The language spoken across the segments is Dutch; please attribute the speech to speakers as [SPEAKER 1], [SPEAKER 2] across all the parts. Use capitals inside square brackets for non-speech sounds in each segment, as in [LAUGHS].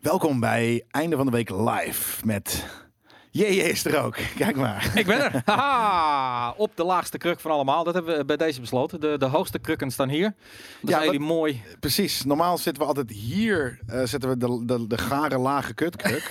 [SPEAKER 1] Welkom bij Einde van de Week Live met... JJ is er ook. [LAUGHS] Kijk maar.
[SPEAKER 2] Ik ben er. [LAUGHS] Haha, op de laagste kruk van allemaal. Dat hebben we bij deze besloten. De, de hoogste krukken staan hier. Dat
[SPEAKER 1] Ja,
[SPEAKER 2] ja, jullie mooi.
[SPEAKER 1] Precies. Normaal zitten we altijd hier. eh, zetten we de, de, de gare lage [LAUGHS] kutkruk.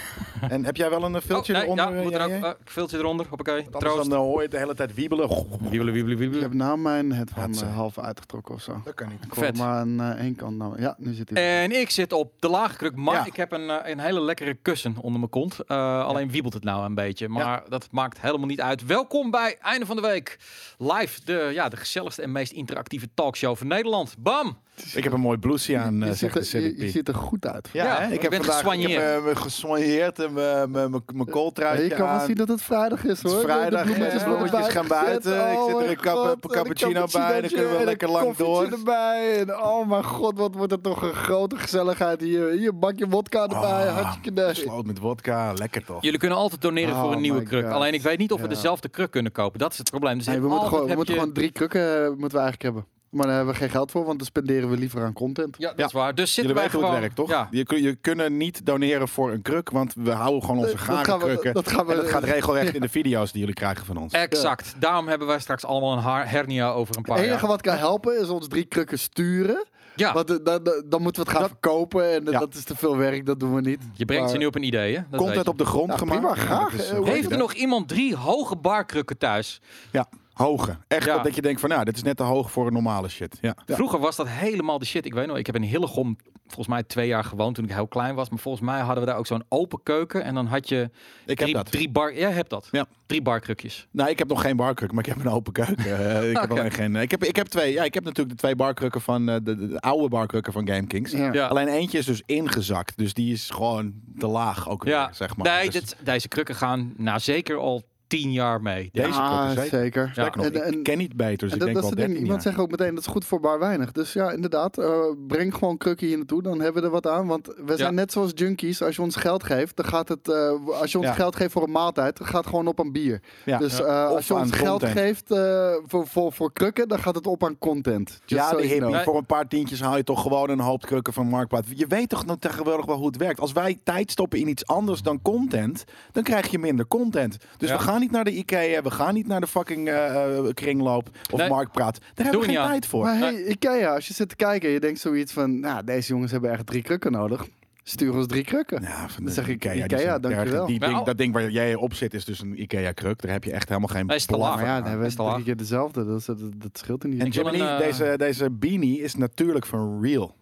[SPEAKER 1] en heb jij wel een eh, filtje
[SPEAKER 2] Oh, nee,
[SPEAKER 1] eronder?
[SPEAKER 2] ja, moet er ook.
[SPEAKER 1] JJ?
[SPEAKER 2] eh, filtje eronder. Hoppakee.
[SPEAKER 1] Want Anders
[SPEAKER 2] Troost.
[SPEAKER 1] dan eh, hoor je het de hele tijd wiebelen. [LAUGHS]
[SPEAKER 2] Wiebelen, wiebelen,
[SPEAKER 3] Ik
[SPEAKER 2] wiebelen.
[SPEAKER 3] heb nou mijn headphone
[SPEAKER 1] Hatsa.
[SPEAKER 3] eh, half uitgetrokken of zo.
[SPEAKER 1] Dat kan niet.
[SPEAKER 3] Ik
[SPEAKER 2] Vet.
[SPEAKER 3] hoor maar aan eh, één kant nou. Ja, nu zit hij.
[SPEAKER 1] eh,
[SPEAKER 2] En ik zit op de lage kruk, maar
[SPEAKER 1] Ja.
[SPEAKER 2] ik heb een, eh, een hele lekkere kussen onder mijn kont. Eh, Alleen wiebelt het nou een beetje, maar dat maakt helemaal niet uit. Welkom bij Einde van de Week. Live, de, ja, de gezelligste en meest interactieve talkshow van Nederland. Bam!
[SPEAKER 1] Ik heb een mooi blouseje aan, eh,
[SPEAKER 3] je,
[SPEAKER 1] zegt de
[SPEAKER 3] ziet er, je, je
[SPEAKER 1] CDP.
[SPEAKER 3] ziet er goed uit.
[SPEAKER 1] Ja,
[SPEAKER 2] Ja,
[SPEAKER 1] hè?
[SPEAKER 2] ik
[SPEAKER 1] ik heb
[SPEAKER 2] ben
[SPEAKER 1] vandaag ik heb,
[SPEAKER 2] gesoigneerd.
[SPEAKER 1] eh, me gesoigneerd en eh, mijn
[SPEAKER 3] Ja,
[SPEAKER 1] kooltruitje
[SPEAKER 3] je kan wel
[SPEAKER 1] aan.
[SPEAKER 3] zien dat het vrijdag
[SPEAKER 1] Het
[SPEAKER 3] is hoor.
[SPEAKER 1] is
[SPEAKER 3] De-
[SPEAKER 1] vrijdag,
[SPEAKER 3] de bloemetjes,
[SPEAKER 1] eh,
[SPEAKER 3] worden
[SPEAKER 1] bloemetjes
[SPEAKER 3] erbij
[SPEAKER 1] gaan buiten.
[SPEAKER 3] gezet.
[SPEAKER 1] Ik zit er
[SPEAKER 3] mijn
[SPEAKER 1] een kap-
[SPEAKER 3] god,
[SPEAKER 1] een
[SPEAKER 3] en een
[SPEAKER 1] cappuccino bij, dan kunnen we
[SPEAKER 3] en een
[SPEAKER 1] lekker lang
[SPEAKER 3] koffietje
[SPEAKER 1] door.
[SPEAKER 3] erbij. En oh mijn god, wat wordt er toch een grote gezelligheid hier. Hier, een bakje wodka erbij.
[SPEAKER 1] Ah,
[SPEAKER 3] hartstikke nee.
[SPEAKER 1] Sloot met wodka, lekker toch?
[SPEAKER 2] Jullie kunnen altijd doneren
[SPEAKER 3] Oh
[SPEAKER 2] voor een nieuwe
[SPEAKER 3] my
[SPEAKER 2] kruk.
[SPEAKER 3] God.
[SPEAKER 2] Alleen ik weet niet of we
[SPEAKER 3] Ja.
[SPEAKER 2] dezelfde kruk kunnen kopen. Dat is het probleem. Dus
[SPEAKER 3] Nee, we moeten,
[SPEAKER 2] altijd
[SPEAKER 3] gewoon, we
[SPEAKER 2] heb
[SPEAKER 3] moeten
[SPEAKER 2] je-
[SPEAKER 3] gewoon drie krukken eh, moeten we eigenlijk hebben. Maar daar hebben we geen geld voor, want dan spenderen we liever aan content.
[SPEAKER 2] Ja, dat
[SPEAKER 1] Ja.
[SPEAKER 2] is waar. Dus zitten
[SPEAKER 1] Jullie weten
[SPEAKER 2] wij
[SPEAKER 1] hoe
[SPEAKER 2] gewoon...
[SPEAKER 1] het werkt, toch?
[SPEAKER 2] Ja.
[SPEAKER 1] Je, kun- je kunnen niet doneren voor een kruk, want we houden gewoon onze
[SPEAKER 3] Dat
[SPEAKER 1] garen
[SPEAKER 3] gaan we-
[SPEAKER 1] krukken.
[SPEAKER 3] dat gaan we-
[SPEAKER 1] en dat gaat
[SPEAKER 3] [LAUGHS]
[SPEAKER 1] regelrecht in de video's die jullie krijgen van ons.
[SPEAKER 2] Exact. Daarom hebben wij straks allemaal een haar- hernia over een
[SPEAKER 3] Het
[SPEAKER 2] paar
[SPEAKER 3] enige
[SPEAKER 2] jaar.
[SPEAKER 3] wat kan helpen is ons drie krukken sturen.
[SPEAKER 2] Ja,
[SPEAKER 3] Want eh, dan, dan, dan moeten we het gaan verkopen en eh,
[SPEAKER 1] Ja.
[SPEAKER 3] dat is te veel werk, dat doen we niet.
[SPEAKER 2] je brengt ze
[SPEAKER 3] Maar-
[SPEAKER 2] nu op een idee, hè? Dat weet
[SPEAKER 1] Content
[SPEAKER 2] je.
[SPEAKER 1] op de grond
[SPEAKER 3] Nou,
[SPEAKER 1] gemaakt.
[SPEAKER 3] prima, graag.
[SPEAKER 1] Dat is, eh,
[SPEAKER 3] Eh, hoe
[SPEAKER 1] goed
[SPEAKER 2] Heeft er
[SPEAKER 1] idee.
[SPEAKER 2] nog iemand drie hoge barkrukken thuis?
[SPEAKER 1] Ja, hoge. Echt
[SPEAKER 2] Ja.
[SPEAKER 1] dat- dat je denkt van, nou, dit is net te hoog voor een normale shit. Ja.
[SPEAKER 2] Vroeger was dat helemaal de shit. Ik weet nog, ik heb in Hillegom volgens mij twee jaar gewoond toen ik heel klein was. Maar volgens mij hadden we daar ook zo'n open keuken. En dan had je
[SPEAKER 1] Ik
[SPEAKER 2] drie,
[SPEAKER 1] heb dat.
[SPEAKER 2] drie bar... Jij hebt dat.
[SPEAKER 1] Ja.
[SPEAKER 2] Drie barkrukjes.
[SPEAKER 1] Nou, ik heb nog geen barkruk, maar ik heb een open keuken. Eh, ik, heb
[SPEAKER 2] [LAUGHS] Oké.
[SPEAKER 1] alleen geen, ik, heb, ik heb twee. Ja, ik heb natuurlijk de twee barkrukken van eh, de, de, de oude barkrukken van GameKings.
[SPEAKER 3] Ja.
[SPEAKER 2] Ja.
[SPEAKER 1] Alleen eentje is dus ingezakt. Dus die is gewoon te laag ook weer,
[SPEAKER 2] Ja,
[SPEAKER 1] zeg maar.
[SPEAKER 2] nee,
[SPEAKER 1] Dus
[SPEAKER 2] dit- deze krukken gaan nou zeker al tien jaar mee.
[SPEAKER 1] Deze
[SPEAKER 3] Ah,
[SPEAKER 1] kant is zeker.
[SPEAKER 3] zeker.
[SPEAKER 1] Sterker nog,
[SPEAKER 3] En- en-
[SPEAKER 1] ik ken niet beter, dus
[SPEAKER 3] En
[SPEAKER 1] ik
[SPEAKER 3] dat,
[SPEAKER 1] denk
[SPEAKER 3] dat
[SPEAKER 1] wel
[SPEAKER 3] is het ding.
[SPEAKER 1] 13
[SPEAKER 3] Iemand
[SPEAKER 1] jaar.
[SPEAKER 3] zegt ook meteen, dat is goed voor bar weinig. Dus ja, inderdaad, eh, breng gewoon krukken hier naartoe. Dan hebben we er wat aan. Want we zijn net zoals junkies. Als je ons geld geeft, dan gaat het... eh, als je ons
[SPEAKER 1] Ja.
[SPEAKER 3] geld geeft voor een maaltijd, dan gaat het gewoon op aan bier.
[SPEAKER 1] Ja.
[SPEAKER 3] Dus eh,
[SPEAKER 1] Of
[SPEAKER 3] als je ons
[SPEAKER 1] aan
[SPEAKER 3] geld
[SPEAKER 1] content.
[SPEAKER 3] geeft eh, voor, voor, voor krukken, dan gaat het op aan content. Just
[SPEAKER 1] Ja, de
[SPEAKER 3] so you
[SPEAKER 1] hippie.
[SPEAKER 3] know.
[SPEAKER 2] Nee.
[SPEAKER 1] Voor een paar tientjes haal je toch gewoon een hoop krukken van Marktplaats. Je weet toch nou tegenwoordig wel hoe het werkt. Als wij tijd stoppen in iets anders dan content, dan krijg je minder content. Dus
[SPEAKER 2] Ja.
[SPEAKER 1] we gaan niet naar de IKEA, we gaan niet naar de fucking eh, eh, kringloop of
[SPEAKER 2] Nee.
[SPEAKER 1] Marktpraat. Daar hebben
[SPEAKER 2] Doe
[SPEAKER 1] we geen
[SPEAKER 2] niet aan.
[SPEAKER 1] tijd voor.
[SPEAKER 3] Maar hey, Ikea, als je zit te kijken en je denkt zoiets van... Nou, deze jongens hebben echt drie krukken nodig. Stuur ons drie krukken.
[SPEAKER 1] Ja, van
[SPEAKER 3] Dan
[SPEAKER 1] de
[SPEAKER 3] zeg ik
[SPEAKER 1] die
[SPEAKER 3] Ikea,
[SPEAKER 1] zijn
[SPEAKER 3] dankjewel.
[SPEAKER 1] erg. Die
[SPEAKER 2] Maar
[SPEAKER 1] ding,
[SPEAKER 2] al-
[SPEAKER 1] dat ding waar jij op zit is dus een Ikea-kruk. Daar heb je echt helemaal geen
[SPEAKER 2] Hij is te
[SPEAKER 1] belang
[SPEAKER 2] laag.
[SPEAKER 3] Maar ja, dan
[SPEAKER 1] aan.
[SPEAKER 3] hebben
[SPEAKER 2] Is
[SPEAKER 3] we
[SPEAKER 2] te laag.
[SPEAKER 3] drie keer dezelfde. Dat, is- dat, dat scheelt er niet.
[SPEAKER 1] En
[SPEAKER 2] Ik wil
[SPEAKER 1] Jiminy,
[SPEAKER 2] een, eh,
[SPEAKER 1] deze, deze beanie is natuurlijk van Real.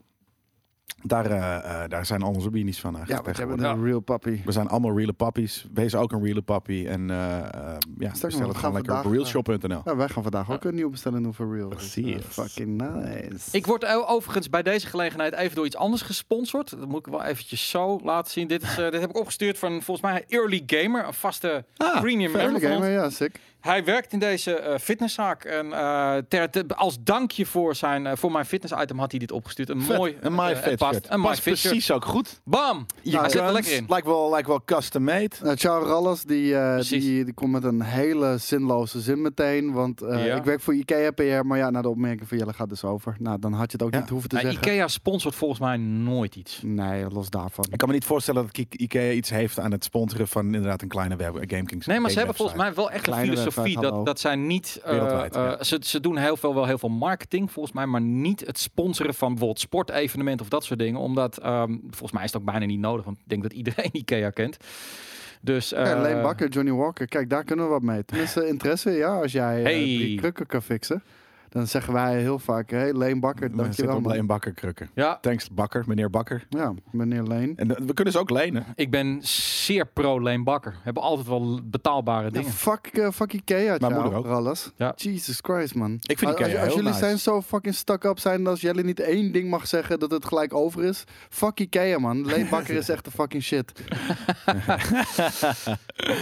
[SPEAKER 1] Daar, eh, eh, daar zijn al onze beanies van. eh,
[SPEAKER 3] ja,
[SPEAKER 1] eigenlijk
[SPEAKER 3] we hebben
[SPEAKER 1] tegenwoordig.
[SPEAKER 3] een real puppy.
[SPEAKER 1] We zijn allemaal reële pappies. Wees ook een reële pappie. En eh eh ja, bestel
[SPEAKER 3] we
[SPEAKER 1] het
[SPEAKER 3] gaan
[SPEAKER 1] gewoon lekker op
[SPEAKER 3] vandaag,
[SPEAKER 1] realshop.nl.
[SPEAKER 3] Nou, wij gaan vandaag ook een nieuw bestellen doen voor real. Dus,
[SPEAKER 1] Precies.
[SPEAKER 3] eh, fucking nice.
[SPEAKER 2] Ik word o- overigens bij deze gelegenheid even door iets anders gesponsord. Dat moet ik wel eventjes zo laten zien. Dit, is, eh, dit heb ik opgestuurd van volgens mij Early Gamer, een vaste
[SPEAKER 1] Ah,
[SPEAKER 2] premium
[SPEAKER 3] Fair
[SPEAKER 2] member van
[SPEAKER 3] gamer,
[SPEAKER 2] ons.
[SPEAKER 3] ja, sick.
[SPEAKER 2] Hij werkt in deze eh, fitnesszaak. En eh, ter, te- als dankje voor, zijn, eh, voor mijn fitness-item had hij dit opgestuurd. Een
[SPEAKER 1] Vet.
[SPEAKER 2] [LAUGHS] mooi
[SPEAKER 1] een my
[SPEAKER 2] eh,
[SPEAKER 1] fit
[SPEAKER 2] het past.
[SPEAKER 1] shirt.
[SPEAKER 2] Een my
[SPEAKER 1] Past
[SPEAKER 2] fit shirt.
[SPEAKER 1] precies ook goed.
[SPEAKER 2] Bam!
[SPEAKER 1] Je
[SPEAKER 2] hij zit er
[SPEAKER 1] kunt-
[SPEAKER 2] lekker in.
[SPEAKER 1] Lijkt wel, lijkt wel custom made.
[SPEAKER 3] Nou, Charles Rallas, die, eh,
[SPEAKER 2] Precies.
[SPEAKER 3] die, die komt met een hele zinloze zin meteen. Want eh,
[SPEAKER 2] Ja.
[SPEAKER 3] ik werk voor Ikea PR, maar ja, na de opmerking van Jelle gaat dus over. Nou, dan had je het ook
[SPEAKER 1] Ja.
[SPEAKER 3] niet hoeven te
[SPEAKER 2] Nou,
[SPEAKER 3] zeggen.
[SPEAKER 2] Ikea sponsort volgens mij nooit iets.
[SPEAKER 3] Nee, los daarvan.
[SPEAKER 1] Ik kan me niet voorstellen dat Ki- Ikea iets heeft aan het sponsoren van inderdaad een kleine web, eh, GameKings.
[SPEAKER 2] Nee, maar ze
[SPEAKER 1] game
[SPEAKER 2] hebben
[SPEAKER 1] website.
[SPEAKER 2] volgens mij wel echt een
[SPEAKER 3] Kleine
[SPEAKER 2] filosofie.
[SPEAKER 3] website,
[SPEAKER 2] Dat,
[SPEAKER 3] hallo.
[SPEAKER 2] dat zij niet. eh,
[SPEAKER 1] Wereldwijd, ja.
[SPEAKER 2] eh, ze, ze doen heel veel, wel heel veel marketing, volgens mij. Maar niet het sponsoren van bijvoorbeeld sportevenementen of dat soort dingen. Omdat ehm, volgens mij is het ook bijna niet nodig. Want ik denk dat iedereen [LAUGHS] Ikea kent. Dus. eh,
[SPEAKER 3] Ja, Leen Bakker, Johnny Walker, kijk, daar kunnen we wat
[SPEAKER 2] [LAUGHS]
[SPEAKER 3] mee. Tenminste, interesse, ja, als jij eh,
[SPEAKER 2] Hey.
[SPEAKER 3] die krukken kan fixen, dan zeggen wij heel vaak, hey, Leen Bakker,
[SPEAKER 1] Maar zit
[SPEAKER 3] dankjewel
[SPEAKER 1] op
[SPEAKER 3] man.
[SPEAKER 1] Leen Bakker krukken.
[SPEAKER 2] Ja,
[SPEAKER 1] Thanks Bakker, meneer Bakker.
[SPEAKER 3] Ja, meneer Leen.
[SPEAKER 1] En eh, we kunnen ze ook lenen.
[SPEAKER 2] ik ben zeer pro Leen Bakker. Hebben altijd wel betaalbare
[SPEAKER 3] Ja,
[SPEAKER 2] dingen.
[SPEAKER 3] fuck, eh, fuck Ikea,
[SPEAKER 1] Mijn
[SPEAKER 3] ciao,
[SPEAKER 1] moeder ook.
[SPEAKER 3] Rallas.
[SPEAKER 2] Ja.
[SPEAKER 3] Jesus Christ, man.
[SPEAKER 1] Ik vind
[SPEAKER 3] als,
[SPEAKER 1] Ikea
[SPEAKER 3] als, als
[SPEAKER 1] heel
[SPEAKER 3] jullie
[SPEAKER 1] nice.
[SPEAKER 3] zijn zo fucking stuck-up zijn, dat als Jelle niet één ding mag zeggen, dat het gelijk over is. Fuck Ikea, man. Leen Bakker
[SPEAKER 1] [LAUGHS]
[SPEAKER 3] is echt de fucking shit.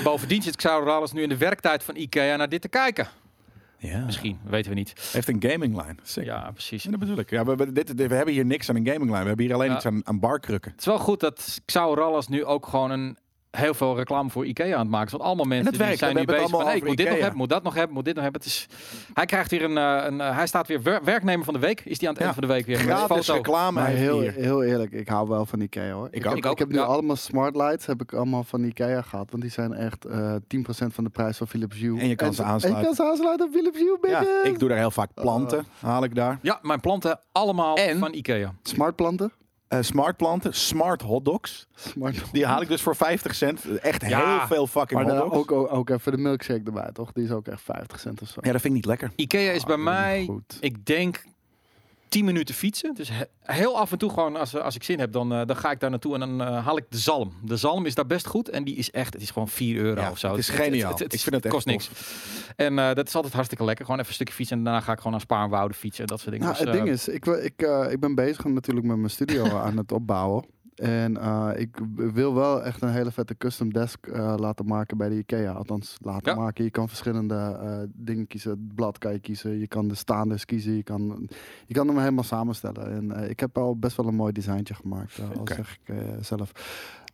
[SPEAKER 2] Bovendien zit Xavier alles nu in de werktijd van Ikea naar dit te kijken.
[SPEAKER 1] Ja.
[SPEAKER 2] Misschien, weten we niet.
[SPEAKER 1] Heeft een gaming line. Sick. Ja.
[SPEAKER 2] Ja, precies.
[SPEAKER 1] dat bedoel ik. Ja, we, we- dit, dit- we hebben hier niks aan een gaming line. We hebben hier alleen
[SPEAKER 2] Ja.
[SPEAKER 1] iets aan, aan barkrukken.
[SPEAKER 2] Het is wel goed dat Xaurallas nu ook gewoon een heel veel reclame voor IKEA aan het maken. is. Want allemaal mensen
[SPEAKER 1] het
[SPEAKER 2] die
[SPEAKER 1] werkt,
[SPEAKER 2] zijn
[SPEAKER 1] we
[SPEAKER 2] nu
[SPEAKER 1] hebben het
[SPEAKER 2] bezig van...
[SPEAKER 1] allemaal over
[SPEAKER 2] Hey, ik moet dit nog
[SPEAKER 1] IKEA.
[SPEAKER 2] hebben, moet dat nog hebben, moet dit nog hebben. Het is, hij krijgt weer een... eh, een eh, hij staat weer wer- werknemer van de week. Is die aan het
[SPEAKER 1] Ja.
[SPEAKER 2] eind van de week weer. met een
[SPEAKER 1] Gratis
[SPEAKER 2] foto.
[SPEAKER 1] reclame
[SPEAKER 3] Maar
[SPEAKER 1] heeft
[SPEAKER 3] heel,
[SPEAKER 1] hier.
[SPEAKER 3] heel eerlijk, ik hou wel van Ikea hoor.
[SPEAKER 1] ook.
[SPEAKER 3] heb,
[SPEAKER 2] Ik ook,
[SPEAKER 3] heb nu
[SPEAKER 2] ja.
[SPEAKER 3] allemaal smart lights, heb ik allemaal van Ikea gehad. Want die zijn echt eh 10% van de prijs van Philips Hue.
[SPEAKER 1] En je kan ze aansluiten.
[SPEAKER 3] En je kan ze aansluiten op Philips Hue,
[SPEAKER 1] Ja,
[SPEAKER 3] baby.
[SPEAKER 1] ik doe daar heel vaak planten, haal ik daar.
[SPEAKER 2] Ja, mijn planten allemaal
[SPEAKER 1] En-
[SPEAKER 2] van IKEA.
[SPEAKER 3] Smart planten.
[SPEAKER 1] Eh, smart planten, smart hotdogs.
[SPEAKER 3] Smart
[SPEAKER 1] Die haal ik dus voor 50 cent. Echt
[SPEAKER 2] Ja,
[SPEAKER 1] heel veel fucking
[SPEAKER 3] maar dan
[SPEAKER 1] hotdogs.
[SPEAKER 3] ook, ook, ook even de milkshake erbij, toch? Die is ook echt 50 cent of zo.
[SPEAKER 1] Ja, dat vind ik niet lekker.
[SPEAKER 2] IKEA is bij
[SPEAKER 3] Ah,
[SPEAKER 2] mij,
[SPEAKER 3] Goed.
[SPEAKER 2] ik denk, 10 minuten fietsen. Dus he- heel af en toe gewoon, als, als ik zin heb, dan, eh, dan ga ik daar naartoe en dan eh, haal ik de zalm. De zalm is daar best goed en die is echt, het is gewoon 4 euro
[SPEAKER 1] Ja,
[SPEAKER 2] of zo.
[SPEAKER 1] het is geniaal. Ik vind het echt
[SPEAKER 2] kost niks. En eh, dat is altijd hartstikke lekker. Gewoon even een stukje fietsen en daarna ga ik gewoon naar Spaarnwoude fietsen. Dat soort dingen.
[SPEAKER 3] Nou,
[SPEAKER 2] Dus,
[SPEAKER 3] het
[SPEAKER 2] eh,
[SPEAKER 3] ding is, ik, wil- ik, eh, ik ben bezig natuurlijk met mijn
[SPEAKER 2] [LAUGHS]
[SPEAKER 3] studio aan het opbouwen. En eh, ik wil wel echt een hele vette custom desk eh, laten maken bij de IKEA. Althans, laten
[SPEAKER 2] Ja.
[SPEAKER 3] maken. Je kan verschillende eh, dingen kiezen. Het blad kan je kiezen. Je kan de staanders kiezen. Je kan, je kan hem helemaal samenstellen. En eh, ik heb al best wel een mooi designtje gemaakt. eh, al
[SPEAKER 1] Oké.
[SPEAKER 3] zeg ik eh, zelf.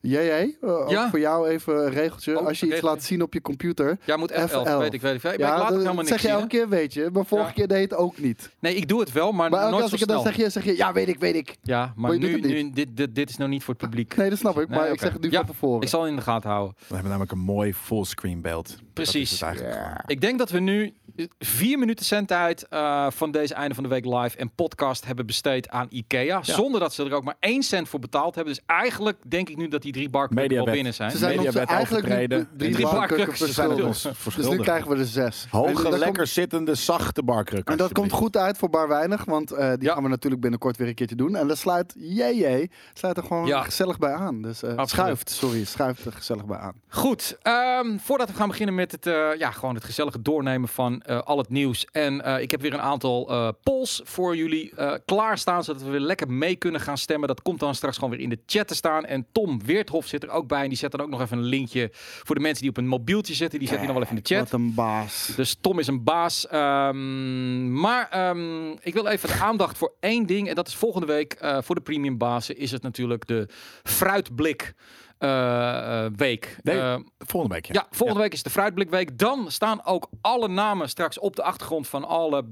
[SPEAKER 3] Jij, jij, eh, ook
[SPEAKER 2] Ja.
[SPEAKER 3] voor jou even een regeltje.
[SPEAKER 2] Oh,
[SPEAKER 3] Als je
[SPEAKER 2] een
[SPEAKER 3] iets
[SPEAKER 2] regeltje.
[SPEAKER 3] laat zien op je computer.
[SPEAKER 2] Jij moet F11,
[SPEAKER 3] F11.
[SPEAKER 2] weet ik, weet ik. Maar ik laat
[SPEAKER 3] dat-
[SPEAKER 2] ook helemaal
[SPEAKER 3] dat
[SPEAKER 2] niks
[SPEAKER 3] zeg je
[SPEAKER 2] zien, hè?
[SPEAKER 3] elke keer, weet je. Maar vorige
[SPEAKER 2] Ja.
[SPEAKER 3] keer deed je het ook niet.
[SPEAKER 2] Nee, ik doe het wel, maar,
[SPEAKER 3] Maar elke keer
[SPEAKER 2] nooit
[SPEAKER 3] als
[SPEAKER 2] zo
[SPEAKER 3] ik het dan
[SPEAKER 2] snel.
[SPEAKER 3] zeg, je, zeg je, ja, weet ik, weet ik.
[SPEAKER 2] Ja, maar
[SPEAKER 3] je doet
[SPEAKER 2] nu,
[SPEAKER 3] het niet.
[SPEAKER 2] nu dit, dit, dit is nog niet voor het publiek.
[SPEAKER 3] Nee, dat snap ik,
[SPEAKER 2] Nee,
[SPEAKER 3] maar ik
[SPEAKER 2] oké.
[SPEAKER 3] zeg het nu
[SPEAKER 2] Ja,
[SPEAKER 3] van tevoren.
[SPEAKER 2] Ik zal het in de gaten houden.
[SPEAKER 1] We hebben namelijk een mooi fullscreen beeld.
[SPEAKER 2] Precies.
[SPEAKER 1] Ja.
[SPEAKER 2] Ik denk dat we nu eh, vier minuten zendtijd eh van deze einde van de week live en podcast hebben besteed aan IKEA. Zonder dat ze er ook maar één cent voor betaald hebben. Dus eigenlijk denk ik nu dat die drie barcodes wel
[SPEAKER 1] Mediawet.
[SPEAKER 2] binnen zijn.
[SPEAKER 3] Ze zijn
[SPEAKER 1] Mediawet
[SPEAKER 3] ons eigenlijk drie-
[SPEAKER 1] overtreden.
[SPEAKER 3] drie
[SPEAKER 1] En
[SPEAKER 2] drie
[SPEAKER 3] barkrukken
[SPEAKER 2] barkrukken
[SPEAKER 1] Ze zijn het
[SPEAKER 3] verschuldigd.
[SPEAKER 1] ons
[SPEAKER 3] Dus nu
[SPEAKER 1] verschuldigd.
[SPEAKER 3] krijgen we er zes. En dat
[SPEAKER 1] Hoge,
[SPEAKER 3] komt-
[SPEAKER 1] lekker zittende, zachte barkruk.
[SPEAKER 3] En dat komt
[SPEAKER 1] alsjeblieft.
[SPEAKER 3] goed uit voor Bar Weinig, want eh, die
[SPEAKER 2] Ja.
[SPEAKER 3] gaan we natuurlijk binnenkort weer een keertje doen. En dat sluit, jee, jee, sluit er gewoon
[SPEAKER 2] Ja.
[SPEAKER 3] gezellig bij aan. Dus eh,
[SPEAKER 2] Absoluut.
[SPEAKER 3] schuift, sorry, schuift er gezellig bij aan.
[SPEAKER 2] Goed, ehm, voordat we gaan beginnen met het, eh, ja, gewoon het gezellige doornemen van eh, al het nieuws. En eh, ik heb weer een aantal eh, polls voor jullie eh, klaarstaan, zodat we weer lekker mee kunnen gaan stemmen. Dat komt dan straks gewoon weer in de chat te staan. En Tom Weerthof zit er ook bij en die zet dan ook nog even een linkje voor de mensen die op een mobieltje zitten. Die zet hij dan wel even in de chat.
[SPEAKER 3] Wat een baas.
[SPEAKER 2] Dus Tom is een baas. Ehm, maar ehm, ik wil even de aandacht voor één ding. En dat is volgende week eh, voor de premium bazen is het natuurlijk de fruitblik eh, eh, week.
[SPEAKER 1] Nee,
[SPEAKER 2] Eh,
[SPEAKER 1] Volgende week, ja.
[SPEAKER 2] ja, volgende week is de fruitblikweek. Dan staan ook alle namen straks op de achtergrond van alle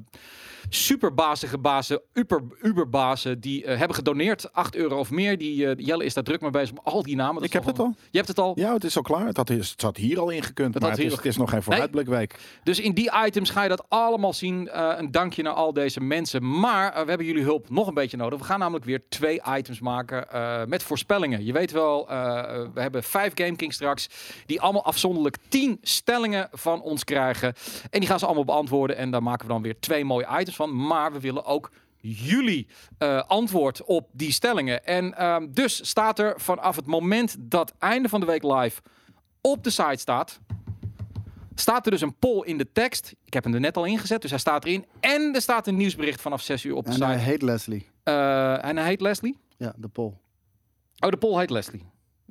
[SPEAKER 2] superbazige bazen, uber, uberbazen die eh, hebben gedoneerd. 8 euro of meer. Die, eh, Jelle is daar druk mee bezig om al die namen. dat
[SPEAKER 1] Ik
[SPEAKER 2] is
[SPEAKER 1] heb het
[SPEAKER 2] toch
[SPEAKER 1] al.
[SPEAKER 2] een- Je hebt het al?
[SPEAKER 1] Ja, het is al klaar. Het, had, het zat hier al ingekund.
[SPEAKER 2] Het
[SPEAKER 1] Maar
[SPEAKER 2] had
[SPEAKER 1] het is,
[SPEAKER 2] hier-
[SPEAKER 1] het is nog geen vooruitblikweek.
[SPEAKER 2] Dus in die items ga je dat allemaal zien. Eh, een dankje naar al deze mensen. Maar eh, we hebben jullie hulp nog een beetje nodig. We gaan namelijk weer twee items maken eh, met voorspellingen. Je weet wel, eh, we hebben vijf Game Kings straks. Die allemaal afzonderlijk tien stellingen van ons krijgen. En die gaan ze allemaal beantwoorden. En daar maken we dan weer twee mooie items van. Maar we willen ook jullie eh, antwoord op die stellingen. En ehm, dus staat er vanaf het moment dat einde van de week live op de site staat staat er dus een poll in de tekst. Ik heb hem er net al ingezet, dus hij staat erin. En er staat een nieuwsbericht vanaf 6 uur op de
[SPEAKER 3] En hij
[SPEAKER 2] site.
[SPEAKER 3] heet Leslie.
[SPEAKER 2] Eh, en hij heet Leslie.
[SPEAKER 3] Ja, de pol.
[SPEAKER 2] Oh, de poll heet Leslie.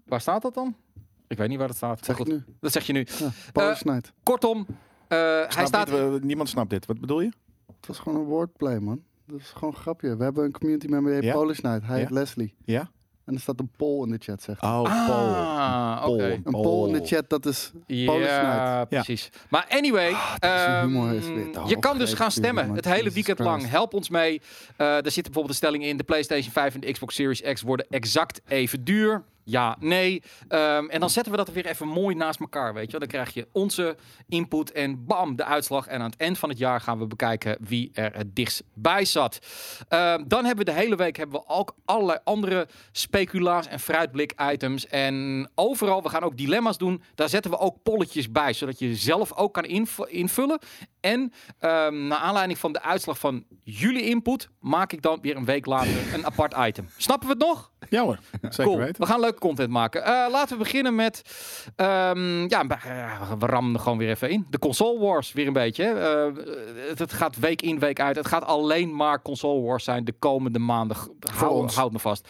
[SPEAKER 2] Waar staat dat dan? Ik weet niet waar dat staat.
[SPEAKER 3] Zeg ik
[SPEAKER 2] Goed,
[SPEAKER 3] nu.
[SPEAKER 2] Dat zeg je nu.
[SPEAKER 3] Ja, Paul
[SPEAKER 2] Eh,
[SPEAKER 3] Snijd.
[SPEAKER 2] Kortom, eh, hij
[SPEAKER 1] Snap
[SPEAKER 2] staat...
[SPEAKER 1] dit? We- niemand snapt dit. Wat bedoel je?
[SPEAKER 3] Het was gewoon een wordplay, man. Dat is gewoon een grapje. We hebben een community member die heet
[SPEAKER 1] Ja?
[SPEAKER 3] Paul Snijd. Hij
[SPEAKER 1] Ja?
[SPEAKER 3] heet Leslie.
[SPEAKER 1] Ja?
[SPEAKER 3] En er staat een poll in de chat, zeg.
[SPEAKER 1] Oh, Paul.
[SPEAKER 2] Ah, oké.
[SPEAKER 1] Poll.
[SPEAKER 3] Een poll in de
[SPEAKER 1] Oh.
[SPEAKER 3] chat, dat is Paul Snijd.
[SPEAKER 2] Ja, precies. Maar anyway,
[SPEAKER 3] Ah, is een
[SPEAKER 2] ehm,
[SPEAKER 3] humor is weer te hoog
[SPEAKER 2] je kan dus gaan
[SPEAKER 3] gegrepen,
[SPEAKER 2] stemmen
[SPEAKER 3] man.
[SPEAKER 2] het hele
[SPEAKER 3] Jesus
[SPEAKER 2] weekend
[SPEAKER 3] Christ.
[SPEAKER 2] lang. Help ons mee. Eh er zitten bijvoorbeeld de stellingen in. De PlayStation 5 en de Xbox Series X worden exact even duur. Ja, nee. Ehm, en dan zetten we dat er weer even mooi naast elkaar, weet je wel. Dan krijg je onze input en bam, de uitslag. En aan het eind van het jaar gaan we bekijken wie er het dichtst bij zat. Ehm, dan hebben we de hele week hebben we ook allerlei andere speculaas en fruitblik-items. En overal, we gaan ook dilemma's doen. Daar zetten we ook polletjes bij, zodat je zelf ook kan inv- invullen. En ehm naar aanleiding van de uitslag van jullie input... maak ik dan weer een week later een apart item. Snappen we het nog?
[SPEAKER 1] Ja hoor, zeker
[SPEAKER 2] Cool.
[SPEAKER 1] weten.
[SPEAKER 2] We gaan leuke content maken. Eh, laten we beginnen met. ehm, ja, eh, we rammen er gewoon weer even in. De console wars weer een beetje. hè. Eh, het, het gaat week in, week uit. Het gaat alleen maar console wars zijn de komende maanden. Hou,
[SPEAKER 1] ons.
[SPEAKER 2] houd me vast.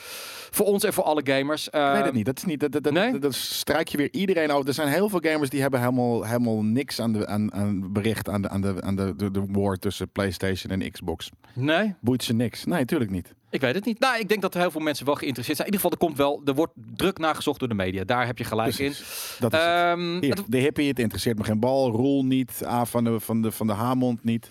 [SPEAKER 2] Voor ons en voor alle gamers.
[SPEAKER 1] Ik
[SPEAKER 2] Eh,
[SPEAKER 1] weet het niet. Dat is niet. Dat, dat, dat,
[SPEAKER 2] Nee?
[SPEAKER 1] dat- dat strijk je weer iedereen over. Er zijn heel veel gamers die hebben helemaal, helemaal niks aan de aan, aan bericht aan de aan de aan de, de, de war tussen PlayStation en Xbox.
[SPEAKER 2] Nee?
[SPEAKER 1] Boeit ze niks? Nee, natuurlijk niet.
[SPEAKER 2] Ik weet het niet. Nou, ik denk dat er heel veel mensen wel geïnteresseerd zijn. In ieder geval, er komt wel, er wordt druk nagezocht door de media. Daar heb je gelijk in.
[SPEAKER 1] Precies. Dat is het.
[SPEAKER 2] Ehm,
[SPEAKER 1] Hier,
[SPEAKER 2] het-
[SPEAKER 1] de hippie, het interesseert me geen bal. Roel niet, A van de, van de, van de Hamond niet.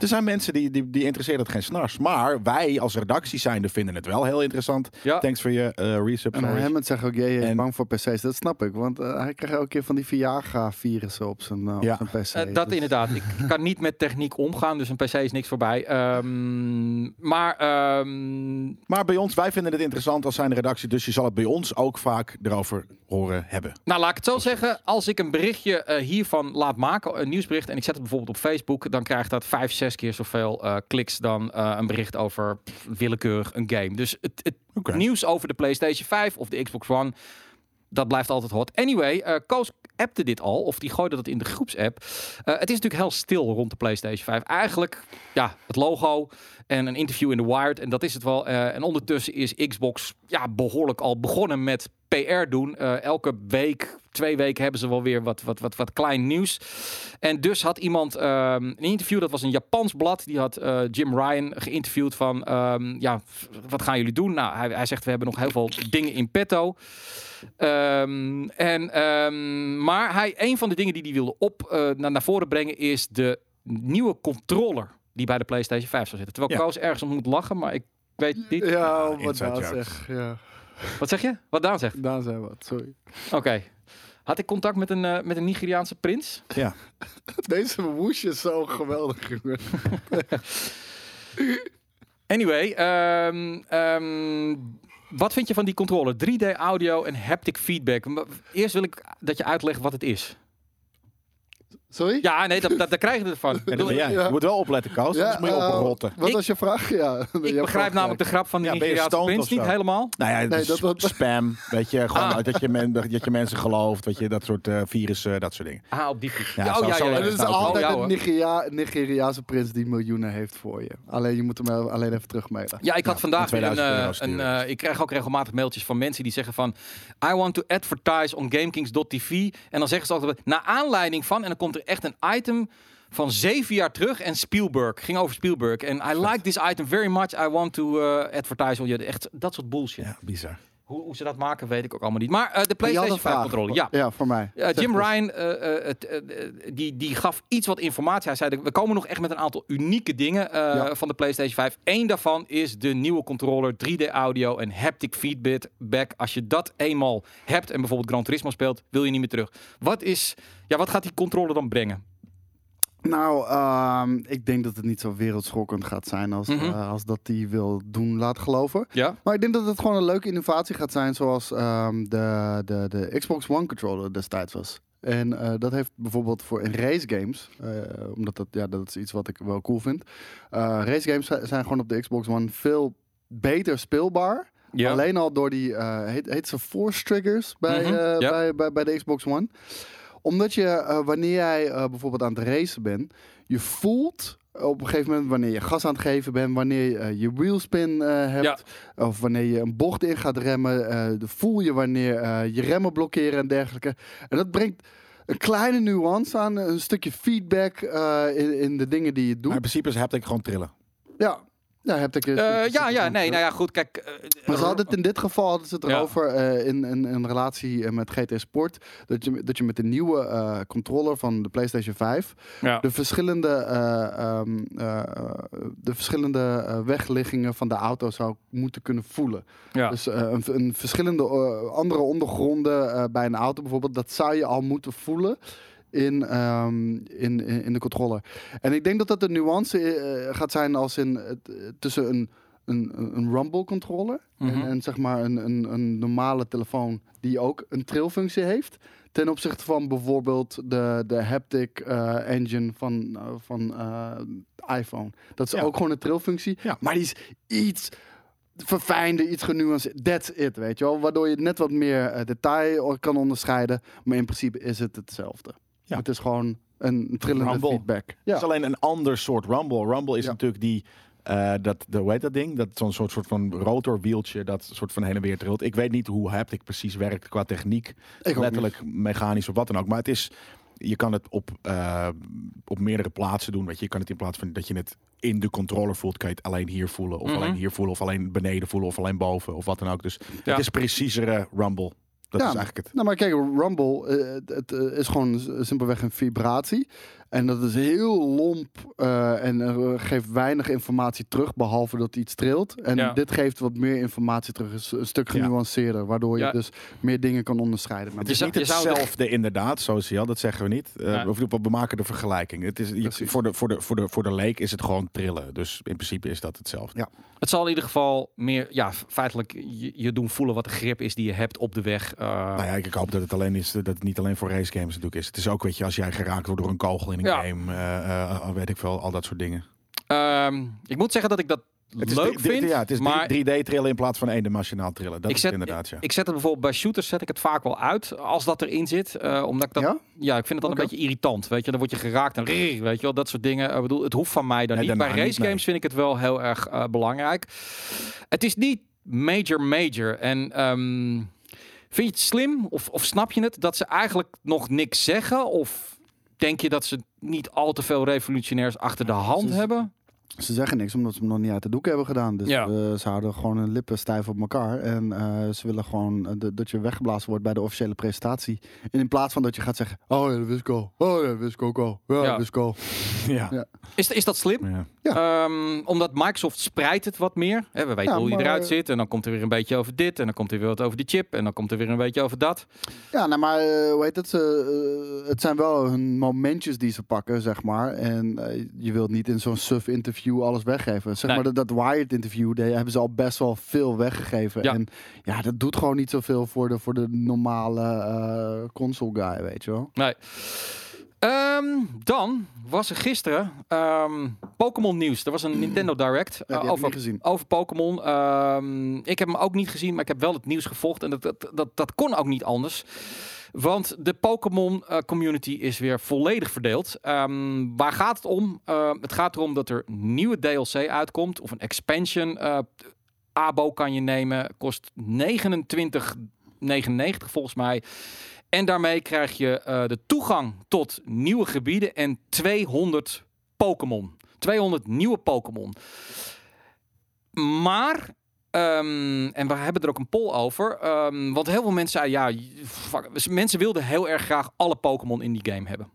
[SPEAKER 1] Er zijn mensen die, die, die interesseert het geen snars. Maar wij als redactie zijnde vinden het wel heel interessant.
[SPEAKER 2] ja,
[SPEAKER 1] Thanks voor je eh resub.
[SPEAKER 3] En
[SPEAKER 1] sorry.
[SPEAKER 3] Hammond zegt ook, jee, jee,
[SPEAKER 1] En-
[SPEAKER 3] bang voor PC's. Dat snap ik, want eh, hij krijgt elke keer van die Viagra-virussen op zijn, eh, op
[SPEAKER 1] Ja.
[SPEAKER 3] zijn PC.
[SPEAKER 2] eh, dat
[SPEAKER 3] Dus-
[SPEAKER 2] inderdaad. Ik kan niet met techniek omgaan, dus een PC is niks voorbij. Ehm, maar ehm,
[SPEAKER 1] Maar bij ons, wij vinden het interessant als zijn redactie. Dus je zal het bij ons ook vaak erover horen hebben.
[SPEAKER 2] Nou, laat ik het zo zeggen. Als ik een berichtje eh, hiervan laat maken, een nieuwsbericht, en ik zet het bijvoorbeeld op Facebook, dan krijgt dat vijf, zes keer zoveel eh, kliks dan eh, een bericht over pff, willekeurig een game. Dus het, het
[SPEAKER 1] Oké.
[SPEAKER 2] nieuws over de PlayStation 5 of de Xbox One, dat blijft altijd hot. Anyway, eh Koos appte dit al, of die gooide dat in de groepsapp. Eh, het is natuurlijk heel stil rond de PlayStation 5. Eigenlijk, ja, het logo en een interview in The Wired en dat is het wel. Eh, en ondertussen is Xbox ja, behoorlijk al begonnen met PR doen. Eh, elke week, twee weken hebben ze wel weer wat, wat, wat, wat klein nieuws. En dus had iemand ehm, een interview, dat was een Japans blad, die had eh, Jim Ryan geïnterviewd van, ehm, ja, f- wat gaan jullie doen? Nou, hij, hij zegt, we hebben nog heel veel dingen in petto. Ehm, en, ehm, maar hij, een van de dingen die hij wilde op, eh, naar, naar voren brengen is de nieuwe controller die bij de PlayStation 5 zou zitten. Terwijl
[SPEAKER 1] Ja.
[SPEAKER 2] Koos ergens om moet lachen, maar ik weet niet.
[SPEAKER 3] Ja,
[SPEAKER 1] Ja,
[SPEAKER 3] wat
[SPEAKER 1] Ah, inside
[SPEAKER 3] Daan
[SPEAKER 1] jokes.
[SPEAKER 3] zegt. Ja.
[SPEAKER 2] Wat zeg je? Wat Daan zegt?
[SPEAKER 3] Daan zei wat, sorry.
[SPEAKER 2] Oké. Had ik contact met een, eh, met een Nigeriaanse prins?
[SPEAKER 3] Deze woesje is zo geweldig, jongen.
[SPEAKER 2] Anyway, ehm, ehm, wat vind je van die controller? 3D audio en haptic feedback. Maar Eerst wil ik dat je uitlegt wat het is.
[SPEAKER 3] Sorry?
[SPEAKER 2] Ja, nee, dat, dat, daar krijg je [LAUGHS] ervan.
[SPEAKER 1] Ja, dat ben jij.
[SPEAKER 3] Ja.
[SPEAKER 1] Je moet wel opletten, Koos.
[SPEAKER 3] Ja,
[SPEAKER 1] anders moet je
[SPEAKER 3] eh,
[SPEAKER 1] oprotten.
[SPEAKER 3] Wat
[SPEAKER 2] Ik-
[SPEAKER 3] was je vraag? Ja, [LAUGHS]
[SPEAKER 2] Ik begrijp namelijk de grap van de
[SPEAKER 1] Ja, ben je
[SPEAKER 2] Nigeriaanse
[SPEAKER 1] stoned
[SPEAKER 2] prins
[SPEAKER 1] of
[SPEAKER 2] niet
[SPEAKER 1] zo?
[SPEAKER 2] helemaal.
[SPEAKER 1] Nou ja,
[SPEAKER 3] Nee,
[SPEAKER 1] dat
[SPEAKER 3] dat- dat-
[SPEAKER 1] spam. Weet je, gewoon
[SPEAKER 2] Ah.
[SPEAKER 1] uit dat, je men, dat je mensen gelooft. Weet je, dat soort eh, virussen, dat soort dingen.
[SPEAKER 2] Ah, op die fiets.
[SPEAKER 1] Ja, zo- zo
[SPEAKER 3] Het
[SPEAKER 1] dat
[SPEAKER 3] is
[SPEAKER 1] staat ook
[SPEAKER 3] altijd
[SPEAKER 2] Ja,
[SPEAKER 3] een
[SPEAKER 2] hoor.
[SPEAKER 3] Nigeria, Nigeriaanse prins die miljoenen heeft voor je. Alleen je moet hem wel- alleen even terugmelden.
[SPEAKER 2] Ja, ik had vandaag weer een,
[SPEAKER 1] 2000
[SPEAKER 2] eh,
[SPEAKER 1] euro sturen.
[SPEAKER 2] een, eh, ik krijg ook regelmatig mailtjes van mensen die zeggen van... I want to advertise on GameKings.tv. En dan zeggen ze altijd, naar aanleiding van... En dan komt er echt een item van zeven jaar terug. En Spielberg, ging over Spielberg. En I like this item very much. I want to eh, advertise on you. Echt dat soort bullshit.
[SPEAKER 1] Ja, bizar.
[SPEAKER 2] Hoe, hoe ze dat maken, weet ik ook allemaal niet. Maar eh, de
[SPEAKER 3] Maar je had
[SPEAKER 2] PlayStation
[SPEAKER 3] een
[SPEAKER 2] 5
[SPEAKER 3] vraag.
[SPEAKER 2] controle, ja.
[SPEAKER 3] Ja, voor mij.
[SPEAKER 2] Ja,
[SPEAKER 3] Zeg
[SPEAKER 2] Jim
[SPEAKER 3] dus.
[SPEAKER 2] Ryan eh, eh, het, eh, eh, die, die gaf iets wat informatie. Hij zei, we komen nog echt met een aantal unieke dingen eh,
[SPEAKER 3] Ja.
[SPEAKER 2] van de PlayStation 5. Eén daarvan is de nieuwe controller, 3D-audio en haptic feedback. Als je dat eenmaal hebt en bijvoorbeeld Gran Turismo speelt, wil je niet meer terug. Wat, is, ja, wat gaat die controller dan brengen?
[SPEAKER 3] Nou, ehm, ik denk dat het niet zo wereldschokkend gaat zijn als,
[SPEAKER 2] Mhm.
[SPEAKER 3] eh, als dat hij wil doen, laat geloven.
[SPEAKER 2] Ja,
[SPEAKER 3] Maar ik denk dat het gewoon een leuke innovatie gaat zijn, zoals ehm, de, de, de Xbox One controller destijds was. En eh, dat heeft bijvoorbeeld voor in race games, eh, omdat dat, ja, dat is iets wat ik wel cool vind. Eh, race games zi- zijn gewoon op de Xbox One veel beter speelbaar.
[SPEAKER 2] ja.
[SPEAKER 3] Alleen al door die, eh, heet, heet ze force triggers bij,
[SPEAKER 2] Mhm,
[SPEAKER 3] eh,
[SPEAKER 2] ja.
[SPEAKER 3] bij, bij, bij de Xbox One. Omdat je, eh, wanneer jij eh, bijvoorbeeld aan het racen bent, je voelt op een gegeven moment wanneer je gas aan het geven bent, wanneer je, eh, je wheelspin eh, hebt, of wanneer je een bocht in gaat remmen, eh, de- voel je wanneer eh, je remmen blokkeren en dergelijke. En dat brengt een kleine nuance aan, een stukje feedback eh, in, in de dingen die je doet.
[SPEAKER 1] Maar in principe is haptic gewoon trillen.
[SPEAKER 3] ja. Ja, heb ik
[SPEAKER 2] Eh, ja, ja, nee, nou ja, goed, kijk. eh,
[SPEAKER 3] maar ze hadden het in dit geval hadden ze het
[SPEAKER 2] Ja.
[SPEAKER 3] erover eh, in, in, in relatie eh, met GT Sport. Dat je, dat je met de nieuwe eh, controller van de PlayStation 5
[SPEAKER 2] ja.
[SPEAKER 3] de verschillende, eh, ehm, eh, eh, de verschillende eh, wegliggingen van de auto zou moeten kunnen voelen.
[SPEAKER 2] Ja.
[SPEAKER 3] Dus eh, een, een verschillende eh, andere ondergronden eh, bij een auto bijvoorbeeld, dat zou je al moeten voelen. In, ehm, in, in, in de controller. En ik denk dat dat de nuance eh, gaat zijn als in het- eh, tussen een, een, een rumble controller
[SPEAKER 2] Mhm.
[SPEAKER 3] en, en zeg maar een, een, een normale telefoon die ook een trilfunctie heeft. Ten opzichte van bijvoorbeeld de, de haptic eh, engine van, eh, van eh, iPhone. Dat is
[SPEAKER 1] Ja.
[SPEAKER 3] ook gewoon een trilfunctie.
[SPEAKER 1] Ja.
[SPEAKER 3] Maar die is iets verfijnder, iets genuanceerd. That's it, weet je wel. Waardoor je net wat meer eh, detail o- kan onderscheiden. Maar in principe is het hetzelfde.
[SPEAKER 1] Ja.
[SPEAKER 3] Het is gewoon een trillende
[SPEAKER 1] Rumble.
[SPEAKER 3] feedback.
[SPEAKER 1] Het is alleen een ander soort rumble. Rumble is
[SPEAKER 3] Ja.
[SPEAKER 1] natuurlijk die... eh, dat, de, hoe heet dat ding? Dat zo'n soort, soort van rotorwieltje dat soort van heen en weer trilt. Ik weet niet hoe haptic precies werkt qua techniek.
[SPEAKER 3] Ik ook
[SPEAKER 1] letterlijk mechanisch of wat dan ook. Maar het is je kan het op, eh, op meerdere plaatsen doen. Weet je. je kan het in plaats van dat je het in de controller voelt, kan je het alleen hier voelen. Of
[SPEAKER 2] Mhm.
[SPEAKER 1] alleen hier voelen, of alleen beneden voelen, of alleen boven, of wat dan ook. Dus
[SPEAKER 2] Ja.
[SPEAKER 1] het is preciezere Rumble. Dat
[SPEAKER 3] Ja.
[SPEAKER 1] is eigenlijk het.
[SPEAKER 3] Nou, maar kijk, Rumble, eh, het, het, eh, is gewoon s- simpelweg een vibratie. En dat is heel lomp eh, en eh, geeft weinig informatie terug, behalve dat iets trilt. En
[SPEAKER 2] Ja.
[SPEAKER 3] dit geeft wat meer informatie terug, is een stuk
[SPEAKER 1] Ja.
[SPEAKER 3] genuanceerder, waardoor je
[SPEAKER 2] Ja.
[SPEAKER 3] dus meer dingen kan onderscheiden. Maar
[SPEAKER 1] Het
[SPEAKER 2] Je
[SPEAKER 1] is
[SPEAKER 2] zou-
[SPEAKER 1] niet
[SPEAKER 2] je zou de-
[SPEAKER 1] hetzelfde inderdaad, social, dat zeggen we niet. Eh,
[SPEAKER 2] Ja.
[SPEAKER 1] of we we maken de vergelijking. Het is, je-
[SPEAKER 3] Precies.
[SPEAKER 1] voor, de, voor, de, voor, de, voor de leek is het gewoon trillen. Dus in principe is dat hetzelfde.
[SPEAKER 2] Het zal in ieder geval meer, ja, feitelijk je, je doen voelen wat de grip is die je hebt op de weg. Eh,
[SPEAKER 1] Nou ja, ik ik hoop dat het, alleen is, dat het niet alleen voor race games natuurlijk is. Het is ook, weet je, als jij geraakt wordt door een kogel in een
[SPEAKER 2] Ja.
[SPEAKER 1] game, eh, eh, weet ik veel, al dat soort dingen.
[SPEAKER 2] ehm, ik moet zeggen dat ik dat
[SPEAKER 1] Het
[SPEAKER 2] leuk
[SPEAKER 1] is, drie-
[SPEAKER 2] vind.
[SPEAKER 1] drie- ja, het is
[SPEAKER 2] maar
[SPEAKER 1] 3D-trillen in plaats van eendimensionaal trillen. Dat
[SPEAKER 2] Ik
[SPEAKER 1] is
[SPEAKER 2] zet-
[SPEAKER 1] het inderdaad, ja.
[SPEAKER 2] ik zet het bijvoorbeeld bij shooters zet ik het vaak wel uit als dat erin zit. eh, omdat ik dat, ja?
[SPEAKER 3] dus, Ja?
[SPEAKER 2] ik vind het dan
[SPEAKER 3] Oké.
[SPEAKER 2] een beetje irritant. Weet je, dan word je geraakt en rrr, weet je wel, dat soort dingen. Ik bedoel, het hoeft van mij dan
[SPEAKER 1] Nee,
[SPEAKER 2] niet. Bij
[SPEAKER 1] daarna
[SPEAKER 2] race
[SPEAKER 1] niet, nee.
[SPEAKER 2] games vind ik het wel heel erg eh, belangrijk. Het is niet major major. En ehm, vind je het slim of, of snap je het dat ze eigenlijk nog niks zeggen? Of denk je dat ze niet al te veel revolutionairs achter
[SPEAKER 1] Ah,
[SPEAKER 2] de hand
[SPEAKER 3] is-
[SPEAKER 2] hebben?
[SPEAKER 3] Ze zeggen niks omdat ze hem nog niet uit de doek hebben gedaan. Dus
[SPEAKER 2] Ja.
[SPEAKER 3] eh, ze houden gewoon hun lippen stijf op elkaar. En eh, ze willen gewoon eh, dat- dat je weggeblazen wordt bij de officiële presentatie. En in plaats van dat je gaat zeggen: Oh ja, dat wist ik al. Oh ja, dat wist ik ook al. Ja,
[SPEAKER 2] Ja.
[SPEAKER 3] dat wist ik al.
[SPEAKER 1] [LAUGHS] ja.
[SPEAKER 3] Ja.
[SPEAKER 2] Is, is dat slim?
[SPEAKER 1] Ja.
[SPEAKER 2] Ehm, omdat Microsoft spreidt het wat meer. Hè, we weten
[SPEAKER 3] Ja,
[SPEAKER 2] hoe hij
[SPEAKER 3] maar- eh,
[SPEAKER 2] eruit zit. En dan komt er weer een beetje over dit. En dan komt er weer wat over die chip. En dan komt er weer een beetje over dat.
[SPEAKER 3] Ja, nou, maar eh, hoe heet het? Ze, eh, het zijn wel hun momentjes die ze pakken, zeg maar. En eh, je wilt niet in zo'n suf interview alles weggeven. Zeg
[SPEAKER 2] Nee.
[SPEAKER 3] maar dat, dat Wired interview, daar hebben ze al best wel veel weggegeven.
[SPEAKER 2] Ja.
[SPEAKER 3] En ja, dat doet gewoon niet zoveel voor de, voor de normale eh, console guy, weet je wel.
[SPEAKER 2] Nee. Ehm, dan was er gisteren ehm, Pokémon nieuws. Er was een
[SPEAKER 3] [CLEARS THROAT]
[SPEAKER 2] Nintendo Direct
[SPEAKER 3] Ja,
[SPEAKER 2] eh,
[SPEAKER 3] die heb ik
[SPEAKER 2] over,
[SPEAKER 3] niet gezien.
[SPEAKER 2] over Pokémon. Ehm, ik heb hem ook niet gezien, maar ik heb wel het nieuws gevolgd. En dat, dat, dat, dat kon ook niet anders. Want de Pokémon eh, community is weer volledig verdeeld. Ehm, waar gaat het om? Eh, het gaat erom dat er nieuwe DLC uitkomt of een expansion. Eh, Abo kan je nemen, kost 29,99 volgens mij. En daarmee krijg je eh, de toegang tot nieuwe gebieden en 200 Pokémon. 200 nieuwe Pokémon. Maar, ehm, en we hebben er ook een poll over. ehm, want heel veel mensen zeiden, ja, j- fuck, dus mensen wilden heel erg graag alle Pokémon in die game hebben.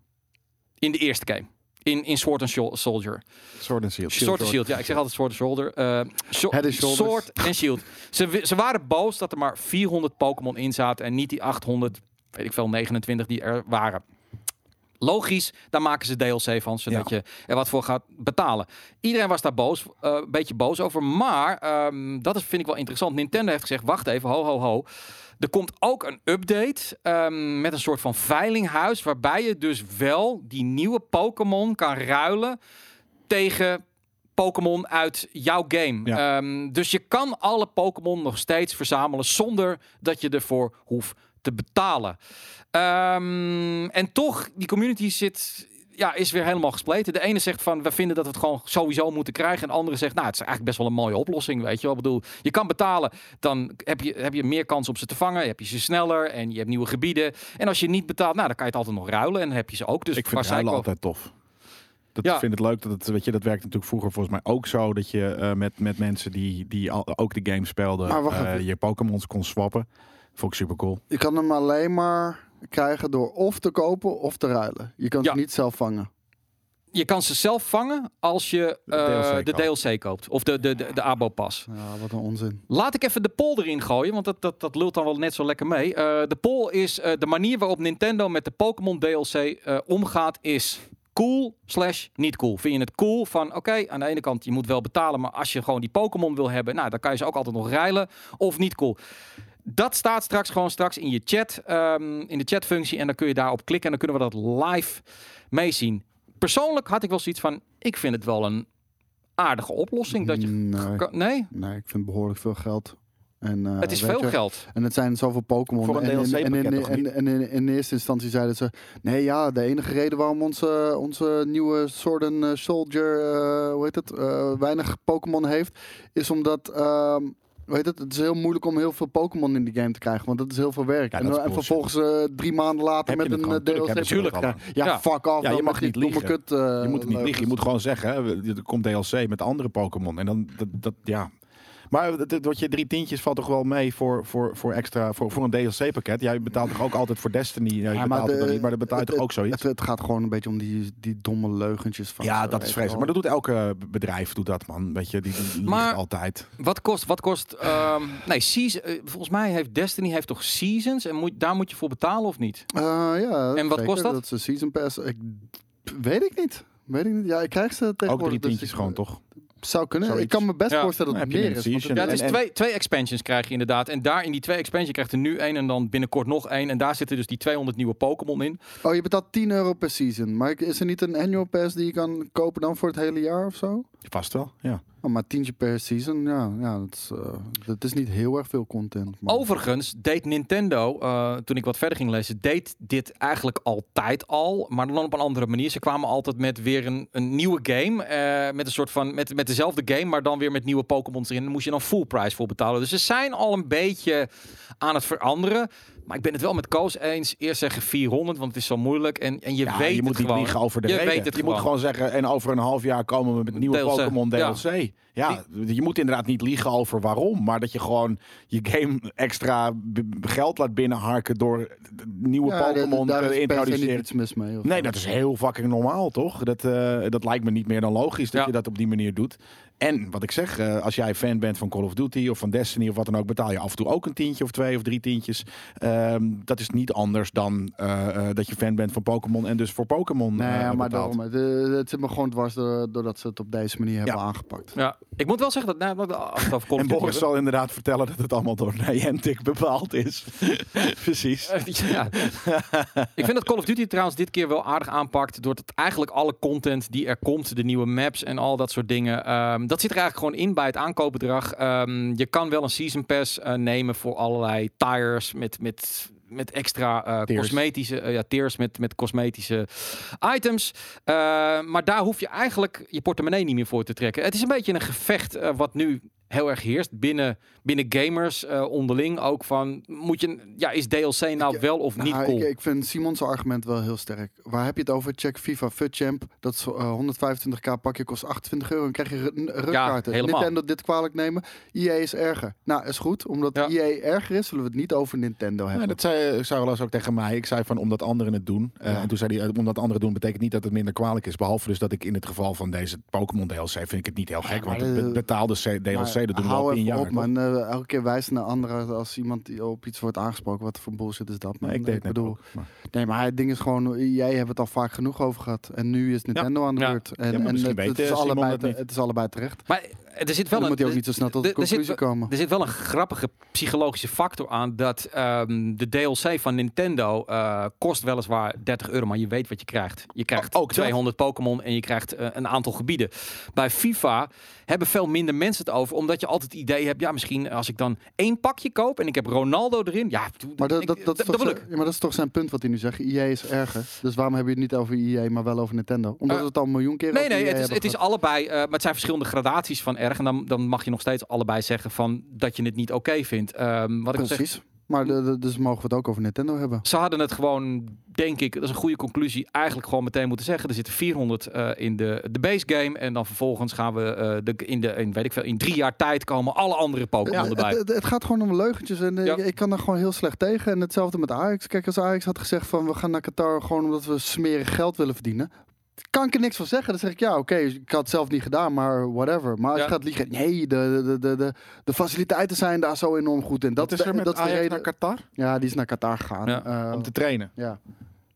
[SPEAKER 2] In de eerste game. In, in Sword and Shol- Soldier.
[SPEAKER 1] Sword and Shield.
[SPEAKER 2] Sword and Shield, ja, ik zeg altijd Sword and Shoulder. Eh, sho-
[SPEAKER 3] Head and shoulders.
[SPEAKER 2] Sword en Shield. Ze, wi- ze waren boos dat er maar 400 Pokémon in zaten en niet die 800, weet ik veel, 29 die er waren. Logisch, daar maken ze DLC van, zodat je er wat voor gaat betalen. Iedereen was daar boos, eh, een beetje boos over. Maar, ehm, dat is, vind ik wel interessant. Nintendo heeft gezegd, wacht even, ho, ho, ho. Er komt ook een update ehm, met een soort van veilinghuis... waarbij je dus wel die nieuwe Pokémon kan ruilen tegen Pokémon uit jouw game.
[SPEAKER 1] Ja.
[SPEAKER 2] Ehm, dus je kan alle Pokémon nog steeds verzamelen zonder dat je ervoor hoeft te betalen. Ehm, en toch, die community zit, ja, is weer helemaal gespleten. De ene zegt van, we vinden dat we het gewoon sowieso moeten krijgen. En de andere zegt, nou, het is eigenlijk best wel een mooie oplossing, weet je wel. Ik bedoel, je kan betalen, dan heb je, heb je meer kans om ze te vangen. Heb je ze sneller en je hebt nieuwe gebieden. En als je niet betaalt, nou, dan kan je het altijd nog ruilen. En dan heb je ze ook. Dus
[SPEAKER 1] ik vind
[SPEAKER 2] waar zij
[SPEAKER 1] ruilen
[SPEAKER 2] kwam-
[SPEAKER 1] altijd tof. Dat
[SPEAKER 2] Ja.
[SPEAKER 1] ik vind het leuk dat het, weet je, dat werkt natuurlijk vroeger volgens mij ook zo dat je eh, met, met mensen die, die al, ook de game speelden,
[SPEAKER 3] Maar wacht
[SPEAKER 1] eh,
[SPEAKER 3] even.
[SPEAKER 1] je Pokémon's kon swappen. Vond ik super cool.
[SPEAKER 3] Je kan hem alleen maar krijgen door of te kopen of te ruilen. Je kan
[SPEAKER 2] Ja.
[SPEAKER 3] ze niet zelf vangen.
[SPEAKER 2] Je kan ze zelf vangen als je
[SPEAKER 1] De
[SPEAKER 2] eh,
[SPEAKER 1] DLC
[SPEAKER 2] de
[SPEAKER 1] koopt.
[SPEAKER 2] DLC koopt. Of de, de, de, de Abo-pas.
[SPEAKER 3] Ja, wat een onzin.
[SPEAKER 2] Laat ik even de poll erin gooien, want dat, dat, dat lult dan wel net zo lekker mee. Eh, de poll is eh, de manier waarop Nintendo met de Pokémon DLC eh, omgaat is cool slash niet cool. Vind je het cool van, oké, aan de ene kant je moet wel betalen, maar als je gewoon die Pokémon wil hebben, nou, dan kan je ze ook altijd nog ruilen. Of niet cool. Dat staat straks gewoon straks in je chat, ehm, in de chatfunctie. En dan kun je daarop klikken en dan kunnen we dat live meezien. Persoonlijk had ik wel zoiets van, ik vind het wel een aardige oplossing. Dat je...
[SPEAKER 3] Nee.
[SPEAKER 2] kan- Nee?
[SPEAKER 3] Nee, ik vind behoorlijk veel geld. En, eh,
[SPEAKER 2] Het is
[SPEAKER 3] weet
[SPEAKER 2] veel
[SPEAKER 3] je,
[SPEAKER 2] geld.
[SPEAKER 3] En het zijn zoveel Pokémon.
[SPEAKER 1] Voor een
[SPEAKER 3] en, in-
[SPEAKER 1] DLC
[SPEAKER 3] en, in-
[SPEAKER 1] pakket toch
[SPEAKER 3] en,
[SPEAKER 1] niet?
[SPEAKER 3] en in, in eerste instantie zeiden ze... Nee, ja, de enige reden waarom onze, onze nieuwe Sword and eh, Soldier... eh, hoe heet het? eh, weinig Pokémon heeft... is omdat... ehm, Weet het, het is heel moeilijk om heel veel Pokémon in die game te krijgen, want dat is heel veel werk.
[SPEAKER 1] Ja,
[SPEAKER 3] en,
[SPEAKER 1] dat is
[SPEAKER 3] dan- en
[SPEAKER 1] bullshit.
[SPEAKER 3] vervolgens eh, drie maanden later
[SPEAKER 1] Heb je
[SPEAKER 3] met
[SPEAKER 1] het
[SPEAKER 3] een
[SPEAKER 1] gewoon?
[SPEAKER 3] eh, DLC.
[SPEAKER 1] Tuurlijk hebben ze dat
[SPEAKER 3] krijgen.
[SPEAKER 1] allemaal.
[SPEAKER 3] ja,
[SPEAKER 2] Ja.
[SPEAKER 3] fuck off.
[SPEAKER 1] Ja,
[SPEAKER 3] dan
[SPEAKER 1] je mag
[SPEAKER 3] met die
[SPEAKER 1] niet liegen.
[SPEAKER 3] domme Kut, eh,
[SPEAKER 1] Je moet het niet liegen. Je moet
[SPEAKER 3] leugens.
[SPEAKER 1] gewoon zeggen, hè, er komt DLC met andere Pokémon. En dan, dat, dat ja. Maar dat, dat- wat je drie tientjes valt toch wel mee voor, voor, voor extra, voor, voor een DLC-pakket. Jij betaalt toch ook altijd voor Destiny. Ja, je
[SPEAKER 3] Ja,
[SPEAKER 1] betaalt maar,
[SPEAKER 3] de-
[SPEAKER 1] niet, maar dat betaalt
[SPEAKER 3] het-
[SPEAKER 1] toch ook zoiets.
[SPEAKER 3] Het, het gaat gewoon een beetje om die, die domme leugentjes van.
[SPEAKER 1] ja,
[SPEAKER 3] ze,
[SPEAKER 1] dat
[SPEAKER 3] weet
[SPEAKER 1] is
[SPEAKER 3] je
[SPEAKER 1] vreselijk.
[SPEAKER 3] wel.
[SPEAKER 1] Maar dat doet elke bedrijf, doet dat man. Weet je, die, die liegt
[SPEAKER 2] Maar-
[SPEAKER 1] altijd.
[SPEAKER 2] Wat kost, wat kost, ehm, nee, season, eh, volgens mij heeft Destiny heeft toch seasons en moet, daar moet je voor betalen of niet?
[SPEAKER 3] Eh, ja,
[SPEAKER 2] En wat
[SPEAKER 3] zeker.
[SPEAKER 2] kost dat?
[SPEAKER 3] Dat is een season pass. Ik, weet ik niet. Weet ik niet. Ja, ik krijg ze tegenwoordig.
[SPEAKER 1] Ook drie
[SPEAKER 3] dus
[SPEAKER 1] tientjes
[SPEAKER 3] ik-
[SPEAKER 1] gewoon, toch?
[SPEAKER 3] Zou kunnen. Ik
[SPEAKER 1] Zoiets.
[SPEAKER 3] kan me best
[SPEAKER 2] Ja.
[SPEAKER 3] voorstellen dat
[SPEAKER 1] Dan
[SPEAKER 3] het
[SPEAKER 1] heb je
[SPEAKER 3] meer
[SPEAKER 1] een
[SPEAKER 3] is. want
[SPEAKER 1] season.
[SPEAKER 2] Ja, het is
[SPEAKER 1] En- en-
[SPEAKER 2] twee, twee expansions krijg je inderdaad. En daar in die twee expansions krijgt er nu één en dan binnenkort nog één. En daar zitten dus die 200 nieuwe Pokémon in.
[SPEAKER 3] Oh, je betaalt 10 euro per season. Maar is er niet een annual pass die je kan kopen dan voor het hele jaar of zo?
[SPEAKER 1] Vast wel, ja.
[SPEAKER 3] Oh, maar tientje per season, ja, ja dat, is, eh, dat is niet heel erg veel content. Maar...
[SPEAKER 2] Overigens deed Nintendo, eh, toen ik wat verder ging lezen, deed dit eigenlijk altijd al, maar dan op een andere manier. Ze kwamen altijd met weer een, een nieuwe game, eh, met een soort van, met, met dezelfde game, maar dan weer met nieuwe Pokémon erin. Daar moest je dan full price voor betalen. Dus ze zijn al een beetje aan het veranderen. Maar ik ben het wel met Koos eens. Eerst zeggen 400, want het is zo moeilijk. En, en je
[SPEAKER 1] Ja,
[SPEAKER 2] weet
[SPEAKER 1] je moet
[SPEAKER 2] het
[SPEAKER 1] niet
[SPEAKER 2] gewoon.
[SPEAKER 1] liegen over de
[SPEAKER 2] je
[SPEAKER 1] reden.
[SPEAKER 2] weet het
[SPEAKER 1] je
[SPEAKER 2] gewoon.
[SPEAKER 1] moet gewoon zeggen, en over een half jaar komen we met nieuwe
[SPEAKER 2] DLC.
[SPEAKER 1] Pokémon
[SPEAKER 2] Ja.
[SPEAKER 1] DLC. Ja, je moet inderdaad niet liegen over waarom. Maar dat je gewoon je game extra b- b- geld laat binnenharken door d- nieuwe
[SPEAKER 3] ja, daar-
[SPEAKER 1] Pokémon
[SPEAKER 3] daar
[SPEAKER 1] te
[SPEAKER 3] is per se niet
[SPEAKER 1] introduceren.
[SPEAKER 3] iets mis mee. of
[SPEAKER 1] Nee,
[SPEAKER 3] zo.
[SPEAKER 1] dat is heel fucking normaal, toch? Dat, eh, dat lijkt me niet meer dan logisch dat
[SPEAKER 2] Ja.
[SPEAKER 1] je dat op die manier doet. En wat ik zeg, eh, als jij fan bent van Call of Duty of van Destiny of wat dan ook, betaal je af en toe ook een tientje of twee of drie tientjes. Ehm, dat is niet anders dan eh, eh, dat je fan bent van Pokémon en dus voor Pokémon.
[SPEAKER 3] Nee,
[SPEAKER 1] eh,
[SPEAKER 3] ja, maar
[SPEAKER 1] betaalt.
[SPEAKER 3] daarom, het, eh, het zit me gewoon dwars door- doordat ze het op deze manier hebben
[SPEAKER 1] Ja.
[SPEAKER 3] aangepakt.
[SPEAKER 2] Ja, ik moet wel zeggen dat... Nou, af
[SPEAKER 1] [LAUGHS]
[SPEAKER 2] en
[SPEAKER 1] En Boris zal inderdaad vertellen dat het allemaal door [LAUGHS] Niantic bepaald is. [LAUGHS] Precies.
[SPEAKER 2] Eh,
[SPEAKER 1] [LAUGHS]
[SPEAKER 2] ja. ik vind dat Call of Duty trouwens dit keer wel aardig aanpakt. Doordat eigenlijk alle content die er komt, de nieuwe maps en al dat soort dingen. ehm, dat zit er eigenlijk gewoon in bij het aankoopbedrag. Ehm, je kan wel een season pass eh, nemen voor allerlei tires met. met met extra eh,
[SPEAKER 1] Tiers.
[SPEAKER 2] cosmetische eh, ja, tiers met, met cosmetische items. Eh, maar daar hoef je eigenlijk je portemonnee niet meer voor te trekken. Het is een beetje een gevecht eh, wat nu heel erg heerst binnen, binnen gamers eh, onderling ook van moet je ja is DLC nou
[SPEAKER 3] Ik-
[SPEAKER 2] wel of niet
[SPEAKER 3] Nou,
[SPEAKER 2] cool?
[SPEAKER 3] ik, ik vind Simon's argument wel heel sterk. Waar heb je het over? Check FIFA FUT Champ. Dat is eh, 125k pakje, kost 28 euro en krijg je ru- rugkaarten.
[SPEAKER 2] helemaal.
[SPEAKER 3] Nintendo dit kwalijk nemen. EA is erger. Nou, is goed. Omdat
[SPEAKER 2] Ja.
[SPEAKER 3] EA erger is, zullen we het niet over Nintendo hebben.
[SPEAKER 1] Ja, dat zei ik zou wel eens ook tegen mij. Ik zei van omdat anderen het doen. Eh,
[SPEAKER 3] Ja.
[SPEAKER 1] En toen zei hij, eh, omdat anderen het doen betekent niet dat het minder kwalijk is. Behalve dus dat ik in het geval van deze Pokémon DLC vind ik het niet heel gek.
[SPEAKER 3] Ja, maar
[SPEAKER 1] Want het be-
[SPEAKER 3] de-
[SPEAKER 1] betaalde C- DLC, dat doen we al
[SPEAKER 3] hou
[SPEAKER 1] tien
[SPEAKER 3] even
[SPEAKER 1] jaar.
[SPEAKER 3] op,
[SPEAKER 1] toch?
[SPEAKER 3] man. Eh, elke keer wijzen naar anderen als iemand die op iets wordt aangesproken. Wat voor bullshit is dat, man?
[SPEAKER 1] Nee, ik deed het net ook. Maar-
[SPEAKER 3] Nee, maar het ding is gewoon... Jij hebt het al vaak genoeg over gehad. En nu is Nintendo aan de
[SPEAKER 2] Ja.
[SPEAKER 3] beurt. En,
[SPEAKER 1] maar
[SPEAKER 3] en
[SPEAKER 1] misschien
[SPEAKER 3] het,
[SPEAKER 1] weet,
[SPEAKER 3] het is
[SPEAKER 1] eh, Simon
[SPEAKER 3] allebei
[SPEAKER 1] dat
[SPEAKER 3] te-
[SPEAKER 1] niet.
[SPEAKER 3] het is allebei terecht.
[SPEAKER 2] maar eh, er zit
[SPEAKER 3] En
[SPEAKER 2] wel
[SPEAKER 3] dan
[SPEAKER 2] een
[SPEAKER 3] moet je ook niet zo snel tot de
[SPEAKER 2] er- er zit
[SPEAKER 3] conclusie komen.
[SPEAKER 2] Er zit wel een grappige psychologische factor aan dat ehm, de DLC van Nintendo eh, kost weliswaar 30 euro, maar je weet wat je krijgt. Je krijgt
[SPEAKER 3] Oh,
[SPEAKER 1] Ook dat.
[SPEAKER 2] 200 Pokémon en je krijgt eh, een aantal gebieden. Bij FIFA hebben veel minder mensen het over, omdat je altijd het idee hebt, ja misschien als ik dan één pakje koop en ik heb Ronaldo erin, ja, doe-
[SPEAKER 3] Maar dat,
[SPEAKER 2] ik-
[SPEAKER 3] dat, dat, is toch
[SPEAKER 2] wil
[SPEAKER 3] zijn,
[SPEAKER 2] ik.
[SPEAKER 3] ja, maar dat is toch zijn punt wat hij nu zegt. EA is erger. Dus waarom hebben je het niet over EA, maar wel over Nintendo? Omdat
[SPEAKER 2] Eh,
[SPEAKER 3] we het al een miljoen keer
[SPEAKER 2] Nee,
[SPEAKER 3] over
[SPEAKER 2] nee,
[SPEAKER 3] EA
[SPEAKER 2] het is,
[SPEAKER 3] hebben
[SPEAKER 2] het is
[SPEAKER 3] gehad.
[SPEAKER 2] allebei. eh, maar het zijn verschillende gradaties van erg. En dan, dan mag je nog steeds allebei zeggen van dat je het niet oké vindt. Ehm, wat ik al zeg,
[SPEAKER 3] Precies. Maar de- de- dus mogen we het ook over Nintendo hebben.
[SPEAKER 2] Ze hadden het gewoon, denk ik, dat is een goede conclusie, eigenlijk gewoon meteen moeten zeggen. Er zitten 400 eh, in de, de base game. En dan vervolgens gaan we eh, de, in, de, in, weet ik veel, in drie jaar tijd komen alle andere Pokémon
[SPEAKER 3] Ja, het,
[SPEAKER 2] erbij.
[SPEAKER 3] het- het gaat gewoon om leugentjes en eh,
[SPEAKER 2] Ja.
[SPEAKER 3] ik kan daar gewoon heel slecht tegen. En hetzelfde met Ajax. Kijk, als Ajax had gezegd van we gaan naar Qatar gewoon omdat we smerig geld willen verdienen. Kan ik er niks van zeggen? Dan zeg ik ja, oké, ik had het zelf niet gedaan, maar whatever. Maar als
[SPEAKER 2] Ja.
[SPEAKER 3] je gaat liegen, nee, de, de, de, de, de faciliteiten zijn daar zo enorm goed in. Dat,
[SPEAKER 1] Wat is er met
[SPEAKER 3] dat is de
[SPEAKER 1] Ajax
[SPEAKER 3] reden-
[SPEAKER 1] naar Qatar?
[SPEAKER 3] Ja, die is naar Qatar gegaan.
[SPEAKER 2] Ja,
[SPEAKER 3] Eh,
[SPEAKER 1] Om te trainen.
[SPEAKER 3] Ja.
[SPEAKER 2] Ja,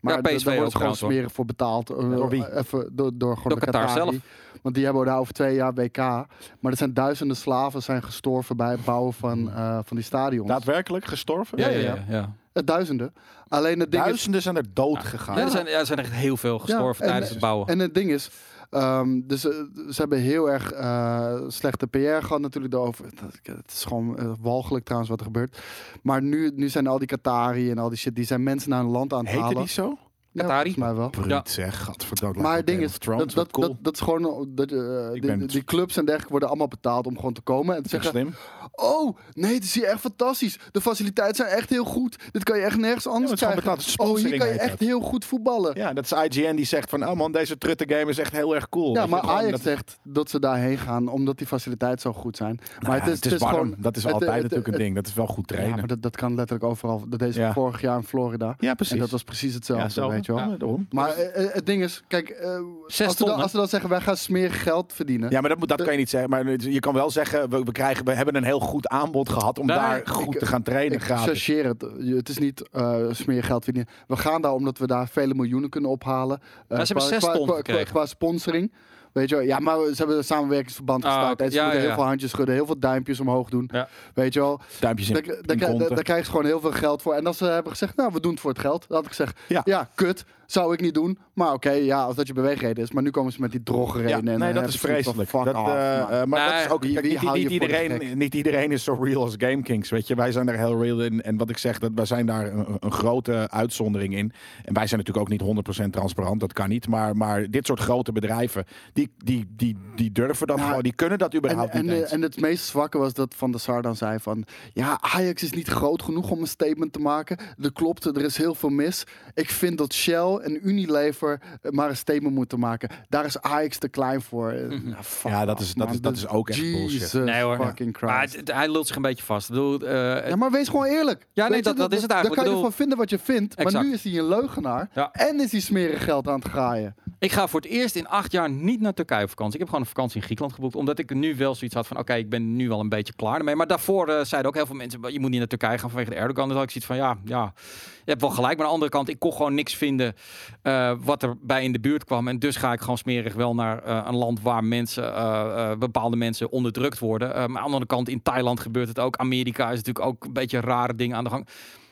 [SPEAKER 3] Maar daar
[SPEAKER 2] PSV
[SPEAKER 3] daar
[SPEAKER 2] ook
[SPEAKER 3] wordt gewoon
[SPEAKER 2] trouwens, hoor.
[SPEAKER 3] smerig voor betaald. eh,
[SPEAKER 1] Door wie?
[SPEAKER 3] Even door, door gewoon
[SPEAKER 2] Door
[SPEAKER 3] de
[SPEAKER 2] Qatar
[SPEAKER 3] Qatari.
[SPEAKER 2] zelf.
[SPEAKER 3] Want die hebben daar over twee jaar WK. Maar er zijn duizenden slaven zijn gestorven bij het bouwen van, eh, van die stadions.
[SPEAKER 1] Daadwerkelijk gestorven?
[SPEAKER 3] [LAUGHS] ja, ja.
[SPEAKER 2] ja.
[SPEAKER 3] Eh, duizenden. Alleen het ding is...
[SPEAKER 1] Duizenden zijn er dood gegaan.
[SPEAKER 2] Ja, er, zijn, ja, er zijn echt heel veel gestorven
[SPEAKER 3] Ja, en-
[SPEAKER 2] tijdens het bouwen.
[SPEAKER 3] En het ding is, ehm, dus, eh, ze hebben heel erg eh, slechte PR gehad natuurlijk daarover. Dat- Het is gewoon eh, walgelijk trouwens wat er gebeurt. Maar nu, nu zijn al die Qatari en al die shit, die zijn mensen naar hun land aan het
[SPEAKER 1] Heette
[SPEAKER 3] halen.
[SPEAKER 1] die zo?
[SPEAKER 2] Qatari.
[SPEAKER 3] volgens mij wel.
[SPEAKER 1] Bruut
[SPEAKER 2] Ja.
[SPEAKER 1] zeg, gadverdamme.
[SPEAKER 3] Maar het ding is,
[SPEAKER 1] Trump,
[SPEAKER 3] dat, dat, dat, dat is gewoon... Dat, eh, die,
[SPEAKER 1] ben-
[SPEAKER 3] die clubs en dergelijke worden allemaal betaald om gewoon te komen en te zeggen...
[SPEAKER 1] slim.
[SPEAKER 3] Oh, nee, dit is hier echt fantastisch. De faciliteiten zijn echt heel goed. Dit kan je echt nergens
[SPEAKER 1] het
[SPEAKER 3] anders
[SPEAKER 1] is gewoon
[SPEAKER 3] krijgen.
[SPEAKER 1] betaald.
[SPEAKER 3] Oh,
[SPEAKER 1] Sponsoring
[SPEAKER 3] hier kan je
[SPEAKER 1] heet
[SPEAKER 3] echt
[SPEAKER 1] dat.
[SPEAKER 3] heel goed voetballen. Ja,
[SPEAKER 1] Ja, dat is IGN die zegt van, oh man, deze trutte game is echt heel erg cool. Weet je,
[SPEAKER 3] maar
[SPEAKER 1] gewoon
[SPEAKER 3] Ajax
[SPEAKER 1] dat-
[SPEAKER 3] zegt dat ze daarheen gaan omdat die faciliteiten zo goed zijn. Maar
[SPEAKER 1] Nou ja, het is warm,
[SPEAKER 3] gewoon-
[SPEAKER 1] dat is
[SPEAKER 3] het-
[SPEAKER 1] altijd
[SPEAKER 3] het-
[SPEAKER 1] natuurlijk
[SPEAKER 3] het-
[SPEAKER 1] een ding. Dat is wel goed
[SPEAKER 3] Ja,
[SPEAKER 1] trainen.
[SPEAKER 3] maar dat, dat kan letterlijk overal. Dat deze
[SPEAKER 1] Ja.
[SPEAKER 3] vorig jaar in Florida.
[SPEAKER 1] Ja,
[SPEAKER 3] En
[SPEAKER 1] precies.
[SPEAKER 3] dat was precies hetzelfde,
[SPEAKER 1] zo,
[SPEAKER 3] weet je wel.
[SPEAKER 1] Ja, daarom.
[SPEAKER 3] Maar eh, eh, het ding is, kijk, eh, als,
[SPEAKER 2] Zes
[SPEAKER 3] ze
[SPEAKER 2] ton,
[SPEAKER 3] dan,
[SPEAKER 2] hè?
[SPEAKER 3] als ze dan zeggen wij gaan smerig geld verdienen.
[SPEAKER 1] Ja, maar dat, moet- dat kan je niet zeggen. Maar het- je kan wel zeggen, we, we, krijgen, we hebben een heel goed aanbod gehad om
[SPEAKER 2] Nee,
[SPEAKER 1] daar
[SPEAKER 2] ik-
[SPEAKER 1] goed te gaan trainen.
[SPEAKER 3] Ik
[SPEAKER 1] Gratis.
[SPEAKER 3] chargeer het. Je- Het is niet eh smerig geld verdienen. We gaan daar omdat we daar vele miljoenen kunnen ophalen. Eh,
[SPEAKER 2] hebben
[SPEAKER 3] qua-
[SPEAKER 2] zes
[SPEAKER 3] qua,
[SPEAKER 2] ton
[SPEAKER 3] qua, qua,
[SPEAKER 2] gekregen.
[SPEAKER 3] qua sponsoring. Weet je, wel. ja, maar ze hebben een samenwerkingsverband
[SPEAKER 2] Ah,
[SPEAKER 3] gestart.
[SPEAKER 2] oké.
[SPEAKER 3] en ze
[SPEAKER 2] Ja,
[SPEAKER 3] moeten
[SPEAKER 2] ja,
[SPEAKER 3] heel
[SPEAKER 2] ja.
[SPEAKER 3] veel handjes schudden, heel veel duimpjes omhoog doen.
[SPEAKER 2] Ja.
[SPEAKER 3] Weet je wel,
[SPEAKER 1] Duimpjes in,
[SPEAKER 3] daar, daar,
[SPEAKER 1] in
[SPEAKER 3] daar-
[SPEAKER 1] konten.
[SPEAKER 3] daar krijgen ze gewoon heel veel geld voor. En als ze hebben gezegd, nou, we doen het voor het geld. Dan had ik gezegd,
[SPEAKER 1] Ja.
[SPEAKER 3] ja, kut, zou ik niet doen. Maar oké, ja, als dat je beweegreden is. Maar nu komen ze met die drogreden.
[SPEAKER 1] Ja,
[SPEAKER 3] en dan
[SPEAKER 1] nee, dat
[SPEAKER 3] heb
[SPEAKER 1] is
[SPEAKER 3] ik zoiets van,
[SPEAKER 1] vreselijk.
[SPEAKER 3] fuck
[SPEAKER 1] Dat,
[SPEAKER 3] off,
[SPEAKER 1] eh,
[SPEAKER 3] man.
[SPEAKER 1] eh, maar
[SPEAKER 2] Nee,
[SPEAKER 1] dat is ook
[SPEAKER 3] wie-
[SPEAKER 1] kijk,
[SPEAKER 3] wie
[SPEAKER 1] niet,
[SPEAKER 3] hou je
[SPEAKER 1] niet
[SPEAKER 3] voor de
[SPEAKER 1] iedereen,
[SPEAKER 3] gek?
[SPEAKER 1] niet iedereen is zo real als Game Kings. Weet je, wij zijn er heel real in. En wat ik zeg, dat wij zijn daar een, een grote uitzondering in. En wij zijn natuurlijk ook niet 100% transparant, dat kan niet. Maar, maar dit soort grote bedrijven, die, die, die, die durven dat
[SPEAKER 3] Nou,
[SPEAKER 1] gewoon, die kunnen dat
[SPEAKER 3] En,
[SPEAKER 1] überhaupt
[SPEAKER 3] en,
[SPEAKER 1] niet. eens.
[SPEAKER 3] eh, en het meest zwakke was dat Van der Sar dan zei van... Ja, Ajax is niet groot genoeg om een statement te maken. Dat klopt, er is heel veel mis. Ik vind dat Shell en Unilever eh, maar een statement moeten maken. Daar is Ajax te klein voor. Eh, nou, fuck
[SPEAKER 1] Ja, dat
[SPEAKER 3] off,
[SPEAKER 1] is- dat
[SPEAKER 3] man.
[SPEAKER 1] is- dat is ook echt bullshit.
[SPEAKER 3] Jesus
[SPEAKER 2] Mhm. Nee, hoor.
[SPEAKER 3] fucking
[SPEAKER 2] Maar
[SPEAKER 3] Christ.
[SPEAKER 2] het- het- hij lult zich een beetje vast. Ik bedoel, eh,
[SPEAKER 3] Ja, maar wees gewoon eerlijk.
[SPEAKER 2] Ja, nee,
[SPEAKER 3] Weet je,
[SPEAKER 2] dat- dat is het eigenlijk.
[SPEAKER 3] Dan kan
[SPEAKER 2] Ik
[SPEAKER 3] je
[SPEAKER 2] bedoel-
[SPEAKER 3] ervan vinden wat je vindt. Maar
[SPEAKER 2] Exact.
[SPEAKER 3] nu is hij een leugenaar.
[SPEAKER 2] Ja.
[SPEAKER 3] En is hij smerig geld aan het graaien.
[SPEAKER 2] Ik ga voor het eerst in acht jaar niet naar Turkije op vakantie. Ik heb gewoon een vakantie in Griekenland geboekt. Omdat ik nu wel zoiets had van, oké, ik ben nu wel een beetje klaar ermee. Maar daarvoor eh, zeiden ook heel veel mensen, je moet niet naar Turkije gaan vanwege de Erdogan. Dan had ik zoiets van, ja, ja, je hebt wel gelijk. Maar aan de andere kant, ik kon gewoon niks vinden eh, wat er bij in de buurt kwam. En dus ga ik gewoon smerig wel naar eh, een land waar mensen, eh, eh, bepaalde mensen onderdrukt worden. Eh, maar aan de andere kant, in Thailand gebeurt het ook. Amerika is natuurlijk ook een beetje een rare dingen aan de gang.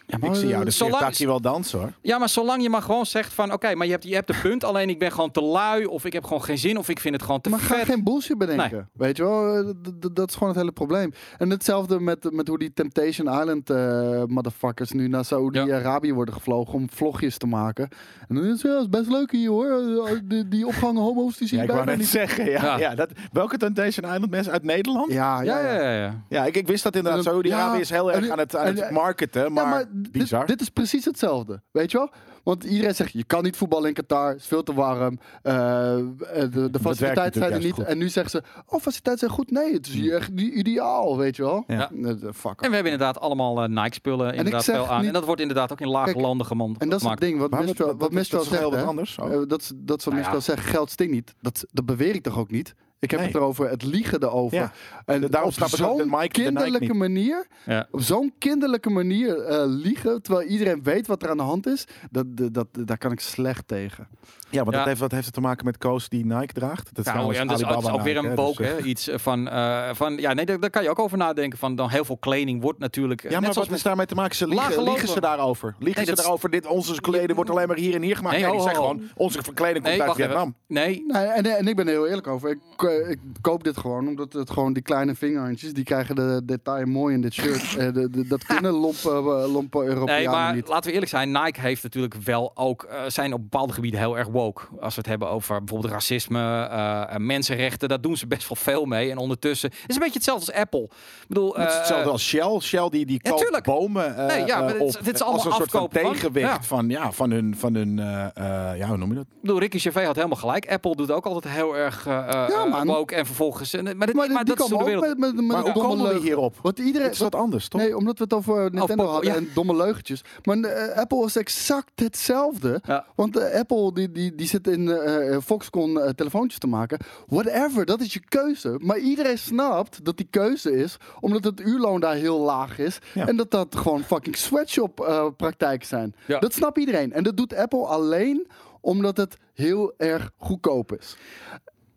[SPEAKER 1] ik zie jou de
[SPEAKER 2] Zolang-
[SPEAKER 1] Sirtaki wel dansen hoor.
[SPEAKER 2] Ja, maar zolang je maar gewoon zegt van... oké, maar je hebt, je hebt een punt, alleen ik ben gewoon te lui... of ik heb gewoon geen zin, of ik vind het gewoon te
[SPEAKER 3] maar ga
[SPEAKER 2] vet.
[SPEAKER 3] geen bullshit bedenken. Weet je wel, Eh, d- d- dat is gewoon het hele probleem. En hetzelfde met, met hoe die Temptation Island eh, motherfuckers nu naar Saoedi-Arabië worden gevlogen om vlogjes te maken. En dan is het ja, is best leuk hier hoor. Eh, Die, die opgangen homo's die zie
[SPEAKER 1] Ja,
[SPEAKER 3] je
[SPEAKER 1] ik wou
[SPEAKER 3] bijna
[SPEAKER 1] net
[SPEAKER 3] niet.
[SPEAKER 1] zeggen. Ja,
[SPEAKER 2] Ja.
[SPEAKER 1] ja. dat, welke Temptation Island mensen uit Nederland? Ja,
[SPEAKER 3] Ja,
[SPEAKER 2] Ja, ja, ja. ja.
[SPEAKER 1] ik, ik wist dat inderdaad.
[SPEAKER 3] En dan-
[SPEAKER 1] Saudi-Arabië
[SPEAKER 3] ja,
[SPEAKER 1] is heel
[SPEAKER 3] en
[SPEAKER 1] erg
[SPEAKER 3] die-
[SPEAKER 1] aan het, aan
[SPEAKER 3] en-
[SPEAKER 1] het marketen. Maar,
[SPEAKER 3] Ja, maar
[SPEAKER 1] bizar.
[SPEAKER 3] dit, dit is precies hetzelfde. Weet je wel? Want iedereen zegt, je kan niet voetballen in Qatar. Het is veel te warm. eh, eh, de, de faciliteiten zijn
[SPEAKER 1] natuurlijk
[SPEAKER 3] er
[SPEAKER 1] juist
[SPEAKER 3] niet.
[SPEAKER 1] goed. Hm.
[SPEAKER 3] En nu zeggen ze, oh, faciliteiten zijn goed. Nee, het is hier echt i- ideaal, weet je wel?
[SPEAKER 1] Ja.
[SPEAKER 3] Eh, Fuck.
[SPEAKER 2] En we hebben inderdaad allemaal eh, Nike-spullen inderdaad
[SPEAKER 3] zeg
[SPEAKER 2] veel aan.
[SPEAKER 3] niet-
[SPEAKER 2] En dat wordt inderdaad ook in lage
[SPEAKER 3] Kijk,
[SPEAKER 2] landen geman-
[SPEAKER 3] En dat is het
[SPEAKER 2] gemaakt.
[SPEAKER 3] ding, wat
[SPEAKER 1] Maar wat-
[SPEAKER 3] Mistral,
[SPEAKER 1] wat-
[SPEAKER 3] wat
[SPEAKER 1] dat-
[SPEAKER 3] Mistral
[SPEAKER 1] dat is heel
[SPEAKER 3] zegt.
[SPEAKER 1] wat
[SPEAKER 3] hè.
[SPEAKER 1] anders ook.
[SPEAKER 3] Eh, Dat is dat is wat
[SPEAKER 2] Nou
[SPEAKER 3] Mistral
[SPEAKER 2] ja.
[SPEAKER 3] zegt, geld stinkt niet. Dat, dat beweer ik toch ook niet? Ik heb
[SPEAKER 1] Nee.
[SPEAKER 3] het erover, het liegen erover.
[SPEAKER 1] Ja.
[SPEAKER 3] En
[SPEAKER 1] Da- daarom
[SPEAKER 3] op
[SPEAKER 1] snap ik ook de
[SPEAKER 3] zo'n
[SPEAKER 1] Nike- de Nike
[SPEAKER 3] kinderlijke
[SPEAKER 1] niet.
[SPEAKER 3] manier,
[SPEAKER 2] Ja.
[SPEAKER 3] op zo'n kinderlijke manier eh, liegen, terwijl iedereen weet wat er aan de hand is, dat, dat, dat, daar kan ik slecht tegen.
[SPEAKER 1] Ja, want
[SPEAKER 2] Ja.
[SPEAKER 1] Dat, heeft, dat heeft te maken met Koos die Nike draagt. Dat is
[SPEAKER 2] Nou,
[SPEAKER 1] trouwens
[SPEAKER 2] ja, dat is, dat is
[SPEAKER 1] Alibaba
[SPEAKER 2] ook weer
[SPEAKER 1] Nike,
[SPEAKER 2] een
[SPEAKER 1] hè,
[SPEAKER 2] woke,
[SPEAKER 1] dus,
[SPEAKER 2] hè? Iets eh, van, eh, van... Ja, nee, daar, daar kan je ook over nadenken. Van dan heel veel kleding wordt natuurlijk...
[SPEAKER 1] Ja,
[SPEAKER 2] eh, net
[SPEAKER 1] maar
[SPEAKER 2] zoals
[SPEAKER 1] wat is daarmee te maken? Ze liegen,
[SPEAKER 2] Lage
[SPEAKER 1] liegen ze
[SPEAKER 2] lopen.
[SPEAKER 1] daarover. Liegen
[SPEAKER 2] Nee,
[SPEAKER 1] ze
[SPEAKER 2] dat is-
[SPEAKER 1] daarover? Dit, onze kleding wordt alleen maar hier en hier gemaakt.
[SPEAKER 2] Nee,
[SPEAKER 1] Nee, die
[SPEAKER 2] ho,
[SPEAKER 1] zeggen
[SPEAKER 2] ho,
[SPEAKER 1] gewoon, onze verkleding komt
[SPEAKER 2] Nee,
[SPEAKER 1] uit
[SPEAKER 2] wacht even.
[SPEAKER 1] Vietnam.
[SPEAKER 2] Nee,
[SPEAKER 3] Nee, en, en ik ben er heel eerlijk over. Ik, eh, ik koop dit gewoon omdat het gewoon die kleine vingerhandjes, die krijgen de detail mooi in dit shirt. Eh,
[SPEAKER 1] [LAUGHS]
[SPEAKER 3] de, de- dat kunnen lompe, eh, lompe Europeanen
[SPEAKER 2] Nee, maar
[SPEAKER 3] niet.
[SPEAKER 2] laten we eerlijk zijn. Nike heeft natuurlijk wel ook, eh, zijn op bepaalde gebieden heel erg woke. Als we het hebben over bijvoorbeeld racisme, eh, eh, mensenrechten. Daar doen ze best wel veel mee. En ondertussen het is een beetje hetzelfde als Apple. Ik bedoel,
[SPEAKER 1] Dat is
[SPEAKER 2] eh,
[SPEAKER 1] hetzelfde als Shell. Shell die, die
[SPEAKER 2] Ja,
[SPEAKER 1] koopt
[SPEAKER 2] tuurlijk.
[SPEAKER 1] bomen eh,
[SPEAKER 2] Nee, ja, maar
[SPEAKER 1] eh,
[SPEAKER 2] dit
[SPEAKER 1] op,
[SPEAKER 2] is- dit
[SPEAKER 1] als
[SPEAKER 2] is allemaal
[SPEAKER 1] een soort van
[SPEAKER 2] afkopen van-
[SPEAKER 1] tegenwicht
[SPEAKER 2] ja.
[SPEAKER 1] van, ja, van hun, van hun eh, eh, ja, hoe noem je dat?
[SPEAKER 2] ik bedoel, Ricky Gervais had helemaal gelijk. Apple doet ook altijd heel erg eh, eh,
[SPEAKER 3] Ja, man.
[SPEAKER 2] woke. En vervolgens, en- maar, dit,
[SPEAKER 3] Maar,
[SPEAKER 2] maar,
[SPEAKER 3] die- die
[SPEAKER 2] dat is hoe de
[SPEAKER 3] komen ook
[SPEAKER 2] wereld...
[SPEAKER 3] met, met, met
[SPEAKER 1] Maar hoe
[SPEAKER 3] domme
[SPEAKER 1] komen we
[SPEAKER 3] leugen.
[SPEAKER 1] hierop?
[SPEAKER 3] Want
[SPEAKER 1] Het
[SPEAKER 3] iedereen,
[SPEAKER 1] is wat anders, toch?
[SPEAKER 3] eh, Nee, omdat we het over Nintendo
[SPEAKER 2] Pop-
[SPEAKER 3] hadden
[SPEAKER 2] ja.
[SPEAKER 3] en domme leugentjes. Maar eh, Apple is exact hetzelfde.
[SPEAKER 2] Ja.
[SPEAKER 3] Want eh, Apple die, die, die zit in eh, eh, Foxconn eh, telefoontjes te maken. Whatever, dat is je keuze. Maar iedereen snapt dat die keuze is, omdat het uurloon daar heel laag is.
[SPEAKER 1] Ja.
[SPEAKER 3] En dat dat gewoon fucking sweatshop eh, praktijken zijn.
[SPEAKER 2] Ja.
[SPEAKER 3] Dat snapt iedereen. En dat doet Apple alleen omdat het heel erg goedkoop is.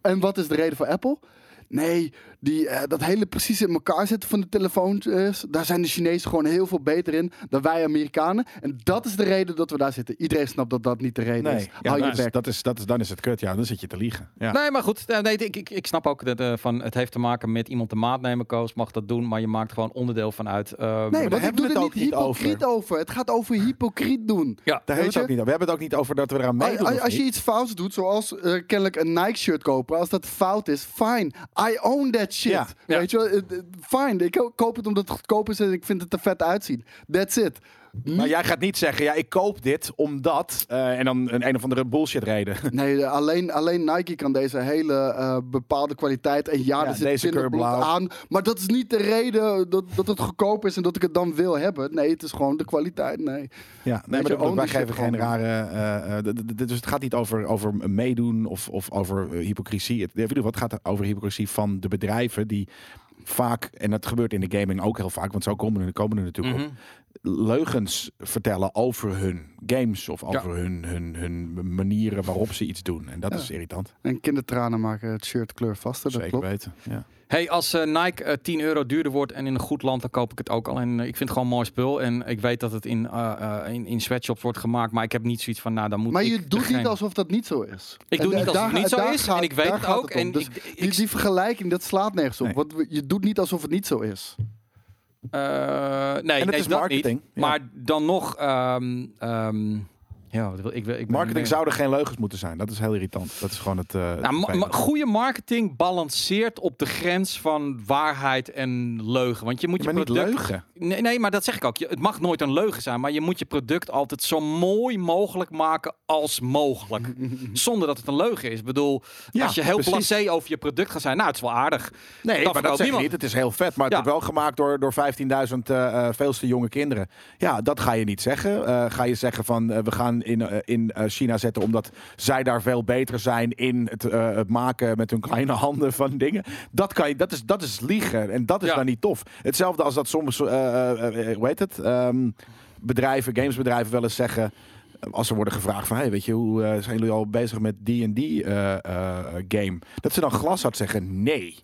[SPEAKER 3] En wat is de reden voor Apple? Nee, Die, eh, dat hele precies in elkaar zetten van de telefoons. eh, Daar zijn de Chinezen gewoon heel veel beter in dan wij Amerikanen. En dat is de reden dat we daar zitten. Iedereen snapt dat dat niet de reden is.
[SPEAKER 1] Nee, ja,
[SPEAKER 3] Hou je
[SPEAKER 1] dat is,
[SPEAKER 3] bek.
[SPEAKER 1] dat is, dat is, dan is het kut. Ja, dan zit je te liegen. Ja.
[SPEAKER 2] Nee, maar goed. eh, Nee, ik, ik, ik snap ook dat eh, van, het heeft te maken met iemand de maat nemen. Koos mag dat doen, maar je maakt gewoon onderdeel van uit. eh,
[SPEAKER 3] Nee,
[SPEAKER 1] daar
[SPEAKER 3] want ik
[SPEAKER 1] hebben
[SPEAKER 3] doe
[SPEAKER 1] we het
[SPEAKER 3] er niet
[SPEAKER 1] ook niet
[SPEAKER 3] hypocriet over. Het gaat over hypocriet doen.
[SPEAKER 2] ja,
[SPEAKER 1] Daar hebben
[SPEAKER 3] Weet
[SPEAKER 1] we, het ook
[SPEAKER 3] je?
[SPEAKER 1] niet, over. we hebben het ook niet over dat we eraan meedoen.
[SPEAKER 3] als,
[SPEAKER 1] of
[SPEAKER 3] als je
[SPEAKER 1] niet.
[SPEAKER 3] iets fouts doet, zoals eh, kennelijk een Nike-shirt kopen, als dat fout is, fine. I own that shit.
[SPEAKER 1] Ja.
[SPEAKER 3] Weet je wel? Eh, eh, Fine, ik ko- koop het omdat het goedkoop is en ik vind het er vet uitzien. That's it.
[SPEAKER 1] Maar jij gaat niet zeggen, ja, ik koop dit omdat... eh, en dan een, een of andere bullshit reden.
[SPEAKER 3] Nee, eh, alleen, alleen Nike kan deze hele eh, bepaalde kwaliteit. En ja,
[SPEAKER 1] Ja,
[SPEAKER 3] er zit
[SPEAKER 1] deze kleur
[SPEAKER 3] kinderbloed
[SPEAKER 1] blauw.
[SPEAKER 3] aan. Maar dat is niet de reden dat, dat het goedkoop is en dat ik het dan wil hebben. Nee, het is gewoon de kwaliteit. Nee.
[SPEAKER 1] Ja, [LAUGHS] nee,
[SPEAKER 3] je,
[SPEAKER 1] maar dat,
[SPEAKER 3] own
[SPEAKER 1] wij
[SPEAKER 3] die shit
[SPEAKER 1] geven geen
[SPEAKER 3] gewoon.
[SPEAKER 1] rare. eh, eh, d- d- d- dus het gaat niet over, over meedoen of, of over eh, hypocrisie. Het, in ieder geval, het gaat over hypocrisie van de bedrijven die vaak, en dat gebeurt in de gaming ook heel vaak, want zo komen er, komen er natuurlijk
[SPEAKER 2] Mhm.
[SPEAKER 1] op, leugens vertellen over hun games of over hun, hun, hun manieren waarop ze iets doen. En dat is irritant.
[SPEAKER 3] En kindertranen maken het shirt kleur vaster. Dat
[SPEAKER 1] Zeker
[SPEAKER 3] klopt.
[SPEAKER 1] weten. Ja.
[SPEAKER 2] Hey, als eh, Nike eh, 10 euro duurder wordt en in een goed land, dan koop ik het ook al. En eh, ik vind het gewoon een mooi spul. En ik weet dat het in, eh, eh, in, in sweatshops wordt gemaakt, maar ik heb niet zoiets van, nou, dan moet
[SPEAKER 3] Maar
[SPEAKER 2] ik
[SPEAKER 3] je doet niet
[SPEAKER 2] degene-
[SPEAKER 3] alsof dat niet zo is.
[SPEAKER 2] Ik doe
[SPEAKER 3] En eh,
[SPEAKER 2] niet alsof het
[SPEAKER 3] daar-
[SPEAKER 2] niet zo
[SPEAKER 3] daar
[SPEAKER 2] is.
[SPEAKER 3] gaat-
[SPEAKER 2] en ik weet
[SPEAKER 3] daar
[SPEAKER 2] het
[SPEAKER 3] gaat
[SPEAKER 2] ook.
[SPEAKER 3] het om.
[SPEAKER 2] en
[SPEAKER 3] Dus
[SPEAKER 2] ik, ik-
[SPEAKER 3] die, die vergelijking, dat slaat nergens op.
[SPEAKER 1] Nee.
[SPEAKER 3] Want we- je doet niet alsof het niet zo is.
[SPEAKER 2] eh, nee,
[SPEAKER 1] En het
[SPEAKER 2] nee,
[SPEAKER 1] is
[SPEAKER 2] dat
[SPEAKER 1] marketing.
[SPEAKER 2] niet.
[SPEAKER 1] Ja.
[SPEAKER 2] Maar dan nog... ehm, ehm, ja, wat wil- ik, wil- ik ben
[SPEAKER 1] Marketing
[SPEAKER 2] meer-
[SPEAKER 1] zouden geen leugens moeten zijn. Dat is heel irritant. Dat is gewoon het. eh, het
[SPEAKER 2] Nou, ma- ma-
[SPEAKER 1] vervelende.
[SPEAKER 2] goede marketing balanceert op de grens van waarheid en leugen. Want je moet
[SPEAKER 1] Ja,
[SPEAKER 2] je
[SPEAKER 1] maar niet
[SPEAKER 2] product...
[SPEAKER 1] leugen.
[SPEAKER 2] Nee, nee, maar dat zeg ik ook. Je- Het mag nooit een leugen zijn, maar je moet je product altijd zo mooi mogelijk maken als mogelijk.
[SPEAKER 1] [LAUGHS]
[SPEAKER 2] Zonder dat het een leugen is. Ik bedoel,
[SPEAKER 1] Ja,
[SPEAKER 2] als je heel
[SPEAKER 1] precies.
[SPEAKER 2] blasé over je product gaat zijn, nou, het is wel aardig.
[SPEAKER 1] Nee,
[SPEAKER 2] Dat
[SPEAKER 1] maar dat
[SPEAKER 2] verkoopt
[SPEAKER 1] zeg ik
[SPEAKER 2] niemand.
[SPEAKER 1] niet. Het is heel vet, maar het
[SPEAKER 2] Ja.
[SPEAKER 1] wordt wel gemaakt door, door 15.000 eh, eh, veelste jonge kinderen. Ja, dat ga je niet zeggen. Eh, ga je zeggen van eh, we gaan in, eh, in eh, China zetten omdat zij daar veel beter zijn in het, eh, het maken met hun kleine [LAUGHS] handen van dingen. Dat, kan je, dat, is, dat is liegen en dat is
[SPEAKER 2] Ja.
[SPEAKER 1] dan niet tof. Hetzelfde als dat soms, eh, eh, eh, hoe heet het, Ehm, bedrijven, gamesbedrijven wel eens zeggen... eh, Als ze worden gevraagd van, hey, weet je, hoe eh, zijn jullie al bezig met die en die eh, eh, game? Dat ze dan glashard zeggen, nee.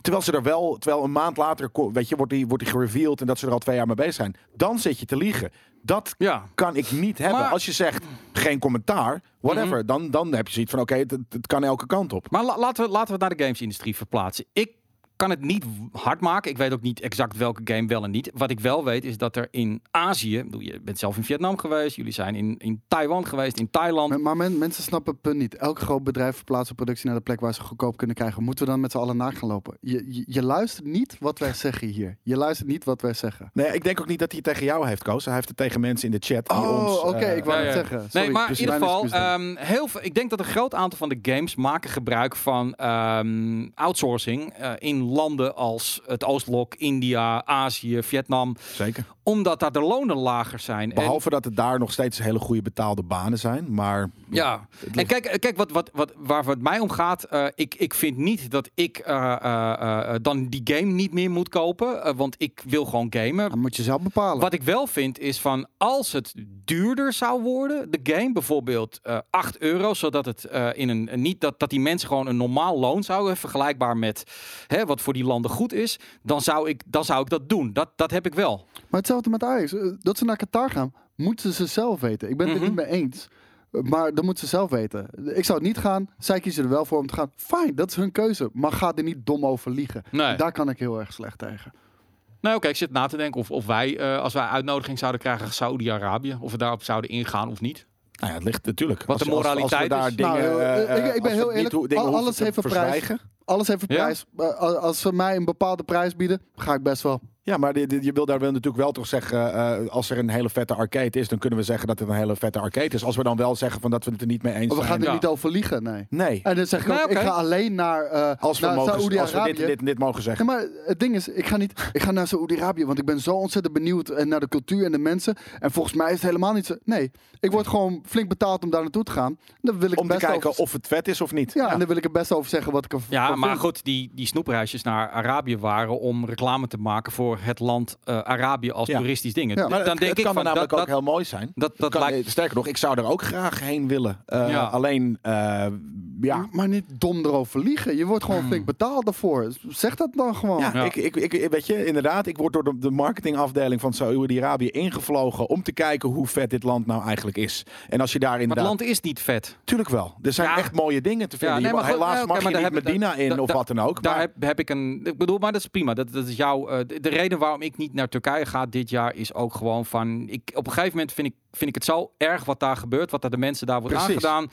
[SPEAKER 1] Terwijl ze er wel, terwijl een maand later, ko- weet je, wordt die, wordt die gereveeld en dat ze er al twee jaar mee bezig zijn. Dan zit je te liegen. Dat
[SPEAKER 2] Ja.
[SPEAKER 1] kan ik niet hebben.
[SPEAKER 2] Maar- Mhm.
[SPEAKER 1] Als je zegt geen commentaar, whatever, dan, dan heb je zoiets van: oké, het, het- het kan elke kant op.
[SPEAKER 2] Maar la- laten, we, laten we het naar de gamesindustrie verplaatsen. Ik kan het niet w- hard maken. Ik weet ook niet exact welke game wel en niet. Wat ik wel weet is dat er in Azië... ik bedoel, je bent zelf in Vietnam geweest. Jullie zijn in, in Taiwan geweest, in Thailand.
[SPEAKER 3] Maar, maar men- mensen snappen het punt niet. Elk groot bedrijf verplaatst productie naar de plek waar ze goedkoop kunnen krijgen. Moeten we dan met z'n allen na gaan lopen? Je, je, je luistert niet wat wij zeggen hier. Je luistert niet wat wij zeggen.
[SPEAKER 1] Nee, ik denk ook niet dat hij het tegen jou heeft, Koos. Hij heeft het tegen mensen in de chat. Die ons,
[SPEAKER 3] Oh, oké,
[SPEAKER 1] eh,
[SPEAKER 3] ik wou
[SPEAKER 2] ja,
[SPEAKER 3] het
[SPEAKER 2] ja.
[SPEAKER 3] zeggen.
[SPEAKER 2] Nee,
[SPEAKER 3] Sorry,
[SPEAKER 2] maar in
[SPEAKER 3] dus
[SPEAKER 2] ieder
[SPEAKER 3] mijn
[SPEAKER 2] geval,
[SPEAKER 3] excuus dan.
[SPEAKER 2] ehm, heel veel, ik denk dat een groot aantal van de games maken gebruik van ehm, outsourcing eh, in landen als het Oostblok, India, Azië, Vietnam,
[SPEAKER 1] Zeker.
[SPEAKER 2] omdat daar de lonen lager zijn. En-
[SPEAKER 1] Behalve dat het daar nog steeds hele goede betaalde banen zijn. Maar
[SPEAKER 2] ja, en kijk, eh, kijk wat, wat, wat, waar het mij om gaat. eh, ik, ik vind niet dat ik eh, eh, eh, dan die game niet meer moet kopen. eh, want ik wil gewoon gamen.
[SPEAKER 3] Dan moet je zelf bepalen.
[SPEAKER 2] Wat ik wel vind is van als het duurder zou worden, de game bijvoorbeeld eh 8 euro, zodat het eh, in een een- niet dat, dat die mensen gewoon een normaal loon zouden vergelijkbaar met hè, wat voor die landen goed is, dan zou ik, dan zou ik dat doen. Dat, dat heb ik wel.
[SPEAKER 3] Maar hetzelfde met Ajax. Eh, Dat ze naar Qatar gaan, moeten ze zelf weten. Ik ben het er niet mee eens. Eh, Maar dat moeten ze zelf weten. Ik zou het niet gaan. Zij kiezen er wel voor om te gaan. Fijn, dat is hun keuze. Maar ga er niet dom over liegen.
[SPEAKER 2] Nee.
[SPEAKER 3] Daar kan ik heel erg slecht tegen.
[SPEAKER 2] Nou, oké, ik zit na te denken of, of wij, eh, als wij uitnodiging zouden krijgen, Saudi-Arabië, of we daarop zouden ingaan of niet.
[SPEAKER 1] nou ja, het ligt natuurlijk. Wat
[SPEAKER 2] de moraliteit
[SPEAKER 1] als
[SPEAKER 2] is.
[SPEAKER 1] we daar dingen.
[SPEAKER 3] Nou, eh,
[SPEAKER 1] eh,
[SPEAKER 3] ik- ik
[SPEAKER 1] als
[SPEAKER 3] ben
[SPEAKER 1] we
[SPEAKER 3] heel
[SPEAKER 1] niet
[SPEAKER 3] eerlijk.
[SPEAKER 1] hoe- dingen
[SPEAKER 3] Al-
[SPEAKER 1] hoeven
[SPEAKER 3] alles
[SPEAKER 1] te
[SPEAKER 3] heeft een prijs.
[SPEAKER 1] verzwijgen.
[SPEAKER 3] Alles heeft een
[SPEAKER 2] Ja?
[SPEAKER 3] prijs. Eh, a- Als ze mij een bepaalde prijs bieden, ga ik best wel.
[SPEAKER 1] Ja, maar dit- dit- je wil daar wel natuurlijk wel toch zeggen, eh, als er een hele vette arcade is, dan kunnen we zeggen dat het een hele vette arcade is. Als we dan wel zeggen van dat we het er niet mee eens
[SPEAKER 3] Maar Oh, we gaan
[SPEAKER 1] zijn.
[SPEAKER 3] er
[SPEAKER 2] Ja.
[SPEAKER 3] niet over liegen, nee.
[SPEAKER 1] Nee,
[SPEAKER 3] En dan zeg ik
[SPEAKER 2] Nee,
[SPEAKER 3] ook,
[SPEAKER 2] Nou, oké.
[SPEAKER 3] ik ga alleen naar, eh
[SPEAKER 1] als we,
[SPEAKER 3] naar
[SPEAKER 1] mogen, als we
[SPEAKER 3] Saoedi-Arabië.
[SPEAKER 1] dit, dit, dit mogen
[SPEAKER 3] Ja,
[SPEAKER 1] zeggen.
[SPEAKER 3] maar het ding is, ik ga niet. Ik ga naar Saoedi-Arabië, want ik ben zo ontzettend benieuwd eh, naar de cultuur en de mensen. En volgens mij is het helemaal niet zo. Nee, ik word gewoon flink betaald om daar naartoe te gaan. Dan wil ik
[SPEAKER 1] Om te
[SPEAKER 3] best
[SPEAKER 1] kijken
[SPEAKER 3] over,
[SPEAKER 1] of het vet is of niet.
[SPEAKER 3] ja, en dan wil ik er best over zeggen wat ik ervan
[SPEAKER 2] Ja, maar
[SPEAKER 3] vind.
[SPEAKER 2] goed, die, die snoepreisjes naar Arabië waren om reclame te maken voor voor het land eh, Arabië als
[SPEAKER 1] Ja.
[SPEAKER 2] toeristisch ding.
[SPEAKER 3] Ja,
[SPEAKER 2] D-
[SPEAKER 1] Maar
[SPEAKER 2] dan
[SPEAKER 1] het,
[SPEAKER 2] denk
[SPEAKER 1] het
[SPEAKER 2] ik
[SPEAKER 1] kan
[SPEAKER 2] van
[SPEAKER 1] namelijk
[SPEAKER 2] dat,
[SPEAKER 1] ook
[SPEAKER 2] dat,
[SPEAKER 1] heel mooi zijn.
[SPEAKER 2] dat, dat
[SPEAKER 1] Kan-
[SPEAKER 2] lijkt.
[SPEAKER 1] eh, Sterker nog, ik zou er ook graag heen willen. Eh,
[SPEAKER 2] Ja.
[SPEAKER 1] Alleen, eh, ja,
[SPEAKER 3] Maar niet dom erover liegen. Je wordt gewoon flink betaald daarvoor. Zeg dat dan gewoon.
[SPEAKER 1] Ja,
[SPEAKER 2] Hmm. Ja.
[SPEAKER 1] Ik, ik, ik, weet je, inderdaad. Ik word door de, de marketingafdeling van Saoedi-Arabië ingevlogen om te kijken hoe vet dit land nou eigenlijk is. En als je daar
[SPEAKER 2] Maar
[SPEAKER 1] inderdaad...
[SPEAKER 2] het land is niet vet.
[SPEAKER 1] Tuurlijk wel. Er zijn
[SPEAKER 2] Ja.
[SPEAKER 1] echt mooie dingen te vinden.
[SPEAKER 2] Ja, nee,
[SPEAKER 1] Je mag-
[SPEAKER 2] maar goed,
[SPEAKER 1] Helaas
[SPEAKER 2] nee, oké,
[SPEAKER 1] mag
[SPEAKER 2] maar
[SPEAKER 1] je
[SPEAKER 2] daar
[SPEAKER 1] niet
[SPEAKER 2] heb-
[SPEAKER 1] Medina in
[SPEAKER 2] daar-
[SPEAKER 1] of
[SPEAKER 2] daar-
[SPEAKER 1] wat dan ook.
[SPEAKER 2] Daar
[SPEAKER 1] maar-
[SPEAKER 2] heb, heb ik een. Ik bedoel, maar dat is prima. Dat, dat is jouw. eh, de- de reden waarom ik niet naar Turkije ga dit jaar is ook gewoon van. Ik, op een gegeven moment vind ik, vind ik het zo erg wat daar gebeurt. Wat daar de mensen daar wordt
[SPEAKER 1] Precies.
[SPEAKER 2] aangedaan.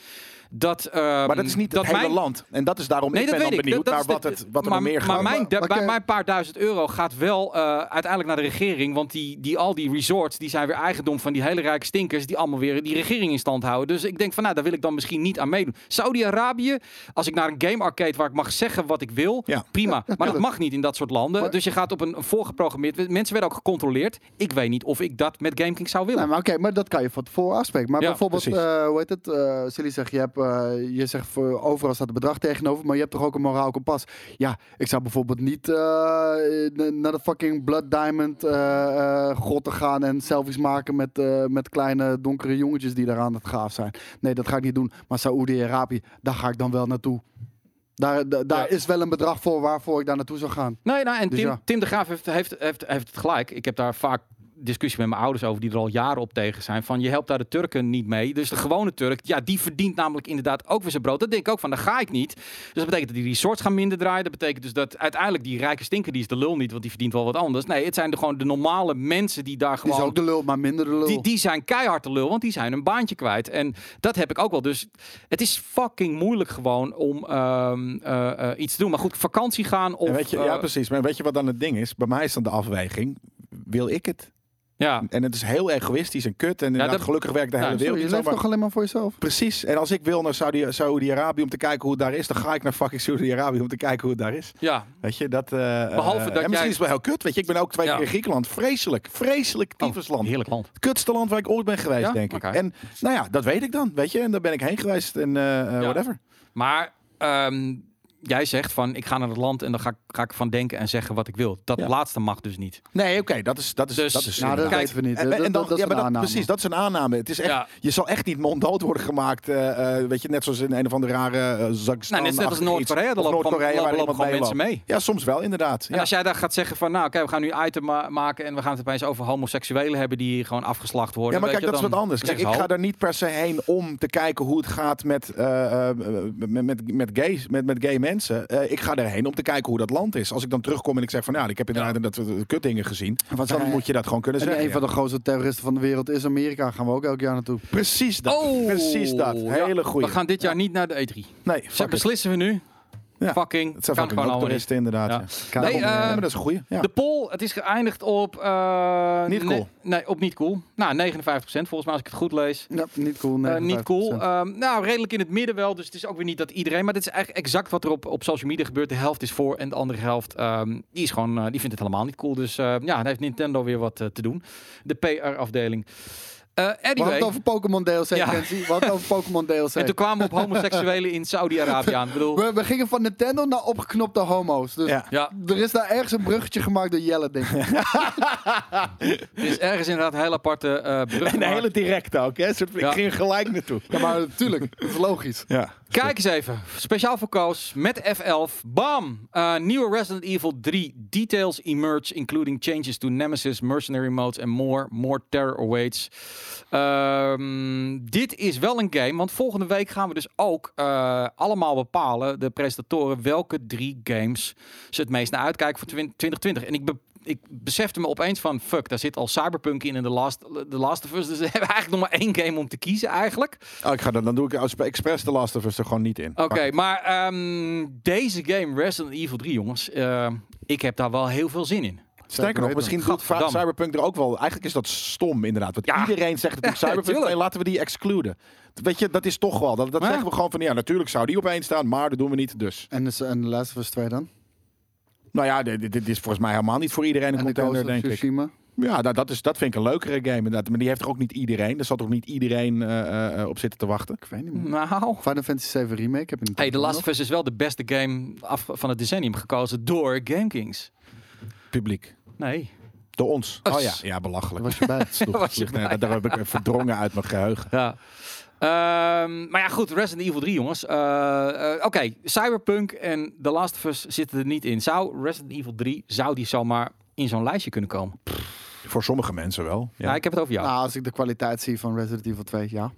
[SPEAKER 2] Dat, ehm,
[SPEAKER 1] maar dat is niet het hele
[SPEAKER 2] mijn-
[SPEAKER 1] land. En dat is daarom,
[SPEAKER 2] Nee,
[SPEAKER 1] ik
[SPEAKER 2] dat
[SPEAKER 1] ben dan
[SPEAKER 2] weet ik.
[SPEAKER 1] benieuwd
[SPEAKER 2] Dat-
[SPEAKER 1] naar
[SPEAKER 2] dat
[SPEAKER 1] wat,
[SPEAKER 2] is de-
[SPEAKER 1] het, wat er
[SPEAKER 2] maar,
[SPEAKER 1] nog meer
[SPEAKER 2] maar
[SPEAKER 1] gaat.
[SPEAKER 2] mijn,
[SPEAKER 3] Maar-
[SPEAKER 2] de-
[SPEAKER 3] maar
[SPEAKER 2] bij
[SPEAKER 3] kijk-
[SPEAKER 2] mijn paar duizend euro gaat wel eh, uiteindelijk naar de regering. Want die, die, al die resorts die zijn weer eigendom van die hele rijke stinkers. Die allemaal weer die regering in stand houden. Dus ik denk van nou, daar wil ik dan misschien niet aan meedoen. Saudi-Arabië, als ik naar een game arcade waar ik mag zeggen wat ik wil.
[SPEAKER 1] Ja.
[SPEAKER 2] Prima. maar dat
[SPEAKER 3] tuurlijk.
[SPEAKER 2] mag niet in dat soort landen.
[SPEAKER 3] Maar-
[SPEAKER 2] dus je gaat op een, een voorgeprogrammeerd. Mensen werden ook gecontroleerd. Ik weet niet of ik dat met GameKing zou willen.
[SPEAKER 3] Nee, maar oké, maar dat kan je van tevoren afspreken. Maar
[SPEAKER 2] Ja,
[SPEAKER 3] bijvoorbeeld,
[SPEAKER 1] precies.
[SPEAKER 3] eh, hoe heet het? Eh Silly zegt, je, hebt, eh, je zegt voor overal staat het bedrag tegenover, maar je hebt toch ook een moraal kompas. Ja, ik zou bijvoorbeeld niet eh, na- naar de fucking Blood Diamond eh eh, grotten gaan en selfies maken met, eh, met kleine donkere jongetjes die daar aan het gaaf zijn. Nee, dat ga ik niet doen. Maar Saoedi-Arabië, daar ga ik dan wel naartoe. Daar, da- daar
[SPEAKER 2] Ja.
[SPEAKER 3] is wel een bedrag voor waarvoor ik daar naartoe zou gaan.
[SPEAKER 2] Nee, nou, en
[SPEAKER 3] Dus
[SPEAKER 2] Tim,
[SPEAKER 3] ja.
[SPEAKER 2] Tim de Graaf heeft, heeft, heeft, heeft het gelijk. Ik heb daar vaak discussie met mijn ouders over, die er al jaren op tegen zijn. Van je helpt daar de Turken niet mee. Dus de gewone Turk, ja, die verdient namelijk inderdaad ook weer zijn brood. Dat denk ik ook van, daar ga ik niet. Dus dat betekent dat die resorts gaan minder draaien. Dat betekent dus dat uiteindelijk die rijke stinker, die is de lul niet, want die verdient wel wat anders. Nee, het zijn de, gewoon de normale mensen die daar
[SPEAKER 3] Die is
[SPEAKER 2] gewoon
[SPEAKER 3] ook de lul, maar minder de lul.
[SPEAKER 2] die, die zijn keihard te lul, want die zijn een baantje kwijt. En dat heb ik ook wel. Dus het is fucking moeilijk gewoon om ehm, eh, eh, iets te doen. Maar goed, vakantie gaan of...
[SPEAKER 1] En weet je, ja,
[SPEAKER 2] eh,
[SPEAKER 1] precies. Maar weet je wat dan het ding is? Bij mij is dan de afweging. Wil ik het?
[SPEAKER 2] ja.
[SPEAKER 1] En het is heel egoïstisch en kut. En inderdaad,
[SPEAKER 2] dat-
[SPEAKER 1] gelukkig werkt de
[SPEAKER 2] Ja,
[SPEAKER 1] hele
[SPEAKER 2] sorry,
[SPEAKER 3] Sorry,
[SPEAKER 1] wereld
[SPEAKER 3] je
[SPEAKER 1] niet zo.
[SPEAKER 3] leeft
[SPEAKER 1] Maar
[SPEAKER 3] toch alleen maar voor jezelf?
[SPEAKER 1] Precies. En als ik wil naar Saudi- Saudi-Arabië om te kijken hoe het daar is, dan ga ik naar fucking Saudi-Arabië om te kijken hoe het daar is.
[SPEAKER 2] Ja,
[SPEAKER 1] Weet je, dat... eh,
[SPEAKER 2] Behalve
[SPEAKER 1] eh,
[SPEAKER 2] dat
[SPEAKER 1] en misschien
[SPEAKER 2] jij-
[SPEAKER 1] is het wel heel kut, weet je. Ik ben ook twee
[SPEAKER 2] Ja. Oh,
[SPEAKER 1] keer in Griekenland. Vreselijk, vreselijk tyfusland.
[SPEAKER 2] heerlijk land.
[SPEAKER 1] het kutste land waar ik ooit ben geweest,
[SPEAKER 2] Ja?
[SPEAKER 1] denk ik.
[SPEAKER 2] Oké.
[SPEAKER 1] En nou ja, dat weet ik dan, weet je. En daar ben ik heen geweest en eh, eh,
[SPEAKER 2] Ja.
[SPEAKER 1] whatever.
[SPEAKER 2] Maar ehm, jij zegt van ik ga naar het land en dan ga, ik- ga ik van denken en zeggen wat ik wil. Dat
[SPEAKER 1] Ja.
[SPEAKER 2] laatste mag dus niet.
[SPEAKER 1] Nee, oké, dat is... Dat is,
[SPEAKER 2] Dus-
[SPEAKER 1] dat is
[SPEAKER 2] Nou,
[SPEAKER 3] Nou, dat
[SPEAKER 2] Kijk,
[SPEAKER 3] weten we niet.
[SPEAKER 1] En-
[SPEAKER 3] Dat-
[SPEAKER 1] en dan-
[SPEAKER 3] dat- dat is
[SPEAKER 1] ja,
[SPEAKER 3] een
[SPEAKER 1] maar dat-
[SPEAKER 3] aanname.
[SPEAKER 1] precies, dat is een aanname. Het is echt,
[SPEAKER 2] Ja.
[SPEAKER 1] Je zal echt niet monddood worden gemaakt, eh, eh, weet je, net zoals in een of andere rare uh,
[SPEAKER 2] Nou, net, net als Noord-Korea, daar lopen gewoon-
[SPEAKER 1] Noord-Korea waar
[SPEAKER 2] lopen gewoon
[SPEAKER 1] iemand mee
[SPEAKER 2] mensen
[SPEAKER 1] loopt.
[SPEAKER 2] mee.
[SPEAKER 1] Ja, soms wel, inderdaad.
[SPEAKER 2] En
[SPEAKER 1] Ja.
[SPEAKER 2] als jij daar gaat zeggen van nou oké, we gaan nu item ma- maken en we gaan het opeens over homoseksuelen hebben die gewoon afgeslacht worden.
[SPEAKER 1] Ja, maar
[SPEAKER 2] weet
[SPEAKER 1] kijk, dat is
[SPEAKER 2] je,
[SPEAKER 1] wat
[SPEAKER 2] dan-
[SPEAKER 1] anders.
[SPEAKER 2] dan
[SPEAKER 1] Kijk, ik
[SPEAKER 2] zeggen ze,
[SPEAKER 1] ga
[SPEAKER 2] "Ho."
[SPEAKER 1] daar niet per se heen om te kijken hoe het gaat met, eh, eh, met, met, met, gays, met, met gay mensen. Eh, ik ga daarheen om te kijken hoe dat land is. Als ik dan terugkom en ik zeg van, nou, ik heb inderdaad dat eh, kutdingen gezien.
[SPEAKER 3] Wat dus
[SPEAKER 1] dan
[SPEAKER 2] Eh,
[SPEAKER 3] zijn-
[SPEAKER 1] moet je dat gewoon kunnen
[SPEAKER 3] En
[SPEAKER 1] zeggen.
[SPEAKER 3] een van
[SPEAKER 1] ja.
[SPEAKER 3] de grootste terroristen van de wereld is Amerika. Gaan we ook elk jaar naartoe.
[SPEAKER 1] Precies dat.
[SPEAKER 2] Oh,
[SPEAKER 1] Precies dat.
[SPEAKER 2] ja.
[SPEAKER 1] Hele goeie.
[SPEAKER 2] We gaan dit jaar niet naar de E3.
[SPEAKER 1] Nee,
[SPEAKER 2] Zo
[SPEAKER 1] fuck it.
[SPEAKER 2] beslissen we nu.
[SPEAKER 1] Ja,
[SPEAKER 2] Fucking.
[SPEAKER 1] Het zijn
[SPEAKER 2] kan
[SPEAKER 1] fucking
[SPEAKER 2] gewoon
[SPEAKER 1] ook
[SPEAKER 2] allemaal niet.
[SPEAKER 1] toeristen, inderdaad.
[SPEAKER 2] Ja.
[SPEAKER 1] ja.
[SPEAKER 2] Nee,
[SPEAKER 1] Ja,
[SPEAKER 2] eh,
[SPEAKER 1] maar dat is een goeie. Ja.
[SPEAKER 2] De poll, het is geëindigd op... eh,
[SPEAKER 1] Niet cool.
[SPEAKER 2] Nee, nee, op niet cool. Nou, 59% volgens mij als ik het goed lees.
[SPEAKER 3] Ja, nou, niet cool.
[SPEAKER 2] Eh, niet cool.
[SPEAKER 3] 59%.
[SPEAKER 2] Ehm, nou, redelijk in het midden wel. Dus het is ook weer niet dat iedereen. Maar dit is eigenlijk exact wat er op, op social media gebeurt. De helft is voor en de andere helft ehm, die is gewoon, eh, die vindt het helemaal niet cool. Dus eh, ja, dan heeft Nintendo weer wat eh, te doen. De PR-afdeling. Eh
[SPEAKER 3] we hadden
[SPEAKER 2] anyway.
[SPEAKER 3] het over Pokémon DLC,
[SPEAKER 2] Ja.
[SPEAKER 3] Kenzie. We hadden
[SPEAKER 2] [LAUGHS]
[SPEAKER 3] het over Pokémon DLC.
[SPEAKER 2] En toen kwamen we op homoseksuelen in Saudi-Arabië aan.
[SPEAKER 1] [LAUGHS]
[SPEAKER 2] Ik bedoel,
[SPEAKER 3] We, we gingen van Nintendo naar opgeknopte homo's. Dus
[SPEAKER 1] Ja.
[SPEAKER 2] ja,
[SPEAKER 3] er is daar ergens een bruggetje gemaakt door Jelle, denk [LAUGHS] ik.
[SPEAKER 2] het is ergens inderdaad een heel aparte eh brug.
[SPEAKER 1] En de
[SPEAKER 2] gemaakt.
[SPEAKER 1] hele directe ook. Hè? Soort-
[SPEAKER 2] Ja.
[SPEAKER 1] Ik ging gelijk naartoe.
[SPEAKER 3] Ja, maar natuurlijk. Dat is logisch.
[SPEAKER 1] Ja.
[SPEAKER 2] Kijk eens even. Speciaal voor Koos met F11. Bam! Eh, nieuwe Resident Evil 3 details emerge, including changes to Nemesis, mercenary modes and more. More terror awaits. Ehm, dit is wel een game, want volgende week gaan we dus ook eh, allemaal bepalen, de presentatoren, welke drie games ze het meest naar uitkijken voor 20- 2020. En ik be- ik besefte me opeens van, fuck, daar zit al Cyberpunk in en The Last, The Last of Us. Dus we hebben eigenlijk nog maar één game om te kiezen eigenlijk.
[SPEAKER 1] Oh, ik ga dat, dan doe ik als- expres de Last of Us er gewoon niet in.
[SPEAKER 2] Oké, maar ehm, deze game, Resident Evil 3, jongens. eh, ik heb daar wel heel veel zin in.
[SPEAKER 1] Sterker nog,
[SPEAKER 3] weten.
[SPEAKER 1] misschien doet vraagt
[SPEAKER 2] Gadverdamme.
[SPEAKER 1] Cyberpunk er ook wel. Eigenlijk is dat stom, inderdaad. Want
[SPEAKER 2] [LAUGHS] Ja.
[SPEAKER 1] iedereen zegt natuurlijk Cyberpunk,
[SPEAKER 2] tuurlijk.
[SPEAKER 1] nee, laten we die excluden. Weet je, dat is toch wel. Dat, dat
[SPEAKER 2] Ja.
[SPEAKER 1] zeggen we gewoon van, ja, natuurlijk zou die opeen staan, maar dat doen we niet, dus.
[SPEAKER 3] En, is, en The Last of Us 2 dan?
[SPEAKER 1] Nou ja, dit, dit is volgens mij helemaal niet voor iedereen een
[SPEAKER 3] En de
[SPEAKER 1] contender,
[SPEAKER 3] Ghost of
[SPEAKER 1] denk
[SPEAKER 2] dus
[SPEAKER 1] ik.
[SPEAKER 3] Tsushima?
[SPEAKER 1] Ja, dat, dat, is, dat vind ik een leukere game, inderdaad. Maar die heeft toch ook niet iedereen? Daar zal toch niet iedereen eh, eh, eh, op zitten te wachten?
[SPEAKER 3] Ik weet niet meer.
[SPEAKER 2] Nou.
[SPEAKER 3] Hm. Final Fantasy 7 Remake heb ik niet.
[SPEAKER 2] Hey, The Last
[SPEAKER 3] laatste.
[SPEAKER 2] of Us is wel de beste game af van het decennium gekozen door GameKings.
[SPEAKER 1] Publiek.
[SPEAKER 2] Nee.
[SPEAKER 1] Door ons.
[SPEAKER 2] Us.
[SPEAKER 1] Oh ja, ja belachelijk.
[SPEAKER 2] [LAUGHS]
[SPEAKER 3] Daar was je bij.
[SPEAKER 1] Sloeg-
[SPEAKER 2] Was je
[SPEAKER 1] sloeg- nee,
[SPEAKER 2] bij.
[SPEAKER 1] daar heb ik me verdrongen uit mijn geheugen.
[SPEAKER 2] Ja. Ehm, maar ja, goed, Resident Evil 3, jongens. Eh, eh, Oké, Cyberpunk en The Last of Us zitten er niet in. Zou Resident Evil 3, zou die zomaar in zo'n lijstje kunnen komen?
[SPEAKER 1] Voor sommige mensen wel. Ja.
[SPEAKER 2] Ja, ik heb het over jou.
[SPEAKER 3] Nou, als ik de kwaliteit zie van Resident Evil 2, ja,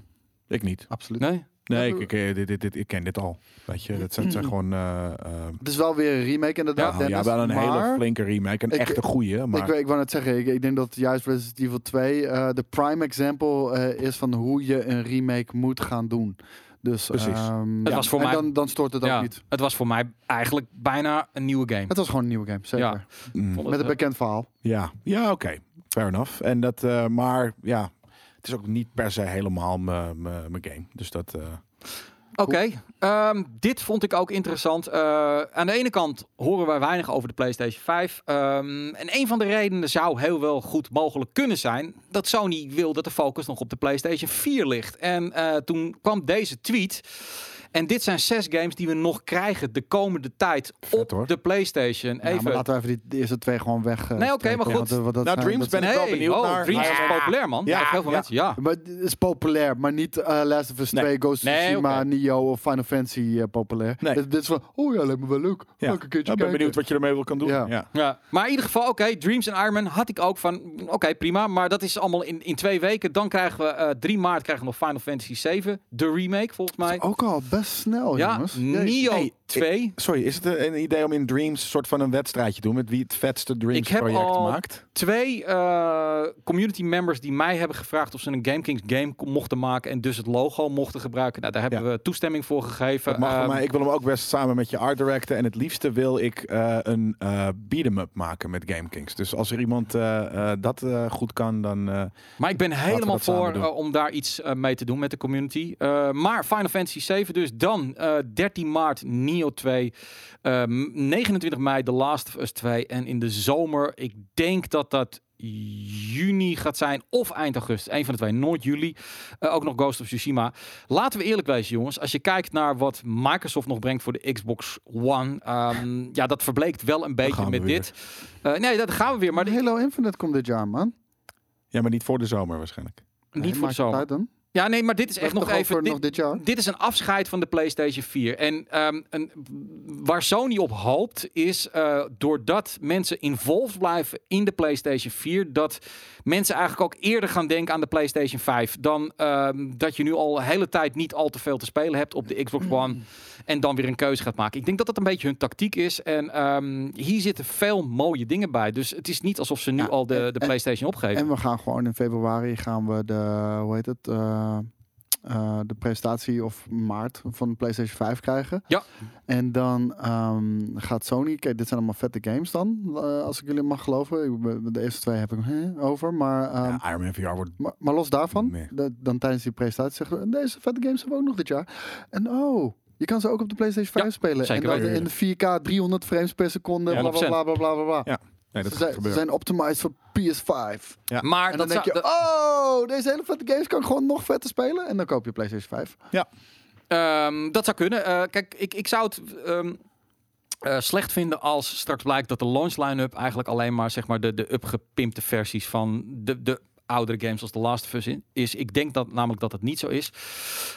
[SPEAKER 1] Ik niet.
[SPEAKER 3] absoluut.
[SPEAKER 2] nee?
[SPEAKER 1] Nee,
[SPEAKER 3] Ja,
[SPEAKER 1] ik, ik- dit, dit, dit- ik ken dit al. Weet je, dat zijn, het zijn gewoon... eh, eh,
[SPEAKER 3] Het is wel weer een remake inderdaad,
[SPEAKER 1] nou, ja,
[SPEAKER 3] Mm. Dennis,
[SPEAKER 1] wel een hele
[SPEAKER 3] maar
[SPEAKER 1] flinke remake. Een
[SPEAKER 3] Ik-
[SPEAKER 1] echte goeie, maar...
[SPEAKER 3] Ik, weet- ik wou net zeggen, ik, ik denk dat juist Resident Evil 2 eh, de prime example eh, is van hoe je een remake moet gaan doen. Dus,
[SPEAKER 1] Precies.
[SPEAKER 3] ehm,
[SPEAKER 2] Het was voor
[SPEAKER 3] en
[SPEAKER 2] mij-
[SPEAKER 3] dan, dan stort het ook
[SPEAKER 2] Ja,
[SPEAKER 3] niet.
[SPEAKER 2] het was voor mij eigenlijk bijna een nieuwe game.
[SPEAKER 3] Het was gewoon een nieuwe game, zeker.
[SPEAKER 2] Ja.
[SPEAKER 1] Mm.
[SPEAKER 2] Vond
[SPEAKER 3] Met
[SPEAKER 2] het, eh,
[SPEAKER 3] een bekend verhaal.
[SPEAKER 1] Ja, ja oké. Fair enough. En dat, eh, maar ja, het is ook niet per se helemaal mijn mijn- mijn game. Dus dat... eh,
[SPEAKER 2] Oké, ehm, dit vond ik ook interessant. Eh, aan de ene kant horen wij weinig over de PlayStation 5. Ehm, en een van de redenen zou heel wel goed mogelijk kunnen zijn dat Sony wil dat de focus nog op de PlayStation 4 ligt. En eh, toen kwam deze tweet. En dit zijn zes games die we nog krijgen de komende tijd op
[SPEAKER 1] hoor.
[SPEAKER 2] de PlayStation.
[SPEAKER 3] Ja,
[SPEAKER 2] Even.
[SPEAKER 3] maar laten we even die, de eerste twee gewoon weg. eh,
[SPEAKER 2] Nee, oké,
[SPEAKER 3] strepen,
[SPEAKER 2] maar goed.
[SPEAKER 3] want, eh, wat dat
[SPEAKER 1] Nou,
[SPEAKER 3] zijn-
[SPEAKER 1] Dreams
[SPEAKER 3] dat-
[SPEAKER 1] ben ik wel
[SPEAKER 2] Hey,
[SPEAKER 1] benieuwd
[SPEAKER 2] oh,
[SPEAKER 1] naar.
[SPEAKER 2] Dreams is
[SPEAKER 1] Ja.
[SPEAKER 2] populair, man.
[SPEAKER 1] Ja,
[SPEAKER 2] Ja, heel veel
[SPEAKER 1] ja.
[SPEAKER 2] mensen. Ja.
[SPEAKER 3] Maar het is populair, maar niet eh Last of Us
[SPEAKER 1] Nee.
[SPEAKER 3] 2, Ghost of
[SPEAKER 2] Nee,
[SPEAKER 3] Tsushima,
[SPEAKER 2] oké.
[SPEAKER 3] Nio of Final Fantasy eh, populair.
[SPEAKER 1] Nee.
[SPEAKER 3] Dit, dit is van, oh ja, lijkt me wel leuk.
[SPEAKER 1] Ja.
[SPEAKER 3] Leuk een keertje
[SPEAKER 1] ik ben
[SPEAKER 3] kijken.
[SPEAKER 1] benieuwd wat je ermee wil kan doen.
[SPEAKER 3] Ja.
[SPEAKER 1] Ja.
[SPEAKER 2] Ja. Maar in ieder geval, oké, Dreams en Iron Man had ik ook van, oké, prima. Maar dat is allemaal in, in twee weken. Dan krijgen we, eh 3 maart krijgen we nog Final Fantasy 7, de remake volgens
[SPEAKER 1] Oh,
[SPEAKER 2] mij.
[SPEAKER 3] Ook al best snel,
[SPEAKER 2] ja,
[SPEAKER 3] jongens. Jezus.
[SPEAKER 2] Nio
[SPEAKER 1] Hey,
[SPEAKER 2] 2.
[SPEAKER 1] Sorry, is het een een idee om in Dreams een soort van een wedstrijdje te doen met wie het vetste Dreams
[SPEAKER 2] Ik heb
[SPEAKER 1] project
[SPEAKER 2] al-
[SPEAKER 1] maakt?
[SPEAKER 2] Twee eh, community members die mij hebben gevraagd of ze een Game Kings game ko- mochten maken en dus het logo mochten gebruiken. Nou, daar hebben
[SPEAKER 1] Ja.
[SPEAKER 2] we toestemming voor gegeven.
[SPEAKER 1] Dat mag
[SPEAKER 2] Ehm,
[SPEAKER 1] voor mij. Ik wil hem ook best samen met je art directen. En het liefste wil ik eh, een eh beat'em up maken met GameKings. Dus als er iemand eh, eh, dat eh, goed kan, dan... eh,
[SPEAKER 2] Maar ik ben helemaal
[SPEAKER 1] dat samen
[SPEAKER 2] voor
[SPEAKER 1] doen.
[SPEAKER 2] eh, om daar iets eh, mee te doen met de community. Eh, maar Final Fantasy 7 dus. Dan eh, 13 maart Nio 2. eh, 29 mei The Last of Us 2. En in de zomer, ik denk dat dat juni gaat zijn of eind augustus. Een van de twee, nooit juli. Eh, ook nog Ghost of Tsushima. Laten we eerlijk wezen, jongens. Als je kijkt naar wat Microsoft nog brengt voor de Xbox One. ehm, ja, dat verbleekt wel een beetje
[SPEAKER 1] gaan we
[SPEAKER 2] met
[SPEAKER 1] weer.
[SPEAKER 2] dit. Eh, nee, dat gaan we weer. Maar
[SPEAKER 3] Maar Halo Infinite komt dit jaar, man.
[SPEAKER 1] ja, maar niet voor de zomer waarschijnlijk.
[SPEAKER 2] niet voor
[SPEAKER 3] maakt
[SPEAKER 2] de
[SPEAKER 3] het
[SPEAKER 2] zomer.
[SPEAKER 3] uit dan.
[SPEAKER 2] Ja, nee, maar dit is
[SPEAKER 3] We
[SPEAKER 2] echt
[SPEAKER 3] hebben
[SPEAKER 2] nog
[SPEAKER 3] toch ook
[SPEAKER 2] even...
[SPEAKER 3] voor
[SPEAKER 2] dit-
[SPEAKER 3] nog dit jaar.
[SPEAKER 2] Dit is een afscheid van de PlayStation 4. En ehm, een, waar Sony op hoopt is eh, doordat mensen involved blijven in de PlayStation 4, dat mensen eigenlijk ook eerder gaan denken aan de PlayStation 5 dan ehm, dat je nu al de hele tijd niet al te veel te spelen hebt op de
[SPEAKER 3] [CLEARS THROAT]
[SPEAKER 2] Xbox One en dan weer een keuze gaat maken. Ik denk dat dat een beetje hun tactiek is. En ehm, hier zitten veel mooie dingen bij. Dus het is niet alsof ze nu
[SPEAKER 3] Ja,
[SPEAKER 2] al de,
[SPEAKER 3] en-
[SPEAKER 2] de PlayStation opgeven.
[SPEAKER 3] En we gaan gewoon in februari gaan we de, hoe heet het, eh, eh, de presentatie of maart van de PlayStation 5 krijgen.
[SPEAKER 2] Ja.
[SPEAKER 3] En dan ehm, gaat Sony, kijk, dit zijn allemaal vette games dan, eh, als ik jullie mag geloven. Ik ben- De eerste twee heb ik eh, over, maar, ehm,
[SPEAKER 1] ja, Iron Man VR wordt...
[SPEAKER 3] maar, maar los daarvan,
[SPEAKER 1] Nee.
[SPEAKER 3] dat- dan tijdens die presentatie zeggen we, deze vette games hebben we ook nog dit jaar. En oh... Je kan ze ook op de PlayStation 5
[SPEAKER 2] Ja,
[SPEAKER 3] spelen. En
[SPEAKER 2] zeker
[SPEAKER 3] dan
[SPEAKER 1] weten.
[SPEAKER 3] in de 4K 300 frames per seconde.
[SPEAKER 2] Ja,
[SPEAKER 3] bla bla
[SPEAKER 2] 100%.
[SPEAKER 3] bla bla bla bla. bla.
[SPEAKER 1] Ja, Nee, dat
[SPEAKER 3] ze,
[SPEAKER 1] gaat
[SPEAKER 3] zijn, ze
[SPEAKER 1] gebeuren.
[SPEAKER 3] zijn optimized voor PS5.
[SPEAKER 1] Ja.
[SPEAKER 2] Maar dat
[SPEAKER 3] En dan denk
[SPEAKER 2] zou-
[SPEAKER 3] je,
[SPEAKER 2] dat-
[SPEAKER 3] oh, deze hele vette games kan ik gewoon nog vetter spelen. En dan koop je PlayStation 5.
[SPEAKER 2] Ehm, dat zou kunnen. Eh, kijk, ik, ik zou het ehm, eh, slecht vinden als straks blijkt dat de launch line-up eigenlijk alleen maar, zeg maar de, de upgepimpte versies van de, de oudere games als The Last of Us in- is. Ik denk dat namelijk dat het niet zo is.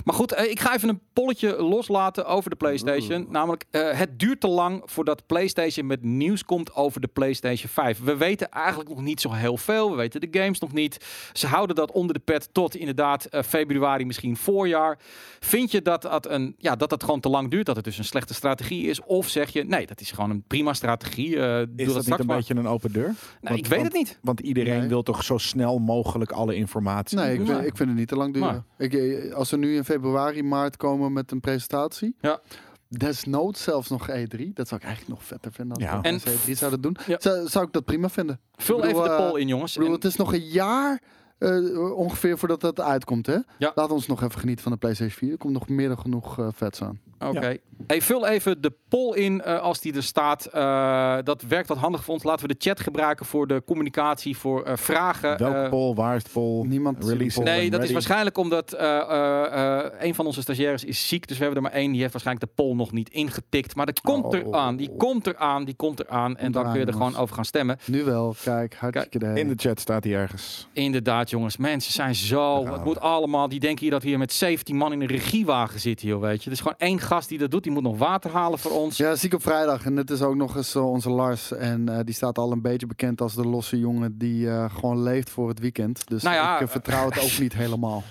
[SPEAKER 2] Maar goed, eh, ik ga even een polletje loslaten over de PlayStation. Namelijk, eh, het duurt te lang voordat PlayStation met nieuws komt over de PlayStation 5. We weten eigenlijk nog niet zo heel veel. We weten de games nog niet. Ze houden dat onder de pet tot inderdaad eh, februari, misschien voorjaar. Vind je dat dat, een, ja, dat dat gewoon te lang duurt? Dat het dus een slechte strategie is? Of zeg je, nee, dat is gewoon een prima strategie. eh
[SPEAKER 1] Is
[SPEAKER 2] doe dat,
[SPEAKER 1] dat niet
[SPEAKER 2] straks
[SPEAKER 1] een
[SPEAKER 2] maar.
[SPEAKER 1] beetje een open deur?
[SPEAKER 2] Nou, ik
[SPEAKER 1] want-
[SPEAKER 2] weet
[SPEAKER 1] want-
[SPEAKER 2] het niet.
[SPEAKER 1] Want iedereen
[SPEAKER 3] Nee.
[SPEAKER 1] wil toch zo snel mogelijk alle informatie.
[SPEAKER 3] Nee, ik,
[SPEAKER 1] Dus-
[SPEAKER 3] vind,
[SPEAKER 2] Maar-
[SPEAKER 3] ik vind het niet te lang duren. Ik, eh, als we nu in februari, maart komen met een presentatie.
[SPEAKER 2] Ja.
[SPEAKER 3] Desnoods zelfs nog E3. Dat zou ik eigenlijk nog vetter vinden. Als
[SPEAKER 1] Ja.
[SPEAKER 3] we
[SPEAKER 2] En-
[SPEAKER 3] mensen E3 zouden doen.
[SPEAKER 2] Ja.
[SPEAKER 3] Zou, zou ik dat prima vinden.
[SPEAKER 2] Vul
[SPEAKER 3] Ik bedoel,
[SPEAKER 2] even de
[SPEAKER 3] eh,
[SPEAKER 2] poll in, jongens.
[SPEAKER 3] Ik bedoel,
[SPEAKER 2] En-
[SPEAKER 3] het is nog een jaar eh, ongeveer voordat dat uitkomt, hè?
[SPEAKER 2] Ja.
[SPEAKER 3] Laat ons nog even genieten van de PlayStation 4. Er komt nog meer dan genoeg eh, vets aan.
[SPEAKER 2] Oké. Hey, vul even de poll in eh, als die er staat. Eh, dat werkt wat handig voor ons. Laten we de chat gebruiken voor de communicatie, voor eh, vragen.
[SPEAKER 1] Welke
[SPEAKER 2] Eh,
[SPEAKER 1] poll? Waar is de poll?
[SPEAKER 3] Niemand
[SPEAKER 1] Release
[SPEAKER 3] ziet de
[SPEAKER 1] poll. en
[SPEAKER 2] Nee, dat is
[SPEAKER 1] ready.
[SPEAKER 2] waarschijnlijk omdat eh, eh, eh, een van onze stagiaires is ziek. Dus we hebben er maar één. Die heeft waarschijnlijk de poll nog niet ingetikt. Maar dat komt
[SPEAKER 3] Oh.
[SPEAKER 2] eraan. Die komt eraan. Die komt eraan. En
[SPEAKER 3] Komt
[SPEAKER 2] dan kun je er
[SPEAKER 3] eraan,
[SPEAKER 2] gewoon
[SPEAKER 3] jongens.
[SPEAKER 2] over gaan stemmen.
[SPEAKER 3] poll. Nu wel. Kijk, hartstikke de
[SPEAKER 1] In de chat staat hij ergens.
[SPEAKER 2] Inderdaad, jongens. Mensen zijn zo.
[SPEAKER 1] gaan
[SPEAKER 2] Het
[SPEAKER 1] we.
[SPEAKER 2] moet allemaal. Die denken hier dat we hier met 17 man in een regiewagen zitten, joh. Weet je. Er is gewoon één gast die dat doet. Die moet nog water halen voor ons.
[SPEAKER 3] Ja, ziek op vrijdag. En het is ook nog eens eh, onze Lars. En eh, die staat al een beetje bekend als de losse jongen die eh, gewoon leeft voor het weekend. Dus
[SPEAKER 2] Nou ja,
[SPEAKER 3] ik eh,
[SPEAKER 2] eh,
[SPEAKER 3] vertrouw het ook niet helemaal.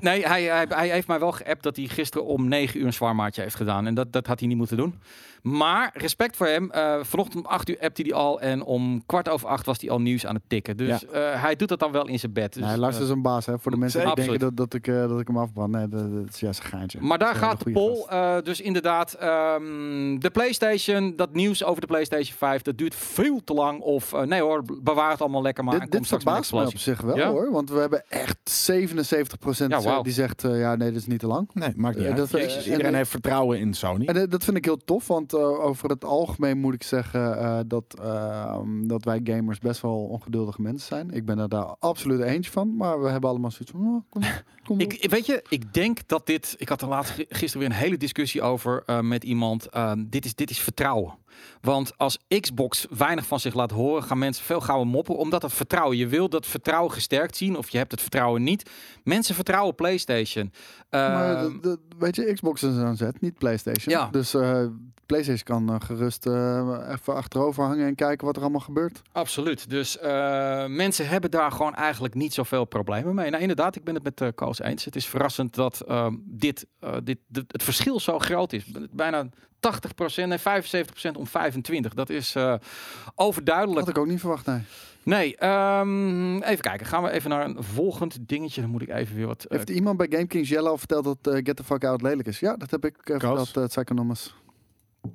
[SPEAKER 2] Nee, hij, hij, hij heeft mij wel geappt dat hij gisteren om 9 uur een zwaarmaatje heeft gedaan. En dat, dat had hij niet moeten doen. Maar respect voor hem. eh, vanochtend om 8 uur appte hij al. En om kwart over 8 was hij al nieuws aan het tikken. Dus eh, hij doet dat dan wel in zijn bed. [LAUGHS] Dus,
[SPEAKER 3] nee, Lars
[SPEAKER 2] eh,
[SPEAKER 3] is een baas, hè. Voor de mensen die
[SPEAKER 2] Absoluut.
[SPEAKER 3] denken dat, dat, ik, eh, dat ik hem afbrand. Nee, dat, dat is juist een geintje.
[SPEAKER 2] maar daar
[SPEAKER 3] Dat is een
[SPEAKER 2] gaat de
[SPEAKER 3] hele goeie
[SPEAKER 2] poll. eh, dus inderdaad, ehm, de PlayStation, dat nieuws over de PlayStation 5, dat duurt veel te lang. Of eh, nee hoor, bewaar het allemaal lekker maar. en
[SPEAKER 3] Dit,
[SPEAKER 2] kom
[SPEAKER 3] dit
[SPEAKER 2] straks met een
[SPEAKER 3] verbaast me op
[SPEAKER 2] explosie.
[SPEAKER 3] zich wel
[SPEAKER 2] Ja?
[SPEAKER 3] hoor. Want we hebben echt 77%
[SPEAKER 2] Ja, wauw.
[SPEAKER 3] die zegt eh, ja nee, dit is niet te lang.
[SPEAKER 1] Nee, maakt niet
[SPEAKER 3] Eh,
[SPEAKER 1] uit.
[SPEAKER 3] dat, eh,
[SPEAKER 1] Jezus,
[SPEAKER 3] en-
[SPEAKER 1] iedereen heeft vertrouwen in Sony.
[SPEAKER 3] En eh, dat vind ik heel tof, want eh, over het algemeen moet ik zeggen eh, dat, eh, dat wij gamers best wel ongeduldige mensen zijn. Ik ben er daar absoluut eentje van, maar we hebben allemaal zoiets van, oh,
[SPEAKER 2] [LAUGHS]
[SPEAKER 3] kom, kom op.
[SPEAKER 2] Ik, weet je, ik denk dat dit. Ik had er laatst gi- gisteren weer een hele discussie over eh, met iemand. Ehm, dit, is, dit is vertrouwen. Want als Xbox weinig van zich laat horen, gaan mensen veel gauwer moppen. Omdat dat vertrouwen. Je wil dat vertrouwen gesterkt zien, of je hebt het vertrouwen niet. Mensen vertrouwen PlayStation.
[SPEAKER 3] Maar
[SPEAKER 2] Ehm,
[SPEAKER 3] dat- dat- weet je, Xbox is een zet, niet PlayStation.
[SPEAKER 2] Ja.
[SPEAKER 3] Dus eh, PlayStation kan eh, gerust eh, even achterover hangen en kijken wat er allemaal gebeurt.
[SPEAKER 2] Absoluut. Dus eh, mensen hebben daar gewoon eigenlijk niet zoveel problemen mee. Nou, inderdaad, ik ben het met eh Koos eens. Het is verrassend dat ehm, dit, eh, dit, dit- het verschil zo groot is. Bijna 80%, nee, 75% om 25%. Dat is eh,
[SPEAKER 3] Dat had
[SPEAKER 2] overduidelijk.
[SPEAKER 3] ik ook niet verwacht, nee.
[SPEAKER 2] Nee, ehm, even kijken. Gaan we even naar een volgend dingetje. Dan moet ik even weer wat... eh,
[SPEAKER 3] Heeft iemand bij Game Kings Yellow verteld dat eh, Get the Fuck Out lelijk is? Ja, dat heb ik eh, verteld, uh, Psychonomous.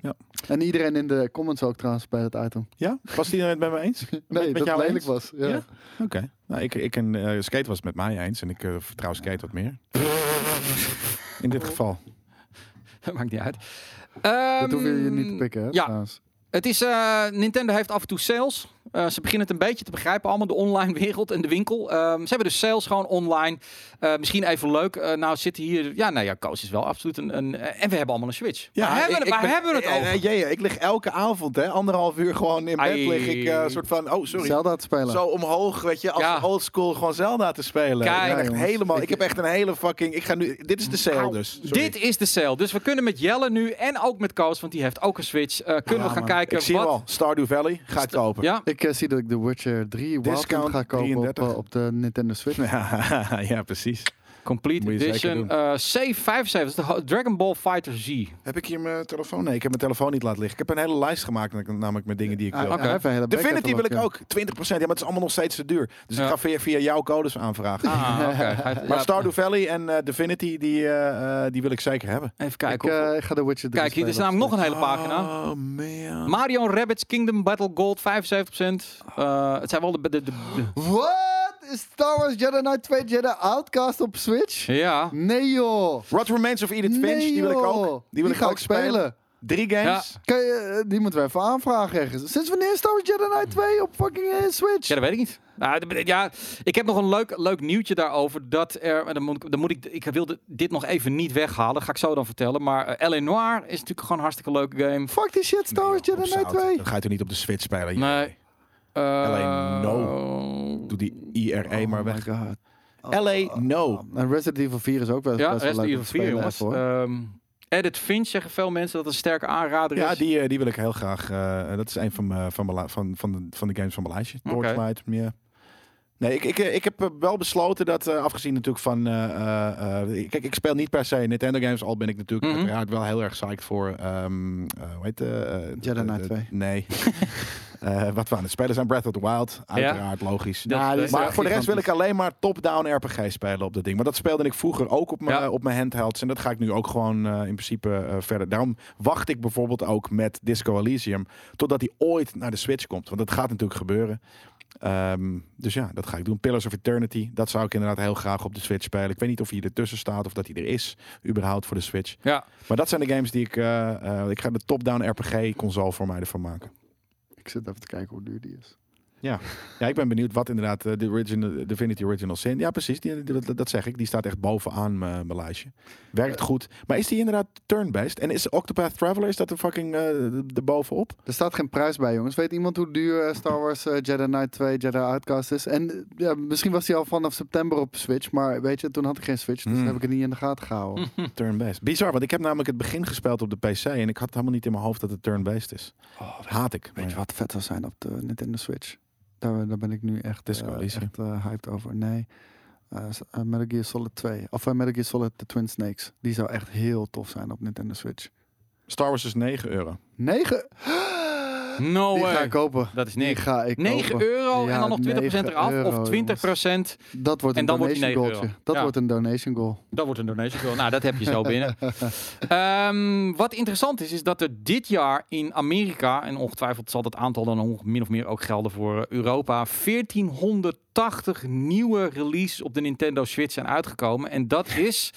[SPEAKER 1] Ja.
[SPEAKER 3] En iedereen in de comments ook trouwens bij dat item.
[SPEAKER 1] Ja? Was die het met me eens?
[SPEAKER 3] [LAUGHS] Nee,
[SPEAKER 1] met
[SPEAKER 3] dat het
[SPEAKER 1] jou
[SPEAKER 3] lelijk
[SPEAKER 1] eens?
[SPEAKER 3] was. Ja.
[SPEAKER 1] Ja? Oké. Nou, ik, ik en eh, Skate was het met mij eens en ik eh, vertrouw Skate wat
[SPEAKER 2] [LAUGHS]
[SPEAKER 1] meer. In dit geval.
[SPEAKER 2] [LAUGHS] maakt niet uit.
[SPEAKER 3] Dat hoef je je niet te
[SPEAKER 2] Ehm,
[SPEAKER 3] pikken, hè?
[SPEAKER 2] ja.
[SPEAKER 3] trouwens.
[SPEAKER 2] Het is, eh, Nintendo heeft af en toe sales. Eh, ze beginnen het een beetje te begrijpen, allemaal de online wereld en de winkel. Ehm, ze hebben dus sales gewoon online. Eh, misschien even leuk. Eh, nou zitten hier, ja, nou ja, Koos is wel absoluut een, een eh, en we hebben allemaal een Switch. Ja, waar hebben, we- waar hebben we het
[SPEAKER 1] eh,
[SPEAKER 2] over?
[SPEAKER 1] ik lig elke avond, hè, anderhalf uur gewoon in bed.
[SPEAKER 2] Ai.
[SPEAKER 1] Lig ik eh, soort van, oh sorry,
[SPEAKER 3] Zelda te spelen.
[SPEAKER 1] zo omhoog, weet je, als
[SPEAKER 2] Ja.
[SPEAKER 1] oldschool gewoon Zelda te spelen. ik,
[SPEAKER 2] Kijk.
[SPEAKER 1] ben echt
[SPEAKER 3] Ja, jongens.
[SPEAKER 1] helemaal, ik,
[SPEAKER 3] Ik-
[SPEAKER 1] heb echt een hele fucking, ik ga nu, dit is de sale
[SPEAKER 2] Au.
[SPEAKER 1] dus. Sorry.
[SPEAKER 2] Nou, Dit is de sale. Dus we kunnen met Jelle nu en ook met Koos, want die heeft ook een Switch. eh, kunnen we
[SPEAKER 3] Ja,
[SPEAKER 2] gaan
[SPEAKER 3] man.
[SPEAKER 2] kijken
[SPEAKER 1] ik zie
[SPEAKER 2] wat...
[SPEAKER 1] hem al, Stardew Valley, ga ik kopen.
[SPEAKER 2] Ja,
[SPEAKER 3] Ik eh, zie dat ik The Witcher 3 Discount
[SPEAKER 1] Discount
[SPEAKER 3] ga kopen op,
[SPEAKER 1] 33.
[SPEAKER 3] eh, op de Nintendo Switch.
[SPEAKER 1] Ja, [LAUGHS] ja, precies.
[SPEAKER 2] Complete
[SPEAKER 1] Moet je zeker
[SPEAKER 2] Edition.
[SPEAKER 1] doen.
[SPEAKER 2] eh C75, de ho- Dragon Ball Fighter Z.
[SPEAKER 1] Heb ik hier mijn telefoon? Nee, ik heb mijn telefoon niet laten liggen. Ik heb een hele lijst gemaakt, namelijk met dingen die ik
[SPEAKER 3] Ah,
[SPEAKER 1] wil.
[SPEAKER 3] hij heeft een hele back
[SPEAKER 1] Divinity wil
[SPEAKER 3] catalog,
[SPEAKER 1] ik
[SPEAKER 3] ja.
[SPEAKER 1] ook. 20%. Ja, maar het is allemaal nog steeds te duur. Dus
[SPEAKER 2] Ja.
[SPEAKER 1] ik ga via, via jouw codes aanvragen.
[SPEAKER 2] Ah, oké. Hij-
[SPEAKER 1] [LAUGHS] Maar
[SPEAKER 2] ja,
[SPEAKER 1] Stardew Valley en eh, Divinity, die, eh, eh, die wil ik zeker hebben.
[SPEAKER 2] Even
[SPEAKER 3] Ik
[SPEAKER 2] kijken. hoeveel-
[SPEAKER 3] eh, ik ga The Witcher 3
[SPEAKER 2] Kijk, hier is
[SPEAKER 3] spelen op
[SPEAKER 2] namelijk nog een
[SPEAKER 3] Switch.
[SPEAKER 2] hele pagina.
[SPEAKER 1] Oh, man.
[SPEAKER 2] Mario Rabbits Kingdom Battle Gold 75%. Eh, het zijn wel de, de, de, de-
[SPEAKER 3] What? Is Star Wars Jedi Knight 2 Jedi Outcast op Switch?
[SPEAKER 2] Ja.
[SPEAKER 3] Nee joh!
[SPEAKER 1] What Remains of Edith Finch,
[SPEAKER 3] Nee,
[SPEAKER 1] die wil ik
[SPEAKER 3] joh.
[SPEAKER 1] ook. Die wil ik
[SPEAKER 3] ga
[SPEAKER 1] ook
[SPEAKER 3] ik spelen.
[SPEAKER 1] Drie games.
[SPEAKER 3] Kan je- eh, die moeten we even aanvragen ergens. Sinds wanneer is Star Wars Jedi Knight 2 op fucking eh, Switch?
[SPEAKER 2] Ja, dat weet ik niet. Nou, de- de- ja, ik heb nog een leuk, leuk nieuwtje daarover. Dat er, en dan moet ik, dan moet ik, ik wilde dit nog even niet weghalen. Ga ik zo dan vertellen. Maar eh, L.A. Noir is natuurlijk gewoon een hartstikke leuke game.
[SPEAKER 3] Fuck die shit, Star Wars Jedi Knight 2.
[SPEAKER 1] Dan ga je toch niet op de Switch spelen?
[SPEAKER 2] Nee. Eh,
[SPEAKER 1] LA
[SPEAKER 2] no.
[SPEAKER 1] Doe die IRE maar weg.
[SPEAKER 3] Oh god. Oh,
[SPEAKER 1] LA, no.
[SPEAKER 3] En Resident Evil 4 is ook wel
[SPEAKER 2] Ja,
[SPEAKER 3] best wel
[SPEAKER 2] Resident
[SPEAKER 3] leuk om
[SPEAKER 2] Evil
[SPEAKER 3] te
[SPEAKER 2] 4,
[SPEAKER 3] spelen
[SPEAKER 2] jongens.
[SPEAKER 3] even, hoor.
[SPEAKER 2] Ehm Edit Finch zeggen veel mensen dat het een sterke aanrader is.
[SPEAKER 1] Ja, die, eh, die wil ik heel graag. eh, dat is een van, mijn- van, mijn la- van, van, de, van de games van mijn lijstje.
[SPEAKER 2] Oké.
[SPEAKER 1] Torchlight, ja. Nee, ik, ik, eh, ik heb eh, wel besloten dat, eh, afgezien natuurlijk van... eh, eh, eh, kijk, ik speel niet per se Nintendo games, al ben ik natuurlijk
[SPEAKER 2] Mhm.
[SPEAKER 1] uiteraard wel heel erg psyched voor... ehm eh, hoe heet eh, eh,
[SPEAKER 3] Jedi Knight
[SPEAKER 1] eh,
[SPEAKER 3] 2.
[SPEAKER 1] Nee. [LAUGHS] Eh, wat we aan het spelen zijn, Breath of the Wild, uiteraard, logisch.
[SPEAKER 2] Dat
[SPEAKER 3] Ja,
[SPEAKER 2] is
[SPEAKER 3] die
[SPEAKER 2] leuk.
[SPEAKER 3] is
[SPEAKER 1] Maar
[SPEAKER 3] echt
[SPEAKER 1] voor de rest wil ik
[SPEAKER 3] gigantisch.
[SPEAKER 1] alleen maar top-down RPG spelen op dat ding. Want dat speelde ik vroeger ook op mijn
[SPEAKER 2] Ja.
[SPEAKER 1] op mijn handhelds. En dat ga ik nu ook gewoon eh, in principe eh, verder. Daarom wacht ik bijvoorbeeld ook met Disco Elysium. Totdat hij ooit naar de Switch komt. Want dat gaat natuurlijk gebeuren. Ehm, dus ja, dat ga ik doen. Pillars of Eternity, dat zou ik inderdaad heel graag op de Switch spelen. Ik weet niet of hij ertussen staat of dat hij er is, überhaupt voor de Switch.
[SPEAKER 2] Ja.
[SPEAKER 1] Maar dat zijn de games die ik... eh, eh, ik ga de top-down RPG-console voor mij ervan maken.
[SPEAKER 3] Ik zit even te kijken hoe duur die is.
[SPEAKER 1] Ja, ik ben benieuwd wat inderdaad eh, de original, Divinity Original Sin... Ja, precies, die, die- dat, dat zeg ik. Die staat echt bovenaan eh, mijn mijn lijstje. Werkt
[SPEAKER 3] Eh.
[SPEAKER 1] goed. Maar is die inderdaad turn-based? En is Octopath Traveler, is dat er fucking eh bovenop?
[SPEAKER 3] Er staat geen prijs bij, jongens. Weet iemand hoe duur eh, Star Wars eh, Jedi Knight 2 Jedi Outcast is? En eh, ja, misschien was die al vanaf september op Switch, maar weet je, toen had ik geen Switch, dus
[SPEAKER 1] Hmm.
[SPEAKER 3] heb ik het niet in de gaten gehouden.
[SPEAKER 1] Turn-based. Bizar, want ik heb namelijk het begin gespeeld op de PC... en ik had helemaal niet in mijn hoofd dat het turn-based is. Haat ik. maar
[SPEAKER 3] Oh, Weet je
[SPEAKER 1] ja.
[SPEAKER 3] wat vet zou zijn op de Nintendo Switch? Daar, daar ben ik nu echt,
[SPEAKER 1] Disco
[SPEAKER 3] eh,
[SPEAKER 1] Elysium.
[SPEAKER 3] echt eh, hyped over. Nee, Eh, s- eh, Metal Gear Solid 2. Of eh, Metal Gear Solid The Twin Snakes. Die zou echt heel tof zijn op Nintendo Switch.
[SPEAKER 1] Star Wars is 9 euro.
[SPEAKER 2] [GASPS]
[SPEAKER 3] 9!
[SPEAKER 2] No
[SPEAKER 3] die ga
[SPEAKER 2] way.
[SPEAKER 3] ik kopen.
[SPEAKER 2] Dat is
[SPEAKER 3] Die
[SPEAKER 2] niks.
[SPEAKER 3] ga ik
[SPEAKER 2] 9
[SPEAKER 3] kopen.
[SPEAKER 2] euro en
[SPEAKER 3] Ja,
[SPEAKER 2] dan nog 20%
[SPEAKER 3] 9
[SPEAKER 2] eraf.
[SPEAKER 3] euro,
[SPEAKER 2] of 20%.
[SPEAKER 3] Dat wordt
[SPEAKER 2] En
[SPEAKER 3] een
[SPEAKER 2] dan wordt die
[SPEAKER 3] donation
[SPEAKER 2] 9
[SPEAKER 3] goaltje.
[SPEAKER 2] euro.
[SPEAKER 3] Dat
[SPEAKER 2] Ja.
[SPEAKER 3] wordt een donation goal. [LAUGHS]
[SPEAKER 2] Dat wordt een donation goal. Nou, dat heb je zo binnen. Ehm, wat interessant is, is dat er dit jaar in Amerika, en ongetwijfeld zal dat aantal dan onge- min of meer ook gelden voor eh, Europa, 1480 nieuwe releases op de Nintendo Switch zijn uitgekomen. En dat is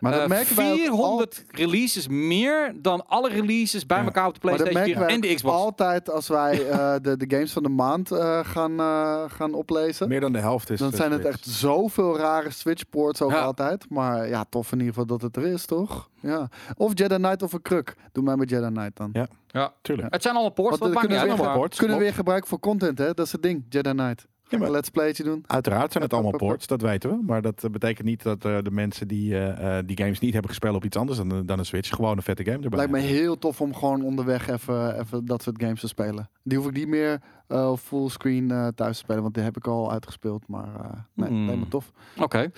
[SPEAKER 3] Maar dat
[SPEAKER 2] eh,
[SPEAKER 3] merken wij ook al-
[SPEAKER 2] 400 releases meer dan alle releases bij
[SPEAKER 1] Ja.
[SPEAKER 2] elkaar op de
[SPEAKER 3] Maar dat
[SPEAKER 2] PlayStation
[SPEAKER 3] merken
[SPEAKER 2] 4
[SPEAKER 3] wij
[SPEAKER 2] en de
[SPEAKER 3] ook
[SPEAKER 2] Xbox.
[SPEAKER 3] altijd als wij eh, de, de games van de maand eh, gaan, eh, gaan oplezen.
[SPEAKER 1] Meer dan de helft is.
[SPEAKER 3] Dan
[SPEAKER 1] eh,
[SPEAKER 3] zijn het
[SPEAKER 1] Switch.
[SPEAKER 3] echt zoveel rare Switch-ports ook
[SPEAKER 2] Ja.
[SPEAKER 3] altijd. Maar ja, tof in ieder geval dat het er is, toch? Ja. Of Jedi Knight of een kruk. Doe mij met Jedi Knight dan.
[SPEAKER 1] Ja, Tuurlijk.
[SPEAKER 2] Het zijn allemaal ports,
[SPEAKER 3] Want
[SPEAKER 2] dat
[SPEAKER 3] dan
[SPEAKER 2] maakt niet
[SPEAKER 3] kunnen
[SPEAKER 2] uit.
[SPEAKER 3] we
[SPEAKER 1] allemaal
[SPEAKER 2] maar-
[SPEAKER 1] ports.
[SPEAKER 3] Kunnen
[SPEAKER 1] klopt.
[SPEAKER 3] we weer gebruiken voor content, hè? Dat is het ding, Jedi Knight.
[SPEAKER 1] Ja,
[SPEAKER 3] Ga ik
[SPEAKER 1] maar-
[SPEAKER 3] een let's playtje doen.
[SPEAKER 1] Uiteraard zijn het
[SPEAKER 3] [LAUGHS]
[SPEAKER 1] allemaal ports, dat weten we. Maar dat eh, betekent niet dat eh, de mensen die eh, eh, die games niet hebben gespeeld op iets anders dan, dan een Switch, gewoon een vette game erbij.
[SPEAKER 3] Lijkt me
[SPEAKER 1] hebben.
[SPEAKER 3] heel tof om gewoon onderweg even, even dat soort games te spelen. Die hoef ik niet meer eh, fullscreen eh, thuis te spelen, want die heb ik al uitgespeeld. Maar eh, nee,
[SPEAKER 2] Hmm.
[SPEAKER 3] lijkt me tof.
[SPEAKER 2] Oké.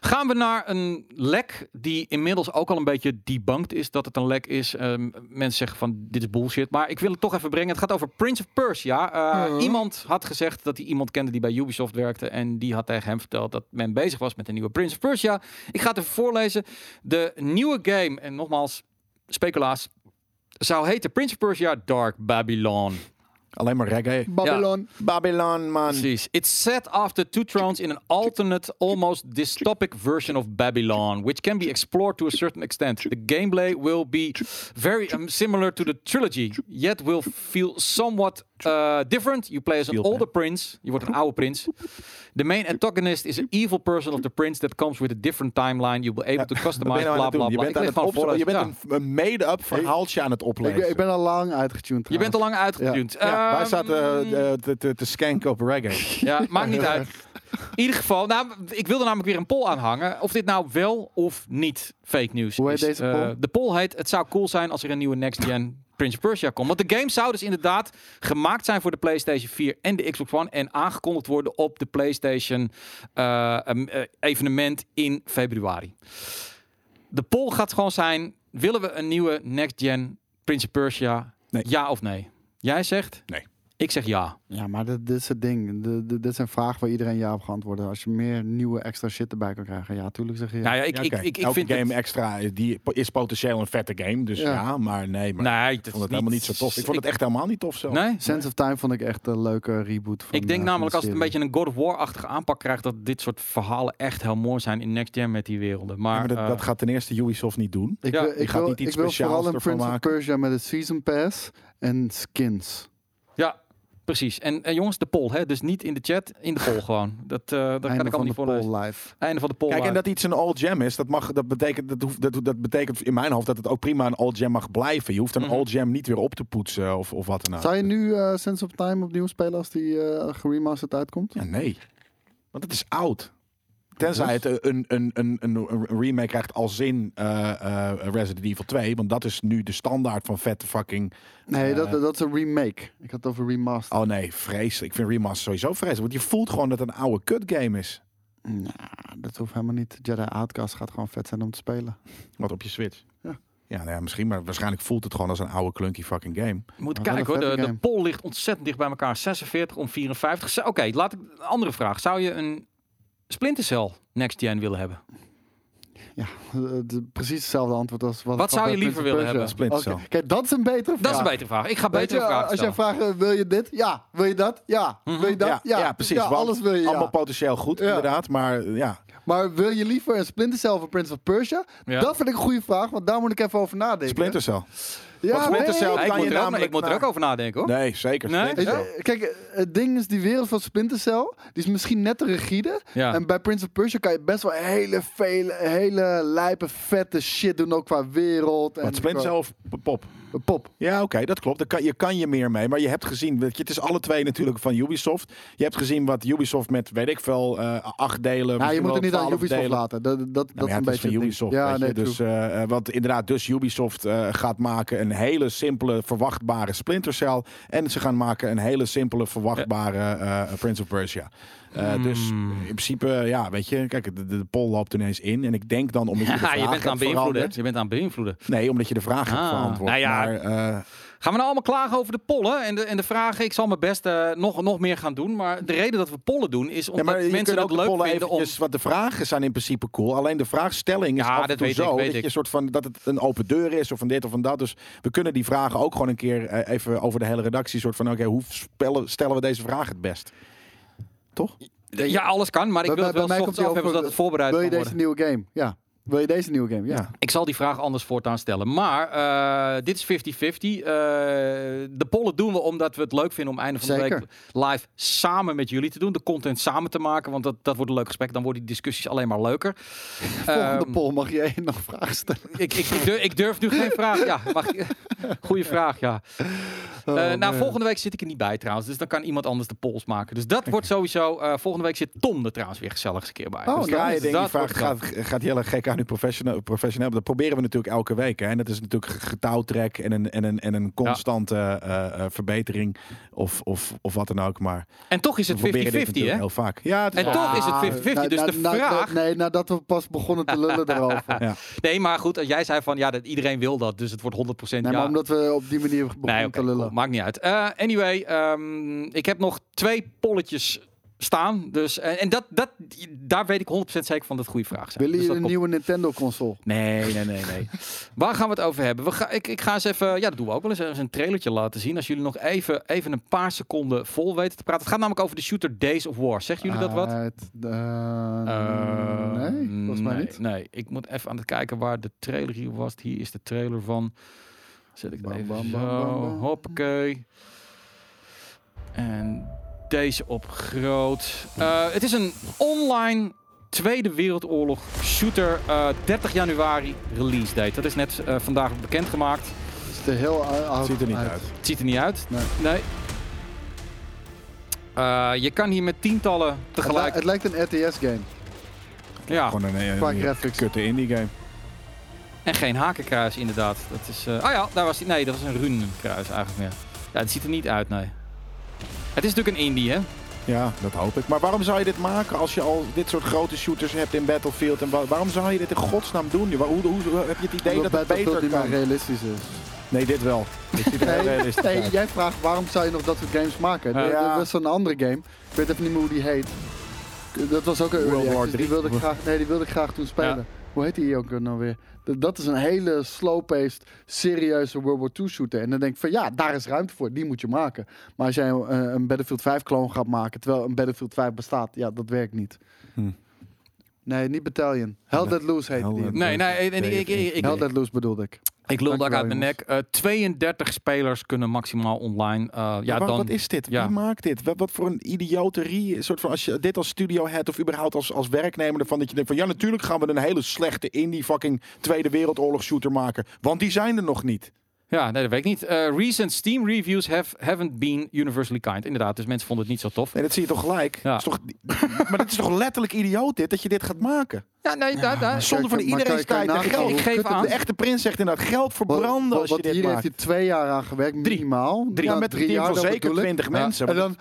[SPEAKER 2] Gaan we naar een lek die inmiddels ook al een beetje debunked is dat het een lek is. Ehm, mensen zeggen van dit is bullshit, maar ik wil het toch even brengen. Het gaat over Prince of Persia. Eh,
[SPEAKER 3] Mhm.
[SPEAKER 2] Iemand had gezegd dat hij iemand kende die bij Ubisoft werkte en die had tegen hem verteld dat men bezig was met een nieuwe Prince of Persia. Ik ga het even voorlezen. De nieuwe game, en nogmaals, speculaas, zou heten Prince of Persia Dark Babylon.
[SPEAKER 1] Alleen maar reggae.
[SPEAKER 3] Babylon.
[SPEAKER 1] Babylon, man.
[SPEAKER 2] Precies. It's set after Two Thrones in an alternate, almost dystopic version of Babylon, which can be explored to a certain extent. The gameplay will be very um, similar to the trilogy, yet will feel somewhat uh, different. You play as an
[SPEAKER 1] Feel bad.
[SPEAKER 2] older prince. Je wordt een oude prins. The main antagonist is an evil person of the prince that comes with a different timeline. You will be able
[SPEAKER 1] [LAUGHS]
[SPEAKER 2] to
[SPEAKER 1] Wat ben
[SPEAKER 2] customize
[SPEAKER 1] je nou aan
[SPEAKER 2] bla
[SPEAKER 1] het
[SPEAKER 2] bla
[SPEAKER 1] doen? Je bent,
[SPEAKER 2] bla. Ik
[SPEAKER 1] aan
[SPEAKER 2] leg
[SPEAKER 1] het
[SPEAKER 2] gewoon
[SPEAKER 1] opzoeken. je
[SPEAKER 2] voorlezen.
[SPEAKER 1] bent
[SPEAKER 2] Ja.
[SPEAKER 1] een, een made-up verhaaltje aan het
[SPEAKER 3] Ik,
[SPEAKER 1] oplezen.
[SPEAKER 3] ik ben al lang uitgetuned.
[SPEAKER 2] Je bent al lang uitgetuned.
[SPEAKER 1] ja, wij
[SPEAKER 2] Ehm,
[SPEAKER 1] zaten eh, eh, te, te, te skanken op reggae.
[SPEAKER 3] [LAUGHS]
[SPEAKER 2] Ja, maakt niet uit. In ieder geval, nou, ik wilde namelijk weer een poll aanhangen. Of dit nou wel of niet fake news
[SPEAKER 3] Hoe heet
[SPEAKER 2] is.
[SPEAKER 3] deze
[SPEAKER 2] Eh,
[SPEAKER 3] poll?
[SPEAKER 2] de poll heet, het zou cool zijn als er een nieuwe next gen Prince of Persia komt. Want de game zou dus inderdaad gemaakt zijn voor de PlayStation 4 en de Xbox One. En aangekondigd worden op de PlayStation eh, em- eh, evenement in februari. De poll gaat gewoon zijn, willen we een nieuwe next gen Prince of Persia?
[SPEAKER 1] Nee.
[SPEAKER 2] Ja of nee? Jij zegt?
[SPEAKER 1] Nee.
[SPEAKER 2] Ik zeg ja.
[SPEAKER 3] Ja, maar dit, dit is het ding. De- de- dit is een vraag waar iedereen ja op gaat antwoorden. Als je meer nieuwe extra shit erbij kan krijgen. Ja, tuurlijk zeg je ja.
[SPEAKER 2] Nou ja, ik,
[SPEAKER 1] Ja,
[SPEAKER 2] ik,
[SPEAKER 1] oké.
[SPEAKER 2] ik, ik
[SPEAKER 1] Elke
[SPEAKER 2] vind
[SPEAKER 1] game
[SPEAKER 2] het-
[SPEAKER 1] extra eh, die is potentieel een vette game. Dus ja,
[SPEAKER 3] Ja.
[SPEAKER 1] maar nee. Maar
[SPEAKER 2] nee, dat
[SPEAKER 1] ik vond het helemaal niet zo tof. Ik vond het echt helemaal niet tof zo.
[SPEAKER 2] Nee?
[SPEAKER 3] Sense of Time vond ik echt een leuke reboot. Van,
[SPEAKER 2] Ik denk
[SPEAKER 3] eh, van
[SPEAKER 2] namelijk
[SPEAKER 3] de
[SPEAKER 2] als het een
[SPEAKER 3] serie.
[SPEAKER 2] beetje een God of War-achtige aanpak krijgt, dat dit soort verhalen echt heel mooi zijn in Next Gen met die werelden. Maar,
[SPEAKER 1] Ja, maar dat,
[SPEAKER 2] eh,
[SPEAKER 1] dat gaat ten eerste Ubisoft niet doen.
[SPEAKER 3] Ik,
[SPEAKER 2] Ja,
[SPEAKER 3] wil-
[SPEAKER 1] die
[SPEAKER 3] ik,
[SPEAKER 1] gaat
[SPEAKER 3] wil,
[SPEAKER 1] niet iets
[SPEAKER 3] ik wil
[SPEAKER 1] speciaals
[SPEAKER 3] vooral een
[SPEAKER 1] ervan
[SPEAKER 3] Prince of
[SPEAKER 1] maken.
[SPEAKER 3] Persia met een Season Pass en skins.
[SPEAKER 2] ja, precies. En eh, jongens, de poll, hè? dus niet in de chat, in de poll gewoon. Dat, eh daar kan
[SPEAKER 3] Einde
[SPEAKER 2] ik allemaal
[SPEAKER 3] van de
[SPEAKER 2] niet voor lezen.
[SPEAKER 3] poll live.
[SPEAKER 2] Einde van de poll.
[SPEAKER 1] Kijk, en
[SPEAKER 2] uit.
[SPEAKER 1] dat iets een all gem is, dat, mag, dat, betekent, dat, hoeft, dat, dat betekent in mijn hoofd dat het ook prima een all gem mag blijven. Je hoeft een
[SPEAKER 2] Mhm.
[SPEAKER 1] all gem niet weer op te poetsen of, of wat dan ook.
[SPEAKER 3] Zou je nu eh, Sense of Time opnieuw spelen als die eh geremasterd uitkomt?
[SPEAKER 1] Ja, nee. Want het is oud. Tenzij
[SPEAKER 3] Dus?
[SPEAKER 1] het eh, een, een, een, een, een remake krijgt als in eh, eh, Resident Evil 2. Want dat is nu de standaard van vette fucking...
[SPEAKER 3] Nee,
[SPEAKER 1] Eh.
[SPEAKER 3] dat, dat is een remake. Ik had het over remaster.
[SPEAKER 1] Oh nee, vrees. Ik vind remaster sowieso vreselijk. Want je voelt gewoon dat het een oude kut game is.
[SPEAKER 3] Nou, dat hoeft helemaal niet. Jedi Outcast gaat gewoon vet zijn om te spelen.
[SPEAKER 1] Wat op je Switch.
[SPEAKER 3] Ja.
[SPEAKER 1] Ja, nou ja, misschien, maar waarschijnlijk voelt het gewoon als een oude clunky fucking game.
[SPEAKER 2] Moet
[SPEAKER 3] Maar wel
[SPEAKER 2] kijken hoor,
[SPEAKER 3] een
[SPEAKER 2] de,
[SPEAKER 3] vette
[SPEAKER 2] de
[SPEAKER 3] game.
[SPEAKER 2] poll ligt ontzettend dicht bij elkaar. 46 om 54. Zou- Oké, laat ik een andere vraag. Zou je een Splinter Cell Next Gen willen hebben?
[SPEAKER 3] Ja. de- precies hetzelfde antwoord als wat.
[SPEAKER 2] Wat
[SPEAKER 3] ik
[SPEAKER 2] zou
[SPEAKER 3] had
[SPEAKER 2] je
[SPEAKER 3] bij
[SPEAKER 2] liever
[SPEAKER 3] Prince of
[SPEAKER 2] willen
[SPEAKER 3] Persia.
[SPEAKER 1] hebben? Splinter
[SPEAKER 3] Oké, Kijk, dat is een betere
[SPEAKER 2] Dat
[SPEAKER 3] vraag.
[SPEAKER 2] is een betere vraag. Mhm. Ik ga
[SPEAKER 3] Weet
[SPEAKER 2] betere
[SPEAKER 3] je,
[SPEAKER 2] vragen
[SPEAKER 3] als jij
[SPEAKER 2] stellen.
[SPEAKER 3] vraagt, eh, wil je dit? Ja. Wil je dat? Ja. Wil je dat?
[SPEAKER 1] Ja, ja, precies.
[SPEAKER 3] Ja,
[SPEAKER 1] want
[SPEAKER 3] alles wil je, ja.
[SPEAKER 1] Allemaal potentieel goed,
[SPEAKER 3] Ja.
[SPEAKER 1] inderdaad. Maar eh, ja,
[SPEAKER 3] Maar wil je liever een Splinter Cell of Prince of Persia?
[SPEAKER 2] Ja.
[SPEAKER 3] Dat vind ik een goede vraag, want daar moet ik even over nadenken.
[SPEAKER 1] Splinter Cell.
[SPEAKER 3] ja,
[SPEAKER 1] want Splinter
[SPEAKER 3] nee.
[SPEAKER 1] Cell-
[SPEAKER 2] Nee, ik,
[SPEAKER 1] kan je
[SPEAKER 2] moet er ook,
[SPEAKER 1] namelijk
[SPEAKER 2] ik moet er ook
[SPEAKER 1] naar-
[SPEAKER 2] over nadenken hoor.
[SPEAKER 1] Nee, zeker.
[SPEAKER 2] Nee?
[SPEAKER 1] Splinter Cell.
[SPEAKER 3] Weet je, Kijk, eh, het ding is, die wereld van Splinter Cell, die is misschien net te rigide.
[SPEAKER 2] Ja.
[SPEAKER 3] En bij Prince of Persia kan je best wel hele, vele, hele lijpe, vette shit doen, ook qua wereld. en
[SPEAKER 1] Want Splinter Cell
[SPEAKER 3] qua-
[SPEAKER 1] of pop?
[SPEAKER 3] Pop.
[SPEAKER 1] Ja, oké, dat klopt. Daar kan, je kan je meer mee. Maar je hebt gezien, weet je, het is alle twee natuurlijk van Ubisoft. Je hebt gezien wat Ubisoft met, weet ik veel, eh, acht delen.
[SPEAKER 3] Ja, je
[SPEAKER 1] misschien
[SPEAKER 3] moet het
[SPEAKER 1] wel
[SPEAKER 3] niet aan
[SPEAKER 1] 12
[SPEAKER 3] Ubisoft
[SPEAKER 1] delen.
[SPEAKER 3] laten. Dat, dat, dat
[SPEAKER 1] Nou
[SPEAKER 3] is
[SPEAKER 1] ja,
[SPEAKER 3] een
[SPEAKER 1] het is
[SPEAKER 3] beetje
[SPEAKER 1] van
[SPEAKER 3] het ding.
[SPEAKER 1] Ubisoft.
[SPEAKER 3] Ja,
[SPEAKER 1] weet
[SPEAKER 3] nee,
[SPEAKER 1] je. Dus,
[SPEAKER 3] true.
[SPEAKER 1] eh, eh, want inderdaad, dus Ubisoft eh, gaat maken een hele simpele, verwachtbare Splinter Cell. En ze gaan maken een hele simpele, verwachtbare eh, Prince of Persia. Eh, Dus
[SPEAKER 2] Hmm.
[SPEAKER 1] in principe, ja, weet je, kijk, de, de poll loopt ineens in. En ik denk dan omdat je de
[SPEAKER 2] [LAUGHS] Ja,
[SPEAKER 1] vraag
[SPEAKER 2] Ah, je bent
[SPEAKER 1] hebt
[SPEAKER 2] aan het beïnvloeden. hè.
[SPEAKER 1] veranderd.
[SPEAKER 2] Je bent aan het beïnvloeden.
[SPEAKER 1] Nee, omdat je de vraag hebt
[SPEAKER 2] Ah,
[SPEAKER 1] verantwoord.
[SPEAKER 2] nou ja.
[SPEAKER 1] Maar, eh,
[SPEAKER 2] Gaan we nou allemaal klagen over de pollen en de, en de vragen? Ik zal mijn best eh, nog, nog meer gaan doen. Maar de reden dat we pollen doen is
[SPEAKER 1] Ja,
[SPEAKER 2] omdat
[SPEAKER 1] maar je
[SPEAKER 2] mensen
[SPEAKER 1] kunt
[SPEAKER 2] dat
[SPEAKER 1] ook de
[SPEAKER 2] leuk
[SPEAKER 1] pollen
[SPEAKER 2] vinden om...
[SPEAKER 1] eventjes, want de vragen zijn in principe cool. Alleen de vraagstelling is
[SPEAKER 2] Ja,
[SPEAKER 1] af en
[SPEAKER 2] dat
[SPEAKER 1] toe
[SPEAKER 2] weet ik,
[SPEAKER 1] zo
[SPEAKER 2] weet
[SPEAKER 1] dat
[SPEAKER 2] ik.
[SPEAKER 1] je soort van dat het een open deur is of van dit of van dat. Dus we kunnen die vragen ook gewoon een keer eh, even over de hele redactie soort van oké, hoe spellen, stellen we deze vraag het best? Toch?
[SPEAKER 2] Ja, alles kan, maar ik
[SPEAKER 3] Bij-
[SPEAKER 2] wil het
[SPEAKER 3] bij
[SPEAKER 2] wel
[SPEAKER 3] mij
[SPEAKER 2] s ochtends
[SPEAKER 3] komt die
[SPEAKER 2] af hebben
[SPEAKER 3] over-
[SPEAKER 2] zodat het voorbereid
[SPEAKER 3] Wil je
[SPEAKER 2] kan
[SPEAKER 3] deze
[SPEAKER 2] worden.
[SPEAKER 3] nieuwe game? Ja. Wil je deze nieuwe game? Ja.
[SPEAKER 2] Ik zal die vraag anders voortaan stellen. Maar eh, dit is 50-50. Eh, de pollen doen we omdat we het leuk vinden om einde van de
[SPEAKER 3] Zeker.
[SPEAKER 2] week live samen met jullie te doen. De content samen te maken, want dat, dat wordt een leuk gesprek. Dan worden die discussies alleen maar leuker.
[SPEAKER 3] Volgende
[SPEAKER 2] Ehm,
[SPEAKER 3] poll mag je één [LAUGHS] nog vragen stellen.
[SPEAKER 2] ik, ik, ik, durf, ik durf nu
[SPEAKER 3] [LAUGHS]
[SPEAKER 2] geen vraag. Ja, mag, [LAUGHS] goeie vraag, ja. Eh,
[SPEAKER 3] Oh,
[SPEAKER 2] nou, volgende week zit ik er niet bij trouwens. Dus dan kan iemand anders de polls maken. Dus dat wordt sowieso... eh, volgende week zit Tom er trouwens weer gezellig eens een keer bij.
[SPEAKER 3] Oh,
[SPEAKER 2] Dus
[SPEAKER 1] Dus draaien
[SPEAKER 2] dat-
[SPEAKER 1] dingen,
[SPEAKER 2] dat
[SPEAKER 1] die
[SPEAKER 2] wordt
[SPEAKER 1] vraag gaat, gaat heel erg gek aan uw professioneel. professioneel. Dat proberen we natuurlijk elke week. Hè? En dat is natuurlijk getouwtrek en een, en een, en een constante eh, eh, verbetering of, of, of wat dan ook. Maar
[SPEAKER 2] En toch is
[SPEAKER 1] we
[SPEAKER 2] het 50-50,
[SPEAKER 1] proberen dit natuurlijk
[SPEAKER 2] hè?
[SPEAKER 1] heel vaak. Ja, het is
[SPEAKER 2] En
[SPEAKER 1] wel-
[SPEAKER 2] toch is het 50-50.
[SPEAKER 3] Nou,
[SPEAKER 2] dus
[SPEAKER 3] nou,
[SPEAKER 2] de
[SPEAKER 3] nou,
[SPEAKER 2] vraag...
[SPEAKER 3] Nee, nadat we pas begonnen te lullen
[SPEAKER 2] [LAUGHS]
[SPEAKER 3] erover.
[SPEAKER 1] ja.
[SPEAKER 2] Nee, maar goed, eh, jij zei van ja, dat iedereen wil dat, dus het wordt 100% ja.
[SPEAKER 3] Nee, maar omdat we op die manier begonnen
[SPEAKER 2] nee, oké,
[SPEAKER 3] te lullen.
[SPEAKER 2] cool, maakt niet uit. Eh, anyway, ehm, ik heb nog twee polletjes staan, dus en, en dat, dat, daar weet ik 100% zeker van dat het goede vraag zijn.
[SPEAKER 3] Willen
[SPEAKER 2] Dus
[SPEAKER 3] jullie
[SPEAKER 2] dat
[SPEAKER 3] een
[SPEAKER 2] komt-
[SPEAKER 3] nieuwe Nintendo-console?
[SPEAKER 2] Nee, nee, nee, nee. Waar gaan we het over hebben? We ga, ik, ik ga eens even, ja, dat doen we ook wel eens, eens een trailertje laten zien. Als jullie nog even, even een paar seconden vol weten te praten. Het gaat namelijk over de shooter Days of War. Zeggen jullie dat wat?
[SPEAKER 3] Uit- eh,
[SPEAKER 2] Eh,
[SPEAKER 3] nee, volgens mij
[SPEAKER 2] nee,
[SPEAKER 3] niet.
[SPEAKER 2] Nee, ik moet even aan het kijken waar de trailer hier was. Hier is de trailer van. Zet ik het
[SPEAKER 3] Bam,
[SPEAKER 2] even
[SPEAKER 3] bam,
[SPEAKER 2] zo.
[SPEAKER 3] bam, bam, bam.
[SPEAKER 2] Hoppakee. En deze op groot. Eh, het is een online Tweede Wereldoorlog shooter. eh, 30 januari release date. Dat is net eh, vandaag bekendgemaakt.
[SPEAKER 3] Het ziet er heel ou- oud
[SPEAKER 1] ziet er niet uit.
[SPEAKER 2] Het ziet er niet uit.
[SPEAKER 3] Nee.
[SPEAKER 2] Nee. Eh, je kan hier met tientallen
[SPEAKER 3] Het, li-
[SPEAKER 2] tegelijk.
[SPEAKER 3] het lijkt een RTS-game.
[SPEAKER 2] ja.
[SPEAKER 1] Gewoon een, eh,
[SPEAKER 3] Qua
[SPEAKER 1] een
[SPEAKER 3] graphics.
[SPEAKER 1] kutte indie game.
[SPEAKER 2] En geen hakenkruis, inderdaad. Dat is, eh, oh ja, daar was hij. Nee, dat was een runenkruis eigenlijk meer. Ja, het ziet er niet uit, nee. Het is natuurlijk een indie, hè?
[SPEAKER 1] Ja, dat hoop ik. Maar waarom zou je dit maken als je al dit soort grote shooters hebt in Battlefield? En wa- waarom zou je dit in godsnaam doen? Waar- Hoe, hoe, hoe- heb je het idee
[SPEAKER 3] omdat
[SPEAKER 1] dat het
[SPEAKER 3] Battlefield
[SPEAKER 1] beter
[SPEAKER 3] niet meer
[SPEAKER 1] kan?
[SPEAKER 3] realistisch is.
[SPEAKER 1] Nee, dit wel. Dit ziet er heel realistisch
[SPEAKER 3] Nee,
[SPEAKER 1] uit.
[SPEAKER 3] jij vraagt waarom zou je nog dat soort games maken?
[SPEAKER 2] Ja.
[SPEAKER 3] Er- Er was zo'n andere game. Ik weet even niet meer hoe die heet. Dat was ook een
[SPEAKER 1] World
[SPEAKER 3] early
[SPEAKER 1] War
[SPEAKER 3] access. Die
[SPEAKER 1] III.
[SPEAKER 3] wilde ik graag, nee, die wilde ik graag toen spelen.
[SPEAKER 2] Ja.
[SPEAKER 3] Hoe heet die ook nou weer? D- Dat is een hele slow-paced, serieuze World War II shooter. En dan denk ik van ja, daar is ruimte voor. Die moet je maken. Maar als jij een, een Battlefield 5 kloon gaat maken, terwijl een Battlefield 5 bestaat, ja, dat werkt niet.
[SPEAKER 1] Hm.
[SPEAKER 3] Nee, niet Battalion. Hell
[SPEAKER 1] Nee.
[SPEAKER 3] That Loose heet
[SPEAKER 1] Hell
[SPEAKER 3] die.
[SPEAKER 1] Let
[SPEAKER 2] Nee, nee,
[SPEAKER 1] Loose.
[SPEAKER 2] en- en- ik- ik- ik-
[SPEAKER 3] Hell That Loose bedoelde ik.
[SPEAKER 2] Ik lul daar
[SPEAKER 3] Dankjewel,
[SPEAKER 2] uit mijn nek. Eh, 32 spelers kunnen maximaal online. eh, ja,
[SPEAKER 1] Maar wa-
[SPEAKER 2] dan...
[SPEAKER 1] Wat is dit?
[SPEAKER 2] ja.
[SPEAKER 1] Wie maakt dit? Wat, wat voor een idioterie? Een soort van, als je dit als studio had of überhaupt als, als werknemer ervan, dat je denkt van ja, natuurlijk gaan we een hele slechte indie fucking Tweede Wereldoorlog shooter maken. Want die zijn er nog niet.
[SPEAKER 2] Ja, nee, dat weet ik niet. Eh, recent Steam reviews have, haven't been universally kind. Inderdaad, dus mensen vonden het niet zo tof.
[SPEAKER 1] Nee, dat zie je toch gelijk?
[SPEAKER 2] Ja.
[SPEAKER 1] Dat is toch, [LAUGHS] maar dit is toch letterlijk idioot dit, dat je dit gaat maken?
[SPEAKER 2] Ja, nee, daar, daar.
[SPEAKER 1] Zonder van
[SPEAKER 3] Kijk, maar
[SPEAKER 1] iedereen's
[SPEAKER 3] kan- kan je
[SPEAKER 1] tijd en
[SPEAKER 3] nagaan
[SPEAKER 1] geld.
[SPEAKER 2] Ik
[SPEAKER 3] hoe
[SPEAKER 2] geef
[SPEAKER 3] kut het
[SPEAKER 2] aan.
[SPEAKER 1] De echte prins zegt inderdaad geld verbranden
[SPEAKER 3] Wat-
[SPEAKER 1] als je
[SPEAKER 3] wat
[SPEAKER 1] dit
[SPEAKER 3] hier
[SPEAKER 1] maakt.
[SPEAKER 3] heeft hij twee jaar aan gewerkt, minimaal.
[SPEAKER 1] Drie, met een team van
[SPEAKER 3] dat
[SPEAKER 1] zeker
[SPEAKER 3] bedoel ik.
[SPEAKER 1] 20
[SPEAKER 3] Ja.
[SPEAKER 1] mensen.
[SPEAKER 3] En dan,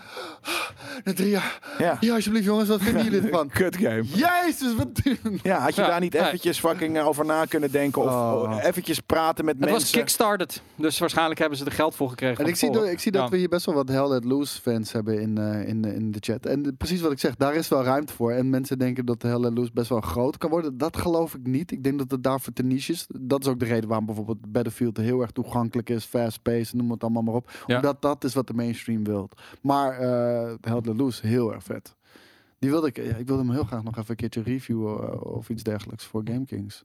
[SPEAKER 3] na drie jaar.
[SPEAKER 1] ja.
[SPEAKER 3] Ja, alsjeblieft jongens, wat vinden jullie
[SPEAKER 1] [LAUGHS]
[SPEAKER 3] ervan?
[SPEAKER 1] Kut game.
[SPEAKER 3] Jezus, wat duur.
[SPEAKER 1] Ja, had je
[SPEAKER 2] Ja,
[SPEAKER 1] daar niet
[SPEAKER 2] nee.
[SPEAKER 1] eventjes fucking eh, over na kunnen denken of
[SPEAKER 3] Oh.
[SPEAKER 1] oh, eventjes praten met
[SPEAKER 2] Het was
[SPEAKER 1] mensen?
[SPEAKER 2] kickstarted, dus waarschijnlijk hebben ze er geld voor gekregen.
[SPEAKER 3] En
[SPEAKER 2] van
[SPEAKER 3] ik zie,
[SPEAKER 2] tevoren.
[SPEAKER 3] dat- ik zie dat
[SPEAKER 2] Ja.
[SPEAKER 3] we hier best wel wat Hell Let Loose fans hebben in, eh, in, de- in de chat. En de- precies wat ik zeg, daar is wel ruimte voor. En mensen denken dat Hell Let Loose best wel een groot groot kan worden, dat geloof ik niet. Ik denk dat het daarvoor te niche is. Dat is ook de reden waarom bijvoorbeeld Battlefield heel erg toegankelijk is, fast-paced, noem het allemaal maar op.
[SPEAKER 2] Ja.
[SPEAKER 3] Omdat dat is wat de mainstream wilt. Maar eh Held Loose, heel erg vet. Die wilde ik, ja, ik wilde hem heel graag nog even een keertje reviewen eh, of iets dergelijks voor Game Kings.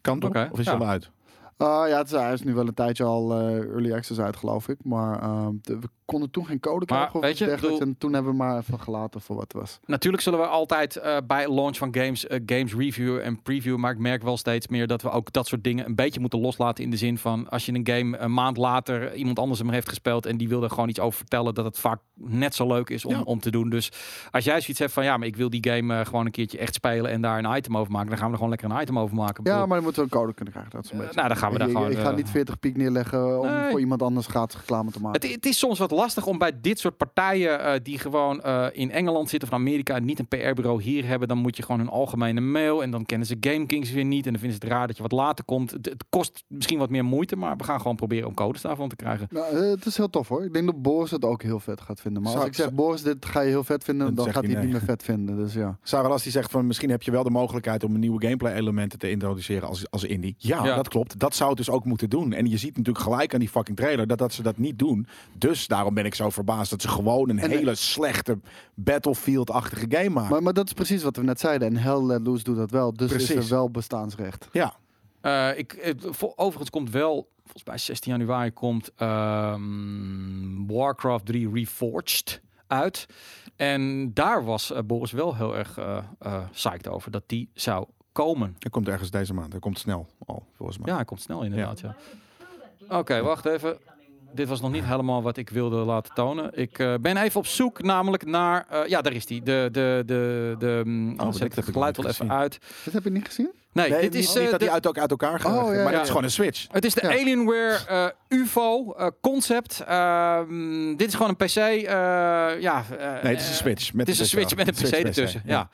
[SPEAKER 1] Kan toch?
[SPEAKER 2] Oké,
[SPEAKER 1] Of is
[SPEAKER 2] ja.
[SPEAKER 1] het al uit?
[SPEAKER 3] Ah ja, het is, hij is nu wel een tijdje al eh, early access uit, geloof ik. Maar ehm, de- we konden toen geen code krijgen of
[SPEAKER 2] weet
[SPEAKER 3] iets
[SPEAKER 2] je,
[SPEAKER 3] dergelijks.
[SPEAKER 2] bedoel-
[SPEAKER 3] En toen hebben we maar even gelaten voor wat het was.
[SPEAKER 2] Natuurlijk zullen we altijd eh, bij launch van games, eh, games reviewen en previewen. Maar ik merk wel steeds meer dat we ook dat soort dingen een beetje moeten loslaten. In de zin van als je een game een maand later iemand anders hem heeft gespeeld. en die wil er gewoon iets over vertellen. dat het vaak net zo leuk is om,
[SPEAKER 1] Ja.
[SPEAKER 2] om te doen. Dus als jij zoiets hebt van ja, maar ik wil die game eh, gewoon een keertje echt spelen. en daar een item over maken. dan gaan we er gewoon lekker een item over maken. Ik
[SPEAKER 3] Ja,
[SPEAKER 2] bedoel,
[SPEAKER 3] maar dan moeten we een code kunnen krijgen. Dat is een
[SPEAKER 2] Eh,
[SPEAKER 3] beetje.
[SPEAKER 2] nou, dan gaan we daar
[SPEAKER 3] ik,
[SPEAKER 2] gewoon,
[SPEAKER 3] Ik ga
[SPEAKER 2] eh,
[SPEAKER 3] niet 40 piek neerleggen om
[SPEAKER 2] Nee.
[SPEAKER 3] voor iemand anders gratis reclame te maken.
[SPEAKER 2] Het, het is soms wat lastig om bij dit soort partijen eh, die gewoon eh, in Engeland zitten of in Amerika en niet een PR-bureau hier hebben, dan moet je gewoon hun algemene mail en dan kennen ze GameKings weer niet en dan vinden ze het raar dat je wat later komt. Het, het kost misschien wat meer moeite, maar we gaan gewoon proberen om codes daarvan te krijgen.
[SPEAKER 3] Nou, eh, het is heel tof hoor. Ik denk dat Boris het ook heel vet gaat vinden. Maar als
[SPEAKER 1] Zou-
[SPEAKER 3] ik zeg Boris, dit ga je heel vet vinden,
[SPEAKER 1] Dan
[SPEAKER 3] dan,
[SPEAKER 1] zegt
[SPEAKER 3] gaat
[SPEAKER 1] hij
[SPEAKER 3] hij het niet meer vet vinden. Dus ja.
[SPEAKER 1] Sarah Las die zegt van misschien heb je wel de mogelijkheid om nieuwe gameplay elementen te introduceren als, als indie. Ja,
[SPEAKER 2] Ja.
[SPEAKER 1] dat klopt. Dat zou het dus ook moeten doen. En je ziet natuurlijk gelijk aan die fucking trailer dat, dat ze dat niet doen. Dus daarom ben ik zo verbaasd dat ze gewoon een
[SPEAKER 3] En-
[SPEAKER 1] hele slechte Battlefield-achtige game maken.
[SPEAKER 3] Maar, maar dat is precies wat we net zeiden. En Hell Let Loose doet dat wel. Dus is
[SPEAKER 1] Precies.
[SPEAKER 3] er wel bestaansrecht.
[SPEAKER 1] ja,
[SPEAKER 2] Eh, ik, eh, vo- overigens komt wel, volgens mij 16 januari komt ehm, Warcraft 3 Reforged uit. En daar was eh, Boris wel heel erg eh eh, psyched over dat die zou komen.
[SPEAKER 1] dat komt ergens deze maand. Dat komt snel al, volgens mij.
[SPEAKER 2] Ja, hij komt snel inderdaad, ja. Oké, wacht even. Dit was nog niet helemaal wat ik wilde laten tonen. Ik eh, ben even op zoek namelijk naar... eh, ja, daar is die. De, de, de, de, mm, anders
[SPEAKER 1] dit
[SPEAKER 2] zet ik
[SPEAKER 1] Oh, heb ik
[SPEAKER 2] het geluid
[SPEAKER 1] nog
[SPEAKER 2] wel
[SPEAKER 1] niet
[SPEAKER 2] even uit.
[SPEAKER 3] Dat heb je niet gezien?
[SPEAKER 2] Nee,
[SPEAKER 1] Nee,
[SPEAKER 2] dit is...
[SPEAKER 1] niet, niet
[SPEAKER 2] eh,
[SPEAKER 1] dat
[SPEAKER 2] de-
[SPEAKER 1] die uit, ook uit elkaar gaan.
[SPEAKER 3] Oh, ja,
[SPEAKER 1] maar
[SPEAKER 3] ja,
[SPEAKER 1] het is
[SPEAKER 2] ja.
[SPEAKER 1] gewoon een switch.
[SPEAKER 2] het is de
[SPEAKER 3] ja.
[SPEAKER 2] Alienware eh, UFO eh, concept. Ehm, dit is gewoon een PC. eh, ja, eh,
[SPEAKER 1] Nee, het is een switch. Met
[SPEAKER 2] Het is een switch met een PC ertussen. Ja.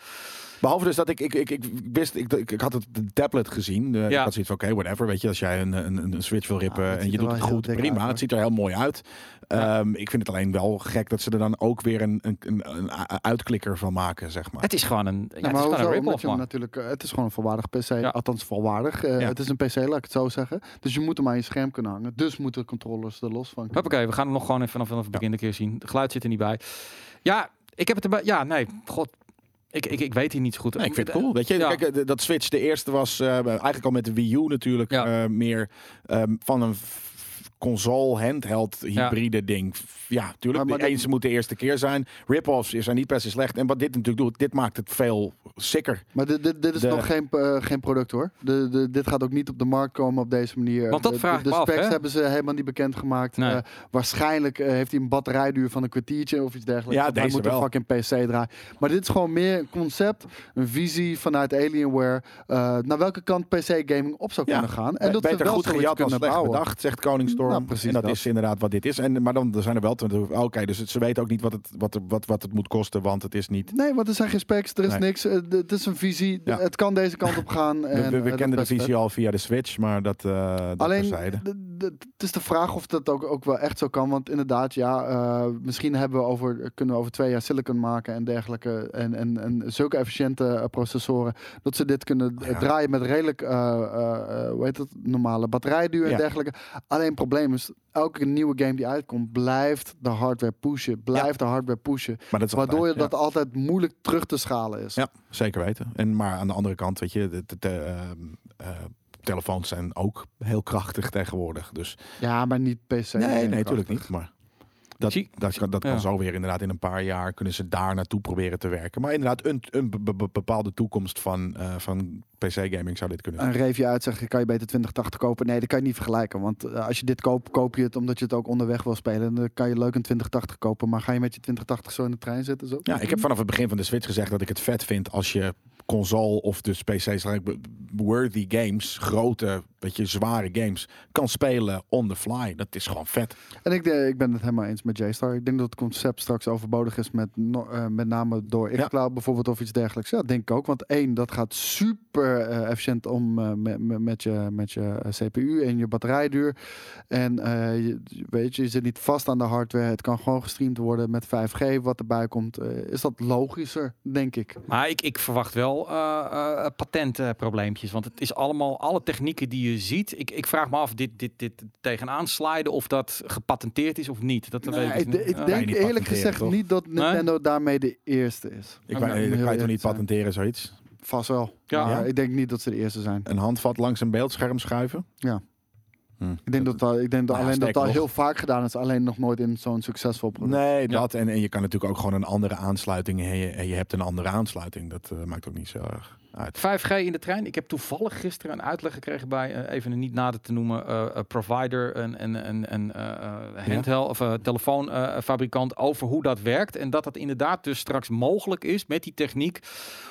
[SPEAKER 1] Behalve dus dat ik, ik, ik, ik wist, ik, ik, ik had het de tablet gezien. eh,
[SPEAKER 2] Ja.
[SPEAKER 1] Ik had zoiets van, oké, whatever. Weet je, als jij een, een, een Switch wil rippen
[SPEAKER 3] Ah, het
[SPEAKER 1] en
[SPEAKER 3] ziet
[SPEAKER 1] je
[SPEAKER 3] er
[SPEAKER 1] doet
[SPEAKER 3] wel
[SPEAKER 1] het
[SPEAKER 3] heel
[SPEAKER 1] goed,
[SPEAKER 3] dik
[SPEAKER 1] prima.
[SPEAKER 3] uit, hoor.
[SPEAKER 1] het ziet er heel mooi uit. Ehm, ik vind het alleen wel gek dat ze er dan ook weer een, een, een, een a- uitklikker van maken, zeg maar.
[SPEAKER 2] Het is gewoon een, ja,
[SPEAKER 3] Ja,
[SPEAKER 2] het is gewoon een
[SPEAKER 3] maar hoezo? Omdat
[SPEAKER 2] rip-off,
[SPEAKER 3] je hem
[SPEAKER 2] man.
[SPEAKER 3] natuurlijk, eh, het is gewoon een volwaardig PC.
[SPEAKER 2] Ja.
[SPEAKER 3] Althans, volwaardig. Eh,
[SPEAKER 1] Ja.
[SPEAKER 3] Het is een PC, laat ik het zo zeggen. Dus je moet hem aan je scherm kunnen hangen. Dus moeten controllers er los van kunnen.
[SPEAKER 2] Hoppakee, we gaan hem nog gewoon even vanaf vanaf het begin een keer zien. Het geluid zit er niet bij. Ja, ik heb het erbij. Ja, nee, god. Ik, ik, ik weet hier niet zo goed.
[SPEAKER 1] Nee, ik vind het cool. Weet je,
[SPEAKER 2] Ja.
[SPEAKER 1] kijk, eh, dat Switch, de eerste was eh, eigenlijk al met de Wii U natuurlijk
[SPEAKER 2] Ja.
[SPEAKER 1] eh, meer ehm, van een f- console handheld hybride ding. F- Ja, tuurlijk.
[SPEAKER 3] Maar- maar
[SPEAKER 1] de
[SPEAKER 3] dat-
[SPEAKER 1] eens moet de eerste keer zijn. Rip-offs zijn niet per se slecht. En wat dit natuurlijk doet, dit maakt het veel sicker.
[SPEAKER 3] Maar dit, dit, dit is
[SPEAKER 1] De-
[SPEAKER 3] nog geen, eh, geen product hoor. De, de, dit gaat ook niet op de markt komen op deze manier.
[SPEAKER 2] Want dat
[SPEAKER 3] de,
[SPEAKER 2] vraag
[SPEAKER 3] de,
[SPEAKER 2] ik
[SPEAKER 3] de
[SPEAKER 2] me af,
[SPEAKER 3] specs
[SPEAKER 2] hè?
[SPEAKER 3] hebben ze helemaal niet bekendgemaakt.
[SPEAKER 2] Nee.
[SPEAKER 3] Eh, waarschijnlijk eh, heeft hij een batterijduur van een kwartiertje of iets dergelijks.
[SPEAKER 1] Ja,
[SPEAKER 3] Want hij
[SPEAKER 1] deze
[SPEAKER 3] moet
[SPEAKER 1] wel.
[SPEAKER 3] een fucking PC draaien. Maar dit is gewoon meer een concept, een visie vanuit Alienware. eh, naar welke kant PC gaming op zou
[SPEAKER 1] Ja.
[SPEAKER 3] kunnen gaan. En dat ze
[SPEAKER 1] Beter
[SPEAKER 3] wel
[SPEAKER 1] goed
[SPEAKER 3] zoiets
[SPEAKER 1] gejat dan
[SPEAKER 3] kunnen
[SPEAKER 1] slecht
[SPEAKER 3] bouwen.
[SPEAKER 1] bedacht, zegt Koningstorm.
[SPEAKER 3] Nou, precies
[SPEAKER 1] en dat,
[SPEAKER 3] dat.
[SPEAKER 1] is inderdaad wat dit is. En, maar dan er zijn er wel... twintig- Oké, dus het- ze weten ook niet wat het, wat, er- wat, wat het moet kosten, want het is niet...
[SPEAKER 3] Nee, want er zijn geen specs, er is
[SPEAKER 1] Nee.
[SPEAKER 3] niks. eh, d- het is een visie, d-
[SPEAKER 1] Ja.
[SPEAKER 3] het kan deze kant op gaan.
[SPEAKER 1] We,
[SPEAKER 3] En,
[SPEAKER 1] we-
[SPEAKER 3] eh,
[SPEAKER 1] we
[SPEAKER 3] dat is
[SPEAKER 1] kenden de
[SPEAKER 3] best vet.
[SPEAKER 1] visie al via de Switch, maar dat, eh dat
[SPEAKER 3] Alleen,
[SPEAKER 1] terzijde.
[SPEAKER 3] d- d- het is de vraag of dat ook, ook wel echt zo kan. Want inderdaad, ja, eh, misschien hebben we over, kunnen we over twee jaar silicon maken en dergelijke. En, en, en zulke efficiënte eh, processoren. Dat ze dit kunnen eh,
[SPEAKER 1] Ja.
[SPEAKER 3] draaien met redelijk, eh, eh, eh, hoe heet het, normale batterijduur en
[SPEAKER 1] Ja.
[SPEAKER 3] dergelijke. Alleen het probleem is, elke nieuwe game die uitkomt, blijft de hardware pushen. Blijft de hardware pushen.
[SPEAKER 1] Maar dat is
[SPEAKER 3] Waardoor
[SPEAKER 1] altijd,
[SPEAKER 3] je
[SPEAKER 1] ja.
[SPEAKER 3] dat altijd moeilijk terug te schalen is.
[SPEAKER 1] Ja, zeker weten. En maar aan de andere kant, weet je, de, de- de, ehm, eh, telefoons zijn ook heel krachtig tegenwoordig. Dus
[SPEAKER 3] Ja, maar niet per se.
[SPEAKER 1] nee, nee,
[SPEAKER 3] natuurlijk
[SPEAKER 1] natuurlijk niet. Maar dat,
[SPEAKER 2] Zie-
[SPEAKER 1] dat, kan- dat kan
[SPEAKER 2] Ja.
[SPEAKER 1] zo weer inderdaad in een paar jaar kunnen ze daar naartoe proberen te werken. Maar inderdaad, een, een be- be- bepaalde toekomst van, eh, van PC-gaming zou dit kunnen zijn.
[SPEAKER 3] een review uit zeg je kan je beter 2080 kopen. Nee, dat kan je niet vergelijken. Want eh, als je dit koopt, koop je het omdat je het ook onderweg wil spelen. En dan kan je leuk een 2080 kopen. Maar ga je met je 2080 zo in de trein zitten? Zo?
[SPEAKER 1] Ja, ik heb vanaf het begin van de Switch gezegd dat ik het vet vind als je console of dus PC's worthy games, grote, weet je, zware games kan spelen on the fly. Dat is gewoon vet.
[SPEAKER 3] En ik, eh, ik ben het helemaal eens met J-Star. Ik denk dat het concept straks overbodig is. Met, no- eh, met name door
[SPEAKER 1] Ja.
[SPEAKER 3] xCloud bijvoorbeeld of iets dergelijks. Ja, denk ik ook. Want één, dat gaat super super eh, efficiënt om eh, me- me- met, je, eh, met je CPU en je batterijduur. En eh, je, weet je, je zit niet vast aan de hardware. Het kan gewoon gestreamd worden met 5G, wat erbij komt. eh, is dat logischer, denk ik.
[SPEAKER 2] Maar ik, ik verwacht wel eh, eh, patentprobleempjes. Want het is allemaal, alle technieken die je ziet. Ik, ik vraag me af, dit, dit, dit tegenaan sliden, of dat gepatenteerd is of niet. Dat
[SPEAKER 3] Nou,
[SPEAKER 2] weet ik,
[SPEAKER 3] ik,
[SPEAKER 2] niet.
[SPEAKER 3] ik
[SPEAKER 2] Eh,
[SPEAKER 1] je
[SPEAKER 3] denk
[SPEAKER 1] niet
[SPEAKER 3] eerlijk
[SPEAKER 1] patenteren,
[SPEAKER 3] gezegd
[SPEAKER 1] toch?
[SPEAKER 3] niet dat Nintendo daarmee de eerste is.
[SPEAKER 1] Ik
[SPEAKER 2] Oké,
[SPEAKER 1] wou- dat
[SPEAKER 3] om heel
[SPEAKER 1] kan je toch
[SPEAKER 3] eerlijk
[SPEAKER 1] niet
[SPEAKER 3] te zijn.
[SPEAKER 1] patenteren, zoiets?
[SPEAKER 3] Vast wel.
[SPEAKER 2] Ja.
[SPEAKER 3] Maar
[SPEAKER 1] Ja?
[SPEAKER 3] ik denk niet dat ze de eerste zijn.
[SPEAKER 1] Een handvat langs een beeldscherm schuiven?
[SPEAKER 3] Ja.
[SPEAKER 1] Hm.
[SPEAKER 3] Ik denk dat, dat, ik denk dat
[SPEAKER 1] Nou ja,
[SPEAKER 3] alleen dat
[SPEAKER 1] sterker
[SPEAKER 3] dat
[SPEAKER 1] nog.
[SPEAKER 3] heel vaak gedaan is, alleen nog nooit in zo'n succesvol product.
[SPEAKER 1] Nee, dat. En, en je kan natuurlijk ook gewoon een andere aansluiting. En je, en je hebt een andere aansluiting. Dat eh, maakt ook niet zo erg uit.
[SPEAKER 2] 5G in de trein. Ik heb toevallig gisteren een uitleg gekregen bij, eh, even een niet nader te noemen, eh, eh, provider en, en, en, en eh, eh, handheld of eh, telefoonfabrikant eh, over hoe dat werkt. En dat dat inderdaad dus straks mogelijk is met die techniek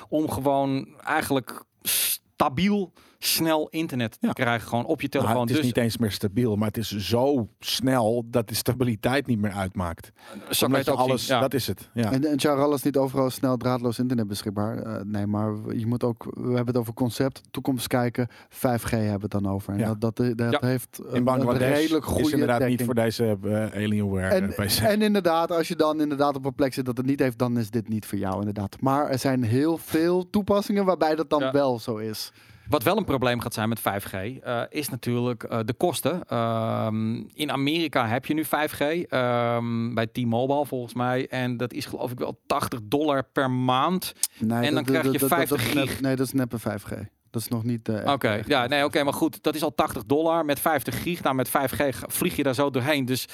[SPEAKER 2] om gewoon eigenlijk stabiel snel internet
[SPEAKER 1] Ja.
[SPEAKER 2] te krijgen. Gewoon op je
[SPEAKER 1] Nou,
[SPEAKER 2] telefoon.
[SPEAKER 1] het is
[SPEAKER 2] dus
[SPEAKER 1] niet eens meer stabiel, maar het is zo snel dat de stabiliteit niet meer uitmaakt.
[SPEAKER 2] zo kan je
[SPEAKER 1] Omdat
[SPEAKER 2] het
[SPEAKER 1] je
[SPEAKER 2] ook
[SPEAKER 1] alles,
[SPEAKER 2] zien. Ja.
[SPEAKER 1] dat is het. Ja.
[SPEAKER 3] En, en Charal is niet overal snel draadloos internet beschikbaar. Eh, nee, maar je moet ook, we hebben het over concept, toekomst kijken, 5G hebben we het dan over. En
[SPEAKER 1] Ja.
[SPEAKER 3] dat, dat, dat
[SPEAKER 2] Ja.
[SPEAKER 3] heeft een,
[SPEAKER 1] In
[SPEAKER 3] eh, een
[SPEAKER 1] Bangladesh
[SPEAKER 3] redelijk goede
[SPEAKER 1] is inderdaad
[SPEAKER 3] dekking.
[SPEAKER 1] niet voor deze eh, Alienware
[SPEAKER 3] En-
[SPEAKER 1] eh, PC.
[SPEAKER 3] En inderdaad, als je dan inderdaad op een plek zit dat het niet heeft, dan is dit niet voor jou inderdaad. Maar er zijn heel veel toepassingen waarbij dat dan
[SPEAKER 2] Ja.
[SPEAKER 3] wel zo is.
[SPEAKER 2] Wat wel een probleem gaat zijn met 5G, eh, is natuurlijk eh, de kosten. Ehm, in Amerika heb je nu 5G, ehm, bij T-Mobile volgens mij. En dat is geloof ik wel 80 dollar per maand.
[SPEAKER 3] Nee,
[SPEAKER 2] En dan krijg je 50
[SPEAKER 3] is nep-
[SPEAKER 2] gig.
[SPEAKER 3] nee, dat is neppe 5G. Dat is nog niet... eh, echt-
[SPEAKER 2] Oké,
[SPEAKER 3] echt
[SPEAKER 2] ja, nee, oké, maar goed, dat is al 80 dollar met 50 gig. Nou, met 5G ga- vlieg je daar zo doorheen. Dus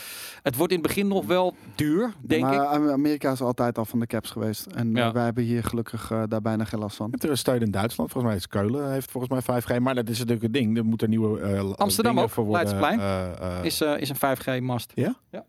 [SPEAKER 2] het wordt in het begin nog wel duur, denk
[SPEAKER 3] maar
[SPEAKER 2] ik.
[SPEAKER 3] Am- Amerika is altijd al van de caps geweest. En
[SPEAKER 2] Ja.
[SPEAKER 3] eh, wij hebben hier gelukkig eh, daar bijna geen last van.
[SPEAKER 1] Het is steun in Duitsland, volgens mij is Keulen heeft volgens mij 5G, maar dat is natuurlijk het ding. Er moeten nieuwe eh
[SPEAKER 2] Amsterdam
[SPEAKER 1] dingen
[SPEAKER 2] ook,
[SPEAKER 1] voor worden.
[SPEAKER 2] Leidseplein.
[SPEAKER 1] eh, eh,
[SPEAKER 2] Is, eh, is een 5G-mast.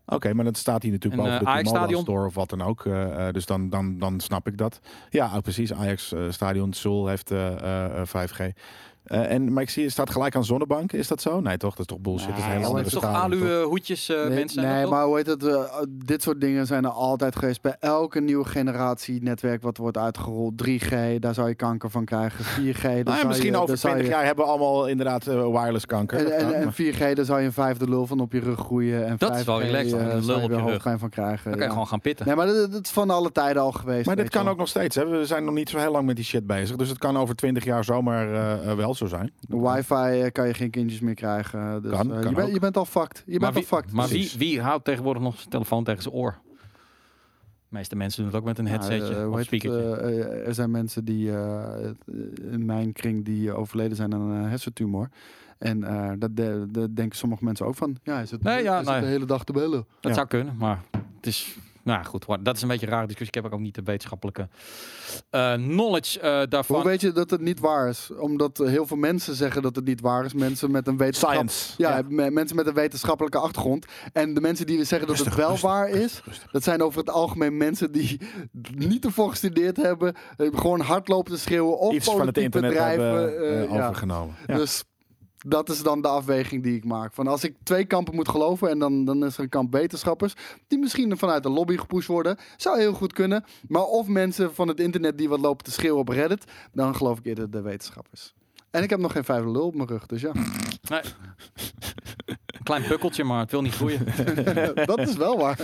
[SPEAKER 1] Oké, maar dat staat hier natuurlijk
[SPEAKER 2] En,
[SPEAKER 1] boven
[SPEAKER 2] eh,
[SPEAKER 1] de
[SPEAKER 2] Ajax
[SPEAKER 1] T-Mobile
[SPEAKER 2] Stadion.
[SPEAKER 1] Store of wat dan ook. Eh, eh, dus dan, dan, dan snap ik dat. Ja, ah, precies. Ajax eh, Stadion Seoul heeft eh, eh, eh, 5G. Eh, en, maar ik zie, je staat gelijk aan Zonnebank. Is dat zo? Nee, toch? Dat is toch bullshit? dat is een
[SPEAKER 3] Nee,
[SPEAKER 1] hele
[SPEAKER 2] Ja,
[SPEAKER 3] maar
[SPEAKER 2] dat
[SPEAKER 1] andere
[SPEAKER 2] is toch
[SPEAKER 1] stadion,
[SPEAKER 2] alu
[SPEAKER 1] toch?
[SPEAKER 2] eh, hoedjes, eh,
[SPEAKER 3] nee,
[SPEAKER 2] mensen?
[SPEAKER 3] nee,
[SPEAKER 2] dat toch?
[SPEAKER 3] maar hoe heet het? eh, dit soort dingen zijn er altijd geweest. Bij elke nieuwe generatie netwerk wat wordt uitgerold. 3G, daar zou je kanker van krijgen.
[SPEAKER 2] [LAUGHS]
[SPEAKER 3] 4G, daar
[SPEAKER 1] Nou,
[SPEAKER 3] zou
[SPEAKER 1] ja,
[SPEAKER 3] je-
[SPEAKER 1] misschien over
[SPEAKER 3] daar zou
[SPEAKER 1] 20
[SPEAKER 3] je-
[SPEAKER 1] jaar hebben we allemaal inderdaad eh, wireless kanker.
[SPEAKER 3] En,
[SPEAKER 1] Dat kan,
[SPEAKER 3] en, en
[SPEAKER 1] maar-
[SPEAKER 3] 4G, daar zou je een vijfde lul van op je rug groeien. En
[SPEAKER 2] Dat is
[SPEAKER 3] 5G,
[SPEAKER 2] wel relaxed,
[SPEAKER 3] eh,
[SPEAKER 2] een lul
[SPEAKER 3] zou je
[SPEAKER 2] op
[SPEAKER 3] weer
[SPEAKER 2] je rug.
[SPEAKER 3] hoofdpijn van krijgen.
[SPEAKER 2] Dan kan je
[SPEAKER 3] ja.
[SPEAKER 2] gewoon gaan pitten.
[SPEAKER 3] Nee, maar dat, dat is van alle tijden al geweest.
[SPEAKER 1] maar dit
[SPEAKER 3] weet je
[SPEAKER 1] kan
[SPEAKER 3] wel.
[SPEAKER 1] ook nog steeds. Hè? We zijn nog niet zo heel lang met die shit bezig. Dus het kan over 20 jaar zomaar eh, eh, wel zo zijn.
[SPEAKER 3] Wifi eh, kan je geen kindjes meer krijgen. Dus,
[SPEAKER 1] Kan,
[SPEAKER 3] eh,
[SPEAKER 1] kan
[SPEAKER 3] je, bent,
[SPEAKER 1] ook.
[SPEAKER 3] je bent al fucked. Je bent
[SPEAKER 2] wie,
[SPEAKER 3] al fucked.
[SPEAKER 2] maar wie,
[SPEAKER 1] precies.
[SPEAKER 2] wie houdt tegenwoordig nog zijn telefoon tegen zijn oor? De meeste mensen doen het ook met een
[SPEAKER 3] Nou,
[SPEAKER 2] headsetje
[SPEAKER 3] eh, hoe
[SPEAKER 2] of
[SPEAKER 3] heet het,
[SPEAKER 2] speakertje.
[SPEAKER 3] eh, eh, er zijn mensen die eh, in mijn kring die overleden zijn aan een eh, hersentumor. En eh dat de- de- denken sommige mensen ook van. Ja, is het,
[SPEAKER 2] Nee, ja,
[SPEAKER 3] is het
[SPEAKER 2] nee.
[SPEAKER 3] de hele dag te bellen?
[SPEAKER 2] dat
[SPEAKER 1] ja.
[SPEAKER 2] zou kunnen, maar het is... Nou ja, goed, wa- dat is een beetje een rare discussie. Ik heb ook niet de wetenschappelijke eh, knowledge eh, daarvan.
[SPEAKER 3] Hoe weet je dat het niet waar is? Omdat eh, heel veel mensen zeggen dat het niet waar is. Mensen met een wetenschap...
[SPEAKER 1] Science.
[SPEAKER 3] Ja, me- mensen met een wetenschappelijke achtergrond. En de mensen die zeggen dat het
[SPEAKER 1] Rustig,
[SPEAKER 3] wel
[SPEAKER 1] rustig,
[SPEAKER 3] waar is, dat zijn over het algemeen mensen die niet ervoor gestudeerd hebben. eh, Gewoon hard lopen te schreeuwen. Of
[SPEAKER 1] Iets van het
[SPEAKER 3] politiek
[SPEAKER 1] internet
[SPEAKER 3] bedrijven.
[SPEAKER 1] hebben eh,
[SPEAKER 3] eh, ja.
[SPEAKER 1] overgenomen. Ja.
[SPEAKER 3] Dus dat is dan de afweging die ik maak. Van als ik twee kampen moet geloven en dan, dan is er een kamp wetenschappers... die misschien vanuit de lobby gepusht worden. Zou heel goed kunnen. Maar of mensen van het internet die wat lopen te schreeuwen op Reddit... dan geloof ik eerder de wetenschappers. En ik heb nog geen vijfde lul op mijn rug,
[SPEAKER 1] [LAUGHS]
[SPEAKER 3] dus ja. [LAUGHS]
[SPEAKER 2] Nee. een klein pukkeltje, maar het wil niet groeien.
[SPEAKER 3] dat is wel waar.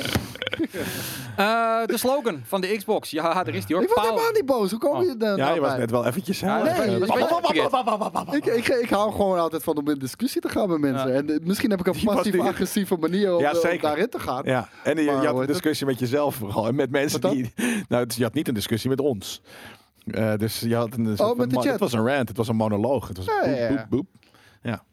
[SPEAKER 2] Eh, de slogan van de Xbox. Ja, er is die hoor.
[SPEAKER 3] Ik was
[SPEAKER 2] Power-
[SPEAKER 3] helemaal niet boos. Hoe kom
[SPEAKER 2] Oh.
[SPEAKER 3] je daar
[SPEAKER 1] Ja,
[SPEAKER 3] nou
[SPEAKER 1] je was
[SPEAKER 3] bij?
[SPEAKER 1] net wel eventjes
[SPEAKER 2] Ja,
[SPEAKER 1] heel
[SPEAKER 2] dat
[SPEAKER 1] erg,
[SPEAKER 2] is-
[SPEAKER 3] Nee,
[SPEAKER 1] eh,
[SPEAKER 2] dat is een beetje verkeerd.
[SPEAKER 3] Ik, ik, ik hou gewoon altijd van om in discussie te gaan met mensen.
[SPEAKER 2] Ja.
[SPEAKER 3] En eh, misschien heb ik een
[SPEAKER 1] Die was die-
[SPEAKER 3] passief-agressieve manier om,
[SPEAKER 1] Ja,
[SPEAKER 3] eh, om
[SPEAKER 1] zeker.
[SPEAKER 3] daarin te gaan.
[SPEAKER 1] Ja, en je, je
[SPEAKER 3] Maar hoe
[SPEAKER 1] had een
[SPEAKER 3] heet
[SPEAKER 1] discussie met jezelf vooral. En met mensen
[SPEAKER 3] Wat dan?
[SPEAKER 1] die... Nou, het- je had niet een discussie met ons. Eh, dus je had een...
[SPEAKER 3] Oh, met de chat.
[SPEAKER 1] Het was een rant, het was een monoloog. Het was
[SPEAKER 3] Ja, ja, ja.
[SPEAKER 1] boep, boep, boep.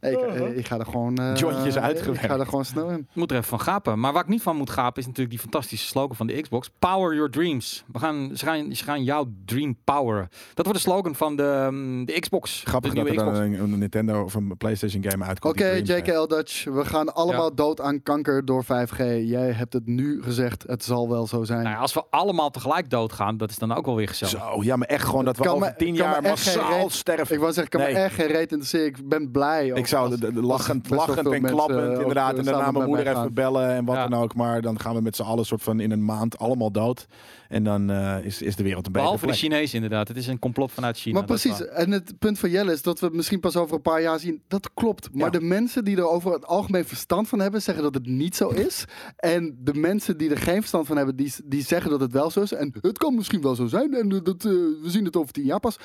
[SPEAKER 3] Nee, ik, eh, ik ga er gewoon... eh,
[SPEAKER 1] Jointjes uitgewerkt.
[SPEAKER 3] Ik ga er gewoon snel in.
[SPEAKER 2] Ik moet er even van gapen. Maar waar ik niet van moet gapen is natuurlijk die fantastische slogan van de Xbox. Power your dreams. We gaan, ze, gaan, ze gaan jouw dream poweren. Dat wordt de slogan van de, ehm, de Xbox.
[SPEAKER 1] Grappig
[SPEAKER 2] de
[SPEAKER 1] dat
[SPEAKER 2] nieuwe
[SPEAKER 1] er dan
[SPEAKER 2] Xbox.
[SPEAKER 1] een, een Nintendo of een Playstation game uitkomt.
[SPEAKER 3] Oké,
[SPEAKER 1] die Dreams
[SPEAKER 3] JKL Dutch. We gaan allemaal dood aan kanker door 5G. Jij hebt het nu gezegd. Het zal wel zo zijn.
[SPEAKER 2] Nou ja, als we allemaal tegelijk doodgaan, dat is dan ook wel weer
[SPEAKER 1] heeft.
[SPEAKER 2] gezellig.
[SPEAKER 1] Zo, ja, maar echt gewoon dat we
[SPEAKER 3] Kan
[SPEAKER 1] over
[SPEAKER 3] me-
[SPEAKER 1] tien
[SPEAKER 3] kan me
[SPEAKER 1] jaar
[SPEAKER 3] echt geen
[SPEAKER 1] massaal
[SPEAKER 3] reet-
[SPEAKER 1] sterven.
[SPEAKER 3] ik wou zeggen, ik kan
[SPEAKER 1] Nee.
[SPEAKER 3] me echt geen reet interesseren. Ik ben blij blij.
[SPEAKER 1] Ik zou de- de- de lachend, lachend en klappend inderdaad. En daarna mijn moeder even bellen en wat
[SPEAKER 2] Ja.
[SPEAKER 1] dan ook. Maar dan gaan we met z'n allen soort van in een maand allemaal dood. En dan eh, is, is de wereld een betere
[SPEAKER 2] Behalve de
[SPEAKER 1] plek.
[SPEAKER 2] Chinezen inderdaad. Het is een complot vanuit China.
[SPEAKER 3] Maar
[SPEAKER 2] dat is
[SPEAKER 3] precies,
[SPEAKER 2] waar.
[SPEAKER 3] en het punt van Jelle is dat we het misschien pas over een paar jaar zien. Dat klopt. Maar
[SPEAKER 1] Ja.
[SPEAKER 3] de mensen die er over het algemeen verstand van hebben, zeggen dat het niet zo is. en de mensen die er geen verstand van hebben, die, die zeggen dat het wel zo is. En het kan misschien wel zo zijn. En eh, dat, eh, we zien het over tien jaar pas.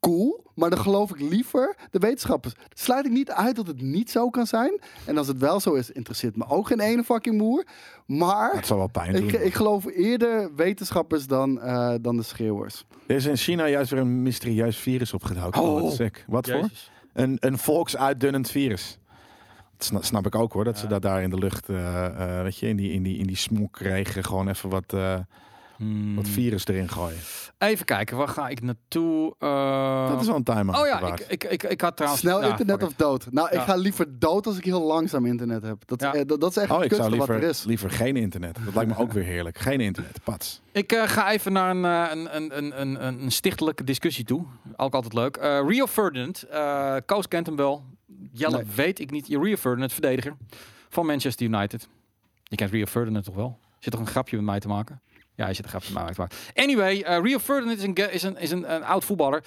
[SPEAKER 3] Cool, maar dan geloof ik liever de wetenschappers. Sluit ik niet uit dat het niet zo kan zijn. En als het wel zo is, interesseert me ook geen ene fucking moer. Maar
[SPEAKER 1] Dat zal wel pijn doen.
[SPEAKER 3] ik, ik geloof eerder wetenschappers dan, eh, dan de schreeuwers.
[SPEAKER 1] Er is in China juist weer een mysterieus virus opgedoken.
[SPEAKER 2] Oh.
[SPEAKER 1] Oh, wat sick. Wat voor?
[SPEAKER 2] Jezus.
[SPEAKER 1] Een, een volksuitdunnend virus. Dat sna- snap ik ook hoor, dat ze
[SPEAKER 2] Ja.
[SPEAKER 1] dat daar in de lucht, eh, eh, weet je, in die, in die, in die smok kregen. Gewoon even wat, eh,
[SPEAKER 2] Hmm.
[SPEAKER 1] wat virus erin gooien.
[SPEAKER 2] Even kijken, waar ga ik naartoe? Eh,
[SPEAKER 1] dat is wel een timer.
[SPEAKER 2] Oh ja, ik, ik, ik, ik had trouwens...
[SPEAKER 3] Snel
[SPEAKER 2] nou,
[SPEAKER 3] internet
[SPEAKER 2] fuck
[SPEAKER 3] of dood. Nou,
[SPEAKER 2] Ja.
[SPEAKER 3] ik ga liever dood als ik heel langzaam internet heb. Dat,
[SPEAKER 2] Ja.
[SPEAKER 3] eh, dat, dat is echt
[SPEAKER 1] Oh,
[SPEAKER 3] het
[SPEAKER 1] ik zou
[SPEAKER 3] kutste wat er
[SPEAKER 1] liever,
[SPEAKER 3] is.
[SPEAKER 1] liever geen internet. Dat lijkt me ook weer heerlijk. Geen internet, pats.
[SPEAKER 2] it. Ik eh, ga even naar een, eh, een, een, een, een, een stichtelijke discussie toe. Ook altijd leuk. Eh, Rio Ferdinand. eh Koos kent hem wel. Jelle
[SPEAKER 3] Nee.
[SPEAKER 2] weet ik niet. Rio Ferdinand, verdediger van Manchester United. Je kent Rio Ferdinand toch wel? Zit toch een grapje met mij te maken? Ja, hij zit een grapje met mij te maken. Anyway, eh, Rio Ferdinand is een, ga- is een, is een, een oud voetballer.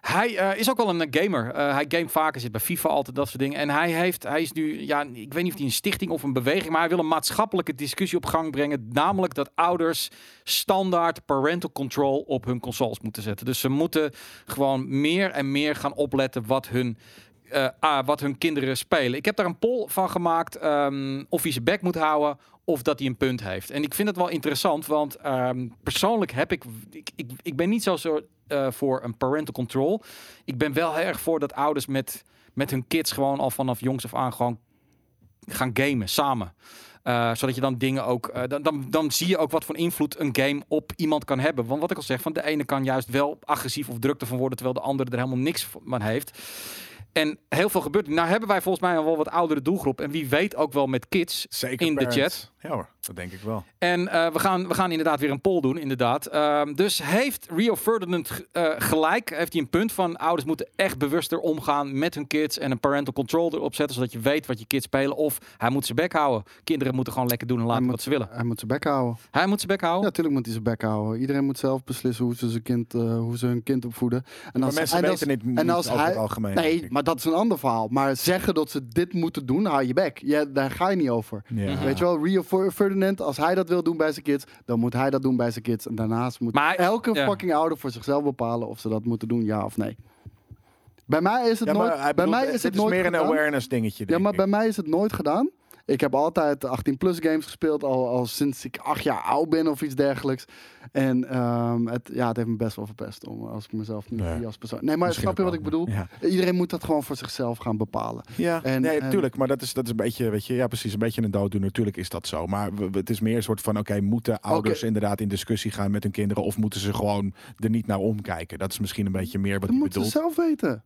[SPEAKER 2] Hij eh, is ook wel een eh, gamer. Eh, hij game vaker, zit bij FIFA altijd, dat soort dingen. En hij, heeft, hij is nu, ja, ik weet niet of hij een stichting of een beweging... maar hij wil een maatschappelijke discussie op gang brengen. Namelijk dat ouders standaard parental control op hun consoles moeten zetten. Dus ze moeten gewoon meer en meer gaan opletten wat hun... eh, ah, wat hun kinderen spelen. Ik heb daar een poll van gemaakt ehm, of hij zijn bek moet houden of dat hij een punt heeft. En ik vind het wel interessant, want ehm, persoonlijk heb ik ik, ik... ik ben niet zo soort, eh, voor een parental control ik ben wel heel erg voor dat ouders met, met hun kids gewoon al vanaf jongs af aan gewoon gaan gamen samen. Eh, zodat je dan dingen ook. eh, dan, dan, dan zie je ook wat voor invloed een game op iemand kan hebben. Want wat ik al zeg, van de ene kan juist wel agressief of druk ervan worden, terwijl de andere er helemaal niks van heeft. En heel veel gebeurt. er. Nou hebben wij volgens mij al wel wat oudere doelgroep. En wie weet ook wel met kids.
[SPEAKER 1] Zeker
[SPEAKER 2] In de
[SPEAKER 1] parents.
[SPEAKER 2] chat.
[SPEAKER 1] Ja hoor, dat denk ik wel.
[SPEAKER 2] En eh, we, gaan, we gaan inderdaad weer een poll doen, inderdaad. Ehm, dus heeft Rio Ferdinand g- eh, gelijk? Heeft hij een punt van ouders moeten echt bewuster omgaan met hun kids en een parental control erop zetten, zodat je weet wat je kids spelen? Of hij moet zijn bek houden. Kinderen moeten gewoon lekker doen en laten
[SPEAKER 3] moet-
[SPEAKER 2] wat ze willen.
[SPEAKER 3] Hij moet zijn bek houden.
[SPEAKER 2] Hij moet zijn bek
[SPEAKER 3] Ja,
[SPEAKER 2] houden.
[SPEAKER 3] natuurlijk moet hij zijn bek houden. Iedereen moet zelf beslissen hoe ze, zijn kind, eh, hoe ze hun kind opvoeden. En
[SPEAKER 1] Maar mensen
[SPEAKER 3] en
[SPEAKER 1] weten niet,
[SPEAKER 3] en
[SPEAKER 1] niet
[SPEAKER 3] als
[SPEAKER 1] over
[SPEAKER 3] hij-
[SPEAKER 1] het algemeen. denk
[SPEAKER 3] Nee,
[SPEAKER 1] ik.
[SPEAKER 3] maar dat is een ander verhaal. Maar zeggen dat ze dit moeten doen, hou je bek. Ja, daar ga je niet over.
[SPEAKER 1] Ja.
[SPEAKER 3] Weet je wel, Rio Fer- Ferdinand, als hij dat wil doen bij zijn kids, dan moet hij dat doen bij zijn kids. En daarnaast moet
[SPEAKER 2] Maar hij-
[SPEAKER 3] elke
[SPEAKER 2] ja.
[SPEAKER 3] fucking ouder voor zichzelf bepalen of ze dat moeten doen, ja of nee. Bij mij is het
[SPEAKER 1] Ja, maar
[SPEAKER 3] nooit.
[SPEAKER 1] hij
[SPEAKER 3] bij
[SPEAKER 1] bedoelt,
[SPEAKER 3] mij
[SPEAKER 1] eh,
[SPEAKER 3] is
[SPEAKER 1] dit
[SPEAKER 3] het nooit
[SPEAKER 1] meer een
[SPEAKER 3] gedaan.
[SPEAKER 1] awareness dingetje.
[SPEAKER 3] Ja,
[SPEAKER 1] denk
[SPEAKER 3] maar
[SPEAKER 1] ik.
[SPEAKER 3] bij mij is het nooit gedaan. Ik heb altijd 18-plus games gespeeld, al, al sinds ik acht jaar oud ben of iets dergelijks. En ehm, het, ja, het heeft me best wel verpest, om, als ik mezelf niet
[SPEAKER 1] Nee.
[SPEAKER 3] zie als persoon. Nee, maar
[SPEAKER 1] Misschien
[SPEAKER 3] snap je
[SPEAKER 1] ook
[SPEAKER 3] wat
[SPEAKER 1] wel,
[SPEAKER 3] ik bedoel?
[SPEAKER 1] ja.
[SPEAKER 3] Iedereen moet dat gewoon voor zichzelf gaan bepalen.
[SPEAKER 1] Ja,
[SPEAKER 3] En-
[SPEAKER 1] nee,
[SPEAKER 3] en-
[SPEAKER 1] tuurlijk. Maar dat is, dat is een beetje, weet je, ja, precies, een beetje een dooddoener. Natuurlijk is dat zo. Maar we- we- het is meer een soort van, oké, moeten ouders
[SPEAKER 3] Oké.
[SPEAKER 1] inderdaad in discussie gaan met hun kinderen? Of moeten ze gewoon er niet naar omkijken? Dat is misschien een beetje meer wat
[SPEAKER 3] Dat
[SPEAKER 1] je
[SPEAKER 3] moeten ze
[SPEAKER 1] bedoelt.
[SPEAKER 3] zelf weten.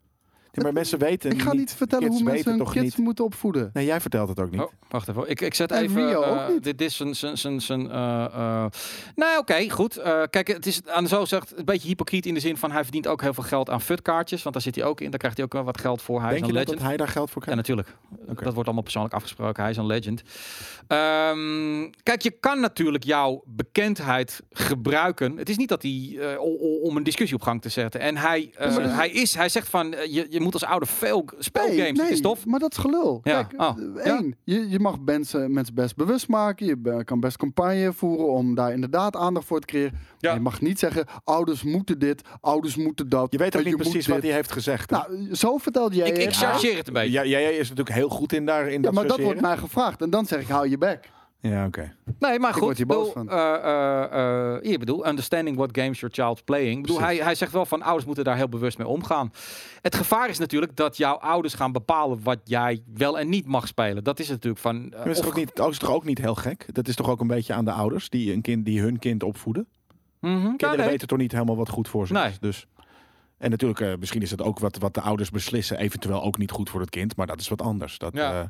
[SPEAKER 1] Ja, maar mensen weten
[SPEAKER 3] Ik ga niet vertellen
[SPEAKER 1] Kids
[SPEAKER 3] hoe mensen
[SPEAKER 1] weten
[SPEAKER 3] hun
[SPEAKER 1] toch
[SPEAKER 3] kids
[SPEAKER 1] niet.
[SPEAKER 3] moeten opvoeden.
[SPEAKER 1] Nee, jij vertelt het ook niet.
[SPEAKER 2] Oh, wacht even. Ik, ik zet
[SPEAKER 3] En
[SPEAKER 2] even.
[SPEAKER 3] Rio
[SPEAKER 2] eh,
[SPEAKER 3] ook niet.
[SPEAKER 2] dit is zijn. zijn, zijn, zijn eh, eh, Nou, oké, goed. Eh, kijk, het is aan zo zegt een beetje hypocriet in de zin van hij verdient ook heel veel geld aan futkaartjes. Want daar zit hij ook in. Daar krijgt hij ook wel wat geld voor. Hij is
[SPEAKER 1] Denk je
[SPEAKER 2] een
[SPEAKER 1] dat,
[SPEAKER 2] legend.
[SPEAKER 1] dat hij daar geld voor
[SPEAKER 2] Ja,
[SPEAKER 1] krijgt?
[SPEAKER 2] natuurlijk.
[SPEAKER 1] Oké.
[SPEAKER 2] Dat wordt allemaal persoonlijk afgesproken. Hij is een legend. Ehm, kijk, je kan natuurlijk jouw bekendheid gebruiken. Het is niet dat hij eh, o- o- om een discussie op gang te zetten. En hij, eh,
[SPEAKER 3] maar dat-
[SPEAKER 2] hij, is, hij zegt van eh, je, je moet als ouder veel g- spelgames.
[SPEAKER 3] Nee,
[SPEAKER 2] dit
[SPEAKER 3] nee,
[SPEAKER 2] is tof.
[SPEAKER 3] maar dat is gelul.
[SPEAKER 2] Ja.
[SPEAKER 3] Kijk,
[SPEAKER 2] Oh,
[SPEAKER 3] eh, één, je, je mag mensen, mensen best bewust maken. Je be- kan best campagne voeren om daar inderdaad aandacht voor te creëren.
[SPEAKER 2] Ja.
[SPEAKER 3] Je mag niet zeggen, ouders moeten dit, ouders moeten dat.
[SPEAKER 1] Je weet ook
[SPEAKER 3] eh,
[SPEAKER 1] niet
[SPEAKER 3] moet
[SPEAKER 1] precies
[SPEAKER 3] dit.
[SPEAKER 1] wat hij heeft gezegd. hè?
[SPEAKER 3] Nou, zo vertelde jij
[SPEAKER 2] Ik, ik
[SPEAKER 3] het.
[SPEAKER 2] chargeer het een beetje.
[SPEAKER 1] Ja, jij is natuurlijk heel goed in daar. In
[SPEAKER 3] Ja, maar dat
[SPEAKER 1] sorteren.
[SPEAKER 3] wordt mij gevraagd. En dan zeg ik, hou je bek.
[SPEAKER 1] Ja, oké.
[SPEAKER 2] Nee, maar
[SPEAKER 3] Ik
[SPEAKER 2] goed.
[SPEAKER 3] word hier boos
[SPEAKER 2] bedoel,
[SPEAKER 3] van.
[SPEAKER 2] eh, eh, eh, hier bedoel, understanding what games your child's playing. Ik Bedoel, hij, hij zegt wel van ouders moeten daar heel bewust mee omgaan. Het gevaar is natuurlijk dat jouw ouders gaan bepalen wat jij wel en niet mag spelen. Dat is natuurlijk van. eh,
[SPEAKER 1] Maar Is
[SPEAKER 2] of-
[SPEAKER 1] toch ook niet, dat is toch ook niet heel gek? Dat is toch ook een beetje aan de ouders die, een kind, die hun kind opvoeden?
[SPEAKER 2] Mhm. Ja,
[SPEAKER 1] Kinderen
[SPEAKER 2] nee.
[SPEAKER 1] weten toch niet helemaal wat goed voor ze
[SPEAKER 2] Nee.
[SPEAKER 1] is. Dus. En natuurlijk, eh, misschien is dat ook wat, wat de ouders beslissen, eventueel ook niet goed voor het kind, maar dat is wat anders. Dat,
[SPEAKER 2] Ja.
[SPEAKER 1] eh,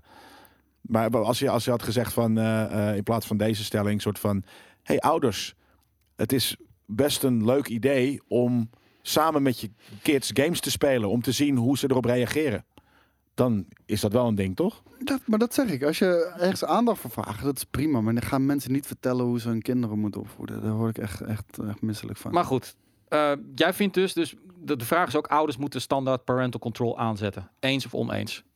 [SPEAKER 1] maar als je, als je had gezegd van eh, eh, in plaats van deze stelling, soort van: hey ouders, het is best een leuk idee om samen met je kids games te spelen, om te zien hoe ze erop reageren. dan is dat wel een ding, toch?
[SPEAKER 3] Dat, maar dat zeg ik. Als je ergens aandacht voor vraagt, dat is prima. Maar dan gaan mensen niet vertellen hoe ze hun kinderen moeten opvoeden. Daar word ik echt, echt, echt misselijk van.
[SPEAKER 2] Maar goed, eh, jij vindt dus, dus de, de vraag is ook, ouders moeten standaard parental control aanzetten. Eens of oneens?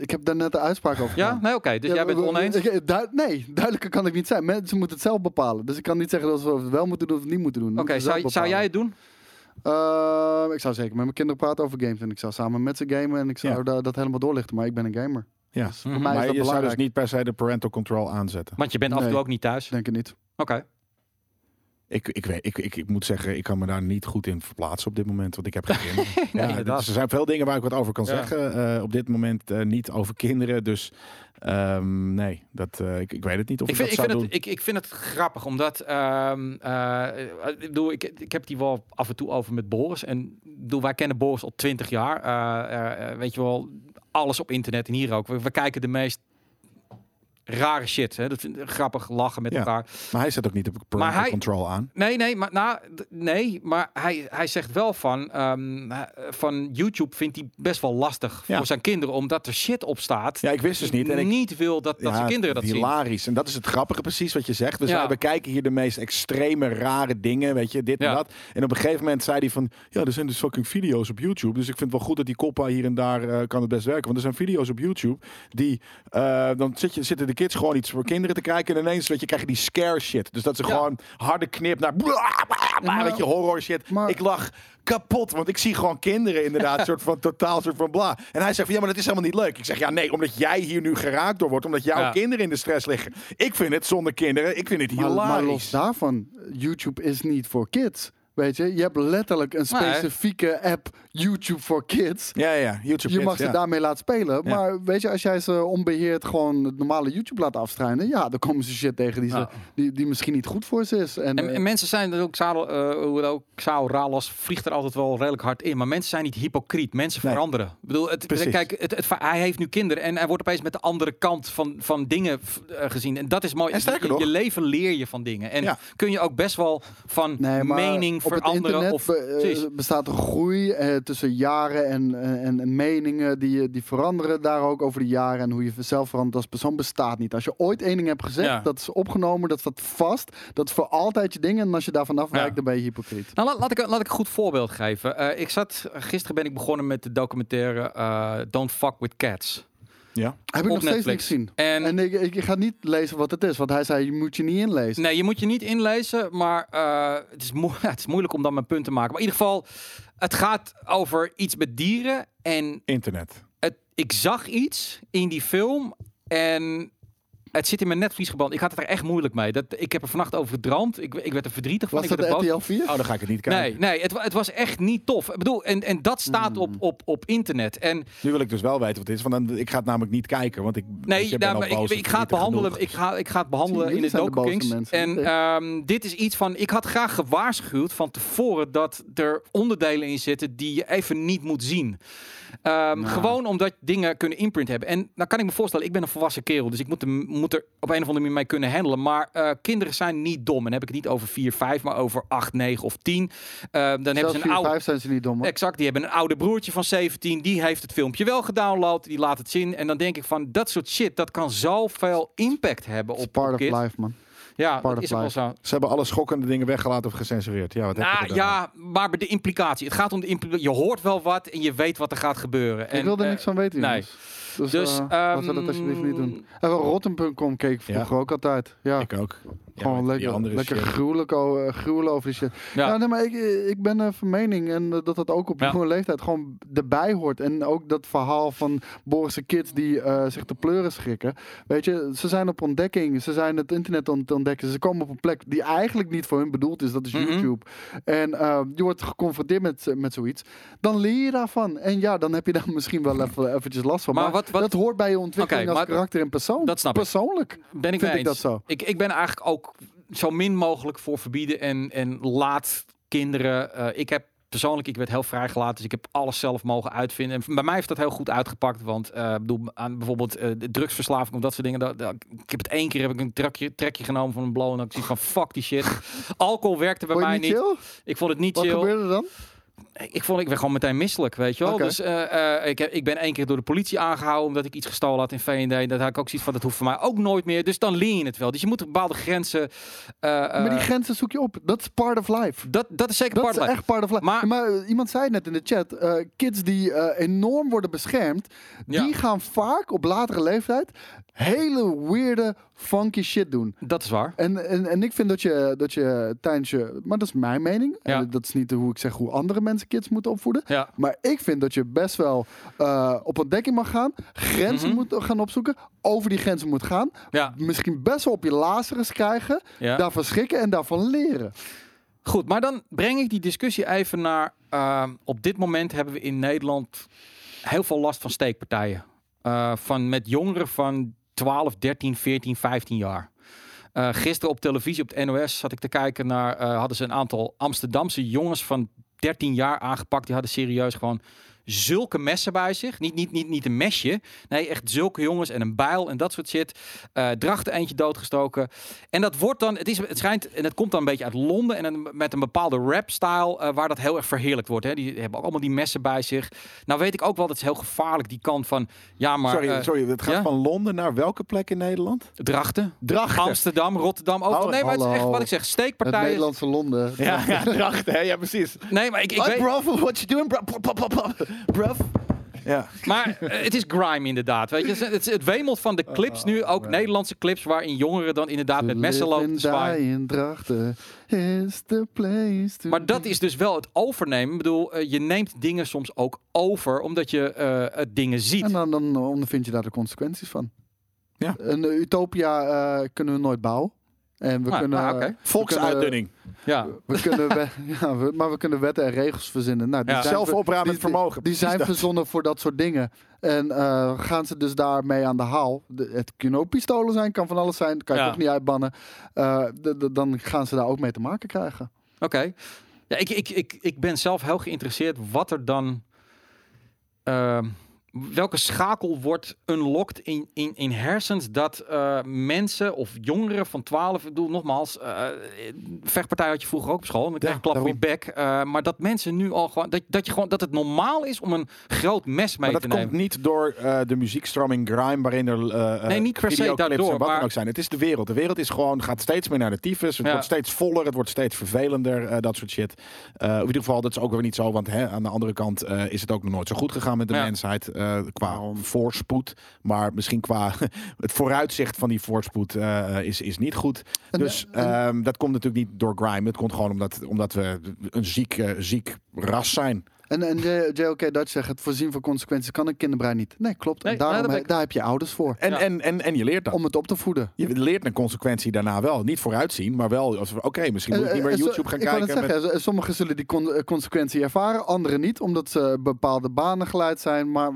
[SPEAKER 3] ik heb daar net de uitspraak over
[SPEAKER 2] Ja,
[SPEAKER 3] gedaan.
[SPEAKER 2] nee, oké. Dus jij bent
[SPEAKER 3] we- we- [LAUGHS]
[SPEAKER 2] oneens?
[SPEAKER 3] ik- duid- nee, duidelijker kan ik niet zijn. Mensen moeten het zelf bepalen. Dus ik kan niet zeggen dat ze het wel moeten doen of het niet moeten doen.
[SPEAKER 2] Oké,
[SPEAKER 3] Dat moeten
[SPEAKER 2] zou,
[SPEAKER 3] ze zelf
[SPEAKER 2] zou jij
[SPEAKER 3] bepalen.
[SPEAKER 2] het doen?
[SPEAKER 3] Eh, ik zou zeker met mijn kinderen praten over games. En ik zou samen met ze gamen. En ik zou
[SPEAKER 1] Ja.
[SPEAKER 3] da- dat helemaal doorlichten. Maar ik ben een gamer.
[SPEAKER 1] Ja.
[SPEAKER 3] Dus voor
[SPEAKER 2] Mhm.
[SPEAKER 3] mij
[SPEAKER 1] maar
[SPEAKER 3] is dat
[SPEAKER 1] je zou dus
[SPEAKER 3] belangrijk.
[SPEAKER 1] niet per se de parental control aanzetten.
[SPEAKER 2] Want je bent af en toe
[SPEAKER 3] Nee.
[SPEAKER 2] ook niet thuis.
[SPEAKER 3] Ik denk het niet.
[SPEAKER 2] Oké.
[SPEAKER 1] Ik, ik, weet, ik, ik, ik moet zeggen, ik kan me daar niet goed in verplaatsen op dit moment, want ik heb geen
[SPEAKER 2] [LAUGHS]
[SPEAKER 1] kinderen.
[SPEAKER 2] Nee,
[SPEAKER 1] ja,
[SPEAKER 2] inderdaad.
[SPEAKER 1] dus er zijn veel dingen waar ik wat over kan
[SPEAKER 2] Ja.
[SPEAKER 1] zeggen. eh, op dit moment eh, niet over kinderen, dus ehm, nee, dat, eh, ik, ik weet het niet of ik,
[SPEAKER 2] Ik vind, ik,
[SPEAKER 1] dat
[SPEAKER 2] vind
[SPEAKER 1] zou
[SPEAKER 2] het, ik, ik vind het grappig, omdat ehm, eh, ik, bedoel, ik, ik heb die wel af en toe over met Boris. En ik bedoel, wij kennen Boris al twintig jaar. Eh, eh, eh, weet je wel, alles op internet en hier ook. We, we kijken de meest rare shit. Hè? Dat vind ik grappig, lachen met
[SPEAKER 1] Ja.
[SPEAKER 2] elkaar.
[SPEAKER 1] doen. Maar hij zet ook niet de
[SPEAKER 2] Maar
[SPEAKER 1] parental
[SPEAKER 2] hij-
[SPEAKER 1] control aan.
[SPEAKER 2] Nee, nee, maar, nou, d- nee, maar hij, hij zegt wel van, ehm, hij- van YouTube vindt hij best wel lastig
[SPEAKER 1] Ja.
[SPEAKER 2] voor zijn kinderen, omdat er shit op staat.
[SPEAKER 1] Ja, ik wist dus niet. En ik,
[SPEAKER 2] niet wil dat, dat
[SPEAKER 1] ja,
[SPEAKER 2] zijn kinderen dat zien.
[SPEAKER 1] Hilarisch. En dat is het grappige precies wat je zegt. We,
[SPEAKER 2] Ja.
[SPEAKER 1] zijn, we kijken hier de meest extreme, rare dingen, weet je, dit
[SPEAKER 2] Ja.
[SPEAKER 1] en dat. En op een gegeven moment zei hij van, ja, er zijn dus fucking video's op YouTube. Dus ik vind het wel goed dat die koppa hier en daar eh, kan het best werken. Want er zijn video's op YouTube die, eh, dan zit je, zitten de kids gewoon iets voor kinderen te kijken. En ineens, weet je, krijg je die scare shit. Dus dat ze
[SPEAKER 2] Ja.
[SPEAKER 1] gewoon harde knip naar,
[SPEAKER 3] maar-
[SPEAKER 1] weet je, horror shit.
[SPEAKER 3] maar-
[SPEAKER 1] ik lag kapot, want ik zie gewoon kinderen
[SPEAKER 2] [LAUGHS]
[SPEAKER 1] inderdaad, soort van totaal, soort van bla. En hij zegt van, ja, maar dat is helemaal niet leuk. Ik zeg, ja, nee, omdat jij hier nu geraakt door wordt, omdat jouw
[SPEAKER 2] Ja.
[SPEAKER 1] kinderen in de stress liggen. Ik vind het zonder kinderen, ik vind het
[SPEAKER 3] Maar,
[SPEAKER 1] hilarisch.
[SPEAKER 3] maar los daarvan, YouTube is niet voor kids. Weet je, je hebt letterlijk een
[SPEAKER 2] Nee.
[SPEAKER 3] specifieke app YouTube voor kids.
[SPEAKER 1] Ja, ja, YouTube
[SPEAKER 3] Je
[SPEAKER 1] Kids,
[SPEAKER 3] mag ze
[SPEAKER 1] ja.
[SPEAKER 3] daarmee laten spelen.
[SPEAKER 1] Ja.
[SPEAKER 3] Maar weet je, als jij ze onbeheerd gewoon het normale YouTube laat afstruinen. Ja, dan komen ze shit tegen die, ze,
[SPEAKER 2] Ja.
[SPEAKER 3] die, die misschien niet goed voor ze is. En,
[SPEAKER 2] En,
[SPEAKER 3] eh,
[SPEAKER 2] en mensen zijn er ook, Sao, eh, hoe het ook, Sao Ralas vliegt er altijd wel redelijk hard in. Maar mensen zijn niet hypocriet. Mensen
[SPEAKER 1] Nee.
[SPEAKER 2] veranderen. Ik bedoel, het,
[SPEAKER 1] Precies.
[SPEAKER 2] kijk, het, het, hij heeft nu kinderen en hij wordt opeens met de andere kant van, van dingen eh, gezien. En dat is mooi.
[SPEAKER 1] En sterker
[SPEAKER 2] je,
[SPEAKER 1] nog-
[SPEAKER 2] je leven leer je van dingen. En
[SPEAKER 1] Ja.
[SPEAKER 2] kun je ook best wel van
[SPEAKER 3] eh, nee, maar
[SPEAKER 2] mening
[SPEAKER 3] op het
[SPEAKER 2] veranderen.
[SPEAKER 3] internet
[SPEAKER 2] of,
[SPEAKER 3] be- eh,
[SPEAKER 2] precies.
[SPEAKER 3] bestaat een groei eh, tussen jaren en, eh, en, en meningen die, eh, die veranderen daar ook over de jaren. En hoe je zelf verandert als persoon bestaat niet. Als je ooit één ding hebt gezegd,
[SPEAKER 2] Ja.
[SPEAKER 3] dat is opgenomen, dat staat vast. Dat is voor altijd je ding. En als je daarvan afwijkt,
[SPEAKER 2] Ja.
[SPEAKER 3] dan ben je hypocriet.
[SPEAKER 2] Nou, laat, laat ik, laat ik een goed voorbeeld geven. Eh, ik zat, gisteren ben ik begonnen met de documentaire eh, Don't Fuck With Cats.
[SPEAKER 1] Ja.
[SPEAKER 3] Heb ik
[SPEAKER 2] Op
[SPEAKER 3] nog steeds
[SPEAKER 2] Netflix.
[SPEAKER 3] niet gezien.
[SPEAKER 2] En,
[SPEAKER 3] En ik, ik ga niet lezen wat het is, want hij zei, je moet je niet inlezen.
[SPEAKER 2] nee, je moet je niet inlezen, maar eh, het, is mo- [LAUGHS] het is moeilijk om dan mijn punt te maken. Maar in ieder geval, het gaat over iets met dieren. En
[SPEAKER 1] Internet.
[SPEAKER 2] het, ik zag iets in die film en het zit in mijn netvlies gebrand. Ik had het er echt moeilijk mee. Dat, ik heb er vannacht over gedroomd. Ik, ik werd er verdrietig van.
[SPEAKER 3] Was
[SPEAKER 2] ik
[SPEAKER 3] dat
[SPEAKER 2] werd er boos
[SPEAKER 3] RTL 4?
[SPEAKER 1] Oh, dan ga ik het niet kijken.
[SPEAKER 2] Nee, nee het, wa- het was echt niet tof. Ik bedoel, en, en dat staat
[SPEAKER 3] Hmm.
[SPEAKER 2] op, op, op internet. En
[SPEAKER 1] Nu wil ik dus wel weten wat het is, want dan, ik ga het namelijk niet kijken, want ik
[SPEAKER 2] Nee,
[SPEAKER 1] ik ben
[SPEAKER 2] nou,
[SPEAKER 1] al
[SPEAKER 2] maar ik,
[SPEAKER 1] boos en
[SPEAKER 2] ik ga het
[SPEAKER 1] verdrietig
[SPEAKER 2] behandelen.
[SPEAKER 1] genoeg.
[SPEAKER 2] Ik ga, ik ga het behandelen
[SPEAKER 3] Zie je,
[SPEAKER 2] in de
[SPEAKER 3] jullie zijn de
[SPEAKER 2] Doku
[SPEAKER 3] boze
[SPEAKER 2] Kings. En
[SPEAKER 3] mensen.
[SPEAKER 2] ehm, dit is iets van. Ik had graag gewaarschuwd van tevoren dat er onderdelen in zitten die je even niet moet zien. Ehm, Gewoon omdat dingen kunnen imprint hebben. En dan kan ik me voorstellen, ik ben een volwassen kerel, dus ik moet, er- moet er op een of andere manier mee kunnen handelen. Maar eh, kinderen zijn niet dom. En dan heb ik het niet over 4, 5, maar over 8, 9 of 10. Ehm, dan hebben
[SPEAKER 3] Zelfs
[SPEAKER 2] ze een
[SPEAKER 3] 4,
[SPEAKER 2] oude.
[SPEAKER 3] 5 zijn ze niet dom. hoor.
[SPEAKER 2] Exact, die hebben een oude broertje van 17. Die heeft het filmpje wel gedownload. Die laat het zien. En dan denk ik van, dat soort shit, dat kan zoveel impact hebben
[SPEAKER 3] It's
[SPEAKER 2] op
[SPEAKER 3] part
[SPEAKER 2] op
[SPEAKER 3] of
[SPEAKER 2] kids.
[SPEAKER 3] life, man.
[SPEAKER 2] Ja,
[SPEAKER 3] part
[SPEAKER 2] dat
[SPEAKER 3] of
[SPEAKER 2] is ook wel
[SPEAKER 3] life.
[SPEAKER 2] zo.
[SPEAKER 1] Ze hebben alle schokkende dingen weggelaten of gecensureerd. Ja, wat heb je
[SPEAKER 2] Nou,
[SPEAKER 1] gedaan?
[SPEAKER 2] ja, maar de implicatie. Het gaat om de implicatie. Je hoort wel wat en je weet wat er gaat gebeuren. En,
[SPEAKER 3] ik wil er
[SPEAKER 2] eh,
[SPEAKER 3] niks van weten,
[SPEAKER 2] nee.
[SPEAKER 3] jongens. Dus,
[SPEAKER 2] Dus,
[SPEAKER 3] eh, laten we dat alsjeblieft niet doen.
[SPEAKER 2] ehm,
[SPEAKER 3] En wel Rotten.com keek ik vroeger ook altijd. Ja,
[SPEAKER 1] Ik ook.
[SPEAKER 3] gewoon
[SPEAKER 1] Ja, maar die
[SPEAKER 3] lekker,
[SPEAKER 1] andere
[SPEAKER 3] lekker
[SPEAKER 1] shit.
[SPEAKER 3] gruwelijk o- eh, gruwelen over die shit. Ja,
[SPEAKER 2] Ja.
[SPEAKER 3] nee, maar ik, ik ben eh, van mening en eh, dat dat ook op
[SPEAKER 2] Ja.
[SPEAKER 3] jonge leeftijd gewoon erbij hoort. En ook dat verhaal van Boris' de kids die eh, zich de pleuren schrikken. Weet je, ze zijn op ontdekking, ze zijn het internet aan het ontdekken. Ze komen op een plek die eigenlijk niet voor hun bedoeld is, dat is
[SPEAKER 2] Mhm.
[SPEAKER 3] YouTube. En eh, je wordt geconfronteerd met, z- met zoiets. Dan leer je daarvan. En ja, dan heb je daar [LAUGHS] misschien wel even, eventjes last van.
[SPEAKER 2] Maar
[SPEAKER 3] Maar,
[SPEAKER 2] wat- wat-
[SPEAKER 3] dat hoort bij je ontwikkeling
[SPEAKER 2] Oké,
[SPEAKER 3] als
[SPEAKER 2] maar-
[SPEAKER 3] karakter en persoon.
[SPEAKER 2] Dat snap ik.
[SPEAKER 3] Persoonlijk.
[SPEAKER 2] ben ik
[SPEAKER 3] vind
[SPEAKER 2] mee
[SPEAKER 3] ik
[SPEAKER 2] eens.
[SPEAKER 3] dat zo.
[SPEAKER 2] Ik, ik ben eigenlijk ook zo min mogelijk voor verbieden en, en laat kinderen. eh, ik heb persoonlijk, ik werd heel vrijgelaten, dus ik heb alles zelf mogen uitvinden. En bij mij heeft dat heel goed uitgepakt, want eh, ik bedoel aan bijvoorbeeld eh, de drugsverslaving of dat soort dingen. Dat, dat- ik heb het één keer heb ik een trekje, trekje genomen van een blow en
[SPEAKER 3] [LAUGHS]
[SPEAKER 2] dan ik zoiets van fuck die shit. Alcohol werkte bij
[SPEAKER 3] Vond je
[SPEAKER 2] mij
[SPEAKER 3] niet
[SPEAKER 2] niet.
[SPEAKER 3] chill?
[SPEAKER 2] Ik vond het niet
[SPEAKER 3] Wat
[SPEAKER 2] chill.
[SPEAKER 3] gebeurde er dan?
[SPEAKER 2] ik vond ik werd gewoon meteen misselijk, weet je wel.
[SPEAKER 3] Oké.
[SPEAKER 2] Dus eh, eh, ik, heb- ik ben één keer door de politie aangehouden omdat ik iets gestolen had in V&D. Dat had ik ook zoiets van, dat hoeft voor mij ook nooit meer. Dus dan leer je het wel. Dus je moet bepaalde grenzen... eh,
[SPEAKER 3] maar die
[SPEAKER 2] eh,
[SPEAKER 3] grenzen zoek je op. Dat is part of life.
[SPEAKER 2] dat, dat is zeker
[SPEAKER 3] Dat
[SPEAKER 2] part
[SPEAKER 3] is
[SPEAKER 2] of life.
[SPEAKER 3] echt part of life.
[SPEAKER 2] Maar-
[SPEAKER 3] Maar, eh, iemand zei het net in de chat, eh, kids die eh, enorm worden beschermd,
[SPEAKER 2] Ja.
[SPEAKER 3] die gaan vaak op latere leeftijd hele weirde, funky shit doen.
[SPEAKER 2] Dat is waar.
[SPEAKER 3] En, en, en ik vind dat je, dat je tijdens je... Maar dat is mijn mening.
[SPEAKER 2] Ja.
[SPEAKER 3] En dat is niet hoe ik zeg hoe andere mensen kids moeten opvoeden.
[SPEAKER 2] Ja.
[SPEAKER 3] Maar ik vind dat je best wel eh, op ontdekking mag gaan. Grenzen
[SPEAKER 2] Mhm.
[SPEAKER 3] moet gaan opzoeken. Over die grenzen moet gaan.
[SPEAKER 2] Ja.
[SPEAKER 3] Misschien best wel op je lazerus krijgen.
[SPEAKER 2] Ja.
[SPEAKER 3] Daarvan schrikken en daarvan leren.
[SPEAKER 2] Goed, maar dan breng ik die discussie even naar. eh, op dit moment hebben we in Nederland heel veel last van steekpartijen. Eh, van met jongeren van 12, 13, 14, 15 jaar. Eh, gisteren op televisie op het NOS zat ik te kijken naar. eh, hadden ze een aantal Amsterdamse jongens van 13 jaar aangepakt. Die hadden serieus gewoon zulke messen bij zich. Niet, niet, niet, niet een mesje. Nee, echt zulke jongens en een bijl en dat soort shit. Eh drachten eentje doodgestoken. En dat wordt dan, het, is, het schijnt, en het komt dan een beetje uit Londen en een- met een bepaalde rap-style eh, waar dat heel erg verheerlijkt wordt. Hè. Die hebben ook allemaal die messen bij zich. Nou weet ik ook wel, dat is heel gevaarlijk, die kant van, ja maar,
[SPEAKER 1] sorry,
[SPEAKER 2] eh,
[SPEAKER 1] sorry, het gaat
[SPEAKER 2] ja?
[SPEAKER 1] van Londen naar welke plek in Nederland?
[SPEAKER 2] drachten,
[SPEAKER 1] Drachten.
[SPEAKER 2] Amsterdam, Rotterdam, overal.
[SPEAKER 1] Oh,
[SPEAKER 2] nee, maar het is echt
[SPEAKER 3] hallo.
[SPEAKER 2] wat ik zeg,
[SPEAKER 3] Het
[SPEAKER 2] steekpartijen.
[SPEAKER 3] Nederlandse Londen.
[SPEAKER 1] Ja, ja, drachten, hè? ja precies.
[SPEAKER 2] Nee, maar ik, ik
[SPEAKER 1] Like,
[SPEAKER 2] weet...
[SPEAKER 1] bruv, what you doing, bruv? Bruv, bruv, bruv, bruv? Ja.
[SPEAKER 2] Maar eh, het is grime inderdaad. Weet je. Het, is- het, is- het wemelt van
[SPEAKER 3] Oh,
[SPEAKER 2] de clips nu, ook Nederlandse clips, waarin jongeren dan inderdaad met messen
[SPEAKER 3] Live
[SPEAKER 2] lopen te
[SPEAKER 3] and
[SPEAKER 2] zwaaien.
[SPEAKER 3] die in Drachten is the place to
[SPEAKER 2] Maar dat
[SPEAKER 3] be.
[SPEAKER 2] is dus wel het overnemen. Ik bedoel, eh, je neemt dingen soms ook over omdat je eh, het dingen ziet.
[SPEAKER 3] En dan, dan ondervind je daar de consequenties van.
[SPEAKER 1] Ja.
[SPEAKER 3] Een eh, utopia eh, kunnen we nooit bouwen. En we
[SPEAKER 2] Nou,
[SPEAKER 3] kunnen...
[SPEAKER 2] nou, oké.
[SPEAKER 1] Volksuitdunning.
[SPEAKER 2] Ja.
[SPEAKER 3] We
[SPEAKER 2] [LAUGHS]
[SPEAKER 3] kunnen we- ja, we- maar we kunnen wetten en regels verzinnen. Nou, die
[SPEAKER 2] Ja.
[SPEAKER 3] zijn, ver-
[SPEAKER 1] Zelfopruimend
[SPEAKER 3] die- die-
[SPEAKER 1] vermogen.
[SPEAKER 3] die
[SPEAKER 1] precies
[SPEAKER 3] zijn
[SPEAKER 1] dat.
[SPEAKER 3] verzonnen voor dat soort dingen. En eh, gaan ze dus daarmee aan de haal. De- het kunnen ook pistolen zijn, kan van alles zijn. Kan je
[SPEAKER 2] Ja.
[SPEAKER 3] toch niet uitbannen. Eh, de- de- dan gaan ze daar ook mee te maken krijgen.
[SPEAKER 2] Oké. Ja, ik, ik, ik, ik ben zelf heel geïnteresseerd wat er dan. ehm, welke schakel wordt unlocked in, in, in hersens dat eh, mensen of jongeren van 12, ik bedoel nogmaals, eh, vechtpartij had je vroeger ook op school, en dan kreeg je klap op je bek. eh, maar dat mensen nu al gewoon dat, dat je gewoon dat het normaal is om een groot mes mee
[SPEAKER 1] Maar dat
[SPEAKER 2] te nemen.
[SPEAKER 1] komt niet door eh, de muziekstroming grime, waarin er eh, eh,
[SPEAKER 2] Nee, niet per se
[SPEAKER 1] videoclips
[SPEAKER 2] daardoor,
[SPEAKER 1] en wat
[SPEAKER 2] maar-
[SPEAKER 1] dan ook zijn. Het is de wereld. De wereld is gewoon, gaat steeds meer naar de tyfus. Het
[SPEAKER 2] Ja.
[SPEAKER 1] wordt steeds voller, het wordt steeds vervelender, eh, dat soort shit. Eh, in ieder geval, dat is ook weer niet zo, want hè, aan de andere kant eh, is het ook nog nooit zo goed gegaan met de
[SPEAKER 2] Ja.
[SPEAKER 1] mensheid eh, qua voorspoed. Maar misschien qua [LAUGHS] het vooruitzicht van die voorspoed eh, is, is niet goed.
[SPEAKER 3] En-
[SPEAKER 1] dus ehm, dat komt natuurlijk niet door grime. Het komt gewoon omdat, omdat we een ziek, eh, ziek ras zijn.
[SPEAKER 3] En, en J- JLK Dutch zegt, het voorzien van consequenties kan een kinderbrein niet. Nee, klopt.
[SPEAKER 2] Nee,
[SPEAKER 3] en daarom,
[SPEAKER 2] nee, dat ben
[SPEAKER 3] he- daar heb je ouders voor.
[SPEAKER 1] En,
[SPEAKER 2] Ja.
[SPEAKER 1] en, en, en je leert dat.
[SPEAKER 3] Om het op te voeden.
[SPEAKER 1] Je leert een consequentie daarna wel. Niet vooruitzien, maar wel. als we- Oké, misschien moet ik niet
[SPEAKER 3] Eh,
[SPEAKER 1] meer
[SPEAKER 3] eh, zo-
[SPEAKER 1] YouTube gaan
[SPEAKER 3] ik wou net
[SPEAKER 1] kijken. met-
[SPEAKER 3] zeggen, eh, sommigen zullen die con- eh, consequentie ervaren, anderen niet, omdat ze bepaalde banen geleid zijn. Maar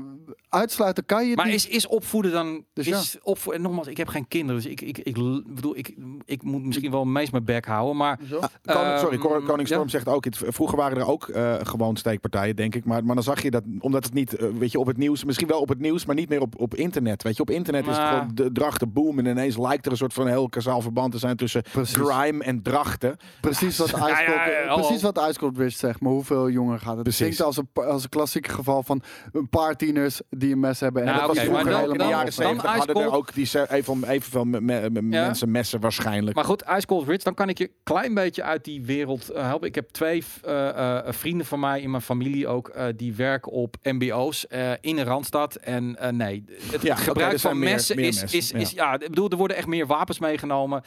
[SPEAKER 3] uitsluiten kan je het
[SPEAKER 2] Maar
[SPEAKER 3] niet.
[SPEAKER 2] is, is opvoeden dan.
[SPEAKER 3] Dus
[SPEAKER 2] is opvo- en nogmaals, ik heb geen kinderen. Dus ik, ik, ik l- bedoel, ik, ik moet misschien wel meest mijn bek houden. Maar
[SPEAKER 3] Zo?
[SPEAKER 1] Koning, sorry, Ko-
[SPEAKER 2] Ehm,
[SPEAKER 1] Koning Storm
[SPEAKER 2] ja.
[SPEAKER 1] zegt ook. het- Vroeger waren er ook eh, gewoon steekpartijen, denk ik. Maar, maar dan zag je dat, omdat het niet, eh, weet je, op het nieuws, misschien wel op het nieuws, maar niet meer op, op internet. Weet je, op internet is het
[SPEAKER 2] Maar-
[SPEAKER 1] gewoon de drachten boom. En ineens lijkt er een soort van heel kazaal verband te zijn tussen
[SPEAKER 3] Precies.
[SPEAKER 1] crime en drachten.
[SPEAKER 3] Precies
[SPEAKER 2] [LAUGHS]
[SPEAKER 3] wat
[SPEAKER 2] ja,
[SPEAKER 3] IJscold
[SPEAKER 2] ja, hallo.
[SPEAKER 3] precies wat Ice Cold Wrist zegt, maar hoeveel jonger gaat het? Ik
[SPEAKER 1] Precies.
[SPEAKER 3] denk als een, pa- als een klassiek geval van een paar tieners die een mes hebben. En
[SPEAKER 2] Nou,
[SPEAKER 3] dat
[SPEAKER 2] oké,
[SPEAKER 3] was
[SPEAKER 2] maar
[SPEAKER 3] vroeger
[SPEAKER 2] dan-
[SPEAKER 1] in de
[SPEAKER 3] helemaal
[SPEAKER 1] jaren
[SPEAKER 3] over.
[SPEAKER 2] dan
[SPEAKER 1] 70 hadden er
[SPEAKER 2] Ice Cold-
[SPEAKER 1] ook die, se- even, evenveel me- me- me-
[SPEAKER 2] Ja.
[SPEAKER 1] mensen messen waarschijnlijk.
[SPEAKER 2] Maar goed, Ice Cold Rich, dan kan ik je klein beetje uit die wereld eh, helpen. Ik heb twee eh, eh, vrienden van mij in mijn familie ook, eh, die werken op MBO's eh, in de Randstad. En eh, nee, het
[SPEAKER 1] Ja, oké,
[SPEAKER 2] gebruik
[SPEAKER 1] er zijn
[SPEAKER 2] van
[SPEAKER 1] meer-
[SPEAKER 2] messen
[SPEAKER 1] meer
[SPEAKER 2] is,
[SPEAKER 1] messen,
[SPEAKER 2] is, is, ja. ik bedoel, er worden echt meer wapens meegenomen.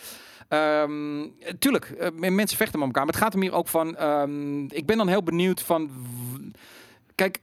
[SPEAKER 2] Ehm, tuurlijk, eh, men- mensen vechten met elkaar, maar het gaat er meer ook van, ehm, ik ben dan heel benieuwd van, w- kijk,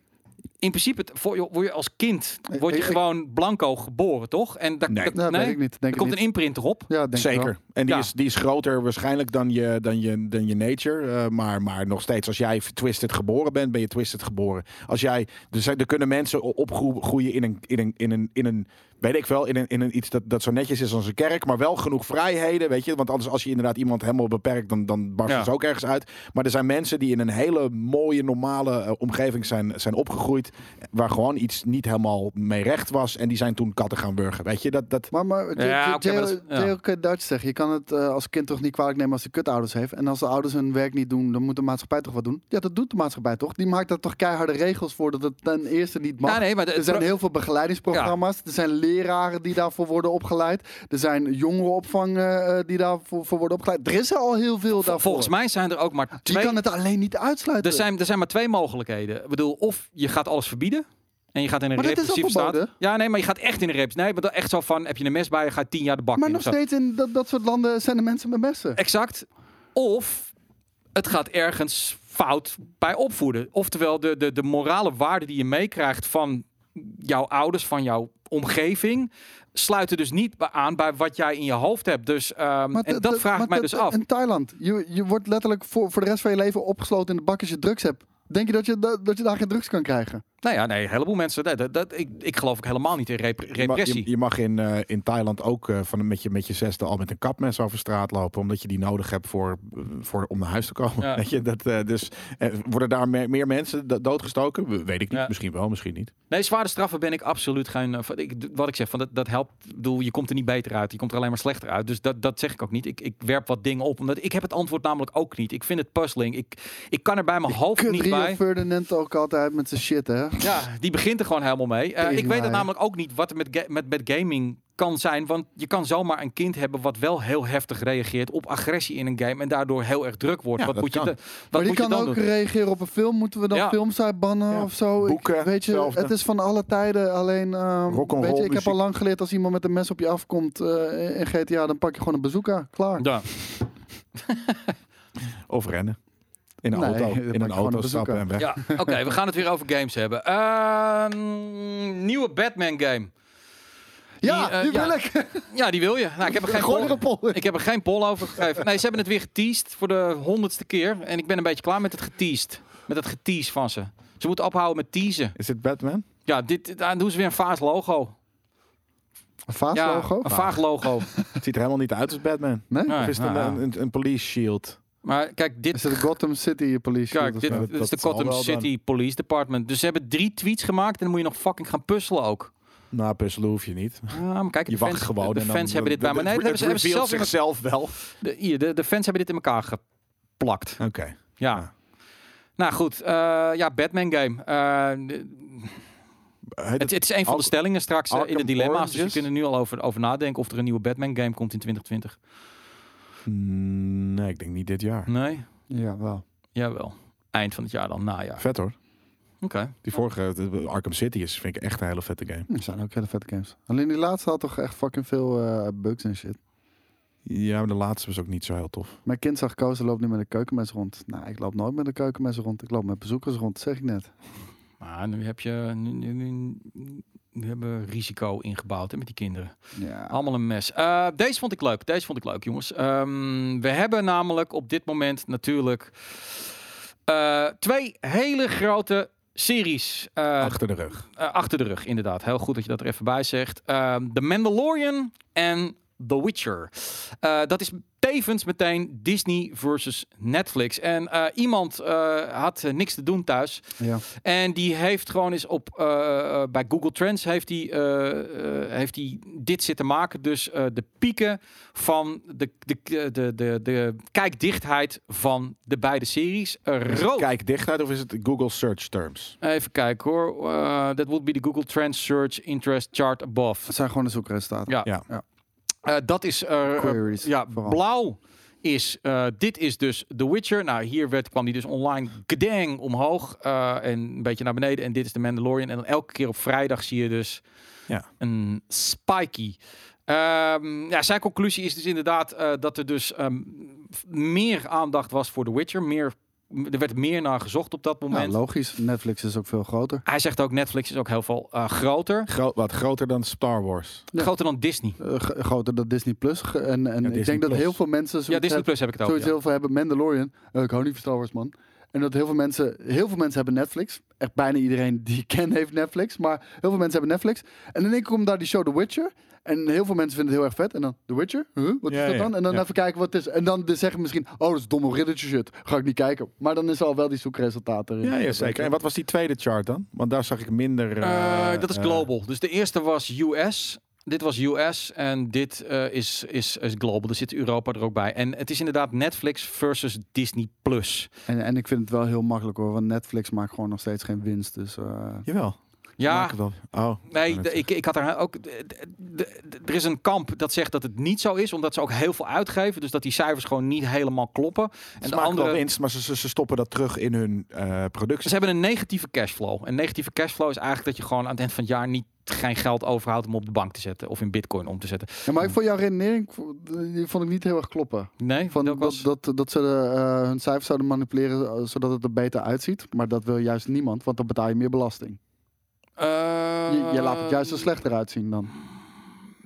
[SPEAKER 2] in principe, het- voor, je- word je als kind, word je
[SPEAKER 3] Ik- ik-
[SPEAKER 2] gewoon blanco geboren, toch? En daar,
[SPEAKER 1] Nee.
[SPEAKER 2] daar-
[SPEAKER 3] Nou,
[SPEAKER 2] nee?
[SPEAKER 3] weet ik niet. Denk
[SPEAKER 2] er
[SPEAKER 3] ik
[SPEAKER 2] komt
[SPEAKER 3] niet.
[SPEAKER 2] een imprint erop.
[SPEAKER 3] Ja, denk ik wel.
[SPEAKER 1] Zeker. En die,
[SPEAKER 2] Ja.
[SPEAKER 1] is, die is groter waarschijnlijk dan je, dan je, dan je nature. Eh, maar, maar nog steeds, als jij twisted geboren bent, ben je twisted geboren. Als jij, er, zijn, er kunnen mensen o- opgroeien in een, in een, in een, in een weet ik wel, in een, in een iets dat, dat zo netjes is als een kerk. Maar wel genoeg vrijheden, weet je. Want anders als je inderdaad iemand helemaal beperkt, dan, dan barst dus
[SPEAKER 2] Ja.
[SPEAKER 1] het ook ergens uit. Maar er zijn mensen die in een hele mooie, normale eh, omgeving zijn, zijn opgegroeid. niet, waar gewoon iets niet helemaal mee recht was. En die zijn toen katten gaan burgen. Weet je, dat, dat,
[SPEAKER 3] Maar, maar J-
[SPEAKER 2] Ja,
[SPEAKER 3] J-
[SPEAKER 2] oké, maar dat is-
[SPEAKER 3] J-
[SPEAKER 2] ja.
[SPEAKER 3] J.L.K. Dutch zegt, je kan het eh, als kind toch niet kwalijk nemen als hij kutouders heeft. En als de ouders hun werk niet doen, dan moet de maatschappij toch wat doen? Ja, dat doet de maatschappij toch? Die maakt daar toch keiharde regels voor dat het ten eerste niet mag.
[SPEAKER 2] Ja, nee, maar de-
[SPEAKER 3] er zijn heel veel begeleidingsprogramma's. Er zijn leraren die daarvoor worden opgeleid. Er zijn jongerenopvang eh, eh, die daarvoor voor worden opgeleid. Er is al heel veel daarvoor.
[SPEAKER 2] volgens mij zijn er ook maar
[SPEAKER 3] Je
[SPEAKER 2] twee.
[SPEAKER 3] kan het alleen niet uitsluiten.
[SPEAKER 2] Er zijn, er zijn maar twee mogelijkheden. Ik bedoel, of je gaat alles verbieden. En je gaat in een
[SPEAKER 3] Maar dat is al
[SPEAKER 2] repressieve staat.
[SPEAKER 3] verboden.
[SPEAKER 2] Ja, nee, maar je gaat echt in een reps. Nee, maar dan echt zo van: heb je een mes bij je, gaat tien jaar de bak
[SPEAKER 3] maar
[SPEAKER 2] in
[SPEAKER 3] nog
[SPEAKER 2] of zo.
[SPEAKER 3] steeds in dat, dat soort landen zijn de mensen met messen.
[SPEAKER 2] Exact. Of het gaat ergens fout bij opvoeden. Oftewel, de, de, de morale waarde die je meekrijgt van jouw ouders, van jouw omgeving, sluiten dus niet bij- aan bij wat jij in je hoofd hebt. Dus, ehm,
[SPEAKER 3] Maar
[SPEAKER 2] en
[SPEAKER 3] d-
[SPEAKER 2] dat
[SPEAKER 3] d-
[SPEAKER 2] vraag
[SPEAKER 3] maar
[SPEAKER 2] ik mij
[SPEAKER 3] d-
[SPEAKER 2] dus
[SPEAKER 3] d-
[SPEAKER 2] af.
[SPEAKER 3] In Thailand, je, je wordt letterlijk voor, voor de rest van je leven opgesloten in de bak als je drugs hebt. Denk je dat je, da- dat je daar geen drugs kan krijgen?
[SPEAKER 2] Nou ja, nee, een heleboel mensen. nee, dat, dat, ik, ik geloof ook helemaal niet in rep-
[SPEAKER 1] Je mag-
[SPEAKER 2] repressie.
[SPEAKER 1] Je, je mag in, eh, in Thailand ook eh, van, met, je, met je zesde al met een kapmes over straat lopen. Omdat je die nodig hebt voor, eh, voor, om naar huis te komen. [LAUGHS]
[SPEAKER 2] Ja.
[SPEAKER 1] Weet je, dat, eh, dus eh, worden daar meer, meer mensen do- doodgestoken? We- Weet ik niet.
[SPEAKER 2] Ja.
[SPEAKER 1] Misschien wel, misschien niet.
[SPEAKER 2] Nee, zware straffen ben ik absoluut geen. eh, van- ik, d- wat ik zeg, van dat, dat helpt. Ik bedoel, je komt er niet beter uit. Je komt er alleen maar slechter uit. Dus dat, dat zeg ik ook niet. Ik, ik werp wat dingen op. Omdat ik heb het antwoord namelijk ook niet. Ik vind het puzzling. Ik, ik kan er bij mijn hoofd
[SPEAKER 3] Kut
[SPEAKER 2] niet
[SPEAKER 3] Rio
[SPEAKER 2] bij.
[SPEAKER 3] Ferdinand ook altijd met zijn shit, hè?
[SPEAKER 2] Ja, die begint er gewoon helemaal mee. Eh, ik weet
[SPEAKER 3] Tegenwaaier.
[SPEAKER 2] het namelijk ook niet wat er met, ga- met, met gaming kan zijn. Want je kan zomaar een kind hebben wat wel heel heftig reageert op agressie in een game. En daardoor heel erg druk wordt.
[SPEAKER 1] Ja,
[SPEAKER 2] wat
[SPEAKER 1] dat
[SPEAKER 2] moet je,
[SPEAKER 1] kan.
[SPEAKER 2] da- wat
[SPEAKER 3] Maar die
[SPEAKER 2] moet je
[SPEAKER 3] kan
[SPEAKER 2] dan
[SPEAKER 3] ook
[SPEAKER 2] doen?
[SPEAKER 3] reageren op een film. Moeten we dan
[SPEAKER 2] Ja.
[SPEAKER 3] films uitbannen
[SPEAKER 1] Ja.
[SPEAKER 3] of zo? Ik-
[SPEAKER 1] Boeken,
[SPEAKER 3] weet je,
[SPEAKER 1] hetzelfde.
[SPEAKER 3] het is van alle tijden. Alleen, ehm,
[SPEAKER 1] Rock'n'roll
[SPEAKER 3] weet je, ik heb
[SPEAKER 1] muziek.
[SPEAKER 3] al lang geleerd als iemand met een mes op je afkomt eh, in GTA, dan pak je gewoon een bezoeker. Klaar.
[SPEAKER 2] Ja.
[SPEAKER 1] Of rennen. In een
[SPEAKER 3] Nee, dan
[SPEAKER 1] auto.
[SPEAKER 3] pak
[SPEAKER 1] In
[SPEAKER 3] je
[SPEAKER 1] een
[SPEAKER 3] gewoon
[SPEAKER 1] auto
[SPEAKER 3] een
[SPEAKER 1] stappen en weg.
[SPEAKER 2] Ja, oké, we gaan het weer over games hebben. Ehm, nieuwe Batman game.
[SPEAKER 3] Ja,
[SPEAKER 2] Die, eh,
[SPEAKER 3] nu
[SPEAKER 2] ja.
[SPEAKER 3] wil ik.
[SPEAKER 2] Ja, die wil je. Nou, ik heb er geen
[SPEAKER 3] Gooi er een
[SPEAKER 2] poll,
[SPEAKER 3] pol in.
[SPEAKER 2] ik heb er geen poll over gegeven. Nee, ze hebben het weer geteased voor de honderdste keer. En ik ben een beetje klaar met het geteased. Met het geteased van ze. Ze moeten ophouden met teasen.
[SPEAKER 1] Is dit Batman?
[SPEAKER 2] Ja, dit, dit- daar doen ze weer een vaas logo.
[SPEAKER 3] Een vaas
[SPEAKER 2] ja,
[SPEAKER 3] logo?
[SPEAKER 2] een vaag
[SPEAKER 1] [LAUGHS]
[SPEAKER 2] logo.
[SPEAKER 1] Het ziet er helemaal niet uit als Batman.
[SPEAKER 3] Nee?
[SPEAKER 2] Nee,
[SPEAKER 1] of is het een,
[SPEAKER 2] nou ja.
[SPEAKER 1] een, een, een police shield?
[SPEAKER 2] Maar kijk, dit,
[SPEAKER 3] Is het Gotham City Police? Shield
[SPEAKER 2] kijk,
[SPEAKER 3] of
[SPEAKER 2] dit,
[SPEAKER 3] zo?
[SPEAKER 1] dat-
[SPEAKER 2] dit
[SPEAKER 1] dat
[SPEAKER 2] is de
[SPEAKER 1] zal
[SPEAKER 2] Gotham
[SPEAKER 1] wel dan.
[SPEAKER 2] City Police Department. Dus ze hebben drie tweets gemaakt en dan moet je nog fucking gaan puzzelen
[SPEAKER 1] [LAUGHS]
[SPEAKER 2] ook.
[SPEAKER 1] Nou, puzzelen hoef je niet.
[SPEAKER 2] Ja, maar kijk,
[SPEAKER 1] Je
[SPEAKER 2] de
[SPEAKER 1] wacht
[SPEAKER 2] fans,
[SPEAKER 1] gewoon.
[SPEAKER 2] De
[SPEAKER 1] en
[SPEAKER 2] fans
[SPEAKER 1] dan-
[SPEAKER 2] hebben dit bij me.
[SPEAKER 1] het-
[SPEAKER 2] Nee, dat hebben
[SPEAKER 1] het
[SPEAKER 2] ze, hebben ze
[SPEAKER 1] revealt
[SPEAKER 2] zelf
[SPEAKER 1] zichzelf
[SPEAKER 2] in
[SPEAKER 1] wel.
[SPEAKER 2] De, hier, de, de fans hebben dit in elkaar geplakt.
[SPEAKER 1] Oké.
[SPEAKER 2] Ja.
[SPEAKER 1] Ja.
[SPEAKER 2] Nou goed, eh, ja, Batman game. Eh,
[SPEAKER 1] Heet
[SPEAKER 2] het,
[SPEAKER 1] het-
[SPEAKER 2] het is een van de
[SPEAKER 1] Ark-
[SPEAKER 2] stellingen straks eh, in de
[SPEAKER 1] Arkham
[SPEAKER 2] dilemma's. Dus je
[SPEAKER 1] Origins?
[SPEAKER 2] kunt er nu al over, over nadenken of er een nieuwe Batman game komt in 2020.
[SPEAKER 1] Mm, Nee, ik denk niet dit jaar.
[SPEAKER 2] Nee?
[SPEAKER 3] Ja, wel.
[SPEAKER 2] Jawel. Eind van het jaar dan, najaar.
[SPEAKER 1] Vet hoor.
[SPEAKER 2] Oké.
[SPEAKER 1] Die vorige, de- Arkham City, is, vind ik echt een hele vette game.
[SPEAKER 3] Er zijn ook hele vette games. Alleen die laatste had toch echt fucking veel eh, bugs en shit.
[SPEAKER 1] Ja, maar de laatste was ook niet zo heel tof.
[SPEAKER 3] Mijn kind zag Koos, loopt nu met een keukenmes rond. Nou, ik loop nooit met een keukenmes rond. Ik loop met bezoekers rond, zeg ik net.
[SPEAKER 2] Maar nu heb je... Nu, nu, nu- nu hebben we risico ingebouwd hè, met die kinderen.
[SPEAKER 3] Ja.
[SPEAKER 2] Allemaal een mes. Eh, deze vond ik leuk. Deze vond ik leuk, jongens. Ehm, we hebben namelijk op dit moment natuurlijk eh, twee hele grote series eh,
[SPEAKER 1] Achter de rug.
[SPEAKER 2] eh, achter de rug. Inderdaad, heel goed dat je dat er even bij zegt. Ehm The Mandalorian en The Witcher. Eh, dat is tevens meteen Disney versus Netflix. En eh, iemand eh, had eh, niks te doen thuis.
[SPEAKER 3] ja.
[SPEAKER 2] En die heeft gewoon eens op eh, eh, bij Google Trends heeft hij heeft hij dit zitten maken. Dus eh, de pieken van de, de, de, de, de kijkdichtheid van de beide series. Eh,
[SPEAKER 1] Is het
[SPEAKER 2] rood.
[SPEAKER 1] Kijk dichtheid of is het Google Search Terms?
[SPEAKER 2] Even kijken hoor. Eh, that would be the Google Trends Search Interest Chart above.
[SPEAKER 3] Het zijn gewoon de zoekresultaten.
[SPEAKER 2] Ja.
[SPEAKER 1] Ja.
[SPEAKER 3] Ja.
[SPEAKER 2] Eh, dat is eh, eh,
[SPEAKER 3] Queries.
[SPEAKER 2] ja,
[SPEAKER 3] vooral.
[SPEAKER 2] blauw is, eh, dit is dus The Witcher. Nou, hier werd, kwam die dus online gedang omhoog eh, en een beetje naar beneden. En dit is de Mandalorian. En dan elke keer op vrijdag zie je dus
[SPEAKER 1] Ja.
[SPEAKER 2] een spiky. Ehm, ja, zijn conclusie is dus inderdaad eh, dat er dus ehm, f- meer aandacht was voor The Witcher. Meer, m- er werd meer naar gezocht op dat
[SPEAKER 3] Nou,
[SPEAKER 2] moment.
[SPEAKER 3] logisch. Netflix is ook veel groter.
[SPEAKER 2] Hij zegt ook, Netflix is ook heel veel eh, groter.
[SPEAKER 1] Gro- wat groter dan Star Wars.
[SPEAKER 3] Ja.
[SPEAKER 2] Groter dan Disney.
[SPEAKER 3] Eh, g- groter dan Disney Plus. Ge- En, en ik
[SPEAKER 1] Disney
[SPEAKER 3] denk dat
[SPEAKER 1] Plus.
[SPEAKER 3] heel veel mensen
[SPEAKER 2] Ja,
[SPEAKER 3] zoiets,
[SPEAKER 2] Disney
[SPEAKER 3] hebben,
[SPEAKER 2] Plus heb ik het over.
[SPEAKER 3] zoiets
[SPEAKER 2] ja.
[SPEAKER 3] heel veel hebben. Mandalorian. Eh, ik hou niet van Star Wars, man. En dat heel veel mensen, heel veel mensen hebben Netflix. Echt bijna iedereen die ik ken heeft Netflix. Maar heel veel mensen hebben Netflix. En in één keer komt daar die show The Witcher. En heel veel mensen vinden het heel erg vet. En dan The Witcher? Huh? Wat
[SPEAKER 1] Ja,
[SPEAKER 3] is dat
[SPEAKER 1] ja,
[SPEAKER 3] dan? En dan
[SPEAKER 1] ja.
[SPEAKER 3] even kijken wat het is. En dan de- zeggen misschien, oh, dat is domme riddertje shit. Ga ik niet kijken. Maar dan is er al wel die zoekresultaten erin.
[SPEAKER 1] Ja, ja, zeker. En wat was die tweede chart dan? Want daar zag ik minder... eh,
[SPEAKER 2] Eh, dat is
[SPEAKER 1] eh,
[SPEAKER 2] global. Dus de eerste was US. Dit was US en dit eh, is, is, is global. Er zit Europa er ook bij. En het is inderdaad Netflix versus Disney+. Plus.
[SPEAKER 3] En, en ik vind het wel heel makkelijk hoor. Want Netflix maakt gewoon nog steeds geen winst. Dus eh,
[SPEAKER 1] Jawel.
[SPEAKER 2] Ja,
[SPEAKER 1] Maak het wel. Oh.
[SPEAKER 2] nee,
[SPEAKER 1] net
[SPEAKER 2] de- ik, ik had er ook... de- de- de- Er is een kamp dat zegt dat het niet zo is, omdat ze ook heel veel uitgeven. Dus dat die cijfers gewoon niet helemaal kloppen. En
[SPEAKER 1] Ze
[SPEAKER 2] de
[SPEAKER 1] maken wel
[SPEAKER 2] andere...
[SPEAKER 1] winst, maar ze, ze, ze stoppen dat terug in hun eh, productie.
[SPEAKER 2] Ze hebben een negatieve cashflow. En negatieve cashflow is eigenlijk dat je gewoon aan het eind van het jaar niet geen geld overhoudt om op de bank te zetten of in bitcoin om te zetten.
[SPEAKER 3] ja, maar ik vond jouw redenering die vond ik niet heel erg kloppen.
[SPEAKER 2] Nee,
[SPEAKER 3] Van
[SPEAKER 2] welk
[SPEAKER 3] dat,
[SPEAKER 2] was?
[SPEAKER 3] dat, dat ze de, eh, hun cijfers zouden manipuleren eh, zodat het er beter uitziet. Maar dat wil juist niemand, want dan betaal je meer belasting.
[SPEAKER 2] Eh,
[SPEAKER 3] Je, je laat het juist er
[SPEAKER 2] Ehm,
[SPEAKER 3] slechter uitzien dan.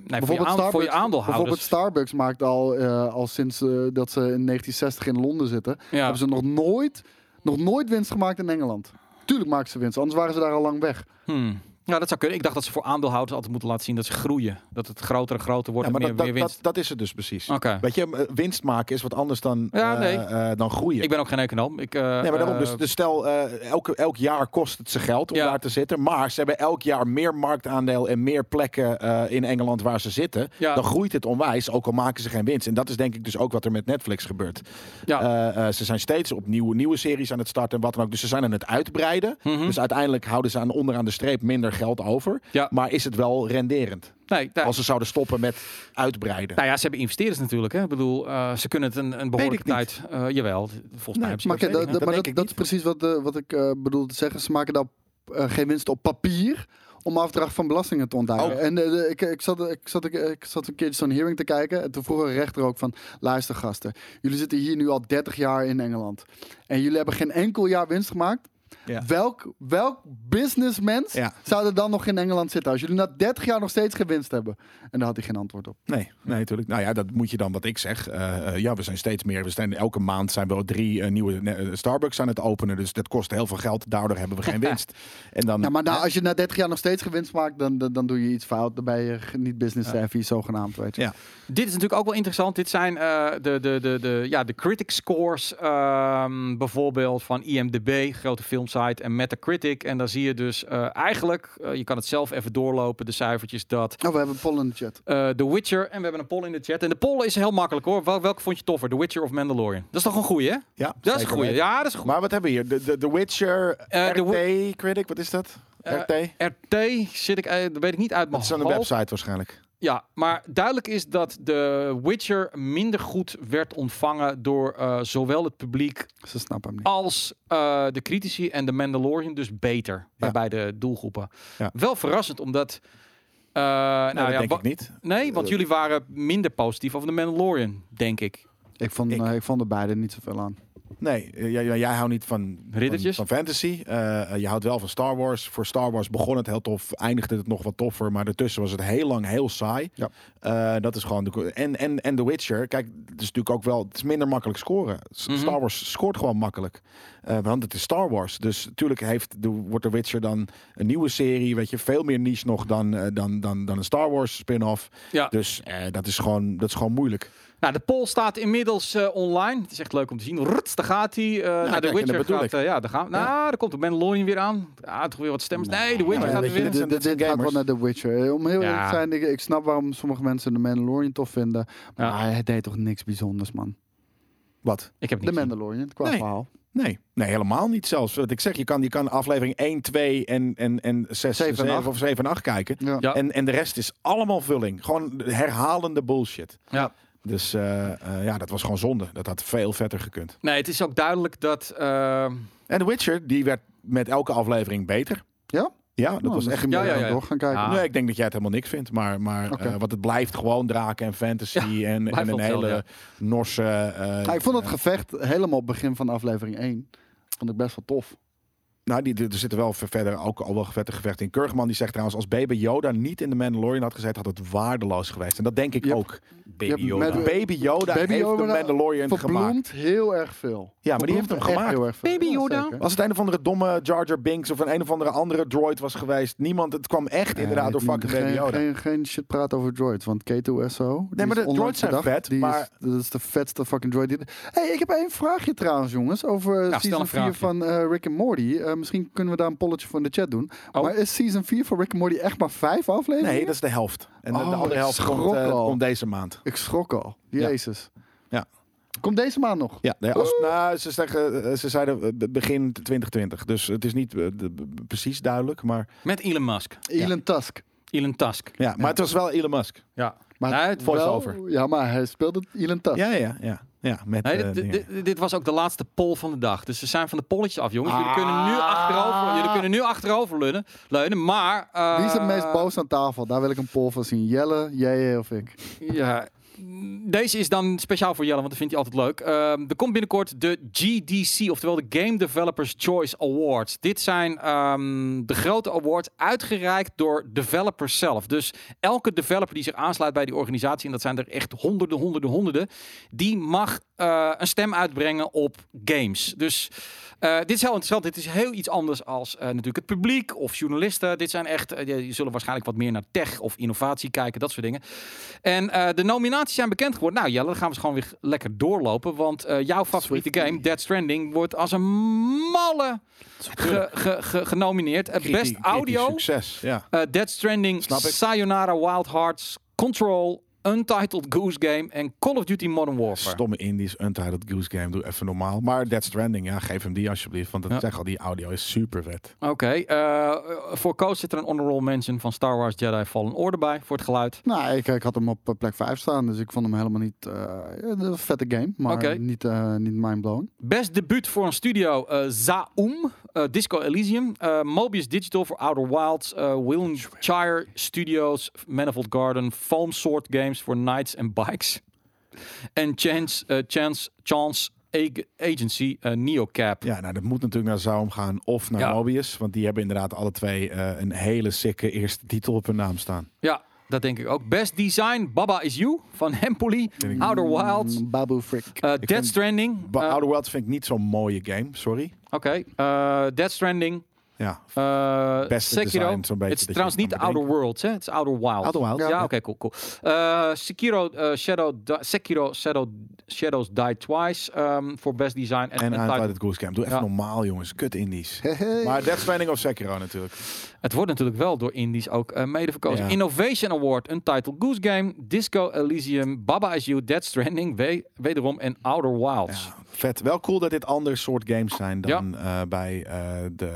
[SPEAKER 2] Nee, voor je, aan-
[SPEAKER 3] Starbucks-
[SPEAKER 2] voor je
[SPEAKER 3] Bijvoorbeeld
[SPEAKER 2] aandeelhouders.
[SPEAKER 3] Starbucks maakt al, eh, al sinds eh, dat ze in 1960 in Londen zitten,
[SPEAKER 2] Ja.
[SPEAKER 3] hebben ze nog nooit, nog nooit winst gemaakt in Engeland. Tuurlijk maken ze winst, anders waren ze daar al lang weg.
[SPEAKER 1] Hm.
[SPEAKER 2] Hmm. ja, dat zou kunnen. Ik dacht dat ze voor aandeelhouders altijd moeten laten zien dat ze groeien. Dat het groter en groter
[SPEAKER 1] Ja,
[SPEAKER 2] wordt
[SPEAKER 1] maar
[SPEAKER 2] en
[SPEAKER 1] dat,
[SPEAKER 2] meer,
[SPEAKER 1] dat,
[SPEAKER 2] meer
[SPEAKER 1] dat,
[SPEAKER 2] winst.
[SPEAKER 1] dat is het dus precies.
[SPEAKER 2] Oké.
[SPEAKER 1] Weet je, eh, winst maken is wat anders dan,
[SPEAKER 2] Ja,
[SPEAKER 1] eh,
[SPEAKER 2] nee.
[SPEAKER 1] eh, dan groeien.
[SPEAKER 2] Ik ben ook geen econoom. Ik, eh,
[SPEAKER 1] Nee, maar daarom
[SPEAKER 2] eh,
[SPEAKER 1] dus, dus stel, eh, elke, elk jaar kost het ze geld om
[SPEAKER 2] Ja.
[SPEAKER 1] daar te zitten. Maar ze hebben elk jaar meer marktaandeel en meer plekken eh, in Engeland waar ze zitten.
[SPEAKER 2] Ja.
[SPEAKER 1] Dan groeit het onwijs, ook al maken ze geen winst. En dat is denk ik dus ook wat er met Netflix gebeurt.
[SPEAKER 2] Ja.
[SPEAKER 1] Eh, eh, ze zijn steeds op nieuwe, nieuwe series aan het starten en wat dan ook. Dus ze zijn aan het uitbreiden.
[SPEAKER 2] Mhm.
[SPEAKER 1] Dus uiteindelijk houden ze aan onderaan de streep minder geld over.
[SPEAKER 2] Ja.
[SPEAKER 1] Maar is het wel renderend?
[SPEAKER 2] nee, daar-
[SPEAKER 1] Als ze zouden stoppen met uitbreiden.
[SPEAKER 2] nou ja, ze hebben investeerders natuurlijk. Hè. Ik bedoel, eh, ze kunnen het een, een behoorlijke
[SPEAKER 1] ik
[SPEAKER 2] tijd... eh, jawel, volgens mij hebben ze nog
[SPEAKER 3] Maar, kijk, dat,
[SPEAKER 2] steeds-
[SPEAKER 3] dat-
[SPEAKER 1] dat
[SPEAKER 3] maar
[SPEAKER 1] denk
[SPEAKER 3] dat,
[SPEAKER 1] ik
[SPEAKER 3] dat
[SPEAKER 1] niet.
[SPEAKER 3] is precies wat, eh, wat ik eh bedoel te zeggen. Ze maken daar eh, geen winst op papier om afdracht van belastingen te ontduiken.
[SPEAKER 1] Oh.
[SPEAKER 3] En eh, de- ik, ik, zat, ik, zat, ik, ik zat een keertje zo'n hearing te kijken en toen vroeg een rechter ook van... Luister gasten, jullie zitten hier nu al 30 jaar in Engeland en jullie hebben geen enkel jaar winst gemaakt...
[SPEAKER 1] Ja.
[SPEAKER 3] Welk, welk businessmens
[SPEAKER 1] Ja.
[SPEAKER 3] zou er dan nog in Engeland zitten als jullie na 30 jaar nog steeds geen winst hebben? En daar had hij geen antwoord op.
[SPEAKER 1] Nee, nee, natuurlijk. Nou ja, dat moet je dan wat ik zeg. Eh, eh, ja, we zijn steeds meer. We zijn, elke maand zijn we al drie eh, nieuwe eh, Starbucks aan het openen. Dus dat kost heel veel geld. Daardoor hebben
[SPEAKER 2] [LAUGHS]
[SPEAKER 1] we geen winst. En dan,
[SPEAKER 3] Ja, maar nou, als je na 30 jaar nog steeds gewinst maakt, dan, dan, dan doe je iets fout. Dan ben je ge- niet business savvy, zogenaamd, weet je.
[SPEAKER 1] Ja.
[SPEAKER 2] Dit is natuurlijk ook wel interessant. Dit zijn eh, de, de, de, de, ja, de critic scores ehm, bijvoorbeeld van IMDb, grote filmsite, en Metacritic. En daar zie je dus eh, eigenlijk, eh, je kan het zelf even doorlopen, de cijfertjes, dat
[SPEAKER 3] Oh, we hebben Paul in de chat.
[SPEAKER 2] eh, The Witcher, en we hebben een poll in de chat. En de poll is heel makkelijk hoor. Wel, welke vond je toffer, The Witcher of Mandalorian? Dat is toch een goeie, hè?
[SPEAKER 1] ja,
[SPEAKER 2] Dat is een
[SPEAKER 1] zeker
[SPEAKER 2] goeie.
[SPEAKER 1] weten.
[SPEAKER 2] Ja, dat is een goeie.
[SPEAKER 1] Maar wat hebben we hier? De, de, de Witcher,
[SPEAKER 2] Eh,
[SPEAKER 1] RT,
[SPEAKER 2] de
[SPEAKER 1] Critic, wat is dat?
[SPEAKER 2] Eh,
[SPEAKER 1] RT? Het
[SPEAKER 2] RT zit ik, eh, dat weet ik niet uit
[SPEAKER 1] dat
[SPEAKER 2] mijn
[SPEAKER 1] is aan de
[SPEAKER 2] hoofd.
[SPEAKER 1] website waarschijnlijk.
[SPEAKER 2] Ja, maar duidelijk is dat The Witcher minder goed werd ontvangen door eh, zowel het publiek
[SPEAKER 3] Ze snappen hem niet.
[SPEAKER 2] als eh, de critici en de Mandalorian dus beter bij- bij de doelgroepen.
[SPEAKER 1] Ja.
[SPEAKER 2] Wel verrassend, omdat... eh,
[SPEAKER 1] Nou,
[SPEAKER 2] nou ja,
[SPEAKER 1] dat
[SPEAKER 2] wa-
[SPEAKER 1] denk ik niet.
[SPEAKER 2] Nee, want
[SPEAKER 1] Eh.
[SPEAKER 2] jullie waren minder positief over de Mandalorian, denk Oh, ik.
[SPEAKER 3] Ik vond,
[SPEAKER 1] Ik-
[SPEAKER 3] eh, ik vond er beide niet zoveel aan.
[SPEAKER 1] Nee, eh, jij, jij- jij houdt niet van,
[SPEAKER 2] Riddertjes?
[SPEAKER 1] van, van fantasy. Eh, eh, je houdt wel van Star Wars. Voor Star Wars begon het heel tof, eindigde het nog wat toffer. Maar daartussen was het heel lang heel saai.
[SPEAKER 3] Ja.
[SPEAKER 1] Eh, dat is gewoon de, en, en, en The Witcher. Kijk, het is natuurlijk ook wel het is minder makkelijk scoren. S-
[SPEAKER 2] Mhm.
[SPEAKER 1] Star Wars scoort gewoon makkelijk. Eh, want het is Star Wars. Dus natuurlijk heeft de, wordt The Witcher dan een nieuwe serie. Weet je, veel meer niche nog dan, eh, dan, dan, dan een Star Wars spin-off.
[SPEAKER 2] Ja.
[SPEAKER 1] Dus eh, dat, is gewoon, dat is gewoon moeilijk.
[SPEAKER 2] Nou, de poll staat inmiddels eh, online. Het is echt leuk om te zien. Ruts, daar gaat hij. eh nou,
[SPEAKER 1] kijk,
[SPEAKER 2] de
[SPEAKER 1] en dat
[SPEAKER 2] Witcher
[SPEAKER 1] bedoel
[SPEAKER 2] gaat...
[SPEAKER 1] ik.
[SPEAKER 2] eh, ja, daar gaan we. Nou, daar komt de Mandalorian weer aan. Ah, toch weer wat stemmers. Nee, de Witcher
[SPEAKER 1] ja,
[SPEAKER 2] gaat
[SPEAKER 1] weet
[SPEAKER 2] er
[SPEAKER 1] je,
[SPEAKER 2] weer.
[SPEAKER 1] dit-
[SPEAKER 3] dit,
[SPEAKER 1] dit
[SPEAKER 3] dit,
[SPEAKER 1] zijn
[SPEAKER 3] gaat wel
[SPEAKER 1] gamers.
[SPEAKER 3] naar The Witcher. Eh, Om heel
[SPEAKER 2] Ja.
[SPEAKER 3] eerlijk te zijn, ik, ik snap waarom sommige mensen de Mandalorian tof vinden. Maar
[SPEAKER 2] Ja.
[SPEAKER 3] hij deed toch niks bijzonders, man.
[SPEAKER 1] Wat?
[SPEAKER 2] Ik heb het
[SPEAKER 3] De
[SPEAKER 2] niet gezien.
[SPEAKER 3] Mandalorian, qua
[SPEAKER 1] Nee.
[SPEAKER 3] verhaal.
[SPEAKER 1] Nee, nee, helemaal niet zelfs. Wat ik zeg, je kan, je kan aflevering 1, 2 en, en, en 6,
[SPEAKER 3] Zeven en
[SPEAKER 1] 7
[SPEAKER 3] acht.
[SPEAKER 1] of 7 en 8 kijken.
[SPEAKER 3] Ja.
[SPEAKER 2] Ja.
[SPEAKER 1] En, en de rest is allemaal vulling. Gewoon herhalende bullshit.
[SPEAKER 2] Ja.
[SPEAKER 1] Dus eh, eh, ja, dat was gewoon zonde. Dat had veel vetter gekund.
[SPEAKER 2] Nee, het is ook duidelijk dat... eh,
[SPEAKER 1] En The Witcher, die werd met elke aflevering beter.
[SPEAKER 3] Ja?
[SPEAKER 1] Ja, dat
[SPEAKER 3] Nou,
[SPEAKER 1] was echt...
[SPEAKER 3] misschien
[SPEAKER 2] Ja,
[SPEAKER 3] moet ik
[SPEAKER 2] ja,
[SPEAKER 3] dan
[SPEAKER 2] ja. Ah.
[SPEAKER 3] door gaan kijken.
[SPEAKER 2] Ja.
[SPEAKER 1] Nee, ik denk dat jij het helemaal niks vindt. Maar, maar
[SPEAKER 3] Oké.
[SPEAKER 1] eh, wat het blijft gewoon draken en fantasy en, en
[SPEAKER 2] wel
[SPEAKER 1] een hele
[SPEAKER 2] hetzelfde,
[SPEAKER 1] Norse... eh,
[SPEAKER 3] Ja, Nou, ik vond het
[SPEAKER 1] eh,
[SPEAKER 3] gevecht helemaal op het begin van aflevering 1. Vond ik best wel tof.
[SPEAKER 1] Nou, die, er zitten wel ver- verder ook al wel vette gevechten in. Kurgman die zegt trouwens, als Baby Yoda niet in de Mandalorian had gezeten, had het waardeloos geweest. En dat denk ik
[SPEAKER 3] Yep.
[SPEAKER 1] ook.
[SPEAKER 3] Je hebt
[SPEAKER 2] Baby Yoda.
[SPEAKER 3] met- Yoda.
[SPEAKER 1] Baby Yoda
[SPEAKER 3] Baby
[SPEAKER 1] heeft
[SPEAKER 3] Yoda
[SPEAKER 1] de Mandalorian gemaakt.
[SPEAKER 3] Verbloemt heel erg veel.
[SPEAKER 1] Ja, maar die heeft hem
[SPEAKER 3] Verbloemt echt
[SPEAKER 1] gemaakt.
[SPEAKER 3] heel erg veel.
[SPEAKER 2] Baby
[SPEAKER 3] Ja,
[SPEAKER 2] Yoda.
[SPEAKER 3] zeker.
[SPEAKER 1] Als het een of andere domme Jar Jar Binks of een een of andere andere droid was geweest, niemand, het kwam echt inderdaad door
[SPEAKER 3] Nee,
[SPEAKER 1] fucking
[SPEAKER 3] geen,
[SPEAKER 1] Baby Yoda.
[SPEAKER 3] Geen, geen shit praten over droids, want K2SO... die
[SPEAKER 1] maar
[SPEAKER 3] is
[SPEAKER 1] de
[SPEAKER 3] onlangs
[SPEAKER 1] droids zijn
[SPEAKER 3] bedacht.
[SPEAKER 1] vet,
[SPEAKER 3] die
[SPEAKER 1] maar-
[SPEAKER 3] Is, dat is de vetste fucking droid. die- hey, ik heb één vraagje trouwens, jongens, over
[SPEAKER 2] stel
[SPEAKER 3] season
[SPEAKER 2] een
[SPEAKER 3] 4
[SPEAKER 2] vraagje.
[SPEAKER 3] van eh, Rick and Morty. Eh, misschien kunnen we daar een polletje voor in de chat doen.
[SPEAKER 2] Oh.
[SPEAKER 3] Maar is season 4 van Rick and Morty echt maar vijf afleveringen?
[SPEAKER 1] Nee, dat is de helft. En de-
[SPEAKER 3] Oh,
[SPEAKER 1] de andere
[SPEAKER 3] ik
[SPEAKER 1] helft komt,
[SPEAKER 3] schrok
[SPEAKER 1] eh,
[SPEAKER 3] al.
[SPEAKER 1] komt deze maand.
[SPEAKER 3] Ik schrok al.
[SPEAKER 1] Ja.
[SPEAKER 3] Jezus.
[SPEAKER 1] Ja.
[SPEAKER 3] Komt deze maand nog?
[SPEAKER 1] Ja, nee, als, nou, ze, zeggen, eh, ze zeiden eh, be- begin 2020. Dus het is niet eh, de- be- precies duidelijk. Maar,
[SPEAKER 2] Met Elon Musk.
[SPEAKER 3] Elon Tusk.
[SPEAKER 2] Elon Tusk.
[SPEAKER 1] ja, maar het was wel Elon Musk.
[SPEAKER 2] Ja.
[SPEAKER 3] Maar
[SPEAKER 2] Nee, het
[SPEAKER 3] wel-
[SPEAKER 1] voice-over.
[SPEAKER 3] Ja, maar hij speelde Elon Tusk.
[SPEAKER 1] Ja, ja, ja. ja met,
[SPEAKER 2] Nee,
[SPEAKER 1] eh,
[SPEAKER 2] dit,
[SPEAKER 1] dingen.
[SPEAKER 2] dit- dit- dit was ook de laatste poll van de dag. Dus ze zijn van de polletjes af, jongens. Jullie, kunnen, nu achterover, jullie kunnen nu achterover leunen. leunen maar... eh,
[SPEAKER 3] Wie is het meest boos aan tafel? Daar wil ik een poll van zien. Jelle, jij of ik?
[SPEAKER 2] Ja, deze is dan speciaal voor Jelle, want dat vindt hij altijd leuk. Ehm, er komt binnenkort de GDC, oftewel de Game Developers Choice Awards. Dit zijn ehm, de grote awards uitgereikt door developers zelf. Dus elke developer die zich aansluit bij die organisatie, en dat zijn er echt honderden, honderden, honderden, die mag eh, een stem uitbrengen op games. Dus eh, dit is heel interessant. Dit is heel iets anders als eh, natuurlijk het publiek of journalisten. Dit zijn echt, eh, die zullen waarschijnlijk wat meer naar tech of innovatie kijken, dat soort dingen. En eh, de nominaties zijn bekend geworden. Nou Jelle, dan gaan we ze gewoon weer lekker doorlopen. Want eh, jouw favoriete
[SPEAKER 3] Swiftie.
[SPEAKER 2] game, Dead Stranding, wordt als een malle ge- ge- ge- genomineerd. Eh,
[SPEAKER 1] Kriti-
[SPEAKER 2] Best
[SPEAKER 1] kritisch
[SPEAKER 2] audio,
[SPEAKER 1] Succes, ja.
[SPEAKER 2] eh, Dead Stranding,
[SPEAKER 1] Snap ik.
[SPEAKER 2] Sayonara Wild Hearts, Control, Untitled Goose Game en Call of Duty Modern Warfare.
[SPEAKER 1] Stomme Indies, Untitled Goose Game, doe even normaal. Maar Dead Stranding, ja, geef hem die alsjeblieft. Want dat
[SPEAKER 2] Ja.
[SPEAKER 1] zeg al, die audio is super vet.
[SPEAKER 2] Oké, eh, voor Koos zit er een honorable mention van Star Wars Jedi Fallen Order bij, voor het geluid.
[SPEAKER 3] Nou, ik, ik had hem op eh, plek 5 staan, dus ik vond hem helemaal niet... eh, ja, een vette game, maar
[SPEAKER 2] Oké.
[SPEAKER 3] niet, eh niet mindblowing.
[SPEAKER 2] Best debuut voor een studio, eh Zaum, eh, Disco Elysium, eh, Mobius Digital voor Outer Wilds, eh Wilmshire Studios, Manifold Garden, Foam Sword Games voor Knights and Bikes. En Chance, eh, Chance, Chance Ag- Agency, eh, Neocap.
[SPEAKER 1] Ja, nou, dat moet natuurlijk naar Zaum gaan of naar
[SPEAKER 2] Ja.
[SPEAKER 1] Mobius. Want die hebben inderdaad alle twee eh, een hele sikke eerste titel op hun naam staan.
[SPEAKER 2] Ja, dat denk ik ook. Best design, Baba Is You van [LAUGHS] Hempoli, Outer Wilds,
[SPEAKER 3] Mm, Babu Frick.
[SPEAKER 2] eh, Dead
[SPEAKER 1] vind-
[SPEAKER 2] Stranding.
[SPEAKER 1] Ba-
[SPEAKER 2] eh,
[SPEAKER 1] Outer Worlds vind ik niet zo'n mooie game, sorry.
[SPEAKER 2] Oké, eh, Dead Stranding.
[SPEAKER 1] Ja,
[SPEAKER 2] eh
[SPEAKER 1] Beste
[SPEAKER 2] Sekiro.
[SPEAKER 1] design zo'n beetje
[SPEAKER 2] Het is
[SPEAKER 1] dat je
[SPEAKER 2] trouwens
[SPEAKER 1] kan
[SPEAKER 2] niet de Outer Worlds, hè? Het is Outer Wilds.
[SPEAKER 1] Outer Wilds,
[SPEAKER 2] Ja,
[SPEAKER 3] ja.
[SPEAKER 2] oké, cool, cool. Eh, Sekiro, eh, Shadow, Di- Sekiro Shadow, Shadows Die Twice ehm, voor Best Design. En,
[SPEAKER 1] en
[SPEAKER 2] en
[SPEAKER 1] Untitled Goose Game. Doe even
[SPEAKER 2] Ja.
[SPEAKER 1] normaal, jongens. Kut indies.
[SPEAKER 3] Hehe.
[SPEAKER 1] Maar Death Stranding of Sekiro natuurlijk.
[SPEAKER 2] Het wordt natuurlijk wel door Indies ook eh, mede verkozen.
[SPEAKER 1] Ja.
[SPEAKER 2] Innovation Award, Untitled Goose Game, Disco Elysium, Baba Is You, Dead Stranding, we- wederom en Outer Wilds.
[SPEAKER 1] Ja, vet. Wel cool dat dit ander soort games zijn dan eh, bij eh, de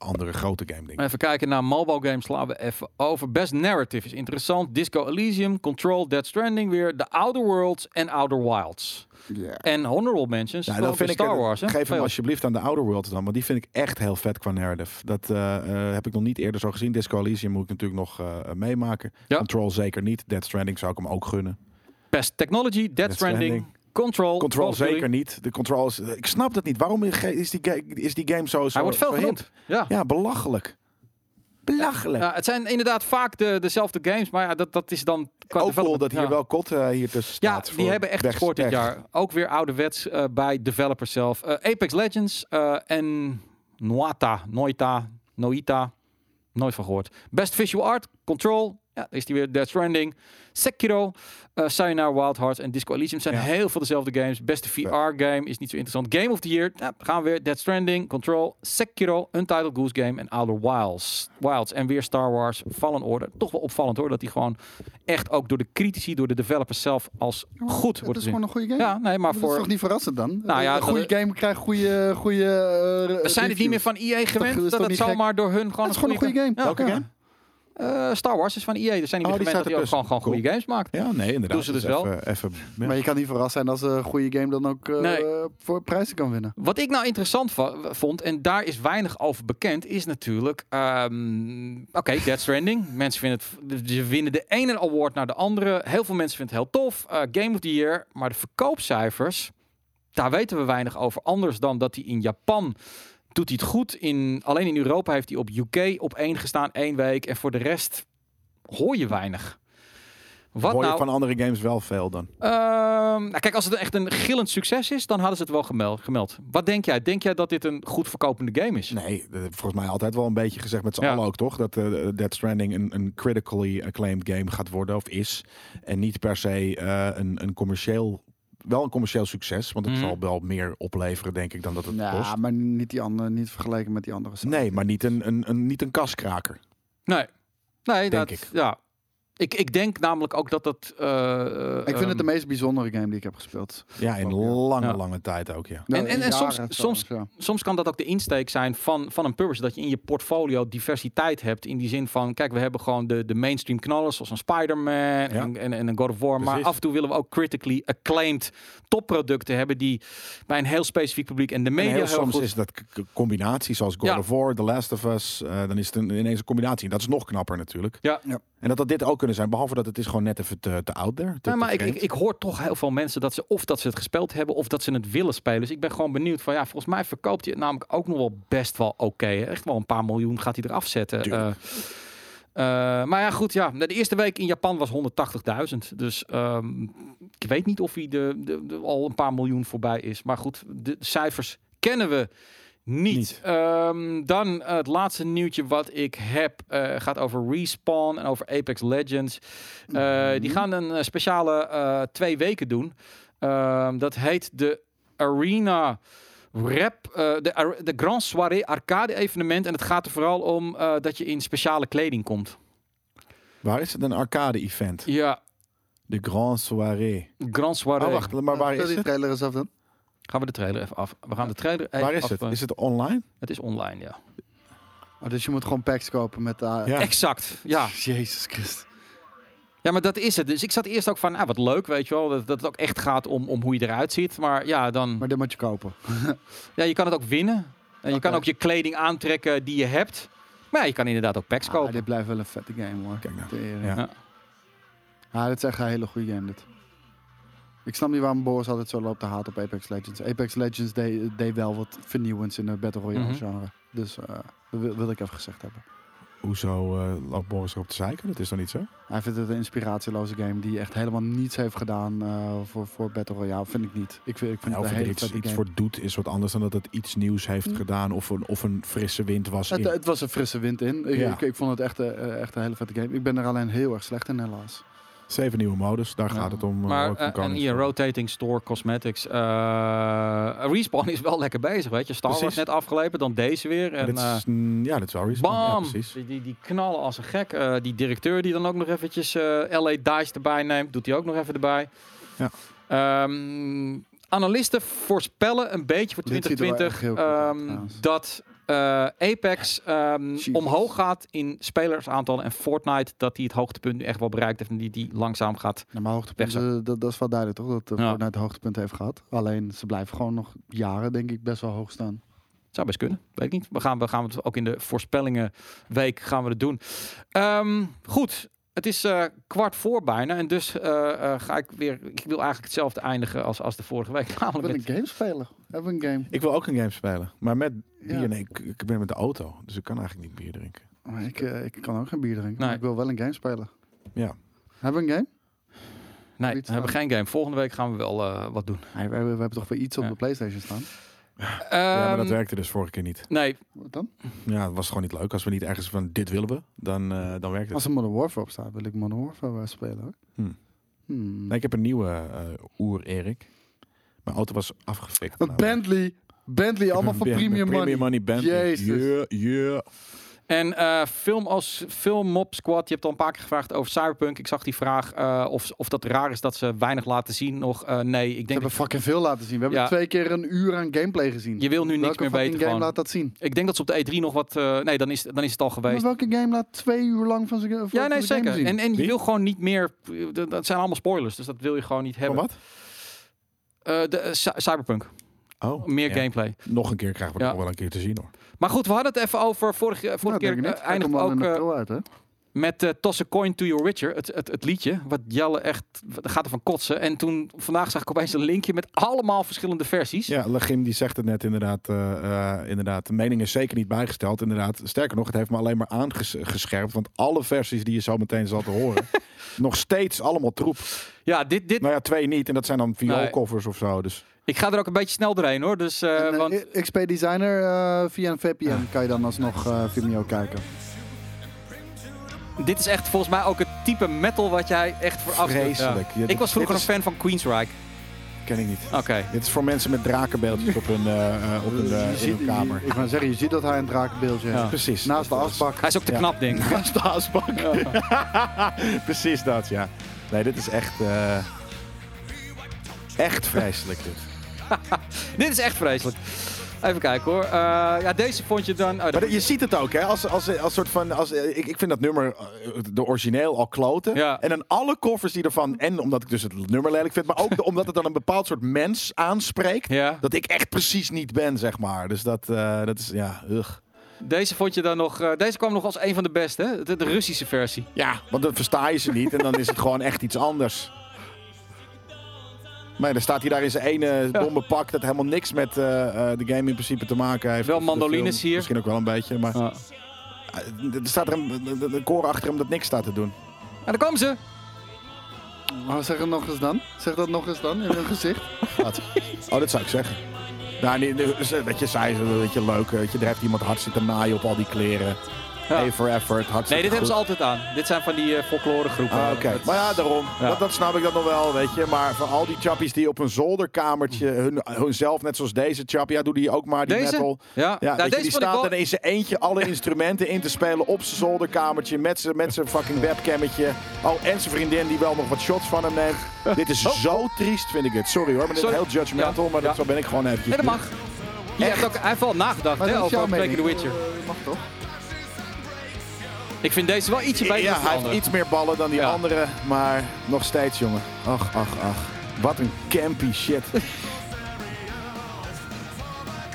[SPEAKER 1] andere grote game dingen.
[SPEAKER 2] Even kijken naar mobile games. Slaan we even over. Best Narrative is interessant. Disco Elysium, Control, Dead Stranding weer. The Outer Worlds en Outer Wilds.
[SPEAKER 3] Ja.
[SPEAKER 2] En Honorable Mentions.
[SPEAKER 1] Ja,
[SPEAKER 2] Ja,
[SPEAKER 1] dan vind ik
[SPEAKER 2] Star Wars. hè? Oh
[SPEAKER 1] Geef hem
[SPEAKER 2] Veel.
[SPEAKER 1] alsjeblieft aan de Outer Worlds dan. Want die vind ik echt heel vet qua narrative. Dat eh, eh, heb ik nog niet eerder zo gezien. Disco Elysium moet ik natuurlijk nog eh, meemaken.
[SPEAKER 2] Ja.
[SPEAKER 1] Control zeker niet. Dead Stranding zou ik hem ook gunnen.
[SPEAKER 2] Best Technology, Dead, Stranding,
[SPEAKER 1] Stranding.
[SPEAKER 2] Control. Call
[SPEAKER 1] Control
[SPEAKER 2] of Duty.
[SPEAKER 1] zeker niet. De Control is... eh, Ik snap dat niet. Waarom is die, ga- is die game zo... zo
[SPEAKER 2] Hij wordt
[SPEAKER 1] zo
[SPEAKER 2] veel
[SPEAKER 1] hip?
[SPEAKER 2] genoemd. Ja.
[SPEAKER 1] Ja, belachelijk. Belachelijk.
[SPEAKER 2] Ja, het zijn inderdaad vaak de, dezelfde games, maar ja, dat, dat is dan qua
[SPEAKER 1] ook cool
[SPEAKER 2] development,
[SPEAKER 1] dat hier
[SPEAKER 2] ja.
[SPEAKER 1] wel Kot eh, hier tussen
[SPEAKER 2] Ja,
[SPEAKER 1] staat.
[SPEAKER 2] die
[SPEAKER 1] voor
[SPEAKER 2] hebben echt
[SPEAKER 1] best
[SPEAKER 2] gescoord dit
[SPEAKER 1] tech.
[SPEAKER 2] jaar. Ook weer ouderwets eh, bij developers zelf. Eh, Apex Legends eh, en Noita, Noita, Noita. Nooit van gehoord. Best Visual Art, Control. Ja, daar is die weer. Death Stranding, Sekiro, eh Sayonara Wild Hearts en Disco Elysium zijn
[SPEAKER 1] Ja.
[SPEAKER 2] heel veel dezelfde games. Beste VR-game is niet zo interessant. Game of the Year, nou, dan gaan we weer. Death Stranding, Control, Sekiro, Untitled Goose Game en Outer Wilds. Wilds. En weer Star Wars, Fallen Order. Toch wel opvallend hoor, dat die gewoon echt ook door de critici, door de developers zelf als goed wordt
[SPEAKER 3] Het Oh, is gewoon
[SPEAKER 2] gezien.
[SPEAKER 3] een goede game.
[SPEAKER 2] Ja, nee, maar
[SPEAKER 3] Dat is
[SPEAKER 2] voor...
[SPEAKER 3] toch niet verrassend dan? Eh,
[SPEAKER 2] Nou ja,
[SPEAKER 3] een goede
[SPEAKER 2] dat-
[SPEAKER 3] game krijgt goede... goede eh,
[SPEAKER 2] We zijn het niet meer
[SPEAKER 3] reviews.
[SPEAKER 2] van EA
[SPEAKER 3] is
[SPEAKER 2] gewend,
[SPEAKER 3] toch
[SPEAKER 2] dat het
[SPEAKER 3] niet gek?
[SPEAKER 2] zomaar door hun gewoon
[SPEAKER 3] Het is gewoon een goede game.
[SPEAKER 2] Ja.
[SPEAKER 1] Welke
[SPEAKER 3] Ja.
[SPEAKER 1] game?
[SPEAKER 2] Eh, Star Wars is van EA, dus zijn die
[SPEAKER 1] Oh, die
[SPEAKER 2] meer gewend dat
[SPEAKER 1] staat
[SPEAKER 2] die ook
[SPEAKER 1] ertussen.
[SPEAKER 2] gewoon, gewoon goede games maakt.
[SPEAKER 1] Ja, nee, inderdaad.
[SPEAKER 2] Doen ze dus wel.
[SPEAKER 1] Even, even, ja.
[SPEAKER 3] Maar je kan niet verrast zijn als een goede game dan ook eh,
[SPEAKER 2] Nee.
[SPEAKER 3] voor prijzen kan winnen.
[SPEAKER 2] Wat ik nou interessant va- vond, en daar is weinig over bekend, is natuurlijk. ehm, Oké, Dead Stranding. [LAUGHS] mensen vinden het. Ze winnen de ene award naar de andere. Heel veel mensen vinden het heel tof. Eh, Game of the Year. Maar de verkoopcijfers. Daar weten we weinig over. Anders dan dat die in Japan doet hij het goed. In, alleen in Europa heeft hij op UK op één gestaan, één week. En voor de rest hoor je weinig. Wat
[SPEAKER 1] Hoor je
[SPEAKER 2] nou?
[SPEAKER 1] van andere games wel veel dan?
[SPEAKER 2] Ehm, nou kijk, als het echt een gillend succes is, dan hadden ze het wel gemel- gemeld. Wat denk jij? Denk jij dat dit een goed verkopende game is?
[SPEAKER 1] Nee, dat heb ik volgens mij altijd wel een beetje gezegd met z'n
[SPEAKER 2] Ja.
[SPEAKER 1] allen ook, toch? Dat eh Dead Stranding een, een critically acclaimed game gaat worden of is. En niet per se eh, een, een commercieel... Wel een commercieel succes, want het
[SPEAKER 2] Mhm.
[SPEAKER 1] zal wel meer opleveren, denk ik, dan dat het
[SPEAKER 3] Nou,
[SPEAKER 1] kost.
[SPEAKER 3] maar niet, die andere, niet vergelijken met die andere. zaken.
[SPEAKER 1] Nee, maar niet een, een, een, niet een kaskraker.
[SPEAKER 2] Nee. Nee,
[SPEAKER 1] Denk
[SPEAKER 2] dat,
[SPEAKER 1] ik.
[SPEAKER 2] Ja. Ik, ik denk namelijk ook dat dat... eh,
[SPEAKER 3] Ik vind het
[SPEAKER 2] ehm,
[SPEAKER 3] de meest bijzondere game die ik heb gespeeld.
[SPEAKER 1] Ja, in
[SPEAKER 3] Ja.
[SPEAKER 1] lange,
[SPEAKER 2] Ja.
[SPEAKER 1] lange tijd ook, ja.
[SPEAKER 2] En- en- en
[SPEAKER 3] Jaren
[SPEAKER 2] soms-
[SPEAKER 3] zelfs,
[SPEAKER 2] soms-
[SPEAKER 3] ja.
[SPEAKER 2] soms kan dat ook de insteek zijn van, van een publisher. Dat je in je portfolio diversiteit hebt. In die zin van, kijk, we hebben gewoon de, de mainstream knallers. Zoals een Spider-Man en, en, en een God of War. Maar
[SPEAKER 1] Precies.
[SPEAKER 2] af en toe willen we ook critically acclaimed topproducten hebben. Die bij een heel specifiek publiek en de
[SPEAKER 1] En
[SPEAKER 2] media
[SPEAKER 1] heel
[SPEAKER 2] heel,
[SPEAKER 1] soms
[SPEAKER 2] goed...
[SPEAKER 1] is dat k- k- combinatie, zoals God
[SPEAKER 2] Ja.
[SPEAKER 1] of War, The Last of Us. eh, dan is het een, ineens een combinatie. En dat is nog knapper natuurlijk.
[SPEAKER 2] Ja.
[SPEAKER 3] Ja.
[SPEAKER 1] En dat dat dit ook kunnen zijn. Behalve dat het is gewoon net even te, te out there. te-
[SPEAKER 2] Ja,
[SPEAKER 1] te
[SPEAKER 2] Nou, maar ik, ik,
[SPEAKER 1] vreemd.
[SPEAKER 2] ik hoor toch heel veel mensen dat ze of dat ze het gespeeld hebben of dat ze het willen spelen. Dus ik ben gewoon benieuwd van ja, volgens mij verkoopt hij het namelijk ook nog wel best wel oké. hè. Echt wel een paar miljoen gaat hij eraf zetten.
[SPEAKER 1] Tuurlijk.
[SPEAKER 2] Eh, eh, maar ja, goed, ja. De eerste week in Japan was 180.000. Dus ehm, ik weet niet of hij de, de, de- al een paar miljoen voorbij is. Maar goed, de cijfers kennen we niet.
[SPEAKER 1] Niet.
[SPEAKER 2] Ehm, dan eh, het laatste nieuwtje wat ik heb eh, gaat over Respawn en over Apex Legends. Eh,
[SPEAKER 1] Mhm.
[SPEAKER 2] Die gaan een eh, speciale eh, twee weken doen. Ehm, dat heet de Arena Rap, eh, de, Ar- de Grand Soirée Arcade evenement. En het gaat er vooral om eh, dat je in speciale kleding komt.
[SPEAKER 1] Waar is het? Een arcade-event.
[SPEAKER 2] Ja,
[SPEAKER 1] De Grand Soirée.
[SPEAKER 2] Grand Soirée.
[SPEAKER 1] Oh, wacht. Maar waar
[SPEAKER 3] Stel
[SPEAKER 1] is
[SPEAKER 3] die
[SPEAKER 1] het?
[SPEAKER 3] trailer eens af dan.
[SPEAKER 2] Gaan we de trailer even af. We gaan de trailer even
[SPEAKER 1] Waar is
[SPEAKER 2] af- eh,
[SPEAKER 1] het? Is het online?
[SPEAKER 2] Het is online, ja.
[SPEAKER 3] Oh, dus je moet gewoon packs kopen met... eh,
[SPEAKER 1] Ja.
[SPEAKER 2] Exact, ja.
[SPEAKER 3] Jezus Christus.
[SPEAKER 2] Ja, maar dat is het. Dus ik zat eerst ook van, ah, wat leuk, weet je wel. Dat, dat het ook echt gaat om, om hoe je eruit ziet. Maar ja, dan...
[SPEAKER 3] Maar dit moet je kopen.
[SPEAKER 2] Ja, je kan het ook winnen. En je
[SPEAKER 3] Oké.
[SPEAKER 2] kan ook je kleding aantrekken die je hebt. Maar ja, je kan inderdaad ook packs
[SPEAKER 3] Ah,
[SPEAKER 2] kopen.
[SPEAKER 3] dit blijft wel een vette game hoor.
[SPEAKER 1] Kijk nou.
[SPEAKER 3] Tering.
[SPEAKER 1] Ja.
[SPEAKER 2] Ja.
[SPEAKER 3] Ja, Ah, dit is echt een hele goede game dit. Ik snap niet waarom Boris altijd zo loopt te haat op Apex Legends. Apex Legends deed deed wel wat vernieuwends in het Battle Royale
[SPEAKER 2] Mhm.
[SPEAKER 3] genre. Dus eh, dat wil, wil ik even gezegd hebben.
[SPEAKER 1] Hoezo eh, loopt Boris erop te zeiken? Dat is toch niet zo?
[SPEAKER 3] Hij vindt het een inspiratieloze game die echt helemaal niets heeft gedaan eh, voor, voor Battle Royale. Vind ik niet. Ik, vind- ik vind
[SPEAKER 1] Ja, of
[SPEAKER 3] het een
[SPEAKER 1] het er
[SPEAKER 3] hele
[SPEAKER 1] iets,
[SPEAKER 3] vette
[SPEAKER 1] iets
[SPEAKER 3] game.
[SPEAKER 1] voor doet is wat anders dan dat het iets nieuws heeft
[SPEAKER 2] Hm.
[SPEAKER 1] gedaan. Of een, of een frisse wind was.
[SPEAKER 3] Het,
[SPEAKER 1] in.
[SPEAKER 3] het was een frisse wind in. Ik,
[SPEAKER 1] Ja.
[SPEAKER 3] ik, ik vond het echt, eh, echt een hele vette game. Ik ben er alleen heel erg slecht in helaas.
[SPEAKER 1] Zeven nieuwe modus. Daar
[SPEAKER 2] Ja.
[SPEAKER 1] gaat het om. eh,
[SPEAKER 2] Maar
[SPEAKER 1] ook van
[SPEAKER 2] eh, en
[SPEAKER 1] Koningsdag.
[SPEAKER 2] hier, Rotating Store Cosmetics. eh, Respawn is wel lekker bezig, weet je. Star Wars
[SPEAKER 1] Precies.
[SPEAKER 2] net afgelepen, dan deze weer. En,
[SPEAKER 1] Dit
[SPEAKER 2] eh,
[SPEAKER 1] is, mm, ja, dat is wel Respawn. Ja,
[SPEAKER 2] Bam!
[SPEAKER 1] precies.
[SPEAKER 2] die, die, die knallen als een gek. Eh, die directeur die dan ook nog eventjes eh, LA Dice erbij neemt, doet hij ook nog even erbij.
[SPEAKER 1] Ja.
[SPEAKER 2] Ehm, analisten voorspellen een beetje voor
[SPEAKER 3] Dit ziet er wel
[SPEAKER 2] 2020
[SPEAKER 3] echt heel cool uit,
[SPEAKER 2] ehm,
[SPEAKER 3] trouwens.
[SPEAKER 2] dat eh, Apex ehm,
[SPEAKER 3] Jezus.
[SPEAKER 2] omhoog gaat in spelersaantallen en Fortnite dat die het hoogtepunt nu echt wel bereikt heeft en die, die langzaam gaat.
[SPEAKER 3] Nou, maar hoogtepunt,
[SPEAKER 2] Weg
[SPEAKER 3] dat, dat is wel duidelijk toch? Dat
[SPEAKER 2] Ja.
[SPEAKER 3] Fortnite Fortnite hoogtepunt heeft gehad. Alleen ze blijven gewoon nog jaren denk ik best wel hoog staan.
[SPEAKER 2] Zou best kunnen, weet ik niet. We gaan, we gaan het ook in de voorspellingen week gaan we het doen. Ehm, goed, het is eh, kwart voor bijna en dus eh, eh, ga ik weer. Ik wil eigenlijk hetzelfde eindigen als, als de vorige week.
[SPEAKER 3] Ik
[SPEAKER 2] Namelijk
[SPEAKER 3] ben
[SPEAKER 2] met-
[SPEAKER 3] een game spelen. Hebben een game.
[SPEAKER 1] Ik wil ook een game spelen. Maar met
[SPEAKER 3] Ja.
[SPEAKER 1] bier. Nee, ik, ik ben met de auto. Dus ik kan eigenlijk niet bier drinken.
[SPEAKER 3] Maar Ik, eh, ik kan ook geen bier drinken. maar
[SPEAKER 2] Nee.
[SPEAKER 3] ik wil wel een game spelen.
[SPEAKER 1] Ja.
[SPEAKER 3] Hebben we een game?
[SPEAKER 2] nee,
[SPEAKER 3] niet
[SPEAKER 2] we hebben geen game. Volgende week gaan we wel eh, wat doen.
[SPEAKER 3] Nee, we, hebben, we hebben toch wel iets op
[SPEAKER 2] Ja.
[SPEAKER 3] de PlayStation staan.
[SPEAKER 1] ja, maar
[SPEAKER 2] Ehm,
[SPEAKER 1] dat werkte dus vorige keer niet.
[SPEAKER 2] Nee,
[SPEAKER 3] Wat dan?
[SPEAKER 1] Ja, het was gewoon niet leuk. Als we niet ergens van dit willen we, dan, eh, dan werkt het.
[SPEAKER 3] Als er Modern Warfare op staat, wil ik Modern Warfare wel spelen hoor.
[SPEAKER 1] Hmm.
[SPEAKER 3] Hmm.
[SPEAKER 1] Nee, ik heb een nieuwe eh, oer-Erik. Mijn auto was afgefikt.
[SPEAKER 3] Een
[SPEAKER 1] namelijk.
[SPEAKER 3] Bentley. Bentley,
[SPEAKER 1] Nou, Ik heb
[SPEAKER 3] allemaal
[SPEAKER 1] een
[SPEAKER 3] voor
[SPEAKER 1] Ben-
[SPEAKER 3] premium,
[SPEAKER 1] Premium
[SPEAKER 3] money.
[SPEAKER 1] money Bentley.
[SPEAKER 3] Jezus.
[SPEAKER 1] Ja, ja.
[SPEAKER 2] En eh, film als film Mob Squad, je hebt al een paar keer gevraagd over Cyberpunk. Ik zag die vraag eh, of, of dat raar is dat ze weinig laten zien nog. Eh, nee, ik
[SPEAKER 3] We
[SPEAKER 2] denk,
[SPEAKER 3] hebben
[SPEAKER 2] dat,
[SPEAKER 3] fucking veel laten zien. We hebben
[SPEAKER 2] Ja.
[SPEAKER 3] twee keer een uur aan gameplay gezien.
[SPEAKER 2] je wil nu niks
[SPEAKER 3] welke
[SPEAKER 2] meer
[SPEAKER 3] fucking
[SPEAKER 2] weten.
[SPEAKER 3] game
[SPEAKER 2] Gewoon.
[SPEAKER 3] laat dat zien?
[SPEAKER 2] Ik denk dat ze op de E3 nog wat... eh, nee, dan is, dan is het al
[SPEAKER 3] Maar
[SPEAKER 2] geweest.
[SPEAKER 3] welke game laat twee uur lang van zijn van
[SPEAKER 2] Ja,
[SPEAKER 3] zijn
[SPEAKER 2] nee,
[SPEAKER 3] game
[SPEAKER 2] zeker.
[SPEAKER 3] zien?
[SPEAKER 2] En, en je
[SPEAKER 1] Wie?
[SPEAKER 2] wil gewoon niet meer... Dat dat zijn allemaal spoilers, dus dat wil je gewoon niet
[SPEAKER 1] Van
[SPEAKER 2] hebben.
[SPEAKER 1] wat?
[SPEAKER 2] Eh, de, eh, Cy- Cyberpunk.
[SPEAKER 1] Oh,
[SPEAKER 2] Meer
[SPEAKER 1] ja.
[SPEAKER 2] gameplay.
[SPEAKER 1] Nog een keer krijgen we het
[SPEAKER 2] Ja.
[SPEAKER 1] nog wel een keer te zien hoor.
[SPEAKER 2] Maar goed, we hadden het even over... Vorige, vorige
[SPEAKER 3] Nou,
[SPEAKER 2] keer
[SPEAKER 3] denk ik
[SPEAKER 2] eh,
[SPEAKER 3] niet. Hij
[SPEAKER 2] eindigde
[SPEAKER 3] komt wel
[SPEAKER 2] ook...
[SPEAKER 3] in de
[SPEAKER 2] eh,
[SPEAKER 3] pro uit, hè?
[SPEAKER 2] Met eh, Toss a Coin to Your Witcher, het, het, het liedje, wat Jelle echt wat- gaat ervan kotsen. En toen, vandaag zag ik opeens een linkje met allemaal verschillende versies.
[SPEAKER 1] Ja, Legim die zegt het net inderdaad. eh, eh, inderdaad. De mening is zeker niet bijgesteld. Inderdaad. Sterker nog, het heeft me alleen maar aangescherpt. Want alle versies die je zo meteen zal te horen, [LAUGHS] nog steeds allemaal troep.
[SPEAKER 2] Ja, dit, dit,
[SPEAKER 1] Nou ja, twee niet. En dat zijn dan vioolcovers of zo. Dus
[SPEAKER 2] ik ga er ook een beetje snel doorheen hoor. Dus, eh,
[SPEAKER 3] En, eh,
[SPEAKER 2] want,
[SPEAKER 3] XP Designer eh, via een VPN kan je dan alsnog eh, Vimeo kijken.
[SPEAKER 1] eh,
[SPEAKER 2] Dit is echt volgens mij ook het type metal wat jij echt voor afsteekt.
[SPEAKER 1] Vreselijk. Ja, dit-
[SPEAKER 2] ik was vroeger
[SPEAKER 1] dit
[SPEAKER 2] een fan van Queensryche.
[SPEAKER 1] ken ik niet.
[SPEAKER 2] Oké.
[SPEAKER 1] Dit is voor mensen met drakenbeeldjes op hun, eh, eh, op hun, eh,
[SPEAKER 3] Je
[SPEAKER 1] in hun
[SPEAKER 3] ziet-
[SPEAKER 1] kamer.
[SPEAKER 3] je- ik wou zeggen, je ziet dat hij een drakenbeeld heeft.
[SPEAKER 2] Ja.
[SPEAKER 1] Precies.
[SPEAKER 3] Naast de asbak.
[SPEAKER 2] Hij is ook te
[SPEAKER 1] Ja.
[SPEAKER 2] knap, denk
[SPEAKER 1] [LAUGHS]
[SPEAKER 2] ik.
[SPEAKER 1] Naast de asbak. [LAUGHS] Precies dat, ja. Nee, dit is echt... eh, echt vreselijk dit.
[SPEAKER 2] Dit is echt vreselijk. Even kijken hoor. Eh, ja, deze vond je dan... oh, dat-
[SPEAKER 1] Maar je ziet het ook, hè? Als, als, als soort van. Als, eh, ik, ik vind dat nummer, eh, de origineel, al kloten.
[SPEAKER 2] Ja.
[SPEAKER 1] En dan alle covers die ervan. En omdat ik dus het nummer lelijk vind, maar ook de- omdat het dan een bepaald soort mens aanspreekt.
[SPEAKER 2] ja.
[SPEAKER 1] Dat ik echt precies niet ben, zeg maar. Dus dat, eh, dat is, ja, ugh.
[SPEAKER 2] Deze vond je dan nog... eh, deze kwam nog als een van de beste, hè? De, de Russische versie.
[SPEAKER 1] Ja, want dan versta je ze niet en dan is het gewoon echt iets anders. Maar dan staat hij daar in zijn ene domme pak dat helemaal niks met eh, eh, de game in principe te maken heeft.
[SPEAKER 2] Wel
[SPEAKER 1] Of de
[SPEAKER 2] mandolines
[SPEAKER 1] film.
[SPEAKER 2] hier.
[SPEAKER 1] Misschien ook wel een beetje, maar
[SPEAKER 2] Ja.
[SPEAKER 1] eh, er staat er een, een, een koor achter hem dat niks staat te doen.
[SPEAKER 2] En daar komen ze.
[SPEAKER 3] Maar zeg het nog eens dan. Zeg dat nog eens dan in hun gezicht.
[SPEAKER 1] Wat? Oh, dat zou ik zeggen. Nou, nee, nee, dus, eh, dat je zei, eh, dat je leuk, eh, dat je er heeft iemand hard zitten naaien op al die kleren.
[SPEAKER 2] Ja.
[SPEAKER 1] Hey for effort, hard
[SPEAKER 2] Nee, dit hebben ze altijd aan. Dit zijn van die eh folklore groepen.
[SPEAKER 1] Ah, oké.
[SPEAKER 2] Dat-
[SPEAKER 1] Maar ja, daarom.
[SPEAKER 2] Ja.
[SPEAKER 1] Dat, dat snap ik dat nog wel, weet je. Maar voor al die chappies die op een zolderkamertje
[SPEAKER 2] Mm.
[SPEAKER 1] hun, hunzelf, net zoals deze chappie, ja, doe die ook maar, die
[SPEAKER 2] Deze?
[SPEAKER 1] metal.
[SPEAKER 2] Ja,
[SPEAKER 1] Ja,
[SPEAKER 2] Nou,
[SPEAKER 1] weet je,
[SPEAKER 2] deze
[SPEAKER 1] die
[SPEAKER 2] vond ik
[SPEAKER 1] staat
[SPEAKER 2] wel...
[SPEAKER 1] dan in zijn eentje alle instrumenten in te spelen op zijn zolderkamertje met zijn met zijn fucking webcammetje. Oh, en zijn vriendin die wel nog wat shots van hem
[SPEAKER 2] [LAUGHS]
[SPEAKER 1] neemt. dit
[SPEAKER 2] Oh.
[SPEAKER 1] is zo triest, vind ik het. Sorry hoor, maar dit is
[SPEAKER 2] Sorry.
[SPEAKER 1] heel judgmental,
[SPEAKER 2] Ja.
[SPEAKER 1] maar dat,
[SPEAKER 2] Ja.
[SPEAKER 1] zo ben ik gewoon eventjes.
[SPEAKER 2] Nee, dat mag. Je hebt ook, hij heeft wel nagedacht
[SPEAKER 3] Maar
[SPEAKER 2] hè,
[SPEAKER 3] dat is jouw
[SPEAKER 2] over Breaking the
[SPEAKER 3] mening.
[SPEAKER 2] Witcher.
[SPEAKER 3] Mag toch?
[SPEAKER 2] Ik vind deze wel ietsje beter
[SPEAKER 1] Ja,
[SPEAKER 2] dan de
[SPEAKER 1] hij heeft
[SPEAKER 2] andere.
[SPEAKER 1] iets meer ballen dan die
[SPEAKER 2] Ja.
[SPEAKER 1] andere, maar nog steeds, jongen. Ach, ach, ach. Wat een campy shit.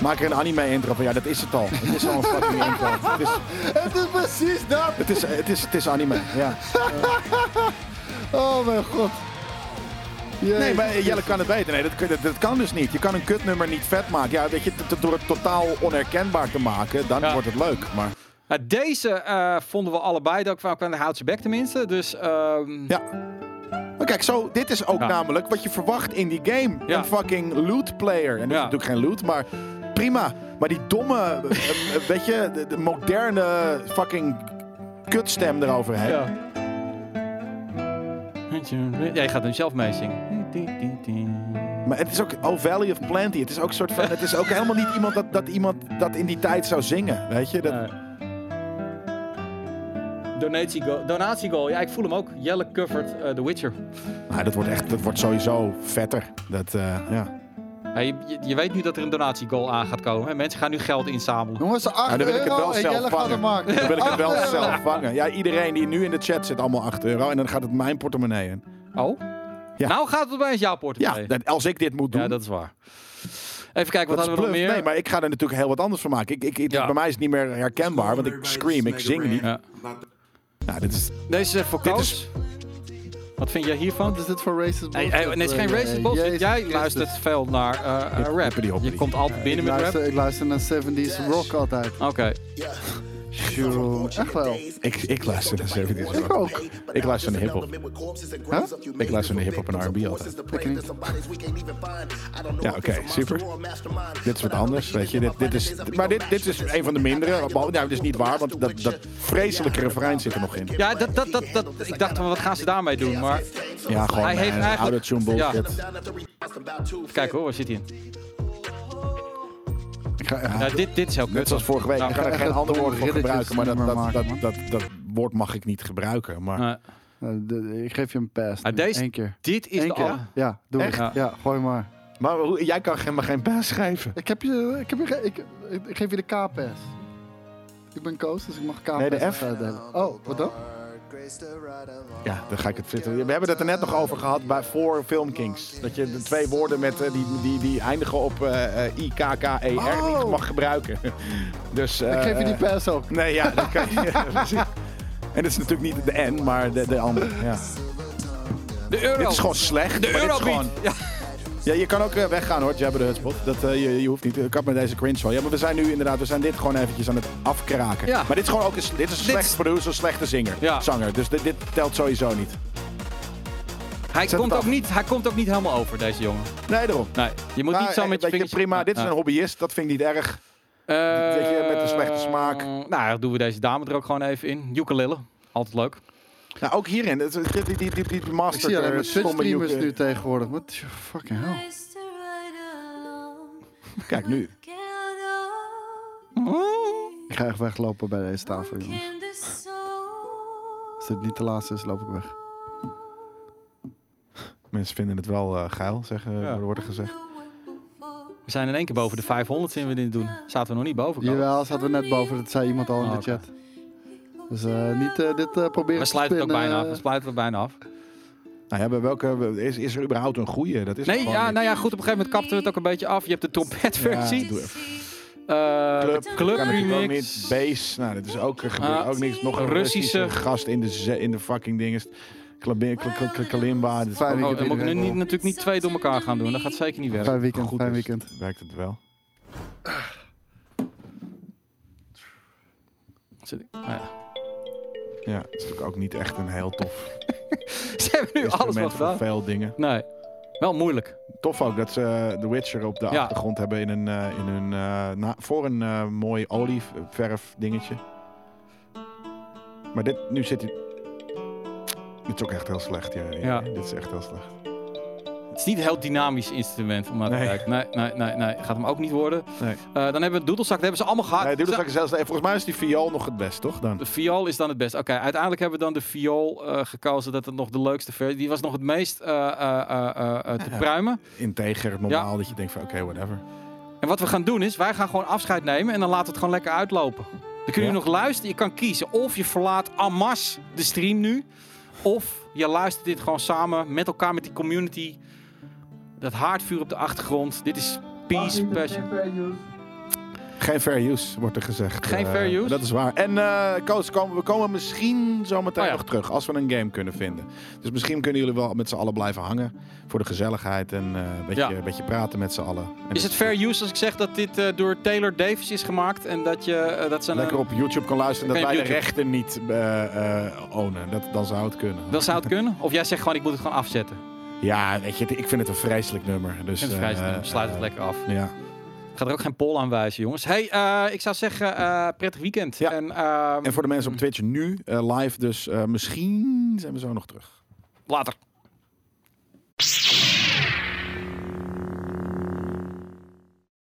[SPEAKER 1] Maak er een anime-intro van. Ja, dat is het al. Het is al een fucking
[SPEAKER 2] [LAUGHS]
[SPEAKER 1] intro. Het is,
[SPEAKER 3] Het is precies dat!
[SPEAKER 1] het is, het is, het is anime, ja.
[SPEAKER 3] Oh mijn god. eh,
[SPEAKER 1] Nee,
[SPEAKER 3] Jee.
[SPEAKER 1] maar Jelle kan het weten. Nee, dat, kun- dat, dat kan dus niet. Je kan een kutnummer niet vet maken. Ja, weet je, t- t- door het totaal onherkenbaar te maken, dan
[SPEAKER 2] Ja.
[SPEAKER 1] wordt het leuk. Maar
[SPEAKER 2] Nou, deze eh, vonden we allebei. Dat kwam aan de houtse bek tenminste. Dus ehm,
[SPEAKER 1] Ja. Maar kijk, zo, dit is ook
[SPEAKER 2] Ja.
[SPEAKER 1] namelijk wat je verwacht in die game.
[SPEAKER 2] Ja.
[SPEAKER 1] Een fucking loot player. En dat
[SPEAKER 2] Ja.
[SPEAKER 1] is natuurlijk geen loot, maar prima. Maar die domme, [LAUGHS] eh, eh, weet je, de, de moderne fucking kutstem eroverheen. Ja.
[SPEAKER 2] Ja. Jij gaat hem zelf meezingen.
[SPEAKER 1] Maar het is ook, oh Valley of Plenty. Het is ook, soort van, het is ook helemaal niet iemand dat, dat iemand dat in die tijd zou zingen. Weet je, dat,
[SPEAKER 2] Donatiegoal. Donatiegoal. Ja, ik voel hem ook. Jelle covered eh, The Witcher.
[SPEAKER 1] nou, dat, wordt echt, dat wordt sowieso vetter. Dat, eh, ja.
[SPEAKER 2] Ja, je, je- je weet nu dat er een donatiegoal aan gaat komen. Hè? Mensen gaan nu geld inzamelen.
[SPEAKER 3] Jongens, 8
[SPEAKER 1] Nou, dan wil ik het
[SPEAKER 3] euro
[SPEAKER 1] wel
[SPEAKER 3] en
[SPEAKER 1] zelf
[SPEAKER 3] Jelle gaat
[SPEAKER 1] vangen.
[SPEAKER 3] het maken.
[SPEAKER 1] Dan wil ik het wel
[SPEAKER 2] [LAUGHS]
[SPEAKER 3] Acht euro.
[SPEAKER 1] zelf vangen. Ja, iedereen die nu in de chat zit, allemaal 8 euro. En dan gaat het mijn portemonnee in.
[SPEAKER 2] Oh?
[SPEAKER 1] Ja.
[SPEAKER 2] Nou gaat het opeens jouw portemonnee.
[SPEAKER 1] Ja, dat- als ik dit moet doen,
[SPEAKER 2] ja, dat is waar. Even kijken, wat
[SPEAKER 1] Dat is
[SPEAKER 2] hadden we nog
[SPEAKER 1] bluff.
[SPEAKER 2] meer?
[SPEAKER 1] Nee, maar ik ga er natuurlijk heel wat anders van maken. Ik, ik, ik-
[SPEAKER 2] Ja.
[SPEAKER 1] Bij mij is het niet meer herkenbaar, want ik scream, ik zing niet.
[SPEAKER 2] Ja.
[SPEAKER 1] Nou, dit is,
[SPEAKER 2] Deze is voor
[SPEAKER 1] Dit
[SPEAKER 2] Koos.
[SPEAKER 1] is-
[SPEAKER 2] Wat vind jij hiervan?
[SPEAKER 3] Wat is dit voor racist
[SPEAKER 2] Nee, hey, nee, het is geen
[SPEAKER 1] Eh,
[SPEAKER 2] racist bullshit. Jij luistert veel naar eh, eh, rap.
[SPEAKER 1] hippity hoppity.
[SPEAKER 2] Je komt altijd
[SPEAKER 3] Ik
[SPEAKER 2] binnen met rap.
[SPEAKER 3] luister, ik luister naar 70s rock altijd.
[SPEAKER 2] Oké.
[SPEAKER 3] Sure. Echt wel.
[SPEAKER 1] ik, ik luister naar 70
[SPEAKER 3] Ik ook.
[SPEAKER 1] Ik luister naar hiphop. Ik luister naar hiphop en R&B altijd.
[SPEAKER 4] Ja, oké, super.
[SPEAKER 1] Dit is wat anders, weet je. Dit, dit is, maar dit, dit is een van de mindere. Nou, dat is niet waar, want dat, dat vreselijke refrein zit er nog in.
[SPEAKER 2] Ja, dat, dat, dat, dat, ik dacht van wat gaan ze daarmee doen, maar
[SPEAKER 1] Ja, gewoon
[SPEAKER 2] Hij heeft
[SPEAKER 1] eh,
[SPEAKER 2] eigenlijk-
[SPEAKER 1] oude tune bullshit.
[SPEAKER 2] kijk hoor, waar zit hij in?
[SPEAKER 1] Ik ga- ja,
[SPEAKER 2] Ja, Nou, dit, dit is heel kut.
[SPEAKER 1] Net zoals vorige week.
[SPEAKER 2] Ja,
[SPEAKER 1] Ik ga er geen
[SPEAKER 3] echt
[SPEAKER 1] ander
[SPEAKER 3] een
[SPEAKER 1] woord voor gebruiken, maar dat, dat, dat,
[SPEAKER 3] riddertjesnummer
[SPEAKER 1] dat, dat woord mag ik niet gebruiken. Maar
[SPEAKER 2] Eh,
[SPEAKER 3] Eh, de- ik geef je een pass.
[SPEAKER 2] Ah,
[SPEAKER 3] nu.
[SPEAKER 2] deze-
[SPEAKER 3] Eén keer.
[SPEAKER 2] dit is
[SPEAKER 3] Eén
[SPEAKER 2] de
[SPEAKER 3] keer.
[SPEAKER 2] alle-
[SPEAKER 3] Ja, doe
[SPEAKER 2] Echt?
[SPEAKER 3] het. Ja, gooi maar.
[SPEAKER 1] maar hoe- jij kan geen- maar geen baas schrijven.
[SPEAKER 3] Ik, heb je, ik, heb je, ge- ik, ik, ik geef je de K-pass. Ik ben Koos, dus ik mag K-pass
[SPEAKER 1] Nee, de F.
[SPEAKER 3] uitdelen. Oh, wat dan?
[SPEAKER 1] Ja, dan ga ik het flitten. We hebben het er net nog over gehad bij voor Filmkings. Dat je de twee woorden met, eh, die, die, die eindigen op eh, eh, I-K-K-E-R niet
[SPEAKER 3] Oh.
[SPEAKER 1] mag gebruiken. [LAUGHS] Dus, eh,
[SPEAKER 3] Ik geef je die
[SPEAKER 1] eh,
[SPEAKER 3] pass ook.
[SPEAKER 1] [LAUGHS] Nee, ja, dat kan je. precies. En dat is natuurlijk niet de N, maar de, de andere. Ja.
[SPEAKER 2] De euro.
[SPEAKER 1] Dit is gewoon slecht. maar
[SPEAKER 2] de
[SPEAKER 1] dit is
[SPEAKER 2] euro
[SPEAKER 1] gewoon-
[SPEAKER 2] Ja.
[SPEAKER 1] Ja, je kan ook eh, weggaan hoor, Jabber de Hutspot. Dat, eh, je, je hoeft niet. Ik had met deze cringe wel. Ja, maar we zijn nu inderdaad, we zijn dit gewoon eventjes aan het afkraken.
[SPEAKER 2] Ja.
[SPEAKER 1] Maar dit is gewoon ook een, s- dit is een
[SPEAKER 2] Dit
[SPEAKER 1] slecht
[SPEAKER 2] is-
[SPEAKER 1] producer, slechte zinger,
[SPEAKER 2] Ja.
[SPEAKER 1] zanger. Dus dit, dit telt sowieso niet.
[SPEAKER 2] Hij,
[SPEAKER 1] Zet
[SPEAKER 2] komt
[SPEAKER 1] het
[SPEAKER 2] ook
[SPEAKER 1] af.
[SPEAKER 2] niet, hij komt ook niet helemaal over, deze jongen.
[SPEAKER 1] Nee, daarom.
[SPEAKER 2] Nee, je moet
[SPEAKER 1] Maar,
[SPEAKER 2] niet zo
[SPEAKER 1] eh,
[SPEAKER 2] met je
[SPEAKER 1] weet
[SPEAKER 2] vingers... Ah, Eh,
[SPEAKER 1] prima, dit is een hobbyist, dat vind ik niet erg. Weet je, met een slechte smaak.
[SPEAKER 2] Nou, dan doen we deze dame er ook gewoon even in. Ukulele. Altijd leuk.
[SPEAKER 1] Nou, ook hierin, het- het- die, die, die, die
[SPEAKER 3] Ik zie alleen
[SPEAKER 1] master
[SPEAKER 3] maar
[SPEAKER 1] stomme
[SPEAKER 3] Twitch-streamers
[SPEAKER 1] joek, eh,
[SPEAKER 3] nu tegenwoordig. What the fucking hell?
[SPEAKER 1] Oh. Kijk nu. Mm.
[SPEAKER 3] Ik ga echt weglopen bij deze tafel, jongens. Als dit niet de laatste is, loop ik weg.
[SPEAKER 1] Mensen vinden het wel eh, geil, zeggen,
[SPEAKER 2] Ja.
[SPEAKER 1] wordt er gezegd.
[SPEAKER 2] We zijn in één keer boven de 500 zien we dit doen. Zaten we nog niet boven. Carl.
[SPEAKER 3] Jawel, zaten we net boven. Dat zei iemand al in
[SPEAKER 2] Oh,
[SPEAKER 3] de
[SPEAKER 2] oké.
[SPEAKER 3] chat. Dus eh, niet eh, dit eh, proberen
[SPEAKER 2] We
[SPEAKER 3] te
[SPEAKER 2] sluiten het ook
[SPEAKER 3] spinnen,
[SPEAKER 2] bijna af.
[SPEAKER 3] eh.
[SPEAKER 2] We sluiten het bijna af.
[SPEAKER 1] Nou ja, bij welke, is, is er überhaupt een goede? Dat is
[SPEAKER 2] Nee,
[SPEAKER 1] gewoon
[SPEAKER 2] ja,
[SPEAKER 1] niet.
[SPEAKER 2] nou ja, goed. Op een gegeven moment kapten we het ook een beetje af. Je hebt de trompetversie.
[SPEAKER 1] Ja, doe even.
[SPEAKER 2] Eh,
[SPEAKER 1] Club,
[SPEAKER 2] de
[SPEAKER 1] club
[SPEAKER 2] club
[SPEAKER 1] kan natuurlijk ook
[SPEAKER 2] remix.
[SPEAKER 1] niet. Base, nou, dit is ook, er gebeurt
[SPEAKER 2] Ah,
[SPEAKER 1] ook niks. Nog een
[SPEAKER 2] Russische-
[SPEAKER 1] Russische, gast in de, ze- in de fucking ding is. Klabi- kla- kla- kla- Kalimba. Dit is
[SPEAKER 3] Fijn
[SPEAKER 1] ook-
[SPEAKER 2] Oh, dan
[SPEAKER 3] weekend
[SPEAKER 2] moet ik nu
[SPEAKER 3] iedereen.
[SPEAKER 2] niet, natuurlijk niet twee door elkaar gaan doen. Dat gaat zeker niet werken.
[SPEAKER 3] Fijn weekend,
[SPEAKER 1] goed is.
[SPEAKER 3] fijn weekend.
[SPEAKER 1] Werkt het wel?
[SPEAKER 2] Zit ik- nou ja.
[SPEAKER 1] Ja, het is natuurlijk ook niet echt een heel tof
[SPEAKER 2] [LAUGHS] Ze hebben nu alles wat
[SPEAKER 1] instrument voor
[SPEAKER 2] gedaan.
[SPEAKER 1] veel dingen.
[SPEAKER 2] Nee, wel moeilijk.
[SPEAKER 1] Tof ook dat ze eh, The Witcher op de
[SPEAKER 2] Ja.
[SPEAKER 1] achtergrond hebben in een, eh, in een, eh, na- voor een eh, mooi olieverf dingetje. Maar dit, nu zit hij... Dit is ook echt heel slecht, ja. ja,
[SPEAKER 2] Ja.
[SPEAKER 1] Dit is echt heel slecht.
[SPEAKER 2] Het is niet een heel dynamisch instrument om naar te
[SPEAKER 1] Nee.
[SPEAKER 2] kijken. Nee, nee, nee, nee. Gaat hem ook niet worden.
[SPEAKER 1] Nee.
[SPEAKER 2] Eh, dan hebben we een doedelzak. Dat hebben ze allemaal gehad.
[SPEAKER 1] nee, doe dat ook zelfs, nee, volgens mij is die viool nog het best, toch? Dan?
[SPEAKER 2] De viool is dan het best. Oké, uiteindelijk hebben we dan de viool eh, gekozen. Dat het nog de leukste versie. Die was nog het meest eh, eh, eh, eh, eh, te
[SPEAKER 1] Ja.
[SPEAKER 2] pruimen.
[SPEAKER 1] Integer, normaal, dat je denkt van oké, whatever.
[SPEAKER 2] En wat we gaan doen is, wij gaan gewoon afscheid nemen en dan laten we het gewoon lekker uitlopen. Dan kun je
[SPEAKER 1] Ja.
[SPEAKER 2] nog luisteren. Je kan kiezen of je verlaat Amas de stream nu. Of je luistert dit gewoon samen met elkaar, met die community. Dat haardvuur op de achtergrond. Dit is peace, passion.
[SPEAKER 1] Geen fair use, wordt er gezegd.
[SPEAKER 2] Geen
[SPEAKER 1] Eh,
[SPEAKER 2] fair use?
[SPEAKER 1] Dat is waar. En eh coach, komen, we komen misschien zometeen
[SPEAKER 2] Oh ja.
[SPEAKER 1] nog terug als we een game kunnen vinden. Dus misschien kunnen jullie wel met z'n allen blijven hangen. Voor de gezelligheid en eh, een, beetje,
[SPEAKER 2] Ja.
[SPEAKER 1] een beetje praten met z'n allen. En
[SPEAKER 2] Is het fair use als ik zeg dat dit eh, door Taylor Davis is gemaakt en dat je eh, dat zijn
[SPEAKER 1] Lekker op YouTube kan luisteren dat
[SPEAKER 2] Kan
[SPEAKER 1] wij
[SPEAKER 2] je
[SPEAKER 1] de
[SPEAKER 2] op YouTube.
[SPEAKER 1] rechten niet eh, eh, ownen. Dat, dan zou het kunnen.
[SPEAKER 2] dat zou het kunnen? Of jij zegt gewoon ik moet het gewoon afzetten. Ik
[SPEAKER 1] Ja, weet je, ik vind het een vreselijk nummer. Dus,
[SPEAKER 2] vind het vrij
[SPEAKER 1] eh,
[SPEAKER 2] slim. Sluit het
[SPEAKER 1] eh,
[SPEAKER 2] lekker af.
[SPEAKER 1] Ja.
[SPEAKER 2] Ik ga er ook geen poll aan wijzen, jongens. Hey, eh, ik zou zeggen eh, prettig weekend.
[SPEAKER 1] Ja.
[SPEAKER 2] En, ehm,
[SPEAKER 1] En voor de mensen op Twitch nu eh, live, dus eh, misschien zijn we zo nog terug.
[SPEAKER 2] later.